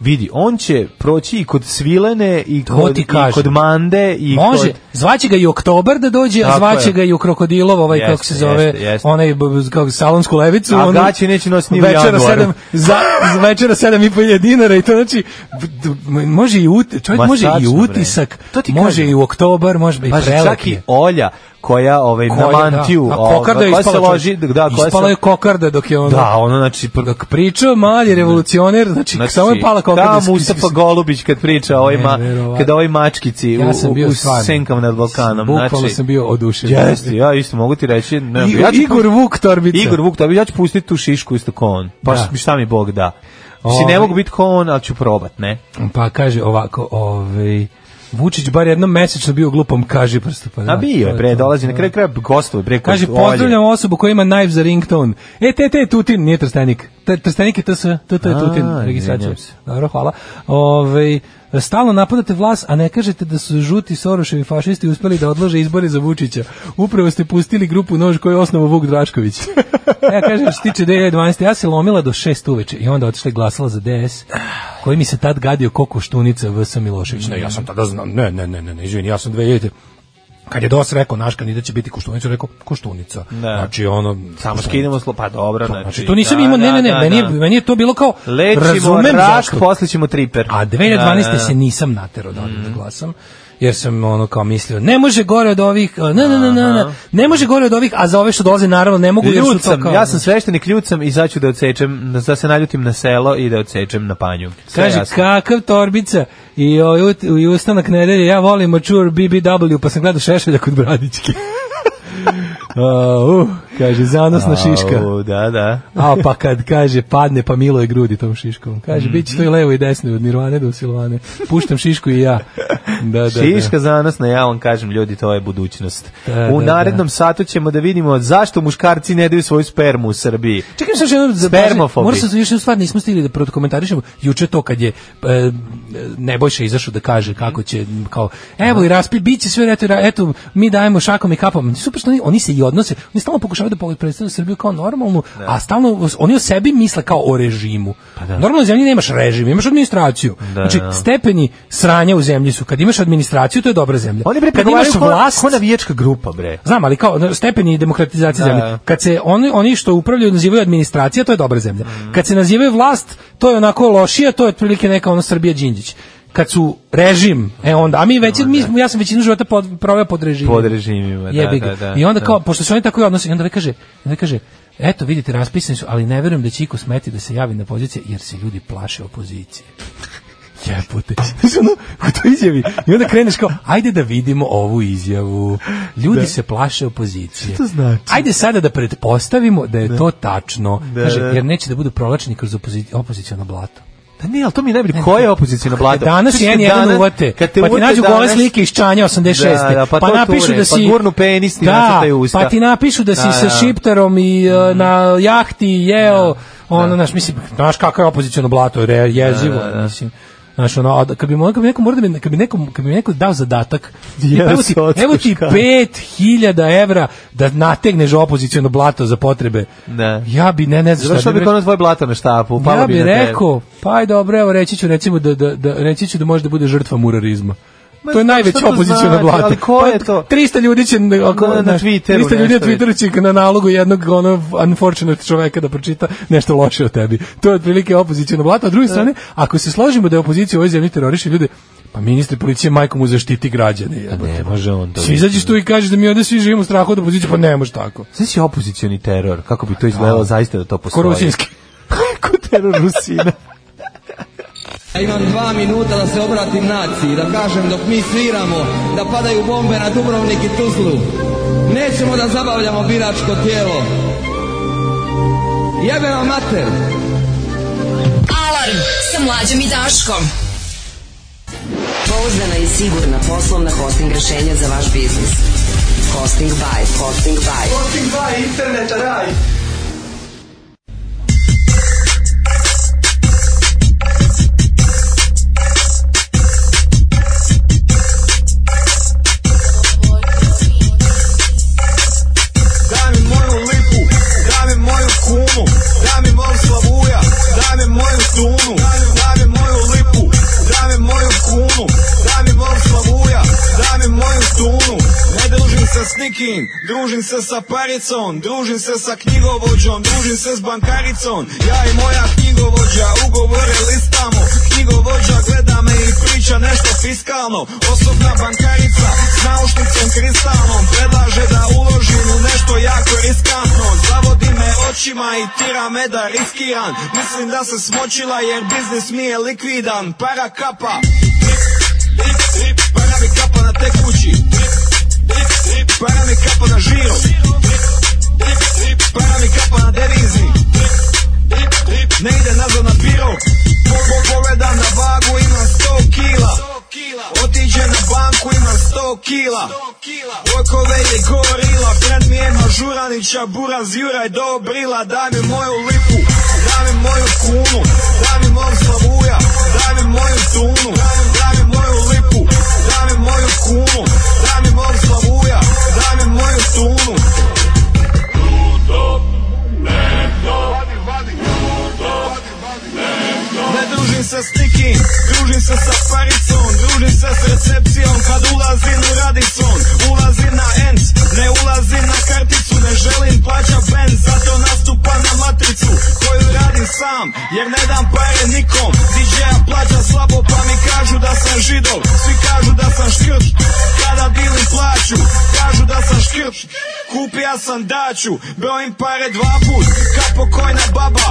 Speaker 6: vidi, on će proći i kod Svilene i
Speaker 5: to
Speaker 6: kod,
Speaker 5: ti
Speaker 6: i kod Mande i
Speaker 5: Može,
Speaker 6: kod...
Speaker 5: zvaće ga i Oktobar da dođe, a zvaće ga i u Krokodilov, ovaj kako se zove,
Speaker 6: jeste, jeste.
Speaker 5: onaj kako, salonsku levicu.
Speaker 6: A gaće neće nositi ni u
Speaker 5: večera
Speaker 6: januaru.
Speaker 5: Sedam, za,
Speaker 6: [laughs]
Speaker 5: večera sedam i pol dinara i to znači, može i, ut, čovjek
Speaker 6: Ma
Speaker 5: može i
Speaker 6: tačno, bre.
Speaker 5: utisak,
Speaker 6: To ti
Speaker 5: može
Speaker 6: kažem.
Speaker 5: i u Oktobar, može i
Speaker 6: Pa čak i
Speaker 5: prelepije.
Speaker 6: Olja koja ovaj
Speaker 5: Koja,
Speaker 6: na mantiju,
Speaker 5: da. A
Speaker 6: ovaj,
Speaker 5: kokarda je
Speaker 6: koja se
Speaker 5: ispala,
Speaker 6: loži,
Speaker 5: čovječe.
Speaker 6: da, koja
Speaker 5: Ispala
Speaker 6: se
Speaker 5: je kokarda dok je ono...
Speaker 6: Da, ono znači pr-
Speaker 5: Dok pričao mali revolucioner, znači, samo je pala kokarda.
Speaker 6: Da, Mustafa Golubić kad priča o ovima,
Speaker 5: Neverovatno.
Speaker 6: kad ovoj mačkici
Speaker 5: Ja sam
Speaker 6: u,
Speaker 5: bio
Speaker 6: u, u
Speaker 5: stvarno.
Speaker 6: senkama nad Balkanom.
Speaker 5: Bukvalno
Speaker 6: znači,
Speaker 5: sam bio oduševljen.
Speaker 6: Jeste, ja isto mogu ti reći. Ne,
Speaker 5: I-
Speaker 6: ja ću
Speaker 5: Igor
Speaker 6: pustiti-
Speaker 5: Vuk Torbica.
Speaker 6: Igor Vuk Torbica, ja ću pustiti tu šišku isto ko on. Pa
Speaker 5: Da.
Speaker 6: da. šta mi Bog da. Si
Speaker 5: Ovaj.
Speaker 6: ne mogu biti ko on, ali ću probat, ne?
Speaker 5: Pa kaže ovako, ovaj Vučić bar jednom mesečno bio glupom, kaže prsto. Pa, da,
Speaker 6: A bio
Speaker 5: to
Speaker 6: je, bre,
Speaker 5: to.
Speaker 6: dolazi na kraju kraja gostovo, bre, kod
Speaker 5: Kaže,
Speaker 6: Olje.
Speaker 5: pozdravljam osobu koja ima knife za ringtone. E, te, te, Tutin, nije Trstenik. Te, trstenik je TS, to, to je
Speaker 6: A,
Speaker 5: Tutin,
Speaker 6: izvinjam
Speaker 5: registracija.
Speaker 6: se.
Speaker 5: Dobro, hvala. Ove, Stalno napadate vlast, a ne kažete da su žuti Soroševi fašisti uspeli da odlože izbore za Vučića. Upravo ste pustili grupu Nož koju je osnovu
Speaker 14: [laughs]
Speaker 5: Vuk Drašković. E, ja kažem, što se tiče 2012. Ja se lomila do 6 uveče i onda otišla i glasala za DS, koji mi se tad gadio koliko štunica VS Milošević.
Speaker 14: Ne, ja sam tada znao, ne, ne, ne, ne, ne, izvini, ja sam 2000 kad je DOS rekao naš kandidat će biti Koštunica, rekao Koštunica. Znači ono
Speaker 6: samo skidamo slo pa dobro,
Speaker 5: znači. Znači to nisam imao, ne, ne, ne, meni, je, meni je to bilo kao
Speaker 6: Lečimo
Speaker 5: razumem
Speaker 6: rak,
Speaker 5: zašto.
Speaker 6: posle ćemo triper.
Speaker 5: A 2012. se nisam naterao da
Speaker 6: Mhm.
Speaker 5: odem da glasam jer sam ono kao mislio ne može gore od ovih ne ne ne ne ne, ne može gore od ovih a za ove što dolaze naravno ne mogu jer su
Speaker 6: Ljud
Speaker 5: to
Speaker 6: sam,
Speaker 5: kao
Speaker 6: ja sam sveštenik, ljud sam i sad ću da odsečem, da se naljutim na selo i da odsečem na panju. Sve
Speaker 5: Kaže,
Speaker 6: jasno.
Speaker 5: kakav torbica i, ovaj ut- i ustanak nedelje, ja volim mature BBW, pa sam gledao šešelja kod Bradićke. [laughs] Au, kaže, zanosna šiška.
Speaker 6: Au, Da, da.
Speaker 5: A pa kad kaže padne pa milo je grudi tom šiškom. Kaže bit će to i levo i desno od Nirvane do Silvane. Puštam šišku i ja. Da, da, da.
Speaker 6: Šiška za nas, ne, ja vam kažem, ljudi, to je budućnost.
Speaker 5: Da,
Speaker 6: u
Speaker 5: da,
Speaker 6: narednom
Speaker 5: da.
Speaker 6: satu ćemo da vidimo zašto muškarci ne daju svoju spermu u Srbiji.
Speaker 5: Čekaj sad jednom da
Speaker 6: Spermofobi.
Speaker 5: Moram se još jednu stvar nismo stigli da prokomentarišemo. Juče to kad je e, Nebojša izašao da kaže kako će m, kao evo i raspi biće sve eto, ra- eto mi dajemo šakom i kapom. Super što oni, oni se i odnose. Oni stalno pokušavaju da po- predstavljaju Srbiju kao normalnu, a stalno oni o sebi misle kao o režimu. Normalno u zemlji nemaš režim, imaš administraciju.
Speaker 6: Pa Da,
Speaker 5: znači
Speaker 6: da.
Speaker 5: stepeni sranja u zemlji su kad imaš administraciju to je dobra zemlja.
Speaker 6: Oni bre
Speaker 5: kad imaš
Speaker 6: pregovaraju ko,
Speaker 5: vlast,
Speaker 6: ko navijačka grupa, bre.
Speaker 5: Znam, ali kao na, stepeni demokratizacije
Speaker 6: Da.
Speaker 5: zemlje. Kad se oni, oni što upravljaju nazivaju administracija, to je dobra zemlja.
Speaker 6: Mhm.
Speaker 5: Kad se nazivaju vlast, to je onako lošija, to je otprilike neka ono Srbija Đinđić. Kad su režim, e onda, a mi već, mi, smo- ja sam većinu života pod, proveo pod režimom.
Speaker 6: Pod režimima, da,
Speaker 5: Mm. Jebi ga.
Speaker 6: da, da,
Speaker 5: I onda
Speaker 6: da.
Speaker 5: kao, pošto se oni tako i odnose, i onda ovaj kaže, i onda kaže, eto vidite, raspisani su, ali ne verujem da će iko smeti da se javi na pozicije, jer se ljudi plaše
Speaker 6: [laughs]
Speaker 5: opozicije. Jebote. Znaš, ono, u toj izjavi. I onda kreneš kao, ajde da vidimo ovu izjavu. Ljudi se plaše opozicije.
Speaker 6: Što to znači?
Speaker 5: Ajde sada da pretpostavimo da je to tačno.
Speaker 6: Da,
Speaker 5: Kaže,
Speaker 6: da.
Speaker 5: jer neće da budu provlačeni kroz opozici- opoziciono blato.
Speaker 6: Da Pa ne, ali to mi je najbolje. Ko je opozicijno blato?
Speaker 5: Danas
Speaker 6: Znaš,
Speaker 5: je jedan
Speaker 6: danas-
Speaker 5: uvate, pa
Speaker 6: kad te
Speaker 5: ti
Speaker 6: uvate
Speaker 5: nađu gole
Speaker 6: danas-
Speaker 5: slike iz Čanja 86.
Speaker 6: Da, da, pa to
Speaker 5: napišu
Speaker 6: ture,
Speaker 5: da
Speaker 6: pa
Speaker 5: si...
Speaker 6: gurnu penis ti
Speaker 5: da,
Speaker 6: nacrtaju usta.
Speaker 5: pa ti napišu da si
Speaker 6: Da, Mm.
Speaker 5: sa
Speaker 6: da.
Speaker 5: šiptarom i e, na jahti jeo, ono, znaš, mislim, znaš kako je opoziciono blato, re, jezivo,
Speaker 6: Da, da, da.
Speaker 5: mislim. Znaš, ono, a da- kad bi, mo- kad bi neko, morao da mi, kad bi neko, kad bi mi neko dao zadatak,
Speaker 6: Ja
Speaker 5: evo ti,
Speaker 6: se odskuška.
Speaker 5: evo ti 5000 evra da nategneš opoziciono blato za potrebe.
Speaker 6: Da.
Speaker 5: Ja bi, ne, ne znam šta
Speaker 6: Završao
Speaker 5: bi
Speaker 6: bi konac tvoje blato na štapu, palo
Speaker 5: ja
Speaker 6: bi
Speaker 5: bih
Speaker 6: na tebe.
Speaker 5: rekao, pa i dobro, evo reći ću recimo da, da, da reći ću da može da bude žrtva murarizma.
Speaker 6: Ma,
Speaker 5: to je
Speaker 6: šta
Speaker 5: najveća
Speaker 6: to
Speaker 5: opozicijona
Speaker 6: znači?
Speaker 5: vlada.
Speaker 6: Ali ko je to?
Speaker 5: 300 ljudi će na, ako,
Speaker 6: Na- na
Speaker 5: znaš,
Speaker 6: Twitteru
Speaker 5: 300 ljudi na
Speaker 6: nešto
Speaker 5: Twitteru će na nalogu jednog ono unfortunate čoveka da pročita nešto loše o tebi. To je otprilike opozicijona vlada. A s druge strane, ako se složimo da je opozicija u ovoj zemlji teroriše ljude, pa ministar policije majkom mu zaštiti građane. jebote.
Speaker 6: Pa Ne može on to.
Speaker 5: Svi izađeš tu i kažeš da mi ovde svi živimo u strahu od opozicije, pa ne može tako.
Speaker 6: Sve si opozicioni teror, kako bi to izgledalo zaista da to postoji. [laughs]
Speaker 5: Korusinski.
Speaker 6: Ko teror Rusina.
Speaker 15: Ja imam dva minuta da se obratim naciji, da kažem dok mi sviramo, da padaju bombe na Dubrovnik i Tuzlu. Nećemo da zabavljamo biračko tijelo. Jebe vam mater!
Speaker 4: Alarm sa mlađom i Daškom.
Speaker 10: Pouzdana i sigurna poslovna hosting rešenja za vaš biznis. Hosting by, hosting by.
Speaker 15: Osim dva interneta raj!
Speaker 16: Daj mi moju lipu, daj mi moju kumu, daj mi moju slavuja, daj mi moju tunu, daj mi moju lipu, daj mi moju kunu, daj mi moju slavuja, daj mi moju tunu. Ne družim se s nikim, družim se sa paricom, družim se sa knjigovođom, družim se s bankaricom. Ja i moja knjigovođa ugovore listamo, knjigovođa gleda me i priča nešto fiskalno. Osobna bankarica s naušnicom kristalnom predlaže da uložim u nešto jako riskantno. Zavodi me očima i tira me da riskiran. Mislim da se smočila jer biznis mi je likvidan. Para kapa, drip, drip, drip, para mi kapa na tekući. Drip, drip, drip, para mi kapa na žiro. Drip, drip, drip, para mi kapa na devizi. Drip, drip, drip, ne ide nazad na biro. Po- po- Pogledam na vagu, imam 100 kila. Otiđe na banku, imam 100 kila. Okove je gorila, friend mi je mažuranića, buraz Juraj dobrila. Daj mi moju lipu, daj mi moju kunu, daj mi moju slavuja, daj mi moju tunu, daj pa sam daću Brojim pare dva put, ka pokojna baba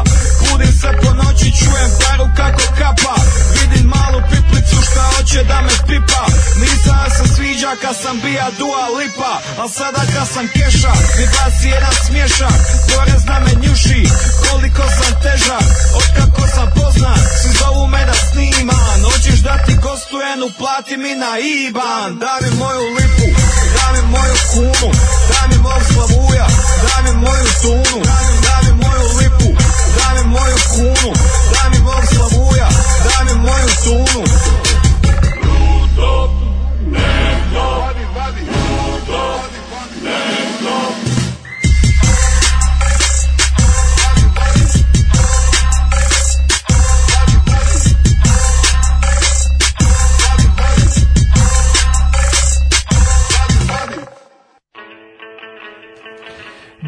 Speaker 16: Budim se po noći, čujem paru kako kapa Vidim malu piplicu šta hoće da me pipa Nisam ja se sviđa kad sam bija dua lipa Al sada kad sam keša, mi basi jedan smješak Porez na me njuši, koliko sam težak Otkako sam poznat, svi zovu me da sniman Hoćeš da ti gostujem, uplati mi na IBAN Daj mi moju lipu, daj mi moju kunu Daj mi mog slavuja, daj mi moju tunu Daj mi moju lipu, daj mi moju kunu Daj mi mog slavuja, daj mi moju tunu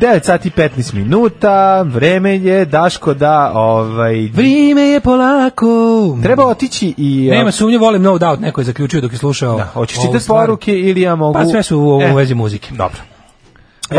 Speaker 6: Devet sati i 15 minuta, vreme je, Daško, da, ovaj...
Speaker 5: Vrime je polako.
Speaker 6: Treba otići i... a,
Speaker 5: Nema sumnje, volim No Doubt, neko je zaključio dok je slušao.
Speaker 6: Da, hoćeš
Speaker 5: ovu
Speaker 6: čitati
Speaker 5: stvar.
Speaker 6: poruke ili ja mogu...
Speaker 5: Pa sve su u,
Speaker 6: E,
Speaker 5: u vezi muzike.
Speaker 6: Dobro.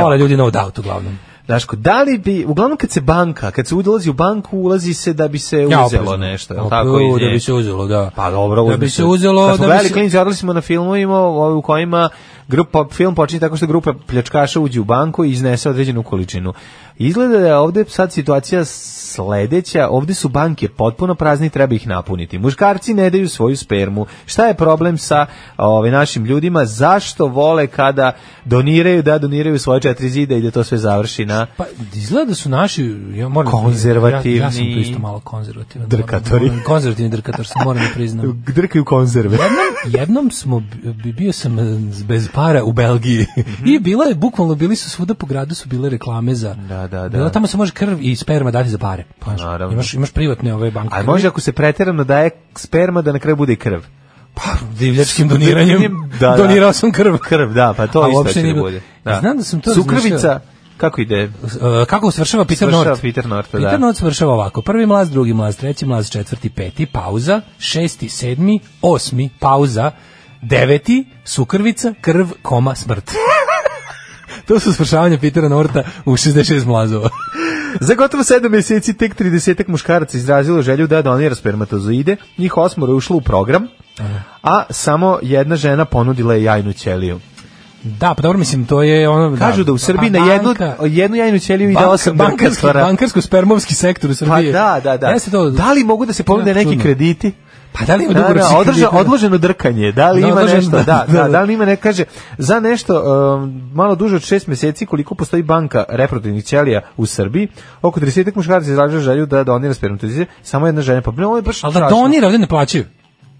Speaker 5: Vole ljudi No Doubt uglavnom.
Speaker 6: Daško, da li bi, uglavnom kad se banka, kad se ulazi u banku, ulazi se da bi se uzelo
Speaker 5: oprezno.
Speaker 6: nešto, je li
Speaker 5: Opet,
Speaker 6: tako iz
Speaker 5: da
Speaker 6: nje?
Speaker 5: bi se uzelo, da.
Speaker 6: Pa dobro,
Speaker 5: Da
Speaker 6: uzme
Speaker 5: bi se uzelo,
Speaker 6: Kad smo
Speaker 5: da bi
Speaker 6: gledali
Speaker 5: se-
Speaker 6: Klinci, radili smo na filmovima ovaj, u kojima grupa, film počinje tako što grupa pljačkaša uđe u banku i iznese određenu količinu. Izgleda da je ovde sad situacija sledeća, ovde su banke potpuno prazni, treba ih napuniti. Muškarci ne daju svoju spermu. Šta je problem sa ovaj, našim ljudima? Zašto vole kada doniraju, da doniraju svoje četiri zida i da to sve završi na...
Speaker 5: Pa izgleda da su naši ja moram
Speaker 6: Konzervativni
Speaker 5: Ja, ja sam tu isto malo konzervativan. moram-
Speaker 6: drkatori.
Speaker 5: moram- konzervativni drkator sam moram da
Speaker 6: [laughs]
Speaker 5: priznam.
Speaker 6: Drkaju konzerve.
Speaker 5: Jednom, jednom smo bi- bi- bio sam e, bez para u Belgiji.
Speaker 6: Mhm.
Speaker 5: I bila je bukvalno bili su svuda po gradu su bile reklame za.
Speaker 6: Da, da, da.
Speaker 5: Bila tamo se može krv i sperma dati za pare. Pa,
Speaker 6: naravno.
Speaker 5: imaš imaš privatne ove banke.
Speaker 6: A
Speaker 5: krvi.
Speaker 6: može ako se preterano daje sperma da na kraju bude i krv.
Speaker 5: divljačkim doniranjem
Speaker 6: [laughs] Da, da.
Speaker 5: donirao sam krv.
Speaker 6: [laughs] Krv, da, pa to
Speaker 5: A
Speaker 6: isto
Speaker 5: uopšte
Speaker 6: će
Speaker 5: nije
Speaker 6: da
Speaker 5: bilo-
Speaker 6: bude. Da.
Speaker 5: Znam da sam to
Speaker 6: Sukrvica,
Speaker 5: razmišljao.
Speaker 6: kako ide?
Speaker 5: E, kako svršava Peter
Speaker 6: Svršava
Speaker 5: North?
Speaker 6: Peter North, da.
Speaker 5: Peter North svršava ovako. Prvi mlaz, drugi mlaz, treći mlaz, četvrti, peti, pauza, šesti, sedmi, osmi, pauza, deveti, sukrvica, krv, koma, smrt. [laughs] to su svršavanje Petera Norta u 66
Speaker 6: [laughs]
Speaker 5: mlazova.
Speaker 6: [laughs] Za gotovo 7 meseci tek 30 muškaraca izrazilo želju da donira spermatozoide, njih osmoro je ušlo u program, a samo jedna žena ponudila je jajnu ćeliju.
Speaker 5: da, pa dobro, mislim, to je ono...
Speaker 6: Kažu da u Srbiji na jednu, jednu jajnu ćeliju ide
Speaker 5: Banka-
Speaker 6: osam [laughs]
Speaker 5: bankarski,
Speaker 6: drkatora.
Speaker 5: bankarsko-spermovski sektor u
Speaker 6: Pa
Speaker 5: Srbiji.
Speaker 6: da, da, da.
Speaker 5: Jeste to,
Speaker 6: Da li mogu da se ponude
Speaker 5: Jako
Speaker 6: neki
Speaker 5: čudno.
Speaker 6: krediti?
Speaker 5: Pa da li ima
Speaker 6: da, da,
Speaker 5: dugoročni
Speaker 6: održa-
Speaker 5: kredit?
Speaker 6: odloženo drkanje, da li
Speaker 5: Da,
Speaker 6: ima
Speaker 5: odloženo,
Speaker 6: nešto,
Speaker 5: da,
Speaker 6: da,
Speaker 5: da,
Speaker 6: da,
Speaker 5: da.
Speaker 6: da li ima ne kaže, za nešto um, malo duže od šest mjeseci koliko postoji banka reproduktivnih ćelija u Srbiji, oko 30 muškaraca izražava želju da donira spermatozoide, samo jedna žena, pa ovo je baš
Speaker 5: Ali da
Speaker 6: strašno.
Speaker 5: donira, ovdje ne plaćaju.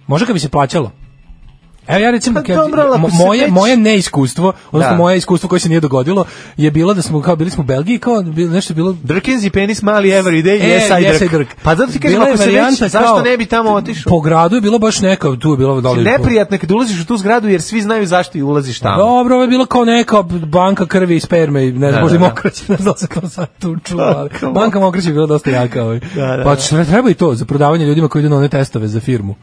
Speaker 5: Može kad bi se plaćalo. Evo ja recimo,
Speaker 6: Pa
Speaker 5: kad,
Speaker 6: dobro, ali ako
Speaker 5: mo-
Speaker 6: se
Speaker 5: moje,
Speaker 6: već-
Speaker 5: moje neiskustvo, odnosno
Speaker 6: Da.
Speaker 5: moje iskustvo koje se nije dogodilo, je bilo da smo, kao bili smo u Belgiji, kao bilo- nešto je bilo...
Speaker 6: Drkins i penis mali every day,
Speaker 5: E,
Speaker 6: yes, I
Speaker 5: yes,
Speaker 6: drk.
Speaker 5: I drk.
Speaker 6: Pa zato ti kažem,
Speaker 5: Bila je
Speaker 6: ako se već,
Speaker 5: varijanta
Speaker 6: zašto
Speaker 5: kao-
Speaker 6: ne bi tamo otišao?
Speaker 5: Po gradu je bilo baš neka, tu je bilo... Da li,
Speaker 6: Neprijatno je kad ulaziš u tu zgradu, jer svi znaju zašto i ulaziš tamo.
Speaker 5: Dobro, ovo je bilo kao neka banka krvi i sperme, i ne
Speaker 6: Da,
Speaker 5: znam, možda i
Speaker 6: da, da.
Speaker 5: mokraće, ne znam se kao sad tu čulo, ali
Speaker 6: Kako mo-
Speaker 5: banka mokraće je bila dosta jaka. Ovaj.
Speaker 6: Da, da,
Speaker 5: pa
Speaker 6: da.
Speaker 5: šta, treba i to za prodavanje ljudima koji idu na one testove za firmu.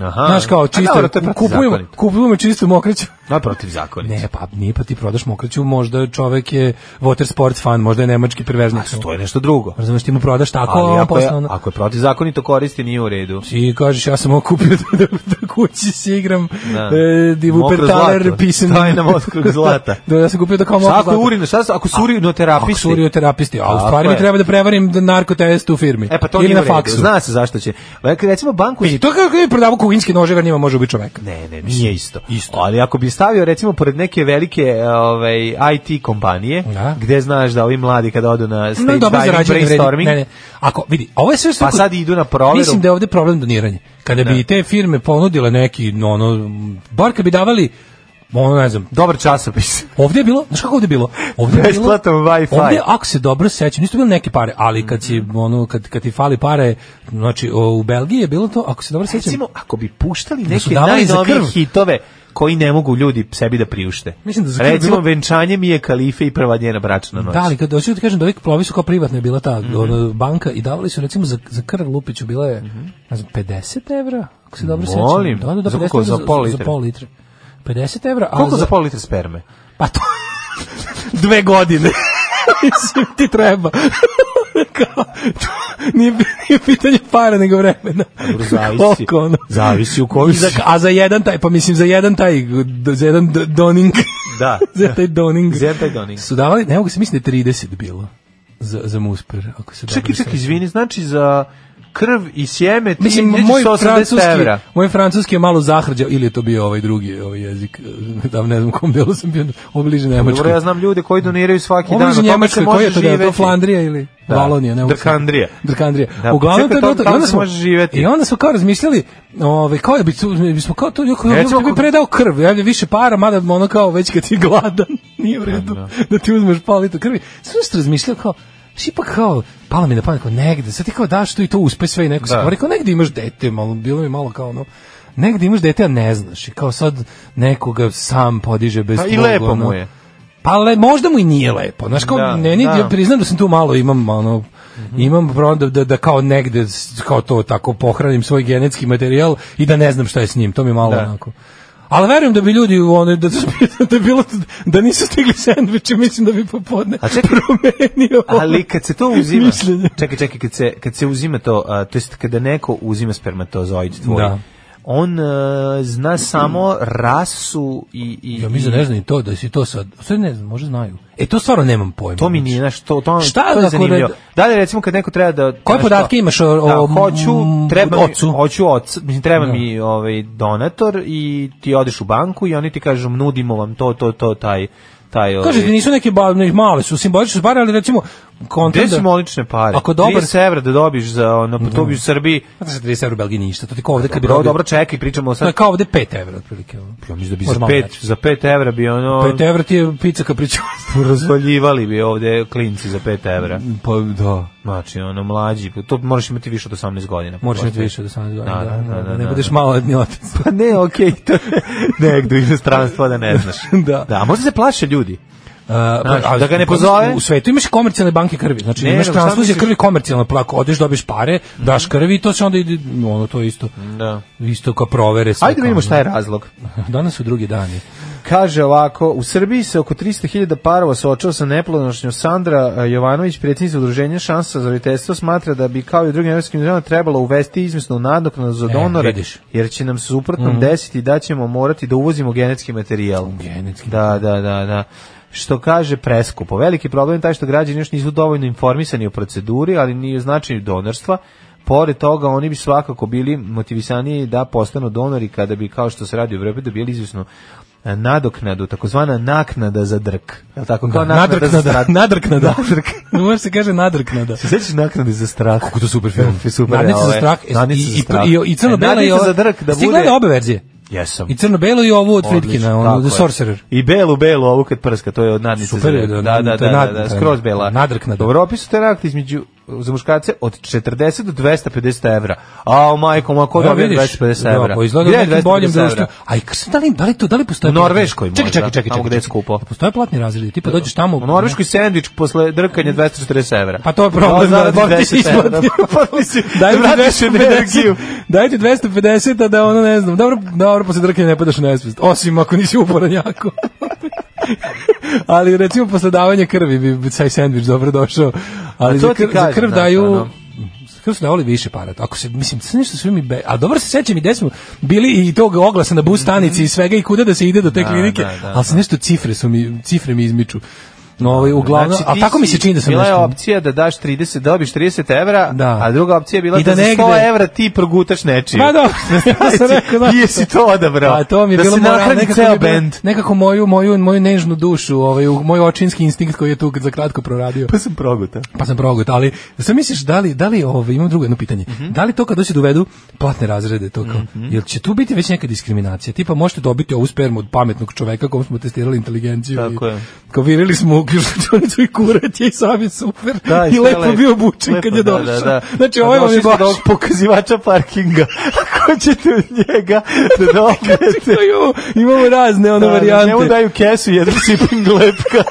Speaker 6: Aha.
Speaker 5: Znaš kao
Speaker 6: A Pa
Speaker 5: čisto,
Speaker 6: dobro, to je
Speaker 5: kupujemo,
Speaker 6: protivzakonito.
Speaker 5: kupujemo čistu mokraću.
Speaker 6: Na protiv zakonito.
Speaker 5: Ne, pa nije pa ti prodaš mokraću, možda čovek je water sport fan, možda je nemački prevežnik.
Speaker 6: A to je nešto drugo.
Speaker 5: Razumeš, ti mu prodaš tako,
Speaker 6: Ali pa-
Speaker 5: a on
Speaker 6: ako je,
Speaker 5: posle ono-
Speaker 6: ako je protivzakonito koristi, nije u redu.
Speaker 5: Ti kažeš, ja sam ovo kupio [laughs] da, da, da kući se igram
Speaker 6: Da.
Speaker 5: e, divu
Speaker 6: Mokro
Speaker 5: petaler
Speaker 6: zlato.
Speaker 5: pisem.
Speaker 6: Stavi na mokro zlata.
Speaker 5: [laughs] da, ja sam kupio da kao
Speaker 6: Šta
Speaker 5: mokro
Speaker 6: ako je urino, šta sa- ako su urinoterapisti?
Speaker 5: Ako su urinoterapisti, a u
Speaker 6: Tako
Speaker 5: stvari mi
Speaker 6: je.
Speaker 5: treba da prevarim da narkotest u firmi.
Speaker 6: E pa to
Speaker 5: Ili
Speaker 6: nije
Speaker 5: na
Speaker 6: u redu.
Speaker 5: faksu.
Speaker 6: Zna se zašto će. Lek- Recimo banku...
Speaker 5: I to kako je prodavao kuhinjski noževar njima može biti čovek.
Speaker 6: Ne, ne, nije isto. isto. Ali ako bi stavio recimo pored neke velike ovaj, IT kompanije,
Speaker 5: Da.
Speaker 6: gde znaš da ovi mladi kada odu na stage
Speaker 5: No, dobro
Speaker 6: diving,
Speaker 5: zarađuje
Speaker 6: brainstorming,
Speaker 5: Ne, ne. Ako vidi, ovo je sve što
Speaker 6: pa sad idu na proveru.
Speaker 5: Mislim da je ovdje problem doniranje. Kada bi te firme ponudile neki no, ono bar kad bi davali ono ne znam.
Speaker 6: Dobar
Speaker 5: [laughs]
Speaker 6: časopis.
Speaker 5: Ovdje je bilo, znaš kako ovdje je bilo? Ovdje je bilo.
Speaker 6: Besplatan Wi-Fi.
Speaker 5: Ovdje, ako se dobro sećam, nisu to bile neke pare, ali kad si ono kad kad ti fali pare, znači o, u Belgiji je bilo to, ako se dobro sećam.
Speaker 6: Recimo, ako bi puštali
Speaker 5: Da su
Speaker 6: neke
Speaker 5: davali za
Speaker 6: najnovije
Speaker 5: krv.
Speaker 6: hitove koji ne mogu ljudi sebi da priušte.
Speaker 5: Mislim da za krv
Speaker 6: Recimo,
Speaker 5: bilo-
Speaker 6: venčanje mi je kalife i prva njena bračna noć. Mhm.
Speaker 5: Da, ali kad hoću ti kažem da uvijek plovi su kao privatna je bila ta ono, banka i davali su recimo za, za krv Lupiću bila je ne znam, 50 evra, ako se dobro sećam.
Speaker 6: Mhm. Molim,
Speaker 5: Da, da, da,
Speaker 6: za
Speaker 5: 50
Speaker 6: koliko?
Speaker 5: evra
Speaker 6: Za pol
Speaker 5: Za
Speaker 6: litre?
Speaker 5: pol litre. 50 evra. a
Speaker 6: Koliko za pol litre sperme?
Speaker 5: Pa to [laughs] dve godine. Mislim, ti treba. [laughs] Kao, nije, nije pitanje para, nego vremena.
Speaker 6: Dobro, zavisi.
Speaker 5: [laughs] Koliko ono?
Speaker 6: [laughs] Zavisi u koju
Speaker 5: I za,
Speaker 6: si.
Speaker 5: A za jedan taj, pa mislim za jedan taj, za jedan d- doning. [laughs]
Speaker 6: Da.
Speaker 5: za taj doning.
Speaker 6: Za jedan taj doning.
Speaker 5: Su davali, ne mogu se mislim da je 30 bilo za, za musper. Ako se
Speaker 6: Čekaj,
Speaker 5: dobro
Speaker 6: čekaj,
Speaker 5: sećam.
Speaker 6: izvini, znači za krv i sjeme ti
Speaker 5: Mislim,
Speaker 6: ideš
Speaker 5: moj
Speaker 6: 180
Speaker 5: francuski,
Speaker 6: evra.
Speaker 5: moj francuski je malo zahrđao, ili je to bio ovaj drugi ovaj jezik, [laughs] da ne znam u kom delu sam bio, ovo bliže
Speaker 6: Pa Dobro,
Speaker 5: Nemačkoj.
Speaker 6: ja znam ljude koji doniraju svaki
Speaker 5: Ovo
Speaker 6: dan.
Speaker 5: bliže
Speaker 6: od toga
Speaker 5: Njemačkoj,
Speaker 6: se
Speaker 5: koji je
Speaker 6: može
Speaker 5: to da je to
Speaker 6: živeti.
Speaker 5: Flandrija ili
Speaker 6: Da.
Speaker 5: Valonija? ne mogu se-
Speaker 6: Drkandrija.
Speaker 5: Drkandrija.
Speaker 6: Da,
Speaker 5: Uglavnom to je
Speaker 6: čekaj,
Speaker 5: bilo to. I
Speaker 6: tamo- tamo
Speaker 5: onda
Speaker 6: se
Speaker 5: smo,
Speaker 6: može živeti.
Speaker 5: I onda smo kao razmišljali, ovaj, kao je bi, tu- mi smo kao to, jako,
Speaker 6: Recimo,
Speaker 5: ja bi
Speaker 6: ako-
Speaker 5: predao krv, ja bi više para, mada ono kao već kad si gladan, [laughs] nije u redu
Speaker 6: Da, da.
Speaker 5: da ti uzmeš pol litra krvi. Sve što razmišljao kao, Znaš, ipak kao, palo mi na pamet, kao negde, sad ti kao daš to i to uspe sve i neko se
Speaker 6: Da.
Speaker 5: kao, rekao, negde imaš dete, malo, bilo mi malo kao ono, negde imaš dete, a ne znaš, i kao sad nekoga sam podiže bez
Speaker 6: Pa i
Speaker 5: tvog,
Speaker 6: lepo
Speaker 5: ono,
Speaker 6: mu je.
Speaker 5: pa le, možda mu i nije lepo. Znaš, kao,
Speaker 6: Da,
Speaker 5: meni,
Speaker 6: da.
Speaker 5: ja priznam da sam tu malo imam, ono, imam problem da, da, da kao negde, s- kao to tako pohranim svoj genetski materijal i da ne znam šta je s njim, to mi je malo
Speaker 6: Da.
Speaker 5: onako. Ali verujem da bi ljudi u onoj, da, [laughs] su- da, je bilo, da nisu stigli sandviče, mislim da bi popodne [laughs]
Speaker 6: A čekaj,
Speaker 5: promenio.
Speaker 6: Ali kad se to uzima,
Speaker 5: Mišljenje.
Speaker 6: čekaj, čekaj, kad se, kad se uzima to, a, to jest kada neko uzima spermatozoid tvoj,
Speaker 5: Da.
Speaker 6: on e, zna samo rasu i... i
Speaker 5: Ja mislim da ne znam i to, da si to sad, sve ne znam, možda znaju. E, to stvarno nemam pojma. Znači,
Speaker 6: To mi nije znaš, to, to,
Speaker 5: Šta
Speaker 6: to je
Speaker 5: ako
Speaker 6: zanimljivo.
Speaker 5: ne-
Speaker 6: Da li recimo kad neko treba da...
Speaker 5: Koje
Speaker 6: znaš
Speaker 5: podatke
Speaker 6: šta?
Speaker 5: imaš o- o
Speaker 6: da, hoću,
Speaker 5: m,
Speaker 6: treba mi,
Speaker 5: ocu?
Speaker 6: Hoću oca, mislim, treba
Speaker 5: Da.
Speaker 6: mi ovaj, donator i ti odeš u banku i oni ti kažu nudimo vam to, to, to, taj... taj ovaj,
Speaker 5: Kažete, nisu neke ba, ne, male su, simbolične su pare, ali recimo, kontent
Speaker 6: Gde su molične pare?
Speaker 5: Ako dobar
Speaker 6: 30 evra da dobiš za ono, pa to bi u Srbiji...
Speaker 5: Znate za 30 evra u Belgiji ništa, to ti kao ovde kad bi
Speaker 6: Dobro,
Speaker 5: dobio...
Speaker 6: dobro, čekaj, pričamo
Speaker 5: To je
Speaker 6: sad...
Speaker 5: kao ovde 5 evra otprilike. ono.
Speaker 6: Pa Ja mislim da bi
Speaker 5: Možda
Speaker 6: za
Speaker 5: malo
Speaker 6: pet,
Speaker 5: jače.
Speaker 6: za pet evra bi ono...
Speaker 5: 5 evra ti je pizza
Speaker 6: [laughs]
Speaker 5: kapriču.
Speaker 6: Pa Razvaljivali bi ovde klinci za 5 evra.
Speaker 5: pa da.
Speaker 6: Znači, ono, mlađi, to moraš imati više od 18 godina.
Speaker 5: Moraš imati više od 18 godina.
Speaker 6: Da, da, da, da,
Speaker 5: ne
Speaker 6: da,
Speaker 5: budeš
Speaker 6: da.
Speaker 5: maloletni otac.
Speaker 6: Pa ne, okej, to [laughs] je negdje u inostranstvo da ne znaš.
Speaker 5: da.
Speaker 6: [laughs] Da, a možda se plaše ljudi.
Speaker 5: Uh, pa,
Speaker 6: da ga ne pozove?
Speaker 5: U, svetu imaš komercijalne banke krvi. Znači
Speaker 6: Ne, Mhm.
Speaker 5: imaš
Speaker 6: nego šta
Speaker 5: transfuzije
Speaker 6: misliš?
Speaker 5: krvi komercijalno plako. Odeš, dobiješ pare, daš krvi i to se onda ide, ono to je isto.
Speaker 6: Da.
Speaker 5: Isto kao provere sve.
Speaker 6: Ajde da vidimo
Speaker 5: kao,
Speaker 6: šta je razlog.
Speaker 5: ono. Danas su drugi dani. [laughs]
Speaker 6: Kaže ovako, u Srbiji se oko 300.000 parova suočava sa neplodonošnjom Sandra e, Jovanović, predsjednica udruženja šansa za roditeljstvo, smatra da bi kao i u drugim evropskim zemljama trebalo uvesti izmesnu nadoknadu za
Speaker 5: E,
Speaker 6: donore,
Speaker 5: vidiš.
Speaker 6: jer će nam se suprotno
Speaker 5: Mhm.
Speaker 6: desiti da ćemo morati da uvozimo genetski materijal.
Speaker 5: Genetski
Speaker 6: Da, da, da, da. Što kaže preskupo. Veliki problem je taj što građani još nisu dovoljno informisani o proceduri, ali ni o značaju donorstva. Pored toga, oni bi svakako bili motivisaniji da postanu donori kada bi, kao što se radi u Evropi, dobili izvisnu e, nadoknadu, takozvana naknada za drk. Je li tako? Kao naknada za
Speaker 5: Nadrknada.
Speaker 6: strah.
Speaker 5: Nadrknada. [laughs] Može se kaže nadrknada.
Speaker 6: Se sećaš naknade za strah? Kako
Speaker 5: to super film.
Speaker 6: Super,
Speaker 5: Nadnica za
Speaker 6: ovaj,
Speaker 5: strah. e,
Speaker 6: Nadnica
Speaker 5: i-
Speaker 6: za
Speaker 5: i-
Speaker 6: strah.
Speaker 5: I, i, crno-bela
Speaker 6: E,
Speaker 5: i
Speaker 6: Nadnica
Speaker 5: ova.
Speaker 6: za drk da
Speaker 5: Ste
Speaker 6: bude...
Speaker 5: gledali obe verzije?
Speaker 6: Jesam.
Speaker 5: I crno-belo i ovu od Fritkina,
Speaker 6: Odlično,
Speaker 5: ono,
Speaker 6: tako
Speaker 5: The
Speaker 6: je.
Speaker 5: Sorcerer.
Speaker 6: I belu, belu, ovu kad prska, to je od nadnice.
Speaker 5: Super
Speaker 6: za-
Speaker 5: je, da,
Speaker 6: da, da, da,
Speaker 5: to je
Speaker 6: da,
Speaker 5: nad-
Speaker 6: da, skroz bela.
Speaker 5: nadrknada.
Speaker 6: U Evropi su te rakte između za muškarce od 40 do 250 evra. A, majko, ma ko
Speaker 5: Evo,
Speaker 6: dobije
Speaker 5: vidiš,
Speaker 6: 250 evra?
Speaker 5: da, pa izgleda u
Speaker 6: Gde je
Speaker 5: nekim
Speaker 6: 250
Speaker 5: boljem
Speaker 6: evra?
Speaker 5: društvu. A i krs- da li, da li to, da li postoje?
Speaker 6: U Norveškoj
Speaker 5: Čekaj,
Speaker 6: možda,
Speaker 5: čekaj, čekaj,
Speaker 6: tamo
Speaker 5: čekaj.
Speaker 6: gde je
Speaker 5: čekaj.
Speaker 6: skupo.
Speaker 5: Postoje platni razredi, ti pa dođeš tamo.
Speaker 6: U Norveškoj sendvič posle drkanja 240 evra.
Speaker 5: [laughs] Pa to je problem, da, da, ti si isplatio. [laughs]
Speaker 6: Morali [laughs] si
Speaker 5: Daj
Speaker 6: da
Speaker 5: mi
Speaker 6: vratiš
Speaker 5: 250,
Speaker 6: energiju.
Speaker 5: daj ti 250, a da ono ne znam. Dobro, dobro, posle drkanja ne padaš u nesvest. Osim ako nisi uporan jako. [laughs] ali recimo posle davanja krvi bi taj sandvič dobro došao. Ali
Speaker 6: A to
Speaker 5: za
Speaker 6: ti
Speaker 5: krv, za
Speaker 6: kažem,
Speaker 5: krv
Speaker 6: znaš,
Speaker 5: daju...
Speaker 6: ono.
Speaker 5: za krv su davali više para. Ako se, mislim, sve nešto sve mi... Be... A dobro se sećam i gde smo bili i tog oglasa na bus stanici i svega i kuda da se ide do te
Speaker 6: Mhm. Da,
Speaker 5: klinike.
Speaker 6: da, da,
Speaker 5: ali se nešto cifre su mi, cifre mi izmiču. No, ovaj, uglavnom,
Speaker 6: Znači,
Speaker 5: a
Speaker 6: ti
Speaker 5: tako mi
Speaker 6: si-
Speaker 5: se čini da sam
Speaker 6: Bila je
Speaker 5: nešto...
Speaker 6: opcija da daš 30, dobiš 30 evra,
Speaker 5: Da.
Speaker 6: a druga opcija je bila
Speaker 5: I
Speaker 6: da,
Speaker 5: da
Speaker 6: za 100
Speaker 5: negde-
Speaker 6: evra ti progutaš nečiju.
Speaker 5: Pa
Speaker 6: [laughs]
Speaker 5: da, ja sam rekao, znaš
Speaker 6: Ti jesi to odabrao.
Speaker 5: A to mi je
Speaker 6: da
Speaker 5: bilo
Speaker 6: se
Speaker 5: moral-
Speaker 6: nahrani
Speaker 5: nekako mi
Speaker 6: ceo
Speaker 5: je bilo-
Speaker 6: bend.
Speaker 5: Nekako moju, moju, moju nežnu dušu, ovaj, u- moj očinski instinkt koji je tu za kratko proradio.
Speaker 6: Pa sam progutao.
Speaker 5: Pa sam progut, ali sve misliš da li, da li ovaj, imam drugo jedno pitanje,
Speaker 6: Mhm.
Speaker 5: da li to kad dođe dovedu platne razrede, to kao, jel će tu biti već neka diskriminacija, tipa možete dobiti ovu spermu od pametnog čoveka kom smo testirali inteligenciju
Speaker 6: Tako
Speaker 5: i
Speaker 6: je.
Speaker 5: kao virili smo u ključnicu i kurat je i sam je super [laughs]
Speaker 6: Da,
Speaker 5: i
Speaker 6: sve
Speaker 5: lepo
Speaker 6: lepo.
Speaker 5: bio obučen
Speaker 6: Lepo,
Speaker 5: kad je
Speaker 6: da,
Speaker 5: došao.
Speaker 6: da, da.
Speaker 5: Znači
Speaker 6: A
Speaker 5: ovo vam je
Speaker 6: došli ste
Speaker 5: baš...
Speaker 6: do ovog
Speaker 5: [laughs]
Speaker 6: pokazivača parkinga. [laughs] Ako ćete od njega da
Speaker 5: [laughs]
Speaker 6: dobijete.
Speaker 5: Imamo, imamo razne ono
Speaker 6: Da, da,
Speaker 5: varijante. [laughs]
Speaker 6: Njemu daju kesu, jedan siping lepka.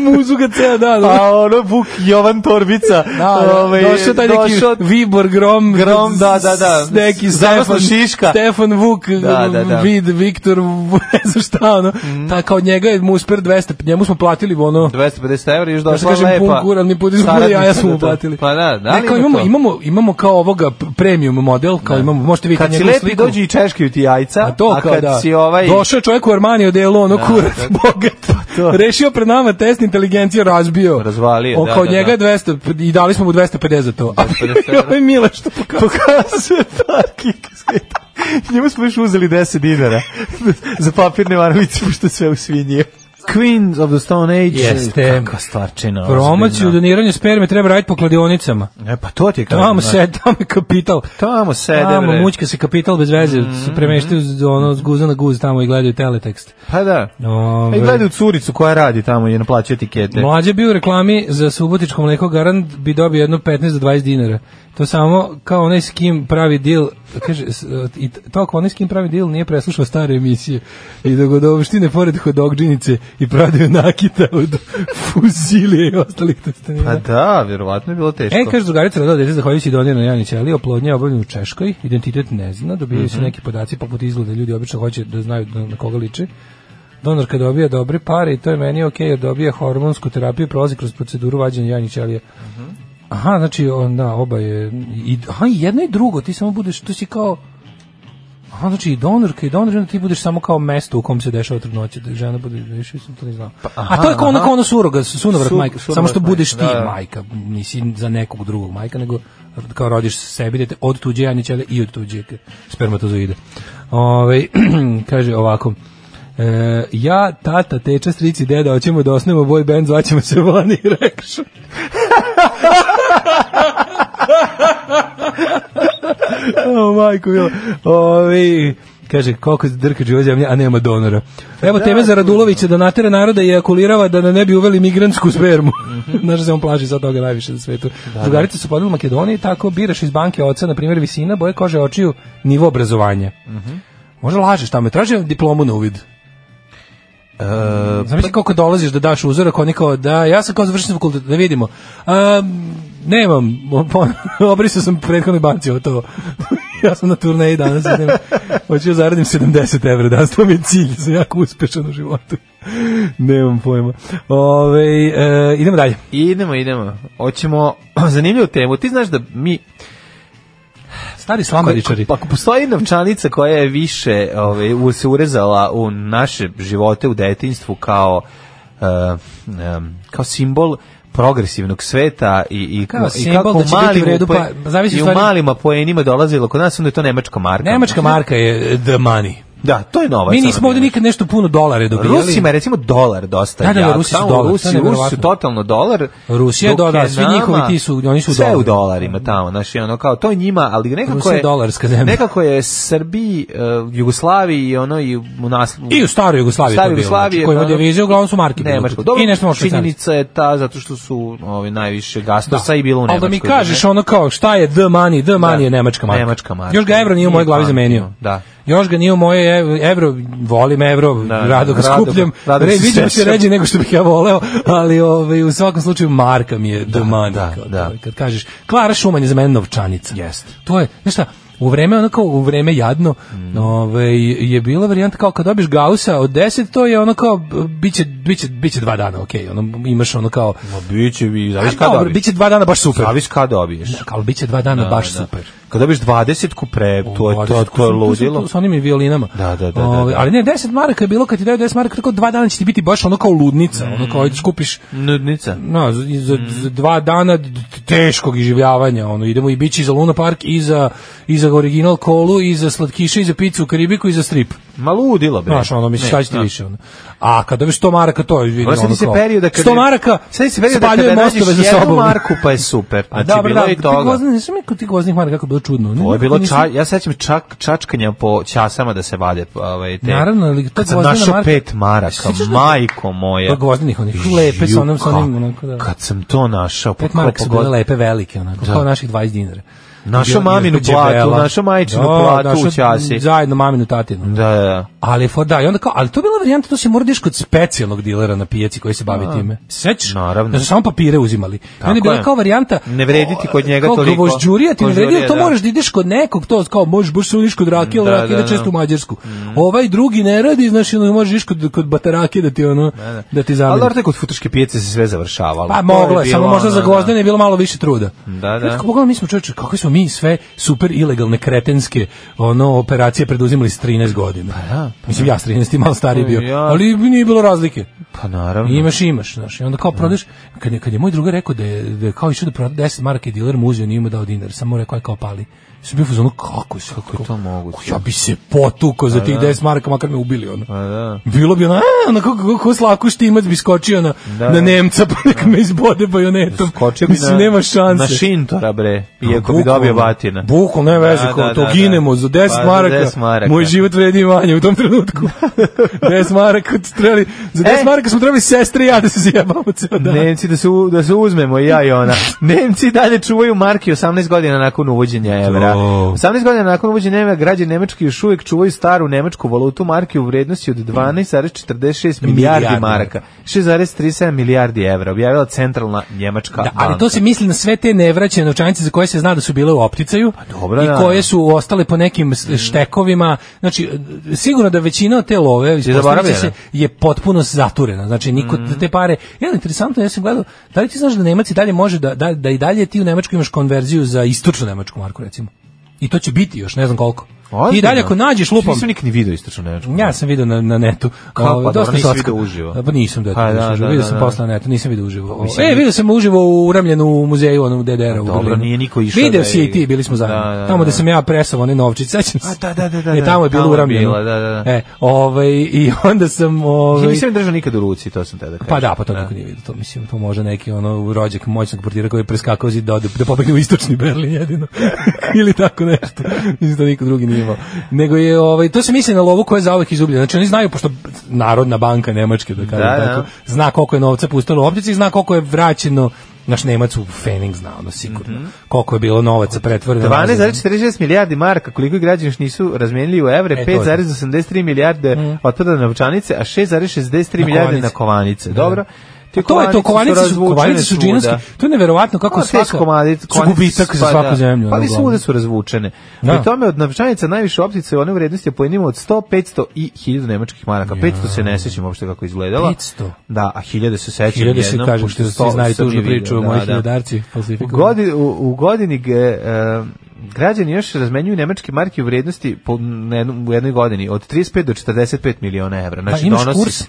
Speaker 5: Muzu ga ceo dan.
Speaker 6: A ono Vuk Jovan Torbica.
Speaker 5: Da,
Speaker 6: ovaj,
Speaker 5: došao taj neki
Speaker 6: došao-
Speaker 5: Vibor Grom,
Speaker 6: Grom, da, da, da.
Speaker 5: neki
Speaker 6: Zanosno
Speaker 5: Stefan,
Speaker 6: Šiška.
Speaker 5: Stefan Vuk, ono,
Speaker 6: Da, da, Mhm. da.
Speaker 5: Vid, Viktor, [laughs] ne znam šta, ono, ta kao njega je Musper 200, njemu smo platili ono,
Speaker 6: 250 evra i još
Speaker 5: Da se
Speaker 6: došla
Speaker 5: kažem,
Speaker 6: pa lepa.
Speaker 5: pun kuran, mi put iz
Speaker 6: saradnica
Speaker 5: jaja smo
Speaker 6: za
Speaker 5: mu
Speaker 6: to.
Speaker 5: platili.
Speaker 6: Pa da, da
Speaker 5: ne, kao
Speaker 6: li ima
Speaker 5: imamo,
Speaker 6: to?
Speaker 5: imamo, imamo kao ovoga p- premium model, kao imamo, možete vidjeti
Speaker 6: Kad si
Speaker 5: njegovu
Speaker 6: lepi,
Speaker 5: sliku.
Speaker 6: dođu i češki u ti jajca, a,
Speaker 5: to, kao
Speaker 6: kad
Speaker 5: da.
Speaker 6: si ovaj...
Speaker 5: Došao je čovjek u Armani odelo, ono
Speaker 6: Da,
Speaker 5: kurat,
Speaker 6: da. Pa
Speaker 5: bogat.
Speaker 6: [laughs] to.
Speaker 5: Rešio pred nama test inteligencije, razbio.
Speaker 6: Razvalio,
Speaker 5: On
Speaker 6: da,
Speaker 5: kao
Speaker 6: da,
Speaker 5: njega je 200, i dali smo mu 250 za to. [laughs] A bio je ovaj Mile što pokazuje.
Speaker 6: Pokazuje parking skate. Njemu smo još uzeli 10 dinara za papirne varalice, pošto je sve usvinjio. Queens of the Stone Age.
Speaker 5: Jeste.
Speaker 6: Kakva stvarčina.
Speaker 5: Promociju
Speaker 6: ozbiljna.
Speaker 5: doniranje sperme treba raditi po kladionicama.
Speaker 6: E, pa to ti je
Speaker 5: Tamo se, tamo je kapital.
Speaker 6: Tamo sede,
Speaker 5: Tamo
Speaker 6: bre. Mhm.
Speaker 5: mućka se kapital bez veze, se premeštaju z- ono, s guza na guz tamo i gledaju teletekst.
Speaker 6: Pa da.
Speaker 5: Ove,
Speaker 6: E, gledaj u curicu koja radi tamo i naplaćuje etikete.
Speaker 5: Mlađe bio u reklami za subotičko mleko garant bi dobio jedno 15 do 20 dinara. To samo kao onaj s kim pravi deal, kaže, s- i t- to kao onaj s kim pravi deal nije preslušao stare emisije i da godovštine pored hodogđinice i prodaju nakita od fuzilije i ostalih testenina.
Speaker 6: Pa da, vjerovatno je bilo teško.
Speaker 5: E, kaže drugarica rodila dete zahvaljujući doniranoj Jani Ćeli, oplodnja je obavljena u Češkoj, identitet ne zna, dobijaju se
Speaker 6: Mhm.
Speaker 5: neki podaci poput izgleda, ljudi obično hoće da znaju na, na koga liči. Donorka dobija dobre pare i to je meni ok, jer dobija hormonsku terapiju, prolazi kroz proceduru vađenja Jani Ćelije.
Speaker 6: Mhm.
Speaker 5: Aha, znači, on, da, oba je... I, aha, i jedno i drugo, ti samo budeš, tu si kao... Aha, znači i donorka i donor, i onda ti budeš samo kao mesto u kom se dešava trudnoća, da žena bude, više sam to ne znao.
Speaker 6: Pa,
Speaker 5: A to je kao ono, kao ono suroga, sunovrat
Speaker 6: Su-
Speaker 5: majka, samo
Speaker 6: sunovrat
Speaker 5: što budeš ti
Speaker 6: majka, da, da.
Speaker 5: majka, nisi za nekog drugog majka, nego kao rodiš sebi dete od tuđe jajne ćelije i od tuđe k- spermatozoide. Ove, [clears throat] kaže ovako, e, ja, tata, teča, strici, deda, hoćemo da osnemo boy band, zvaćemo se Vani Reaction. o, majko, mila. Ovi, kaže, koliko drka živa zemlja, a nema donora. Evo teme za Radulovića da natera naroda i akulirava da ne bi uveli migrantsku spermu. Znaš da se on plaši sad toga najviše na svetu. Drugarice su podali u Makedoniji, tako biraš iz banke oca, na primjer visina, boje kože očiju, nivo obrazovanja. Možda lažeš tamo, traže diplomu na uvid. Zamisli koliko dolaziš da daš uzorak, oni kao da, ja sam kao završen fakultet, da vidimo. A, nemam, [laughs] obrisao sam prethodnoj banci o to. [laughs] ja sam na turneji danas, idem, hoću da zaradim 70 evra, danas to mi je cilj, sam jako uspešan u životu. [laughs] nemam pojma. Ove, e, idemo dalje.
Speaker 6: Idemo, idemo. Hoćemo [clears throat] zanimljivu temu. Ti znaš da mi
Speaker 5: Stari slamaričari.
Speaker 6: Pa ako postoji novčanica koja je više ovaj, u- se urezala u naše živote u detinjstvu kao e, em, kao simbol progresivnog sveta i, i,
Speaker 5: Kao
Speaker 6: i
Speaker 5: simbol
Speaker 6: kako
Speaker 5: da
Speaker 6: u
Speaker 5: će biti
Speaker 6: malim
Speaker 5: u redu,
Speaker 6: poe-
Speaker 5: pa, zavisi
Speaker 6: i u
Speaker 5: stvari-
Speaker 6: malim poenima dolazilo kod nas, onda je to nemačka marka.
Speaker 5: Nemačka marka je e, the money.
Speaker 6: Da, to pa- je novac.
Speaker 5: Mi
Speaker 6: ono,
Speaker 5: nismo ovdje nikad nešto puno dolare dobijali.
Speaker 6: Rusima je recimo dolar dosta
Speaker 5: Da, da, da,
Speaker 6: jak.
Speaker 5: Rusi su
Speaker 6: Tamo
Speaker 5: dolar, to je
Speaker 6: Rusi, Rusi
Speaker 5: neverovatno.
Speaker 6: su totalno dolar.
Speaker 5: Rusija je
Speaker 6: dok
Speaker 5: dolar, svi
Speaker 6: nama-
Speaker 5: njihovi ti su- oni su u
Speaker 6: sve
Speaker 5: dolaru.
Speaker 6: u dolarima tamo, znači ono kao to je njima, ali nekako
Speaker 5: Rusija
Speaker 6: je,
Speaker 5: je dolarska zemlja.
Speaker 6: Nekako je Srbiji, eh, Jugoslaviji i ono i u nas
Speaker 5: I u staroj Jugoslaviji
Speaker 6: Staroj
Speaker 5: to je bilo.
Speaker 6: Jugoslaviji
Speaker 5: znači,
Speaker 6: je
Speaker 5: Koje
Speaker 6: ono-
Speaker 5: ovdje vize, uglavnom su marke. bile
Speaker 6: Nemačko.
Speaker 5: kod-
Speaker 6: Dobro,
Speaker 5: I nešto možda švajcarski.
Speaker 6: činjenica je ta zato što su ovi najviše gastosa i bilo u
Speaker 5: Ali
Speaker 6: Nemačkoj.
Speaker 5: da mi kažeš ono kao šta je the money, the money je nemačka marka.
Speaker 6: Nemačka marka.
Speaker 5: Još ga evro nije u mojoj glavi
Speaker 6: pamtio,
Speaker 5: zamenio.
Speaker 6: Da.
Speaker 5: Još ga nije u moje ev- evro, volim evro,
Speaker 6: Da,
Speaker 5: rado ga
Speaker 6: rado ga-
Speaker 5: skupljam,
Speaker 6: rado ga
Speaker 5: Re-
Speaker 6: se
Speaker 5: vidim se
Speaker 6: sećam.
Speaker 5: ređe nego što bih ja voleo, ali ovaj, u svakom slučaju marka mi je the money.
Speaker 6: da,
Speaker 5: kao
Speaker 6: da.
Speaker 5: to, Kad kažeš, Klara Šuman je za mene novčanica.
Speaker 6: Jeste.
Speaker 5: To je, znaš šta, u vreme ono kao u vreme jadno
Speaker 6: Mm.
Speaker 5: ovaj, je bila varijanta kao kad dobiš gausa od 10 to je ono kao b- biće biće biće dva dana okej ono imaš ono kao
Speaker 6: Ma biće vi, zavisi
Speaker 5: A,
Speaker 6: kad
Speaker 5: dobro,
Speaker 6: dobiješ.
Speaker 5: biće dva dana baš super.
Speaker 6: Zavisi kad dobiješ. Da,
Speaker 5: ali biće dva dana baš super.
Speaker 6: Kad dobiješ 20 ku pre, to je to, to je ludilo.
Speaker 5: Sa onim i violinama.
Speaker 6: Da, da, da, da,
Speaker 5: Ove,
Speaker 6: da.
Speaker 5: ali ne, 10 maraka je bilo kad ti daju 10 maraka, tako dva dana će ti biti baš ono kao ludnica, ono
Speaker 6: Mm.
Speaker 5: kao ideš kupiš
Speaker 6: Nudnica.
Speaker 5: no, za, za-
Speaker 6: Mm.
Speaker 5: za dva dana d- teškog iživljavanja, ono, idemo i bići za Luna Park, i za, i za original kolu, i za slatkiše, i za picu u Karibiku, i za strip.
Speaker 6: Ma ludilo, bre.
Speaker 5: Znaš, ono, misliš,
Speaker 6: Ne,
Speaker 5: šta će ti
Speaker 6: da.
Speaker 5: više, ono. A kad dobiš 100 maraka, to je, vidi,
Speaker 6: Ovo sad
Speaker 5: ono
Speaker 6: se
Speaker 5: kao,
Speaker 6: perioda kad...
Speaker 5: 100 maraka,
Speaker 6: sad se perioda
Speaker 5: spaljuje
Speaker 6: kada
Speaker 5: mostove
Speaker 6: nađeš
Speaker 5: za
Speaker 6: jednu
Speaker 5: sobom.
Speaker 6: marku pa je super.
Speaker 5: A
Speaker 6: Znači,
Speaker 5: dobro,
Speaker 6: bilo
Speaker 5: da,
Speaker 6: je i
Speaker 5: ti
Speaker 6: toga.
Speaker 5: gozni- znaš mi kod tih goznih maraka kako je bilo čudno.
Speaker 6: Ovo je bilo
Speaker 5: Nisam-
Speaker 6: ča, ja sećam čak čačkanja po ćasama da se vade ovaj te.
Speaker 5: Naravno, ali to
Speaker 6: kad sam
Speaker 5: gvozdena
Speaker 6: našao
Speaker 5: marka-
Speaker 6: pet maraka,
Speaker 5: Sjećaš da-
Speaker 6: majko moja.
Speaker 5: Pa gvozdenih onih, lepe sa onom- sa onim, onako, da.
Speaker 6: Kad sam to našao, pa
Speaker 5: Pet
Speaker 6: kao
Speaker 5: maraka su
Speaker 6: pogod-
Speaker 5: bile lepe velike, onako,
Speaker 6: Da.
Speaker 5: kao naših 20 dinara.
Speaker 6: Našao maminu platu, našao majčinu platu u ćasi.
Speaker 5: Zajedno maminu tatinu.
Speaker 6: Da, da, da.
Speaker 5: Ali for da, i onda kao, ali to je bila varijanta, to se mora da iš kod specijalnog dilera na pijaci koji se bavi time. Sećaš?
Speaker 6: Naravno.
Speaker 5: Da su samo papire uzimali. I onda je bila kao varijanta.
Speaker 6: Ne vrediti kod njega
Speaker 5: Kao
Speaker 6: toliko.
Speaker 5: gvožđurija ti ne
Speaker 6: Gvožđurija,
Speaker 5: vredi, to
Speaker 6: da.
Speaker 5: moraš da ideš kod nekog, to kao možeš baš se ideš kod rakije, ali
Speaker 6: Da,
Speaker 5: rakija
Speaker 6: da,
Speaker 5: ide često
Speaker 6: da. Mm.
Speaker 5: u Mađarsku. Ovaj drugi ne radi, znači ono možeš iš kod kod batarake da ti ono da ti
Speaker 6: Ali
Speaker 5: zameni.
Speaker 6: dobro, to je kod futoške pijace se sve završavalo.
Speaker 5: Pa
Speaker 6: To
Speaker 5: moglo je,
Speaker 6: bilo
Speaker 5: samo možda
Speaker 6: ono,
Speaker 5: za
Speaker 6: da.
Speaker 5: Gvozdene je bilo malo više truda.
Speaker 6: Da, da.
Speaker 5: Kako pogledam, mi smo čovječe, kakve smo mi sve super ilegalne kretenske ono operacije preduzimali s 13 godina. Mislim ja s 13 i malo stariji
Speaker 6: Pa
Speaker 5: bio,
Speaker 6: ja.
Speaker 5: ali nije bilo razlike.
Speaker 6: Pa naravno.
Speaker 5: Imaš, imaš, znaš. I onda kao prodeš, kad je, kad je moj drugar rekao da je, da je kao išao da proda 10 marke diler mu uzeo, nije mu dao dinar, samo mu rekao je kao pali. Sam bio u fazonu, kako se, kako je to moguće? Ja bi se potukao za
Speaker 6: Pa
Speaker 5: tih
Speaker 6: da.
Speaker 5: 10 maraka, makar me ubili, ono.
Speaker 6: Pa da.
Speaker 5: Bilo bi ono, a, ono, kako, kako, kako slaku štimac bi skočio na,
Speaker 6: Da.
Speaker 5: na Nemca, pa nek me izbode bajonetom.
Speaker 6: Skočio bi
Speaker 5: Mislim,
Speaker 6: na-
Speaker 5: nema šanse.
Speaker 6: na Šintora, bre, iako bi
Speaker 5: Bukvalno,
Speaker 6: dobio batina.
Speaker 5: Bukvalno, ne veze,
Speaker 6: Da,
Speaker 5: kao
Speaker 6: da,
Speaker 5: to
Speaker 6: da, da.
Speaker 5: ginemo za 10
Speaker 6: Pa, za
Speaker 5: maraka.
Speaker 6: 10 maraka.
Speaker 5: Moj život vredi manje u tom
Speaker 6: [laughs]
Speaker 5: trenutku. 10 maraka trebali, za 10
Speaker 6: E.
Speaker 5: maraka smo trebali sestre i ja da se zjebamo ceo dan.
Speaker 6: Nemci da se, u- da se uzmemo i ja i
Speaker 5: [laughs]
Speaker 6: ona. Nemci dalje čuvaju marke 18 godina nakon uvođenja evra. 18 godina nakon uvođenja evra građani Nemački još uvijek čuvaju staru nemačku valutu marke u vrednosti od 12,46 milijardi
Speaker 5: Milijardi.
Speaker 6: maraka. 6,37 milijardi evra. Objavila centralna Njemačka
Speaker 5: Da,
Speaker 6: banka.
Speaker 5: ali to se misli na sve te nevraćene novčanice za koje se zna da su bile u opticaju
Speaker 6: Pa dobro,
Speaker 5: i
Speaker 6: da. Mm.
Speaker 5: koje su ostale po nekim s- štekovima. Znači, sigurno da većina od te love ispostavit će se,
Speaker 6: zaboravljena. Mm.
Speaker 5: je potpuno zaturena. Znači, niko te pare... Jel, interesantno, ja sam gledao, da li ti znaš da Nemac i dalje može, da, da, da i dalje ti u Nemačku imaš konverziju za istočnu Nemačku marku, recimo. I to će biti još, ne znam koliko. I dalje ako nađeš lupom...
Speaker 6: Nisam nikad ni video istočno Nemačku.
Speaker 5: Ja sam video na, na netu.
Speaker 6: Kako?
Speaker 5: Ovaj,
Speaker 6: Pa dobro, nisi
Speaker 5: slatko.
Speaker 6: video uživo.
Speaker 5: Pa nisam da,
Speaker 6: Pa
Speaker 5: da,
Speaker 6: da,
Speaker 5: da,
Speaker 6: da,
Speaker 5: Video
Speaker 6: da,
Speaker 5: sam
Speaker 6: da.
Speaker 5: posle na netu, nisam video uživo.
Speaker 6: mislim,
Speaker 5: e,
Speaker 6: nije-
Speaker 5: video sam uživo u uramljenu u muzeju onom DDR-a u
Speaker 6: dobro,
Speaker 5: Berlinu.
Speaker 6: nije niko išao
Speaker 5: Video
Speaker 6: da
Speaker 5: si
Speaker 6: je-
Speaker 5: i ti, bili smo zajedno.
Speaker 6: Da, da,
Speaker 5: tamo
Speaker 6: da.
Speaker 5: da sam ja presao one novčiće, sećam se.
Speaker 6: A, da, da, da, da,
Speaker 5: E, tamo je bilo
Speaker 6: tamo je
Speaker 5: uramljeno.
Speaker 6: bilo, da, da, da.
Speaker 5: E, ovaj, i [laughs] onda sam...
Speaker 6: Ja
Speaker 5: Ovaj,
Speaker 6: nisam je držao nikad u ruci, to sam tada kažem.
Speaker 5: pa da, pa to niko nije vidio, to mislim, to može neki ono rođak moćnog portira koji je preskakao zid da ode, da pobegne u istočni Berlin
Speaker 6: [laughs]
Speaker 5: jedino. Ili tako nešto. Mislim da niko drugi nije imao. Nego je ovaj to se misli na lovu koja je zauvek izgubljena. Znači oni znaju pošto Narodna banka Nemačke da kažem
Speaker 6: Da, da.
Speaker 5: tako, zna koliko je novca pustilo u optici, zna koliko je vraćeno naš Nemac u Fening zna, ono sigurno.
Speaker 6: Mhm.
Speaker 5: Koliko je bilo novaca pretvoreno.
Speaker 6: 12,46 milijardi maraka, koliko ih građani još nisu razmijenili u evre,
Speaker 5: E, to je Mm. to.
Speaker 6: 5,83 milijarde otpada na novčanice, a 6,63 milijarde na kovanice. Dobro. Te
Speaker 5: A Pa to je to, kovanice su,
Speaker 6: razvučene
Speaker 5: kovanice su
Speaker 6: svuda.
Speaker 5: džinovski. To je neverovatno kako
Speaker 6: A, te
Speaker 5: svaka,
Speaker 6: komadi-
Speaker 5: su
Speaker 6: kovanice
Speaker 5: gubitak za
Speaker 6: pa
Speaker 5: svaku
Speaker 6: da.
Speaker 5: zemlju. ono,
Speaker 6: Pa ali
Speaker 5: uglavnom.
Speaker 6: svuda su razvučene.
Speaker 5: Da.
Speaker 6: Pri tome od novčanica najviše optice one u vrednosti pojedinima od 100, 500 i 1000 nemačkih maraka. 500 se ne sećam uopšte kako je izgledala.
Speaker 5: 500.
Speaker 6: Da, a 1000 se sećam
Speaker 5: Hiljade se
Speaker 6: jednom,
Speaker 5: kažem
Speaker 6: pošto
Speaker 5: što svi
Speaker 6: to
Speaker 5: znaju
Speaker 6: sam
Speaker 5: tužnu
Speaker 6: je vidio,
Speaker 5: priču o
Speaker 6: da,
Speaker 5: mojih
Speaker 6: da.
Speaker 5: hiljadarci
Speaker 6: U
Speaker 5: falsifikovanih.
Speaker 6: godini, u, u godini g, e, građani još razmenjuju nemačke marke u vrijednosti po, na jednom- u jednoj godini od 35 do 45 miliona evra. Znači,
Speaker 5: Pa imaš
Speaker 6: donosi-
Speaker 5: kurs?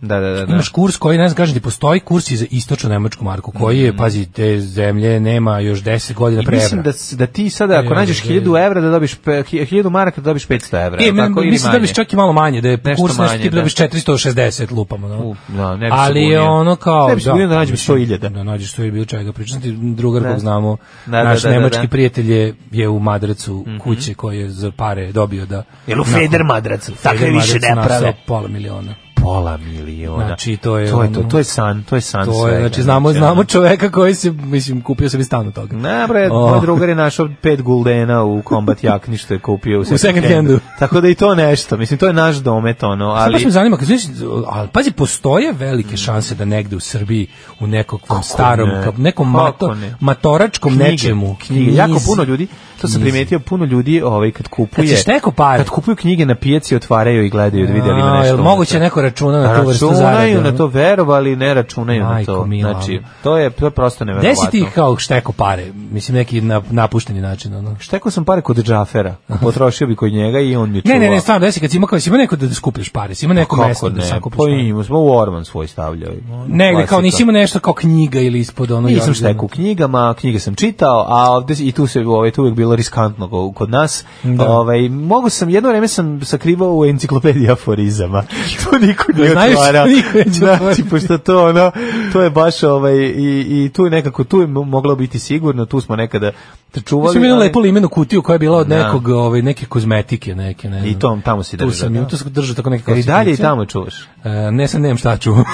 Speaker 6: Da, da, da. da.
Speaker 5: Imaš kurs koji, ne znam, kažem ti, postoji kurs i za istočnu nemačku marku, koji je, pazi, te zemlje nema još 10 godina
Speaker 6: Mm. I
Speaker 5: pre
Speaker 6: mislim
Speaker 5: evra.
Speaker 6: da, s- da ti sada, ako
Speaker 5: Ja,
Speaker 6: nađeš
Speaker 5: da,
Speaker 6: 1000 evra, da dobiš pe- hi- 1000 maraka, da dobiš 500 evra.
Speaker 5: E,
Speaker 6: jel tako, ili
Speaker 5: mislim da bi
Speaker 6: manje?
Speaker 5: čak i malo manje, da je
Speaker 6: Nešto
Speaker 5: kurs nešto
Speaker 6: manje,
Speaker 5: tipa da
Speaker 6: da.
Speaker 5: bi 460 lupamo, no.
Speaker 6: U, da, ne bi se
Speaker 5: Ali je
Speaker 6: bunio.
Speaker 5: ono kao...
Speaker 6: Ne bi se bunio da nađem
Speaker 5: mislim,
Speaker 6: 100.000.
Speaker 5: Da nađeš 100.000 bilo čega. Pričam ti drugar
Speaker 6: Da.
Speaker 5: kog znamo,
Speaker 6: Da, da,
Speaker 5: naš
Speaker 6: da, da,
Speaker 5: nemački
Speaker 6: da.
Speaker 5: prijatelj je, je u Madrecu kuće koje je za pare dobio da...
Speaker 6: Jel u
Speaker 5: nakon-
Speaker 6: Feder Madracu? Takve
Speaker 5: Feder
Speaker 6: više ne
Speaker 5: Madracu naseo
Speaker 6: prave.
Speaker 5: Pola miliona.
Speaker 6: Pola miliona.
Speaker 5: Znači, to je
Speaker 6: To je, to,
Speaker 5: ono-
Speaker 6: to je san, to je san
Speaker 5: To je,
Speaker 6: svega.
Speaker 5: znači, znamo,
Speaker 6: Znači,
Speaker 5: znamo čoveka koji se, mislim, kupio sebi stan od toga.
Speaker 6: Ne, bre,
Speaker 5: O.
Speaker 6: moj drugar je našao pet guldena u kombat jakni što je kupio u second,
Speaker 5: second handu.
Speaker 6: Tako da i to nešto, mislim, to je naš domet, ono,
Speaker 5: Ali, baš me
Speaker 6: ali... Mm.
Speaker 5: zanima, kad znaš, ali pazi, postoje velike šanse da negde u Srbiji, u nekakvom starom,
Speaker 6: ne?
Speaker 5: kao nekom
Speaker 6: Kako
Speaker 5: mato,
Speaker 6: ne?
Speaker 5: matoračkom
Speaker 6: Knjige,
Speaker 5: nečemu.
Speaker 6: knjige.
Speaker 5: knjizi.
Speaker 6: Jako puno ljudi, to
Speaker 5: Knjizi.
Speaker 6: sam primetio, puno ljudi ovaj, kad kupuje...
Speaker 5: Kad se šteku pare.
Speaker 6: Kad kupuju knjige na pijaci, otvaraju i gledaju da vide li ima
Speaker 5: A,
Speaker 6: nešto.
Speaker 5: jel
Speaker 6: unutra.
Speaker 5: moguće neko računa na tu vrstu zarade?
Speaker 6: Računaju
Speaker 5: ono?
Speaker 6: na to, verovali, ne računaju
Speaker 5: Majko
Speaker 6: na to.
Speaker 5: mila,
Speaker 6: Znači,
Speaker 5: ono.
Speaker 6: to je, to je prosto
Speaker 5: Gde si
Speaker 6: neverovatno.
Speaker 5: ti kao šteko pare? Mislim, neki na- napušteni način. Ono.
Speaker 6: Štekao sam pare kod Džafera. Potrošio bi kod njega i on mi je
Speaker 5: Ne, ne,
Speaker 6: čuvao.
Speaker 5: ne, stvarno, desi kad si ima, kao, si ima neko da skupljaš pare, si ima neko
Speaker 6: Kako
Speaker 5: mesto da
Speaker 6: ne?
Speaker 5: sakupiš
Speaker 6: Pa
Speaker 5: pare.
Speaker 6: imamo, smo u Orman svoj stavljali.
Speaker 5: Negde, kao
Speaker 6: Klasika.
Speaker 5: nisi imao nešto kao knjiga ili ispod ono...
Speaker 6: Nisam
Speaker 5: jorgana.
Speaker 6: štekao u knjigama, knjige sam čitao, a ovde i tu se ovaj tu uvek bilo riskantno go- kod nas.
Speaker 5: Da.
Speaker 6: Ovaj mogu sam jedno vreme sam sakrivao u enciklopediji
Speaker 5: [laughs]
Speaker 6: aforizama. to niko
Speaker 5: Da
Speaker 6: nije
Speaker 5: znaju što
Speaker 6: otvara.
Speaker 5: niko neće
Speaker 6: Znači,
Speaker 5: otvoriti.
Speaker 6: pošto to ono, to je baš ovaj i, i tu je nekako tu je mo- moglo biti sigurno, tu smo nekada
Speaker 5: Mi
Speaker 6: čuvali.
Speaker 5: smo imali
Speaker 6: ali-
Speaker 5: lepo limenu kutiju koja je bila od
Speaker 6: Da.
Speaker 5: nekog, ovaj, neke kozmetike, neke, ne znam.
Speaker 6: I tom tamo
Speaker 5: Tu
Speaker 6: si držao.
Speaker 5: sam,
Speaker 6: da.
Speaker 5: ju- tu sam držao tako neke
Speaker 6: Jer I dalje i
Speaker 5: klasifikaciju.
Speaker 6: tamo čuvaš.
Speaker 5: [laughs] E, ne, sam nemam šta čuvam.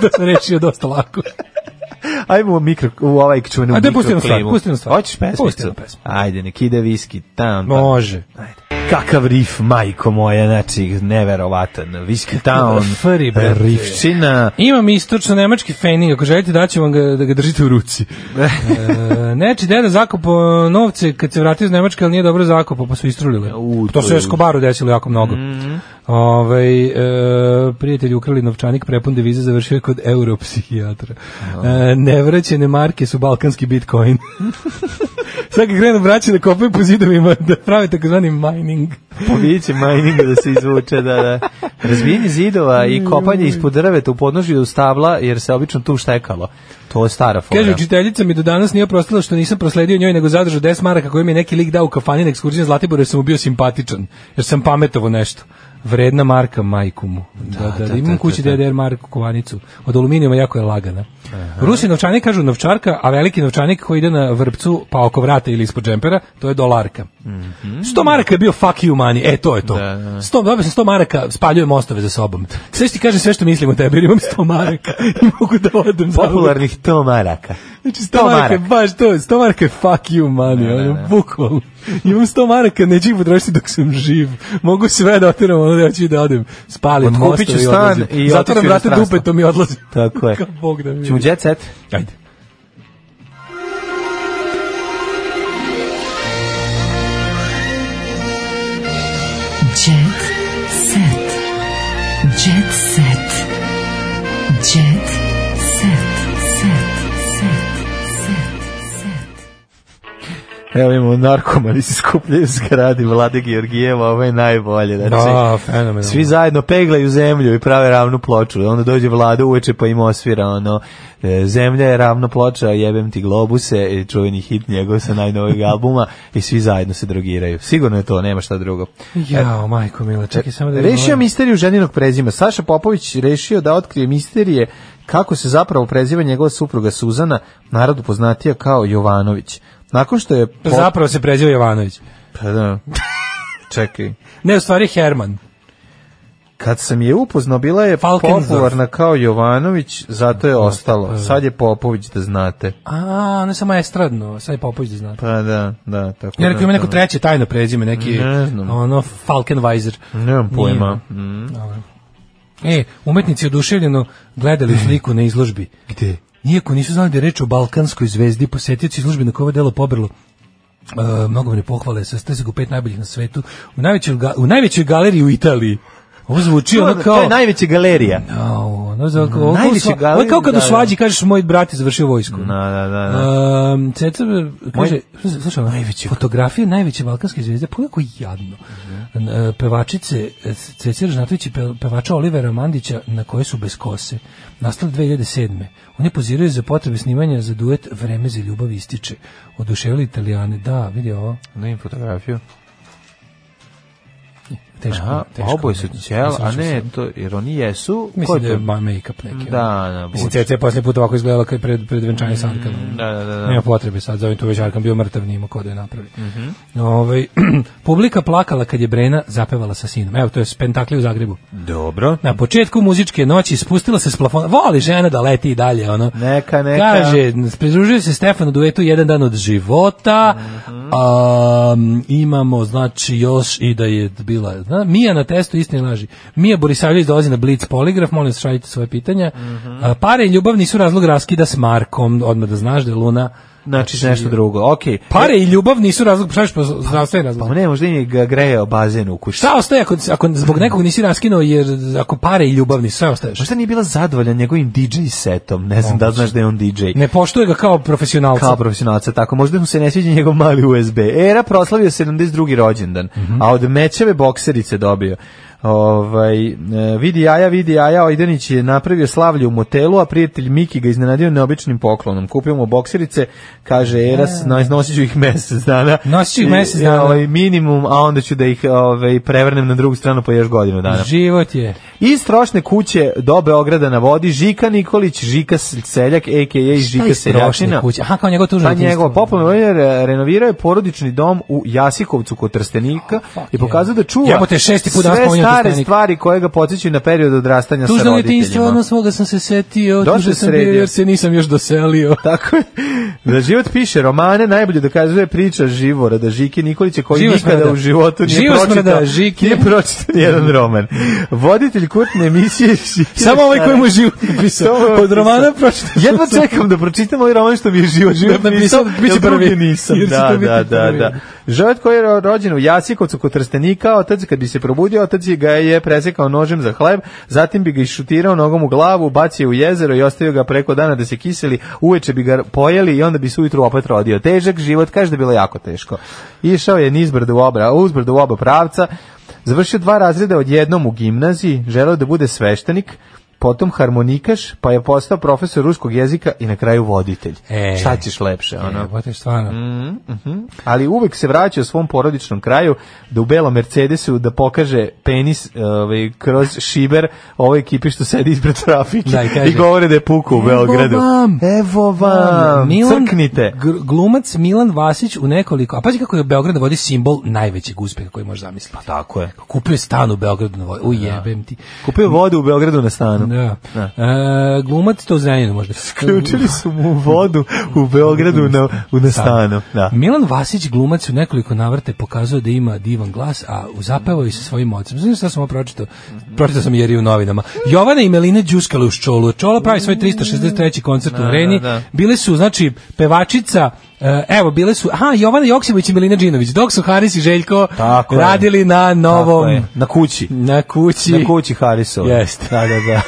Speaker 5: to sam rešio dosta lako.
Speaker 6: Ajmo u mikro, u ovaj čuvenu
Speaker 5: A da
Speaker 6: mikroklimu.
Speaker 5: pustimo stvar, pustimo stvar.
Speaker 6: Hoćeš pesmicu?
Speaker 5: Pustimo pesmu.
Speaker 6: Ajde, nek ide viski tam. pa-
Speaker 5: Može.
Speaker 6: Kakav rif, majko moja, znači, neverovatan. Whiskey Town,
Speaker 5: Free, brate.
Speaker 6: rifčina.
Speaker 5: Imam istočno nemački fening, ako želite daću vam ga da ga držite u ruci. e, neči deda zakupo novce kad se vratio iz Nemačke, ali nije dobro zakupo, pa su istrulili. to
Speaker 6: to
Speaker 5: se
Speaker 6: je-
Speaker 5: Eskobaru desilo jako mnogo. Ovaj e, prijatelji ukrali novčanik, prepun devize završio je kod europsihijatra. E, nevraćene marke su balkanski bitcoin. [laughs] Sad kad krenu vraćati da kopaju po zidovima, da prave takozvani mining.
Speaker 6: Vidjet će majninga Pa da se izvuče, da, da. Razbijenje zidova i kopanje ispod drveta u podnožju stabla, jer se obično tu štekalo. To je stara fora.
Speaker 5: Kaže, učiteljica mi do danas nije oprostila što nisam prosledio njoj, nego zadržao 10 maraka koju mi je neki lik dao u kafani na ekskurziji na Zlatiboru, jer sam mu bio simpatičan, jer sam pametovo nešto. Vredna marka majku mu. Da, da,
Speaker 6: da,
Speaker 5: imam
Speaker 6: da,
Speaker 5: kući
Speaker 6: da, da.
Speaker 5: DDR marku kovanicu. Od aluminijuma jako je lagana. Rusi novčanik kažu novčarka, a veliki novčanik koji ide na vrpcu pa oko vrata ili ispod džempera, to je dolarka.
Speaker 6: Mhm.
Speaker 5: 100 maraka je bio fuck you money, e to je to. 100, dobio sam 100 maraka, spaljujem ostave za sobom. Sve što ti kažem sve što mislim o tebi, jer imam 100 maraka i mogu da odem za
Speaker 6: Popularnih tomaraka.
Speaker 5: Znači, 100 maraka je baš to, 100 maraka je fuck you money, ono, bukvalno. Imam 100 maraka, neću ih potrošiti dok sam živ. Mogu sve da otiram, ono da ću da odem. Spalim
Speaker 6: Odkupit ću
Speaker 5: mostove i
Speaker 6: stan
Speaker 5: odlazim.
Speaker 6: i otiću
Speaker 5: Zatvoram
Speaker 6: u
Speaker 5: vrate
Speaker 6: inostranstvo.
Speaker 5: dupetom i odlazim.
Speaker 6: Tako
Speaker 5: [laughs]
Speaker 6: je.
Speaker 5: Kao Bog da mi
Speaker 6: Ćemo u jet set?
Speaker 5: Ajde.
Speaker 4: Jet set. Jet set. Jet set. Set. Set.
Speaker 6: Evo imamo narkomani se skupljaju u zgradi Vlade Georgijeva, ovo je najbolje. Znači,
Speaker 5: Da, fenomenalno.
Speaker 6: Svi zajedno peglaju zemlju i prave ravnu ploču. Onda dođe vlada uveče pa im osvira ono, e, zemlja je ravna ploča, jebem ti globuse, i čuveni hit njegov
Speaker 5: [laughs]
Speaker 6: sa najnovijeg albuma i svi zajedno se drogiraju. Sigurno je to, nema šta drugo.
Speaker 5: Jao, majko mila, čekaj samo da...
Speaker 6: Rešio misteriju ženinog prezima. Saša Popović rešio da otkrije misterije kako se zapravo preziva njegova supruga Suzana, narodu poznatija kao Jovanović. Nakon što je... po-
Speaker 5: Zapravo se prezio Jovanović.
Speaker 6: Pa
Speaker 5: [laughs]
Speaker 6: da. Čekaj.
Speaker 5: Ne, u stvari Herman.
Speaker 6: Kad sam je upoznao, bila je
Speaker 5: Falkensdorf.
Speaker 6: popularna kao Jovanović, zato je ostalo. Sad je Popović, da znate.
Speaker 5: A, ne samo estradno, sad je Popović da znate.
Speaker 6: Pa da, da, tako
Speaker 5: Ja
Speaker 6: da,
Speaker 5: rekao ima neko
Speaker 6: da.
Speaker 5: treće tajno prezime, neki
Speaker 6: Ne znam.
Speaker 5: ono Falkenweiser.
Speaker 6: Nemam pojma.
Speaker 5: Dobro. E, umetnici oduševljeno gledali sliku na izložbi. Gde? Iako nisu znali da je reč o balkanskoj zvezdi, posjetioci izložbe na koje ovo delo pobrlo e, mnogobrne pohvale, sastoji se u pet najboljih na svetu, u najvećoj, ga- u najvećoj galeriji u Italiji. Ovo zvuči
Speaker 6: To,
Speaker 5: ono
Speaker 6: to je
Speaker 5: kao...
Speaker 6: najveća galerija.
Speaker 5: No, ono za- ovo kao
Speaker 6: najveća
Speaker 5: sva- ovo je
Speaker 6: galerija,
Speaker 5: kao kad u
Speaker 6: da, da.
Speaker 5: svađi kažeš moj brat je završio vojsku.
Speaker 6: Da, da, da. da.
Speaker 5: Um, Ceca kaže, slušaj, ovo,
Speaker 6: Najveći- Mhm.
Speaker 5: fotografije najveće balkanske zvijezde, pogledaj kako jadno. N- e, Pevačice e, Ceca Ražnatović i pe- pevača Olivera Mandića na koje su bez kose. Nastala 2007. Oni poziraju za potrebe snimanja za duet Vreme za ljubav ističe. Oduševili Italijane. Da, vidi ovo.
Speaker 6: Da im fotografiju.
Speaker 5: Teško.
Speaker 6: Aha, pa
Speaker 5: teško
Speaker 6: oboje su
Speaker 5: ne znam.
Speaker 6: cijela,
Speaker 5: Mislim
Speaker 6: a
Speaker 5: da su
Speaker 6: ne,
Speaker 5: se-
Speaker 6: to, jer oni jesu... ko
Speaker 5: Mislim
Speaker 6: je
Speaker 5: da
Speaker 6: to?
Speaker 5: je ma- make-up neki. ono.
Speaker 6: Da, da,
Speaker 5: Mislim,
Speaker 6: budući.
Speaker 5: Ceca je poslije puta ovako izgledala kad je pred, pred venčanje sa Arkanom.
Speaker 6: Da, da, da. da.
Speaker 5: Nema potrebe sad, za ovim tu već Arkan bio mrtav, nima ko da je napravi.
Speaker 6: Mhm.
Speaker 5: Ovaj, [clears throat] publika plakala kad je Brena zapevala sa sinom. Evo, to je Spentakli u Zagrebu.
Speaker 6: Dobro.
Speaker 5: Na početku muzičke noći spustila se s plafona. Voli žena da leti i dalje, ono.
Speaker 6: Neka, neka.
Speaker 5: Kaže, pridružuje se Stefan u duetu Jedan dan od života.
Speaker 6: Mhm.
Speaker 5: A, imamo, znači, još i da je bila... Zna, Mija na testu istine laži. Mija Borisavljević dolazi na Blitz poligraf, molim vas šaljite svoje pitanja.
Speaker 6: Mhm.
Speaker 5: A, pare i ljubav nisu razlog raskida s Markom, odmah da znaš da je Luna...
Speaker 6: Znači nešto drugo, okej.
Speaker 5: Pare i ljubav nisu razlog, šta ćeš po zdravstveni razlog?
Speaker 6: Pa ne, možda im je ga grejao bazen u kući.
Speaker 5: Šta ostaje ako, ako zbog nekog nisi raskinuo, jer ako pare i ljubav nisu, sve ostaješ?
Speaker 6: Možda nije bila zadovoljan njegovim DJ setom, ne znam da li znaš da je on DJ.
Speaker 5: Ne poštuje ga kao profesionalca.
Speaker 6: Kao profesionalca, tako. Možda mu se ne sviđa njegov mali USB. Era proslavio 72. rođendan,
Speaker 5: Mhm.
Speaker 6: a od mečeve bokserice dobio. Ovaj, e, vidi jaja, vidi jaja, Ojdenić je napravio slavlje u motelu, a prijatelj Miki ga iznenadio neobičnim poklonom. Kupio mu bokserice, kaže Era, s- nosit ću ih mesec dana.
Speaker 5: Nosit ću ih
Speaker 6: I,
Speaker 5: mesec dana.
Speaker 6: Ovaj, minimum, a onda ću da ih ovaj, prevrnem na drugu stranu po još godinu dana.
Speaker 5: Život je.
Speaker 6: Iz trošne kuće do Beograda na vodi Žika Nikolić, Žika Seljak, a.k.a. Žika
Speaker 5: iz
Speaker 6: Seljačina.
Speaker 5: trošne kuće? Aha, kao njegov tužno
Speaker 6: Pa
Speaker 5: djetinjstvo.
Speaker 6: njegov popularno je renovirao je porodični dom u Jasikovcu kod Trstenika i pokazao da čuva
Speaker 5: Oh, Jebote, šesti put danas
Speaker 6: sve
Speaker 5: spominjam
Speaker 6: stare
Speaker 5: Trstenik.
Speaker 6: stvari koje ga podsjećaju na period odrastanja sa
Speaker 5: Tužno djetinjstvo,
Speaker 6: roditeljima.
Speaker 5: ono svoga sam se setio,
Speaker 6: Došao
Speaker 5: tužno
Speaker 6: je
Speaker 5: sam bio
Speaker 6: sredio.
Speaker 5: jer se nisam još
Speaker 6: [laughs]
Speaker 5: doselio.
Speaker 6: Tako je. Da život piše romane, najbolje dokazuje priča Živora, da Žike Nikolića koji
Speaker 5: Živo
Speaker 6: nikada
Speaker 5: smrda.
Speaker 6: u životu nije
Speaker 5: Živo smrda,
Speaker 6: pročitao,
Speaker 5: Žike.
Speaker 6: nije pročitao nijedan roman. Voditelj kultne emisije Žike
Speaker 5: Samo ovaj koji mu je život
Speaker 6: [laughs] Samo
Speaker 5: napisao.
Speaker 6: ovaj
Speaker 5: Od romana
Speaker 6: napisao.
Speaker 5: pročitao. sam.
Speaker 6: [laughs] Jedva čekam da pročitam ovaj roman što mi je život,
Speaker 5: Život napisao, bit će
Speaker 6: jer drugi
Speaker 5: prvi.
Speaker 6: nisam.
Speaker 5: Jer će
Speaker 6: Da,
Speaker 5: to biti
Speaker 6: da, da,
Speaker 5: prvi.
Speaker 6: da. Žovet koji je rođen u Jasikovcu kod Trstenika, otac kad bi se probudio, otac ga je presekao nožem za hleb, zatim bi ga išutirao nogom u glavu, bacio u jezero i ostavio ga preko dana da se kiseli, uveče bi ga pojeli i onda bi se ujutru opet rodio. Težak život, kaže da je bilo jako teško. Išao je nizbrdo u obra, uzbrdo u oba pravca, završio dva razreda odjednom u gimnaziji, želeo da bude sveštenik, potom harmonikaš, pa je postao profesor ruskog jezika i na kraju voditelj.
Speaker 5: E.
Speaker 6: Šta ćeš lepše, ono?
Speaker 5: Jebote, stvarno.
Speaker 6: Mhm. Ali uvek se vraća svom porodičnom kraju da u belom Mercedesu da pokaže penis ovaj, kroz šiber ovoj ekipi što sedi ispred trafike
Speaker 5: Da, i kaže,
Speaker 6: i govore da je puku u Beogradu.
Speaker 5: vam,
Speaker 6: evo vam, crknite.
Speaker 5: gr- glumac Milan Vasić u nekoliko, a pazi kako je Beograd na vodi simbol najvećeg uspeha koji možeš zamisliti.
Speaker 6: tako je.
Speaker 5: Kupio je stan u Beogradu na vodi, ujebem ti.
Speaker 6: Kupio vodu u Beogradu na stanu.
Speaker 5: Da.
Speaker 6: Da.
Speaker 5: E, glumac to u Zrenjaninu možda.
Speaker 6: Ključili su mu vodu u Beogradu na, u na stanu. Da.
Speaker 5: Milan Vasić glumac u nekoliko navrte pokazuje da ima divan glas, a zapevao i sa svojim ocem. Znaš šta sam ovo pročitao? Pročitao sam jer je u novinama. Jovana i Melina đuskale u Čolu. Čola pravi svoj 363. koncert u Reni.
Speaker 6: da, da.
Speaker 5: Bile su, znači, pevačica e, Evo, bile su, aha, Jovana Joksimović i Melina Đinović, dok su Haris i Željko
Speaker 6: Tako je.
Speaker 5: radili na
Speaker 6: Tako
Speaker 5: novom,
Speaker 6: je. Na kući.
Speaker 5: na kući,
Speaker 6: Na kući Harisova.
Speaker 5: Jeste.
Speaker 6: Da, da, da.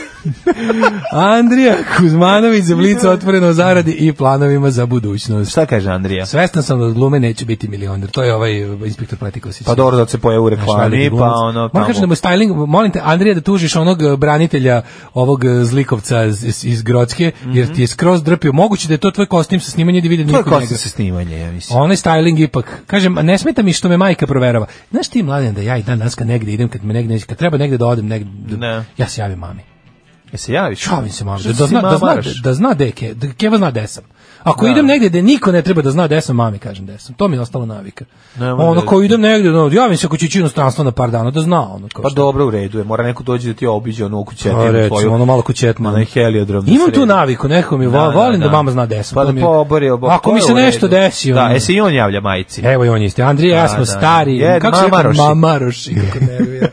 Speaker 5: Andrija Kuzmanović za blic otvoreno o zaradi i planovima za budućnost.
Speaker 6: Šta kaže Andrija? Pa
Speaker 5: Svestan sam da od glume neću biti milioner. To je ovaj e, inspektor Pletikosić.
Speaker 6: Pa dobro da se pojavi u
Speaker 5: Znaš, veliki
Speaker 6: reklami, pa
Speaker 5: glumac.
Speaker 6: ono...
Speaker 5: Moram kažem da mu je styling, molim te, Andrija, da tužiš onog e, branitelja ovog e, zlikovca iz, iz, iz Grocke, jer ti je skroz drpio. Moguće da je to tvoj kostim sa snimanja gdje vidim
Speaker 6: To je
Speaker 5: niko njega.
Speaker 6: Mhm. kostim sa snimanje, ja mislim.
Speaker 5: Onaj styling ipak. Kažem, ne smeta mi što me majka proverava. Znaš ti, mladen, da ja i dan danas kad negdje idem, kad me negdje, kad treba negdje da odem, negdje,
Speaker 6: Ne.
Speaker 5: ja se javim mami.
Speaker 6: Jesi javiš?
Speaker 5: Čavim se mami.
Speaker 6: Što
Speaker 5: Da,
Speaker 6: si
Speaker 5: da, zna, da, zna,
Speaker 6: mamaraš?
Speaker 5: da zna gde je ke, da keva zna gde sam. Ako idem negdje gde niko ne treba da zna gde sam, mami kažem gde sam. To mi je ostalo navika.
Speaker 6: Nemoj
Speaker 5: ono,
Speaker 6: da-
Speaker 5: ko idem negdje, no, javim se ako ću ići u inostranstvo na par dana, da zna ono. Kao
Speaker 6: Pa
Speaker 5: šta.
Speaker 6: dobro, u redu je. Mora neko dođe da ti obiđe ono kućetinu
Speaker 5: Pa, recimo,
Speaker 6: tvoju.
Speaker 5: ono malo kućetman.
Speaker 6: Onaj heliodrom. na
Speaker 5: Imam
Speaker 6: sredi.
Speaker 5: tu naviku, neko mi vo-
Speaker 6: Da, da,
Speaker 5: volim da,
Speaker 6: da.
Speaker 5: mama zna gde sam.
Speaker 6: Pa
Speaker 5: to
Speaker 6: da
Speaker 5: mi je-
Speaker 6: pobori obo.
Speaker 5: Ako
Speaker 6: to
Speaker 5: mi
Speaker 6: je
Speaker 5: se
Speaker 6: u redu.
Speaker 5: nešto desi,
Speaker 6: Da,
Speaker 5: ono- E,
Speaker 6: jesi i on javlja majici.
Speaker 5: Evo i on isto. Andrija, i ja
Speaker 6: Da,
Speaker 5: smo
Speaker 6: da.
Speaker 5: stari.
Speaker 6: Je,
Speaker 5: kako se rekao?
Speaker 6: mamaroši.
Speaker 5: Mamaroši. Kako
Speaker 6: [laughs]
Speaker 5: nervira.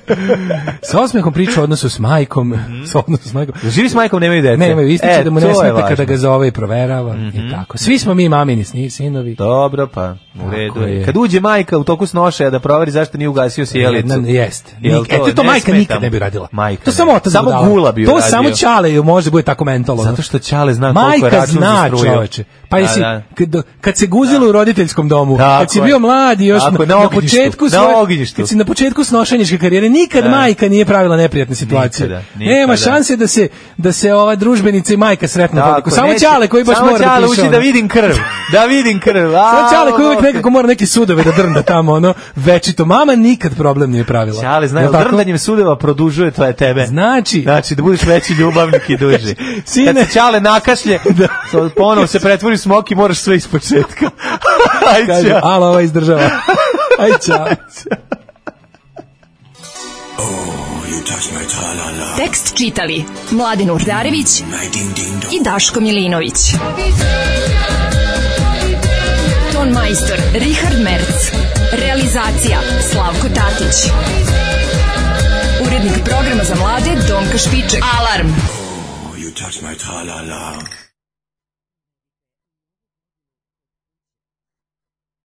Speaker 5: Sa osmehom priča o odnosu s majkom. Sa odnosu s majkom.
Speaker 6: Mhm. Živi s majkom, nemaju dece.
Speaker 5: Ne, vi ističe
Speaker 6: E,
Speaker 5: da mu
Speaker 6: to
Speaker 5: ne
Speaker 6: je
Speaker 5: smeta
Speaker 6: važno. Mhm.
Speaker 5: kada ga zove i proverava. I tako. Svi smo mi mamini sni- sinovi.
Speaker 6: Dobro, pa u redu je.
Speaker 5: je.
Speaker 6: Kad uđe majka u toku snošaja da proveri zašto nije ugasio sjelicu.
Speaker 5: Jedna- Jeste.
Speaker 6: Jel
Speaker 5: Nik- e, to, to
Speaker 6: ne
Speaker 5: majka
Speaker 6: smeta
Speaker 5: nikad
Speaker 6: mu?
Speaker 5: ne bi radila.
Speaker 6: Majka
Speaker 5: to
Speaker 6: ne.
Speaker 5: samo otac
Speaker 6: Samo
Speaker 5: budala.
Speaker 6: gula bi
Speaker 5: To
Speaker 6: uradio.
Speaker 5: samo Čale može da bude tako mentalno.
Speaker 6: Zato što Ćale zna koliko je
Speaker 5: Majka
Speaker 6: račun za
Speaker 5: zna,
Speaker 6: struju.
Speaker 5: čoveče. Pa
Speaker 6: Da,
Speaker 5: jesi,
Speaker 6: da.
Speaker 5: kad, kad se guzilo u roditeljskom domu,
Speaker 6: Tako
Speaker 5: kad si
Speaker 6: je.
Speaker 5: bio mladi još
Speaker 6: Tako je, na
Speaker 5: na,
Speaker 6: ognjištu,
Speaker 5: početku
Speaker 6: na
Speaker 5: svoje-
Speaker 6: ognjištu.
Speaker 5: kad si na početku snošeničke karijere, nikad
Speaker 6: Da.
Speaker 5: majka nije pravila neprijatne situacije.
Speaker 6: Nikada, nikada.
Speaker 5: Nema šanse da se da se ova družbenica i majka sretnu
Speaker 6: Tako,
Speaker 5: toliko. Samo
Speaker 6: neće.
Speaker 5: Čale koji baš
Speaker 6: Samo
Speaker 5: mora da
Speaker 6: Ćale
Speaker 5: piše
Speaker 6: uči da
Speaker 5: ono.
Speaker 6: vidim krv. Da vidim krv. A,
Speaker 5: [laughs]
Speaker 6: ono,
Speaker 5: Samo Čale koji uvek
Speaker 6: dobro.
Speaker 5: nekako mora neke sudove da drnda tamo, ono, večito. Mama nikad problem nije pravila.
Speaker 6: Ćale, znaju,
Speaker 5: Jel tako?
Speaker 6: drndanjem sudeva produžuje tvoje tebe.
Speaker 5: Znači,
Speaker 6: Znači, da budeš veći ljubavnik i
Speaker 5: [laughs]
Speaker 6: duži.
Speaker 5: Sine.
Speaker 6: Kad se Čale
Speaker 5: [laughs]
Speaker 6: nakašlje, so- ponovo se pretvori u smok i moraš sve
Speaker 5: [laughs]
Speaker 6: ispočetka. Aj,
Speaker 5: kaže,
Speaker 6: ćao.
Speaker 5: ala, ova
Speaker 6: [laughs]
Speaker 5: izdržava. Aj, čao.
Speaker 4: Tekst čitali Mladin Urdarević i Daško Milinović. Ton majstor Richard Merc. Realizacija Slavko Tatić. Urednik programa za mlade Donka Špiček. Alarm!
Speaker 17: You touch my tra-la-la.